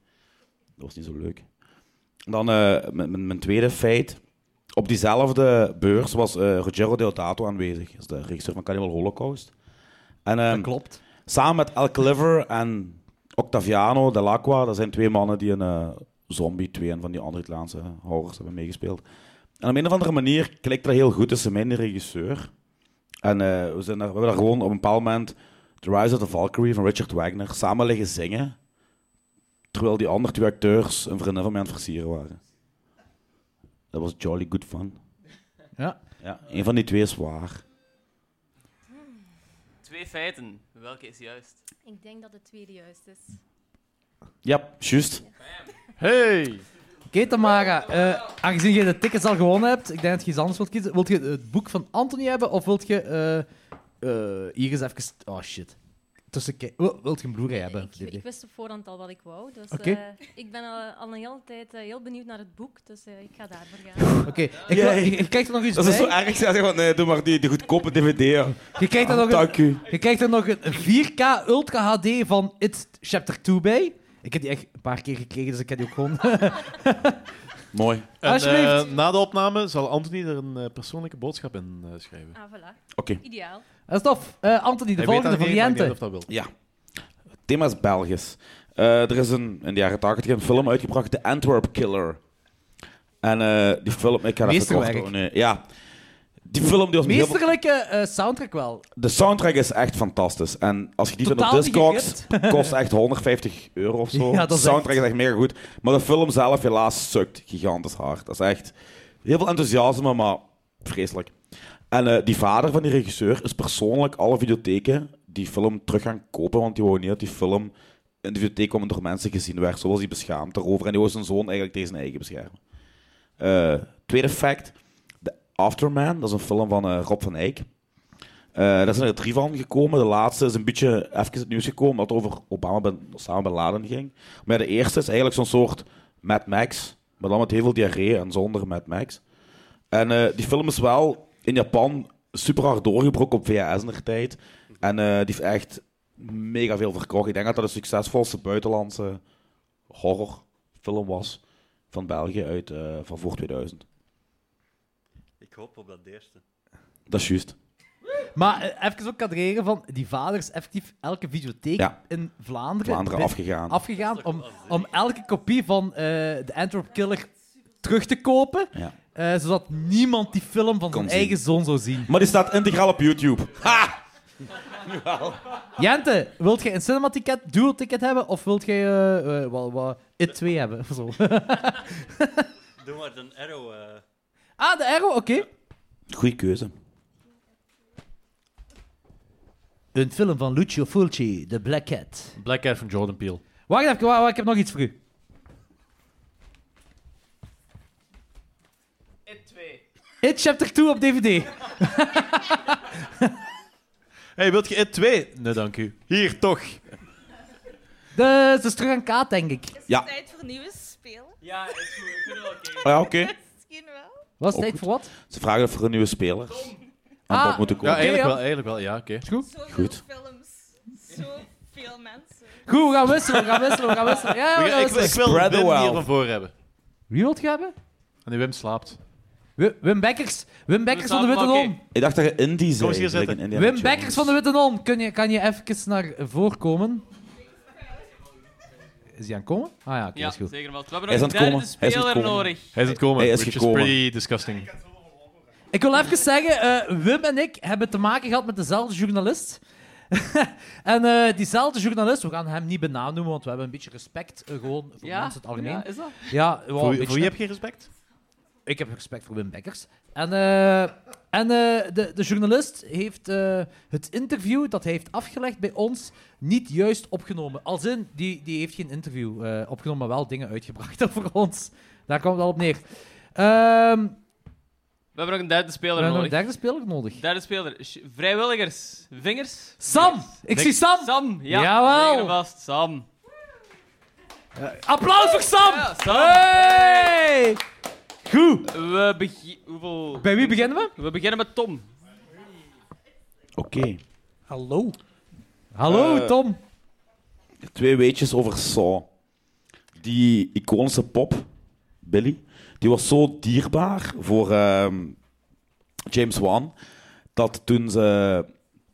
S8: Dat was niet zo leuk. Dan eh, mijn- mijn mijn tweede feit. Op diezelfde beurs was eh Ruggero Deodato aanwezig. Dat is de regisseur van Cannibal Holocaust. En, ehm,
S2: Dat klopt.
S8: Samen met El Cliver en Octaviano Dell'Acqua, dat zijn twee mannen die in eh, Zombie 2 en van die andere Italiaanse eh, horrors hebben meegespeeld. En op een of andere manier klikt dat heel goed tussen mij en de regisseur. En eh, we, zijn daar, we hebben daar gewoon op een bepaald moment The Rise of the Valkyrie van Richard Wagner samen liggen zingen. Terwijl die andere twee acteurs een vriendin van mij aan het versieren waren. Dat was jolly good fun.
S2: Ja.
S8: Ja, een van die twee is waar.
S6: Twee feiten. Welke is juist?
S10: Ik denk dat het tweede juist dus, is.
S8: Ja, juist.
S1: Hey!
S2: Oké, Tamara. eh, aangezien je de tickets al gewonnen hebt, ik denk dat je iets anders wilt kiezen. Wilt je het boek van Anthony hebben of wilt je... eh, eh, hier eens even... Oh, shit. Tussen... ki- Wil- Wilt je een Blu-ray hebben?
S10: eh, Ik,
S2: DVD?
S10: ik wist op voorhand al wat ik wou, dus
S2: Oké.
S10: eh, ik ben al, al een hele tijd eh, heel benieuwd naar het boek, dus eh, ik ga daarvoor gaan.
S2: Oké, ik wil- ik- ik krijg er nog iets
S8: Dat is zo
S2: bij.
S8: erg. Ik zeg van, nee, doe maar die, die goedkope dvd.
S2: Je krijgt er nog een,
S8: Dank u.
S2: je krijgt er nog een 4K Ultra HD van It's Chapter 2 bij. Ik heb die echt een paar keer gekregen, dus ik heb die ook gewoon...
S8: Mooi.
S1: En,
S2: Alsjeblieft.
S1: eh, na de opname zal Anthony er een eh, persoonlijke boodschap in eh, schrijven.
S10: Ah, voilà.
S8: Oké.
S10: Ideaal.
S2: Dat is tof. Eh, Anthony, de
S1: Hij weet
S2: volgende
S1: dat niet, maar ik weet
S2: variënten.
S1: niet of dat wil.
S8: Ja. Het thema is Belgisch. Eh, er is een, in de jaren 80 een film uitgebracht, The Antwerp Killer. En eh, die film... Ik ga dat even kort
S2: Meesterwerk.
S8: doen, eh, Ja. Die film die was me heel veel-
S2: Meesterlijke eh, soundtrack wel.
S8: De soundtrack is echt fantastisch. En als je die vindt op
S2: Totaal niet
S8: Discogs, kost echt 150 euro of zo.
S2: Ja, dat
S8: de
S2: is
S8: soundtrack
S2: echt-
S8: is echt mega goed. Maar de film zelf helaas sukt gigantisch hard. Dat is echt heel veel enthousiasme, maar vreselijk. En eh, die vader van die regisseur is persoonlijk alle videotheken die film terug gaan kopen, want die wou niet dat die film in de videotheek kwam en door mensen gezien werd. Zo was hij beschaamd daarover. En die wou zijn zoon eigenlijk tegen zijn eigen beschermen. Eh, tweede fact. The Afterman, dat is een film van eh, Rob van Eyck. Eh, daar zijn er drie van gekomen. De laatste is een beetje even het nieuws gekomen dat het over Obama ben, samen Bin Laden ging. Maar de eerste is eigenlijk zo'n soort Mad Max, maar dan met heel veel diarree en zonder Mad Max. En eh, die film is wel in Japan super hard doorgebroken op VHS in de tijd. En eh, die heeft echt mega veel verkocht. Ik denk dat dat de succesvolste buitenlandse horrorfilm was van België uit, eh, van voor 2000.
S7: Ik hoop op dat eerste.
S8: Dat is juist.
S2: Maar eh, even ook kadreren van die vader is effectief elke videotheek
S8: Ja.
S2: in Vlaanderen,
S8: Vlaanderen
S2: bin-
S8: afgegaan.
S2: afgegaan om, om elke kopie van eh de Antwerp Killer terug te kopen.
S8: Ja.
S2: eh, zodat niemand die film van zijn
S8: zien.
S2: eigen zoon zou zien.
S8: Maar die staat integraal op YouTube. Ha!
S2: Jente, wilt jij een cinematicket, dual-ticket hebben? Of wilt jij eh, eh, wat- wat- It 2 hebben? of Zo.
S7: Doe maar een arrow. eh.
S2: ah, de Arrow, oké.
S8: Goeie keuze.
S2: Een film van Lucio Fulci, The Black Cat.
S1: Black Cat van Jordan Peele.
S2: Wacht even, wa- wa- ik heb nog iets voor u.
S6: It 2.
S2: It Chapter 2 op DVD.
S1: hey, wilt je It 2? Nee, dank u. Hier, toch.
S2: De, ze is Dus, terug aan kaat, denk ik.
S10: Is
S8: Ja.
S10: het tijd voor nieuwe spelen?
S6: Ja, is goed. Ik vind het wel oké.
S8: Ah, ja, oké.
S10: Misschien wel.
S2: Was het
S8: Oh,
S2: tijd
S8: goed.
S2: voor wat?
S8: Ze vragen of er een nieuwe speler aan
S2: Ah,
S8: bod moet
S1: Ja,
S8: komen.
S1: eigenlijk
S2: ja.
S1: wel, eigenlijk wel. Ja, oké.
S10: Zoveel
S8: Goed.
S10: films. Zoveel mensen.
S2: Goed, we gaan wisselen, we gaan wisselen, we gaan wisselen. Ja, ja, we
S1: Ik,
S2: gaan
S1: ik, wil-
S2: wisselen.
S1: ik wil
S8: Spread the
S1: Wim hier
S8: wealth.
S1: van voor hebben.
S2: Wie wilt je hebben?
S1: En die Wim slaapt.
S2: Wim, Wim Bekkers. Wim Bekkers van de Witte
S6: zaten, maar
S2: Non.
S8: Ik dacht dat je indie zei.
S1: eens hier
S8: gelijk
S1: zitten.
S8: in Indiana
S2: Wim
S8: Jones.
S2: Bekkers van de Witte Non. Kun je, kan je even naar voren komen? Is hij aan het komen? Ah ja, oké,
S6: Ja,
S2: is goed.
S6: zeker wel. We hebben
S8: Hij is
S6: nog
S8: aan
S6: een
S8: het
S6: derde
S8: komen. Hij is aan het
S6: speler
S8: komen.
S6: nodig.
S1: Hij is aan het komen,
S8: Hij is
S1: which is
S8: gekomen.
S1: pretty disgusting.
S2: Ik wil even zeggen, eh, Wim en ik hebben te maken gehad met dezelfde journalist. en eh, diezelfde journalist, we gaan hem niet benoemen, want we hebben een beetje respect eh, gewoon voor
S6: Ja?
S2: mensen in het algemeen.
S6: Ja, is dat?
S2: Ja, wel
S1: Voor,
S2: een
S1: wie- voor
S2: beetje,
S1: wie heb je respect?
S2: Ik heb respect voor Wim Bekkers. En, eh, en eh, de, de journalist heeft eh, het interview dat hij heeft afgelegd bij ons niet juist opgenomen. Als in, die, die heeft geen interview eh, opgenomen, maar wel dingen uitgebracht voor ons. Daar komt het al op neer. Ehm
S6: We hebben nog een derde
S2: we
S6: speler
S2: hebben nog
S6: nodig.
S2: een derde speler nodig.
S6: Derde speler. Sh- Vrijwilligers. Vingers.
S2: Sam! Ik zie Sam!
S6: Sam. Ja,
S2: Jawel.
S6: zeker en vast. Sam.
S2: Applaus voor Sam!
S6: Ja, Sam.
S2: Hey! Goed.
S6: We beginnen... Hoeveel...
S2: Bij wie beginnen we?
S6: We beginnen met Tom.
S8: Oké.
S2: Hallo. Hallo,
S8: Eh,
S2: Tom.
S8: Twee weetjes over Saw. Die iconische pop, Billy, die was zo dierbaar voor ehm, James Wan, dat toen ze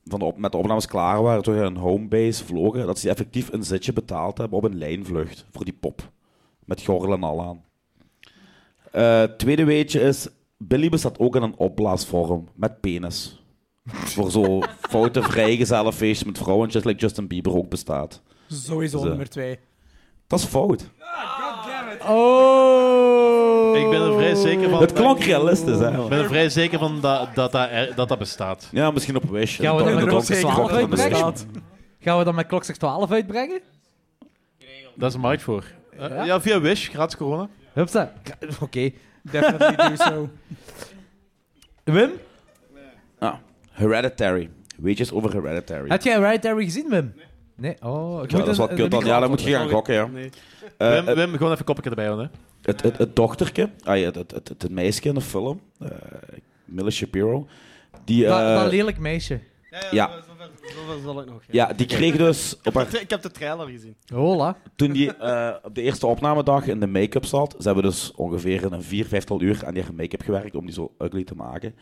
S8: van de op, met de opnames klaar waren, toen ze een homebase vlogen, dat ze effectief een zitje betaald hebben op een lijnvlucht voor die pop. Met gorrel en al aan. Eh, tweede weetje is, Billy bestaat ook in een opblaasvorm, met penis. voor zo foute vrijgezellenfeestjes met vrouwentjes, like Justin Bieber ook bestaat.
S11: Sowieso
S8: Zo.
S11: nummer 2.
S8: Dat is fout.
S2: Oh.
S1: Ik ben er vrij zeker van.
S8: Het klonk realistisch, hè?
S1: Ik ben er vrij zeker van dat dat, dat, er- dat, dat bestaat.
S8: Ja, misschien op Wish.
S2: Ja, we
S8: Dat-
S2: hebben
S8: dat
S2: er ook
S8: is een
S2: zeker
S8: klok
S2: van
S8: van de
S2: uitgebracht.
S8: staat.
S2: Gaan we dan met klokslag 12 uitbrengen?
S1: Dat is een markt voor. Eh,
S2: Ja?
S1: ja, via Wish, gratis corona.
S2: Hupsa. Oké.
S11: Definitely do so.
S2: Wim,
S8: Ah, Hereditary. Weetjes over Hereditary.
S2: had jij Hereditary gezien, Wim? Nee. Oh, ik
S8: Ja,
S2: moet
S8: dat is
S2: een-
S8: wat
S2: een
S8: kut dan.
S2: micro-
S8: Ja, dan moet je gaan gokken, ja.
S11: Nee.
S8: Eh,
S1: Wim,
S8: het,
S1: Wim, gewoon even koppetje erbij houden. Hè.
S8: het, het, het dochterke, ah, ja, het, het, het, het meisje in de film, eh Mille Shapiro, die, eh,
S2: Dat, dat lelijk meisje.
S8: ja,
S11: Zover, zover zal ik nog. ja.
S8: ja, die kreeg dus op haar
S11: Ik heb de trailer gezien.
S2: Hola.
S8: toen die eh, op de eerste opnamedag in de make-up zat, ze hebben dus ongeveer een vier, vijftal uur aan die haar make-up gewerkt om die zo ugly te maken.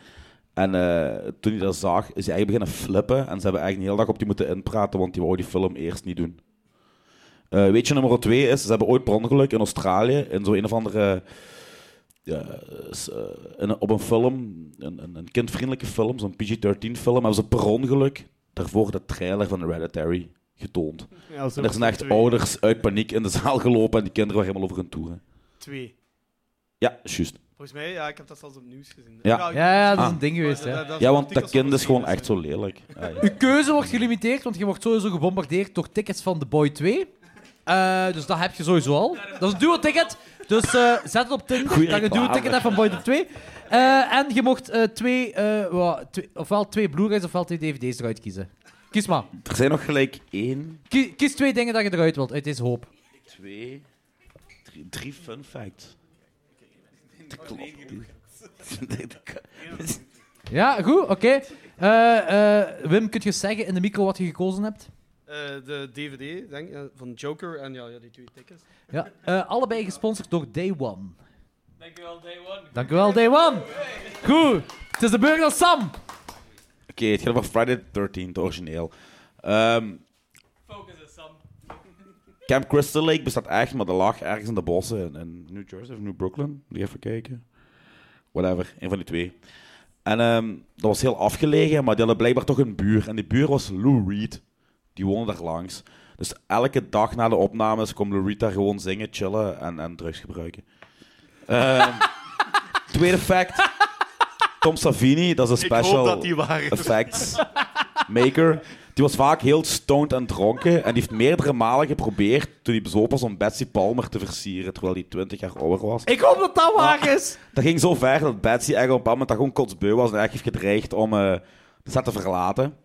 S8: En eh, toen hij dat zag, is hij eigenlijk beginnen flippen. En ze hebben eigenlijk een hele dag op die moeten inpraten, want die wou die film eerst niet doen. Eh weet je, nummer twee is, ze hebben ooit per ongeluk in Australië, in zo'n een of andere... ja, s- eh, in een- op een film, een, een, een kindvriendelijke film, zo'n PG-13 film, hebben ze per ongeluk daarvoor de trailer van Hereditary getoond.
S11: Ja, zo
S8: En er zijn echt
S11: twee.
S8: ouders uit paniek in de zaal gelopen en die kinderen waren helemaal over hun toeren.
S11: Twee.
S8: Ja, juist.
S11: Volgens mij, ja, ik heb dat zelfs op nieuws gezien.
S8: Ja.
S2: Ja, ja, dat is
S8: Ah.
S2: een ding geweest, hè.
S8: Ja, want dat kind is gewoon echt zo lelijk. Ja, ja.
S2: Uw keuze wordt gelimiteerd, want je wordt sowieso gebombardeerd door tickets van The Boy 2. Eh, dus dat heb je sowieso al. Dat is een duo-ticket. Dus eh, zet het op Tinder.
S8: Goeie
S2: dat je een
S8: reclame.
S2: duo-ticket hebt van Boy 2. Eh, en je mocht eh, twee, eh, wa- twee- ofwel twee Blu-rays ofwel twee DVD's eruit kiezen. Kies maar.
S8: Er zijn nog gelijk één,
S2: Ki- kies twee dingen dat je eruit wilt uit deze hoop.
S8: twee, drie, drie fun facts. Dat klopt niet.
S2: Ja, goed, oké. Eh, eh, Wim, kun je zeggen in de micro wat je gekozen hebt?
S11: Eh, de DVD, denk ik, eh, van Joker en ja, ja, die twee tickets.
S2: Ja. Eh, allebei gesponsord door Day One.
S6: Dankjewel, Day One.
S2: Dankjewel, Day One. Goed. Het is de beurt aan Sam.
S8: het gaat over Friday the 13th, het origineel. Ehm
S4: Focus is Sam.
S8: Camp Crystal Lake bestaat echt, maar dat lag ergens in de bossen in, in New Jersey of New Brooklyn. Moet ik even kijken. Whatever, een van die twee. En ehm, dat was heel afgelegen, maar die hadden blijkbaar toch een buur. En die buur was Lou Reed. Die woonde daar langs. Dus elke dag na de opnames kwam Lou Reed daar gewoon zingen, chillen en, en drugs gebruiken. Ehm, tweede fact. Tom Savini, dat is een
S1: Ik hoop
S8: special
S1: dat die waar is.
S8: effects maker. Die was vaak heel stoned en dronken. En die heeft meerdere malen geprobeerd, toen hij bezopen was, om Betsy Palmer te versieren, terwijl hij 20 jaar ouder was.
S12: Ik hoop dat dat waar is.
S8: Dat ging zo ver dat Betsy eigenlijk op een moment dat gewoon kotsbeu was en eigenlijk heeft gedreigd om eh, de set te verlaten.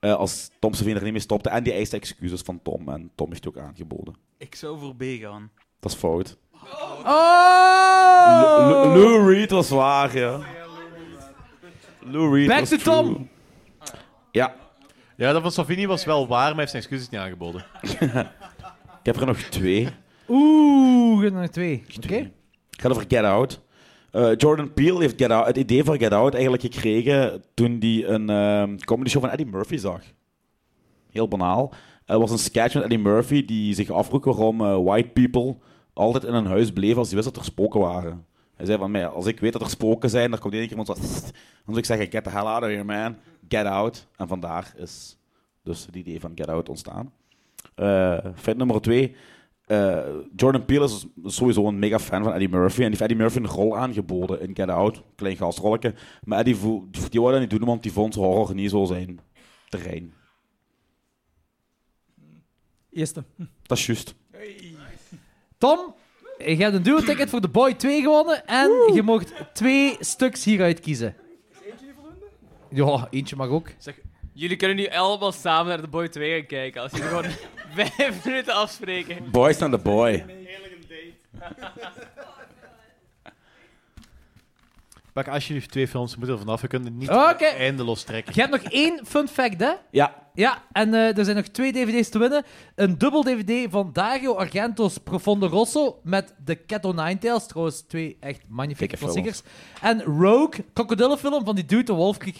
S8: eh, als Tom Savini er niet mee stopte. En die eiste excuses van Tom. En Tom heeft die ook aangeboden.
S12: Ik zou voor B gaan.
S8: Dat is fout.
S12: Oh!
S8: Lou- Lou Reed was waar, ja. Lou Reed
S1: Back
S8: was
S1: to
S8: true.
S1: Tom.
S8: Ja.
S1: Ja, dat van Savini was wel waar, maar hij heeft zijn excuses niet aangeboden.
S8: Ik heb er nog twee.
S2: Oeh, je hebt er nog twee. Oké.
S8: Het gaat over Get Out. Eh, Jordan Peele heeft Get Out, het idee voor Get Out eigenlijk gekregen toen hij een ehm comedy show van Eddie Murphy zag. Heel banaal. Er was een sketch met Eddie Murphy die zich afvroeg waarom eh, white people altijd in een huis bleven als ze wisten dat er spoken waren. Hij zei van mij, als ik weet dat er spoken zijn, dan komt in één keer iemand zo... "Sst." Dan zou ik zeggen, get the hell out of here, man. Get out. En vandaar is dus het idee van Get Out ontstaan. Eh feit nummer twee. eh, Jordan Peele is sowieso een mega fan van Eddie Murphy. En die heeft Eddie Murphy een rol aangeboden in Get Out. Klein gastrolletje. Maar Eddie voel- die, die wou dat niet doen, want die vond horror niet zo zijn terrein.
S12: Eerste.
S8: Dat is juist.
S2: Tom, je hebt een duo-ticket voor de Boy 2 gewonnen en je mocht twee stuks hieruit kiezen. Ja, eentje mag ook.
S6: Jullie kunnen nu allemaal samen naar de Boy 2 gaan kijken. Als jullie gewoon vijf minuten afspreken.
S8: Boys naar de boy.
S1: Pak alsjeblieft twee films, we moeten er vanaf. We kunnen het niet
S2: Oké.
S1: eindeloos trekken.
S2: Je hebt nog één fun fact, hè?
S8: Ja.
S2: Ja, en eh, er zijn nog twee DVD's te winnen. Een dubbel DVD van Dario Argento's Profondo Rosso met de Cat O' Nine Tails. Trouwens, twee echt magnifieke
S8: Dikke films.
S2: klassiekers. En Rogue, krokodillenfilm van die dude de Wolfkrieg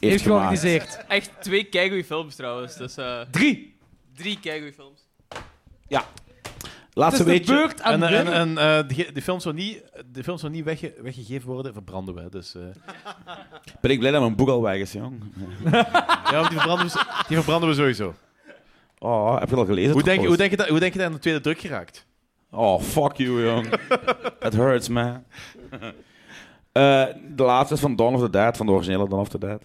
S2: heeft, georganiseerd.
S6: Echt twee keigoeie films trouwens. Dus, eh,
S2: Drie.
S6: Drie keigoeie films.
S8: Ja. Laatste beetje.
S1: en, en, en eh, die, die film zou niet, de film zou niet wegge- weggegeven worden, verbranden we. Dus, eh.
S8: Ben ik blij dat mijn boek al weg is, jong.
S1: ja, want die verbranden we, s- die verbranden we sowieso.
S8: Oh, heb je al gelezen?
S1: Hoe denk, je-
S8: trouwens?
S1: hoe, denk je dat, hoe denk je dat in de tweede druk geraakt?
S8: Oh, fuck you, jong. That hurts, man. Eh, de laatste is van Dawn of the Dead, van de originele Dawn of the Dead.
S2: Doet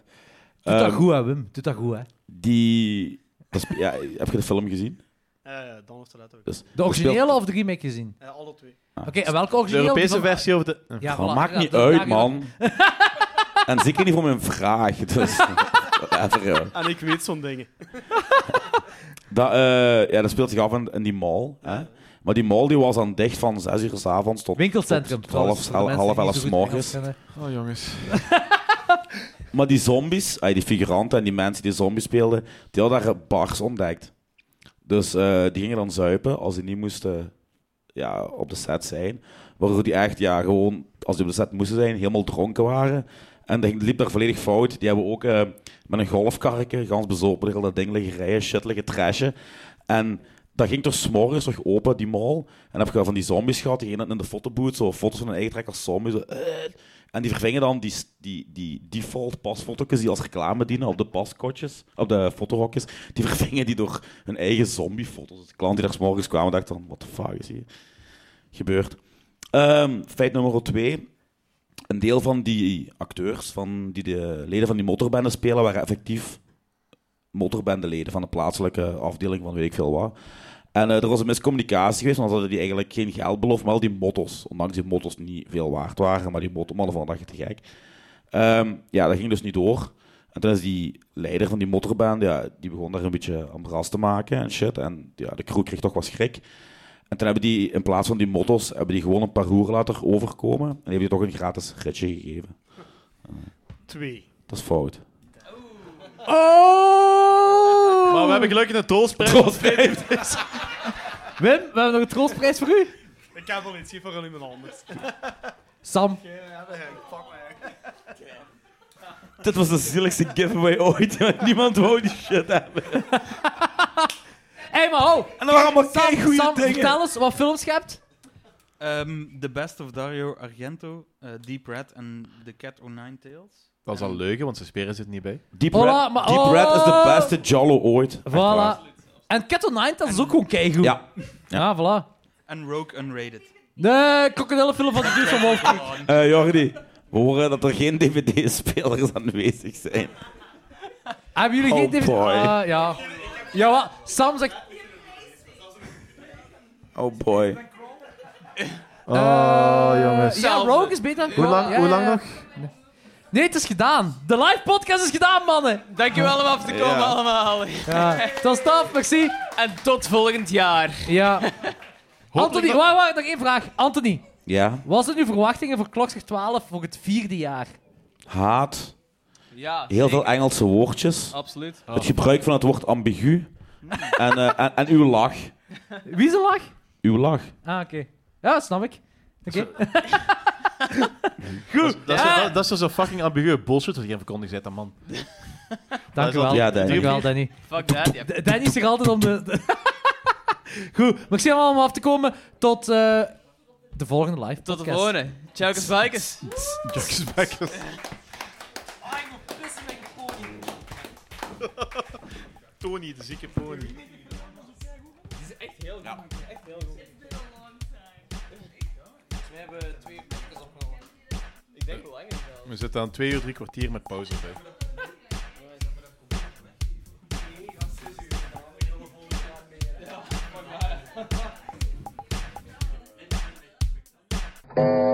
S2: dat
S8: Ehm,
S2: goed, hè, Wim? Doet dat goed, hè?
S8: Die... dat is- ja, heb je de film gezien?
S11: Eh, dan of dat ook.
S8: Dus-
S2: De
S8: dat speelt-
S2: originele of de remake gezien?
S11: alle twee.
S2: Oké, en welke originele?
S1: De Europese
S2: Die van-
S1: versie of de...
S2: Ja,
S8: Dat
S2: Ah, voilà.
S8: maakt
S2: Ja,
S8: niet
S2: dat-
S8: uit,
S2: daar-
S8: man. en zeker niet voor mijn vraag. Dus, whatever, joh.
S11: En ik weet zo'n dingen.
S8: Dat, eh, ja, dat speelt zich af in, in die mall. Hè? Maar die mall die was dan dicht van 6 uur 's avonds tot,
S2: Winkelcentrum,
S8: tot
S2: trouwens,
S8: half,
S2: voor de
S8: half,
S2: mensen
S8: half
S2: die
S8: elf
S2: niet
S8: 's
S2: zo goed
S8: morgens.
S2: Engels
S1: Oh, jongens.
S8: Maar die zombies, ah, die figuranten en die mensen die zombies speelden, die hadden daar bars ontdekt. Dus eh, die gingen dan zuipen als die niet moesten ja, op de set zijn. Waardoor die echt, ja, gewoon, als die op de set moesten zijn, helemaal dronken waren. En dat ging- liep daar volledig fout. Die hebben ook eh, met een golfkarretje, gans bezopen, heel dat ding liggen rijden, shit liggen trashen. En dat ging toch s'morgens nog open, die mall. En dan heb je van die zombies gehad, die gingen in de fotoboot, zo foto's van hun eigen trek als zombies. zo, eh. En die vervingen dan die, s- die, die default pasfoto's die als reclame dienen op de paskotjes, op de fotohokjes. Die vervingen die door hun eigen zombiefoto's. Dus de klant die daar s'morgens kwamen dacht dan, wat de fuck is hier gebeurd? Ehm, feit nummer twee. Een deel van die acteurs, van die de leden van die motorbende spelen, waren effectief motorbendeleden van de plaatselijke afdeling van weet ik veel wat. En eh, er was een miscommunicatie geweest, want ze hadden die eigenlijk geen geld beloofd, maar al die mottos. Ondanks die mottos niet veel waard waren, maar die mottomannen van dat je te gek. Ehm, ja, dat ging dus niet door. En toen is die leider van die motorband, ja, die begon daar een beetje ambras te maken en shit. En ja, de crew kreeg toch wat schrik. En toen hebben die, in plaats van die mottos, hebben die gewoon een paar roer laten overkomen. En die hebben die toch een gratis ritje gegeven.
S11: Twee.
S8: Dat is fout.
S2: Oh!
S1: Maar we hebben gelukkig een troostprijs.
S2: Wim, we hebben nog een troostprijs voor u.
S11: Ik heb al iets, geef voor iemand anders.
S2: Sam.
S11: Oké, ja, dat ga ik. Fuck mij.
S8: Dit was de zieligste giveaway ooit. want Niemand wou die shit hebben.
S2: Hé, hey, maar ho!
S8: En dan waren allemaal
S2: Sam,
S8: keigoeie
S2: Sam,
S8: dingen.
S2: vertel eens wat films je hebt.
S12: Ehm, the Best of Dario Argento, eh, Deep Red en The Cat O' Nine Tails.
S1: Dat is al leugen, want zijn speren zit niet bij.
S8: Deep,
S2: Hola,
S8: Red,
S2: maar-
S8: Deep Red is de
S2: oh.
S8: beste Jallo ooit. Echt waar.
S2: Voilà. En Cat o' Nine Tails is ook gewoon keigoed.
S8: Ja.
S2: Ja, voilà.
S12: En Rogue Unrated.
S2: De krokodillenfilm van de duur van Wolf.
S8: Eh, Jordi, we horen dat er geen DVD-spelers aanwezig zijn.
S2: Hebben jullie geen
S8: Oh,
S2: DVD?
S8: boy.
S2: Ah, ja. Ja, wat? Sam zegt...
S8: Oh boy.
S13: Oh,
S2: Eh,
S13: jongens.
S2: Ja, Rogue is beter dan
S13: Hoe lang,
S2: Crawl. Ja,
S13: hoe
S2: ja,
S13: lang
S2: ja.
S13: nog?
S2: Nee, het is gedaan. De live podcast is gedaan, mannen. Ah.
S6: Dankjewel om af te komen allemaal.
S2: Ja. Tot stap, merci.
S6: En tot volgend jaar.
S2: Ja. Anthony, wacht, wacht, nog één vraag. Anthony,
S8: Ja.
S2: wat zijn uw verwachtingen voor Klokslag 12 voor het vierde jaar?
S8: Haat.
S6: Ja,
S8: Heel veel Oh. Engelse woordjes.
S6: Absoluut.
S8: Het gebruik van het woord ambigu. En, eh, en, en uw lach.
S2: Wie ze lag?
S8: Uw lach.
S2: Ah, oké. Ja, snap ik. Oké.
S1: Goed. Dat is,
S2: Ja.
S1: dat, dat is dus een fucking ambiguë bullshit dat je aan verkondigd bent, dat man.
S2: Dank u wel.
S8: Ja, Danny.
S2: Dank u wel, Danny.
S6: Fuck that, ja.
S2: D- Danny is er altijd om de... de- Goed, maar ik zie hem allemaal af te komen tot eh, de volgende live
S6: Tot de
S2: podcast.
S6: volgende. Tjaukes Bikers.
S1: Jokes back. Tony, de zieke pony.
S6: Die is echt heel goed. Echt heel goed. We hebben twee podcasts opgenomen. Ik denk wel langer wel.
S1: We zitten aan twee uur, drie kwartier met pauze bij.
S3: Thank you.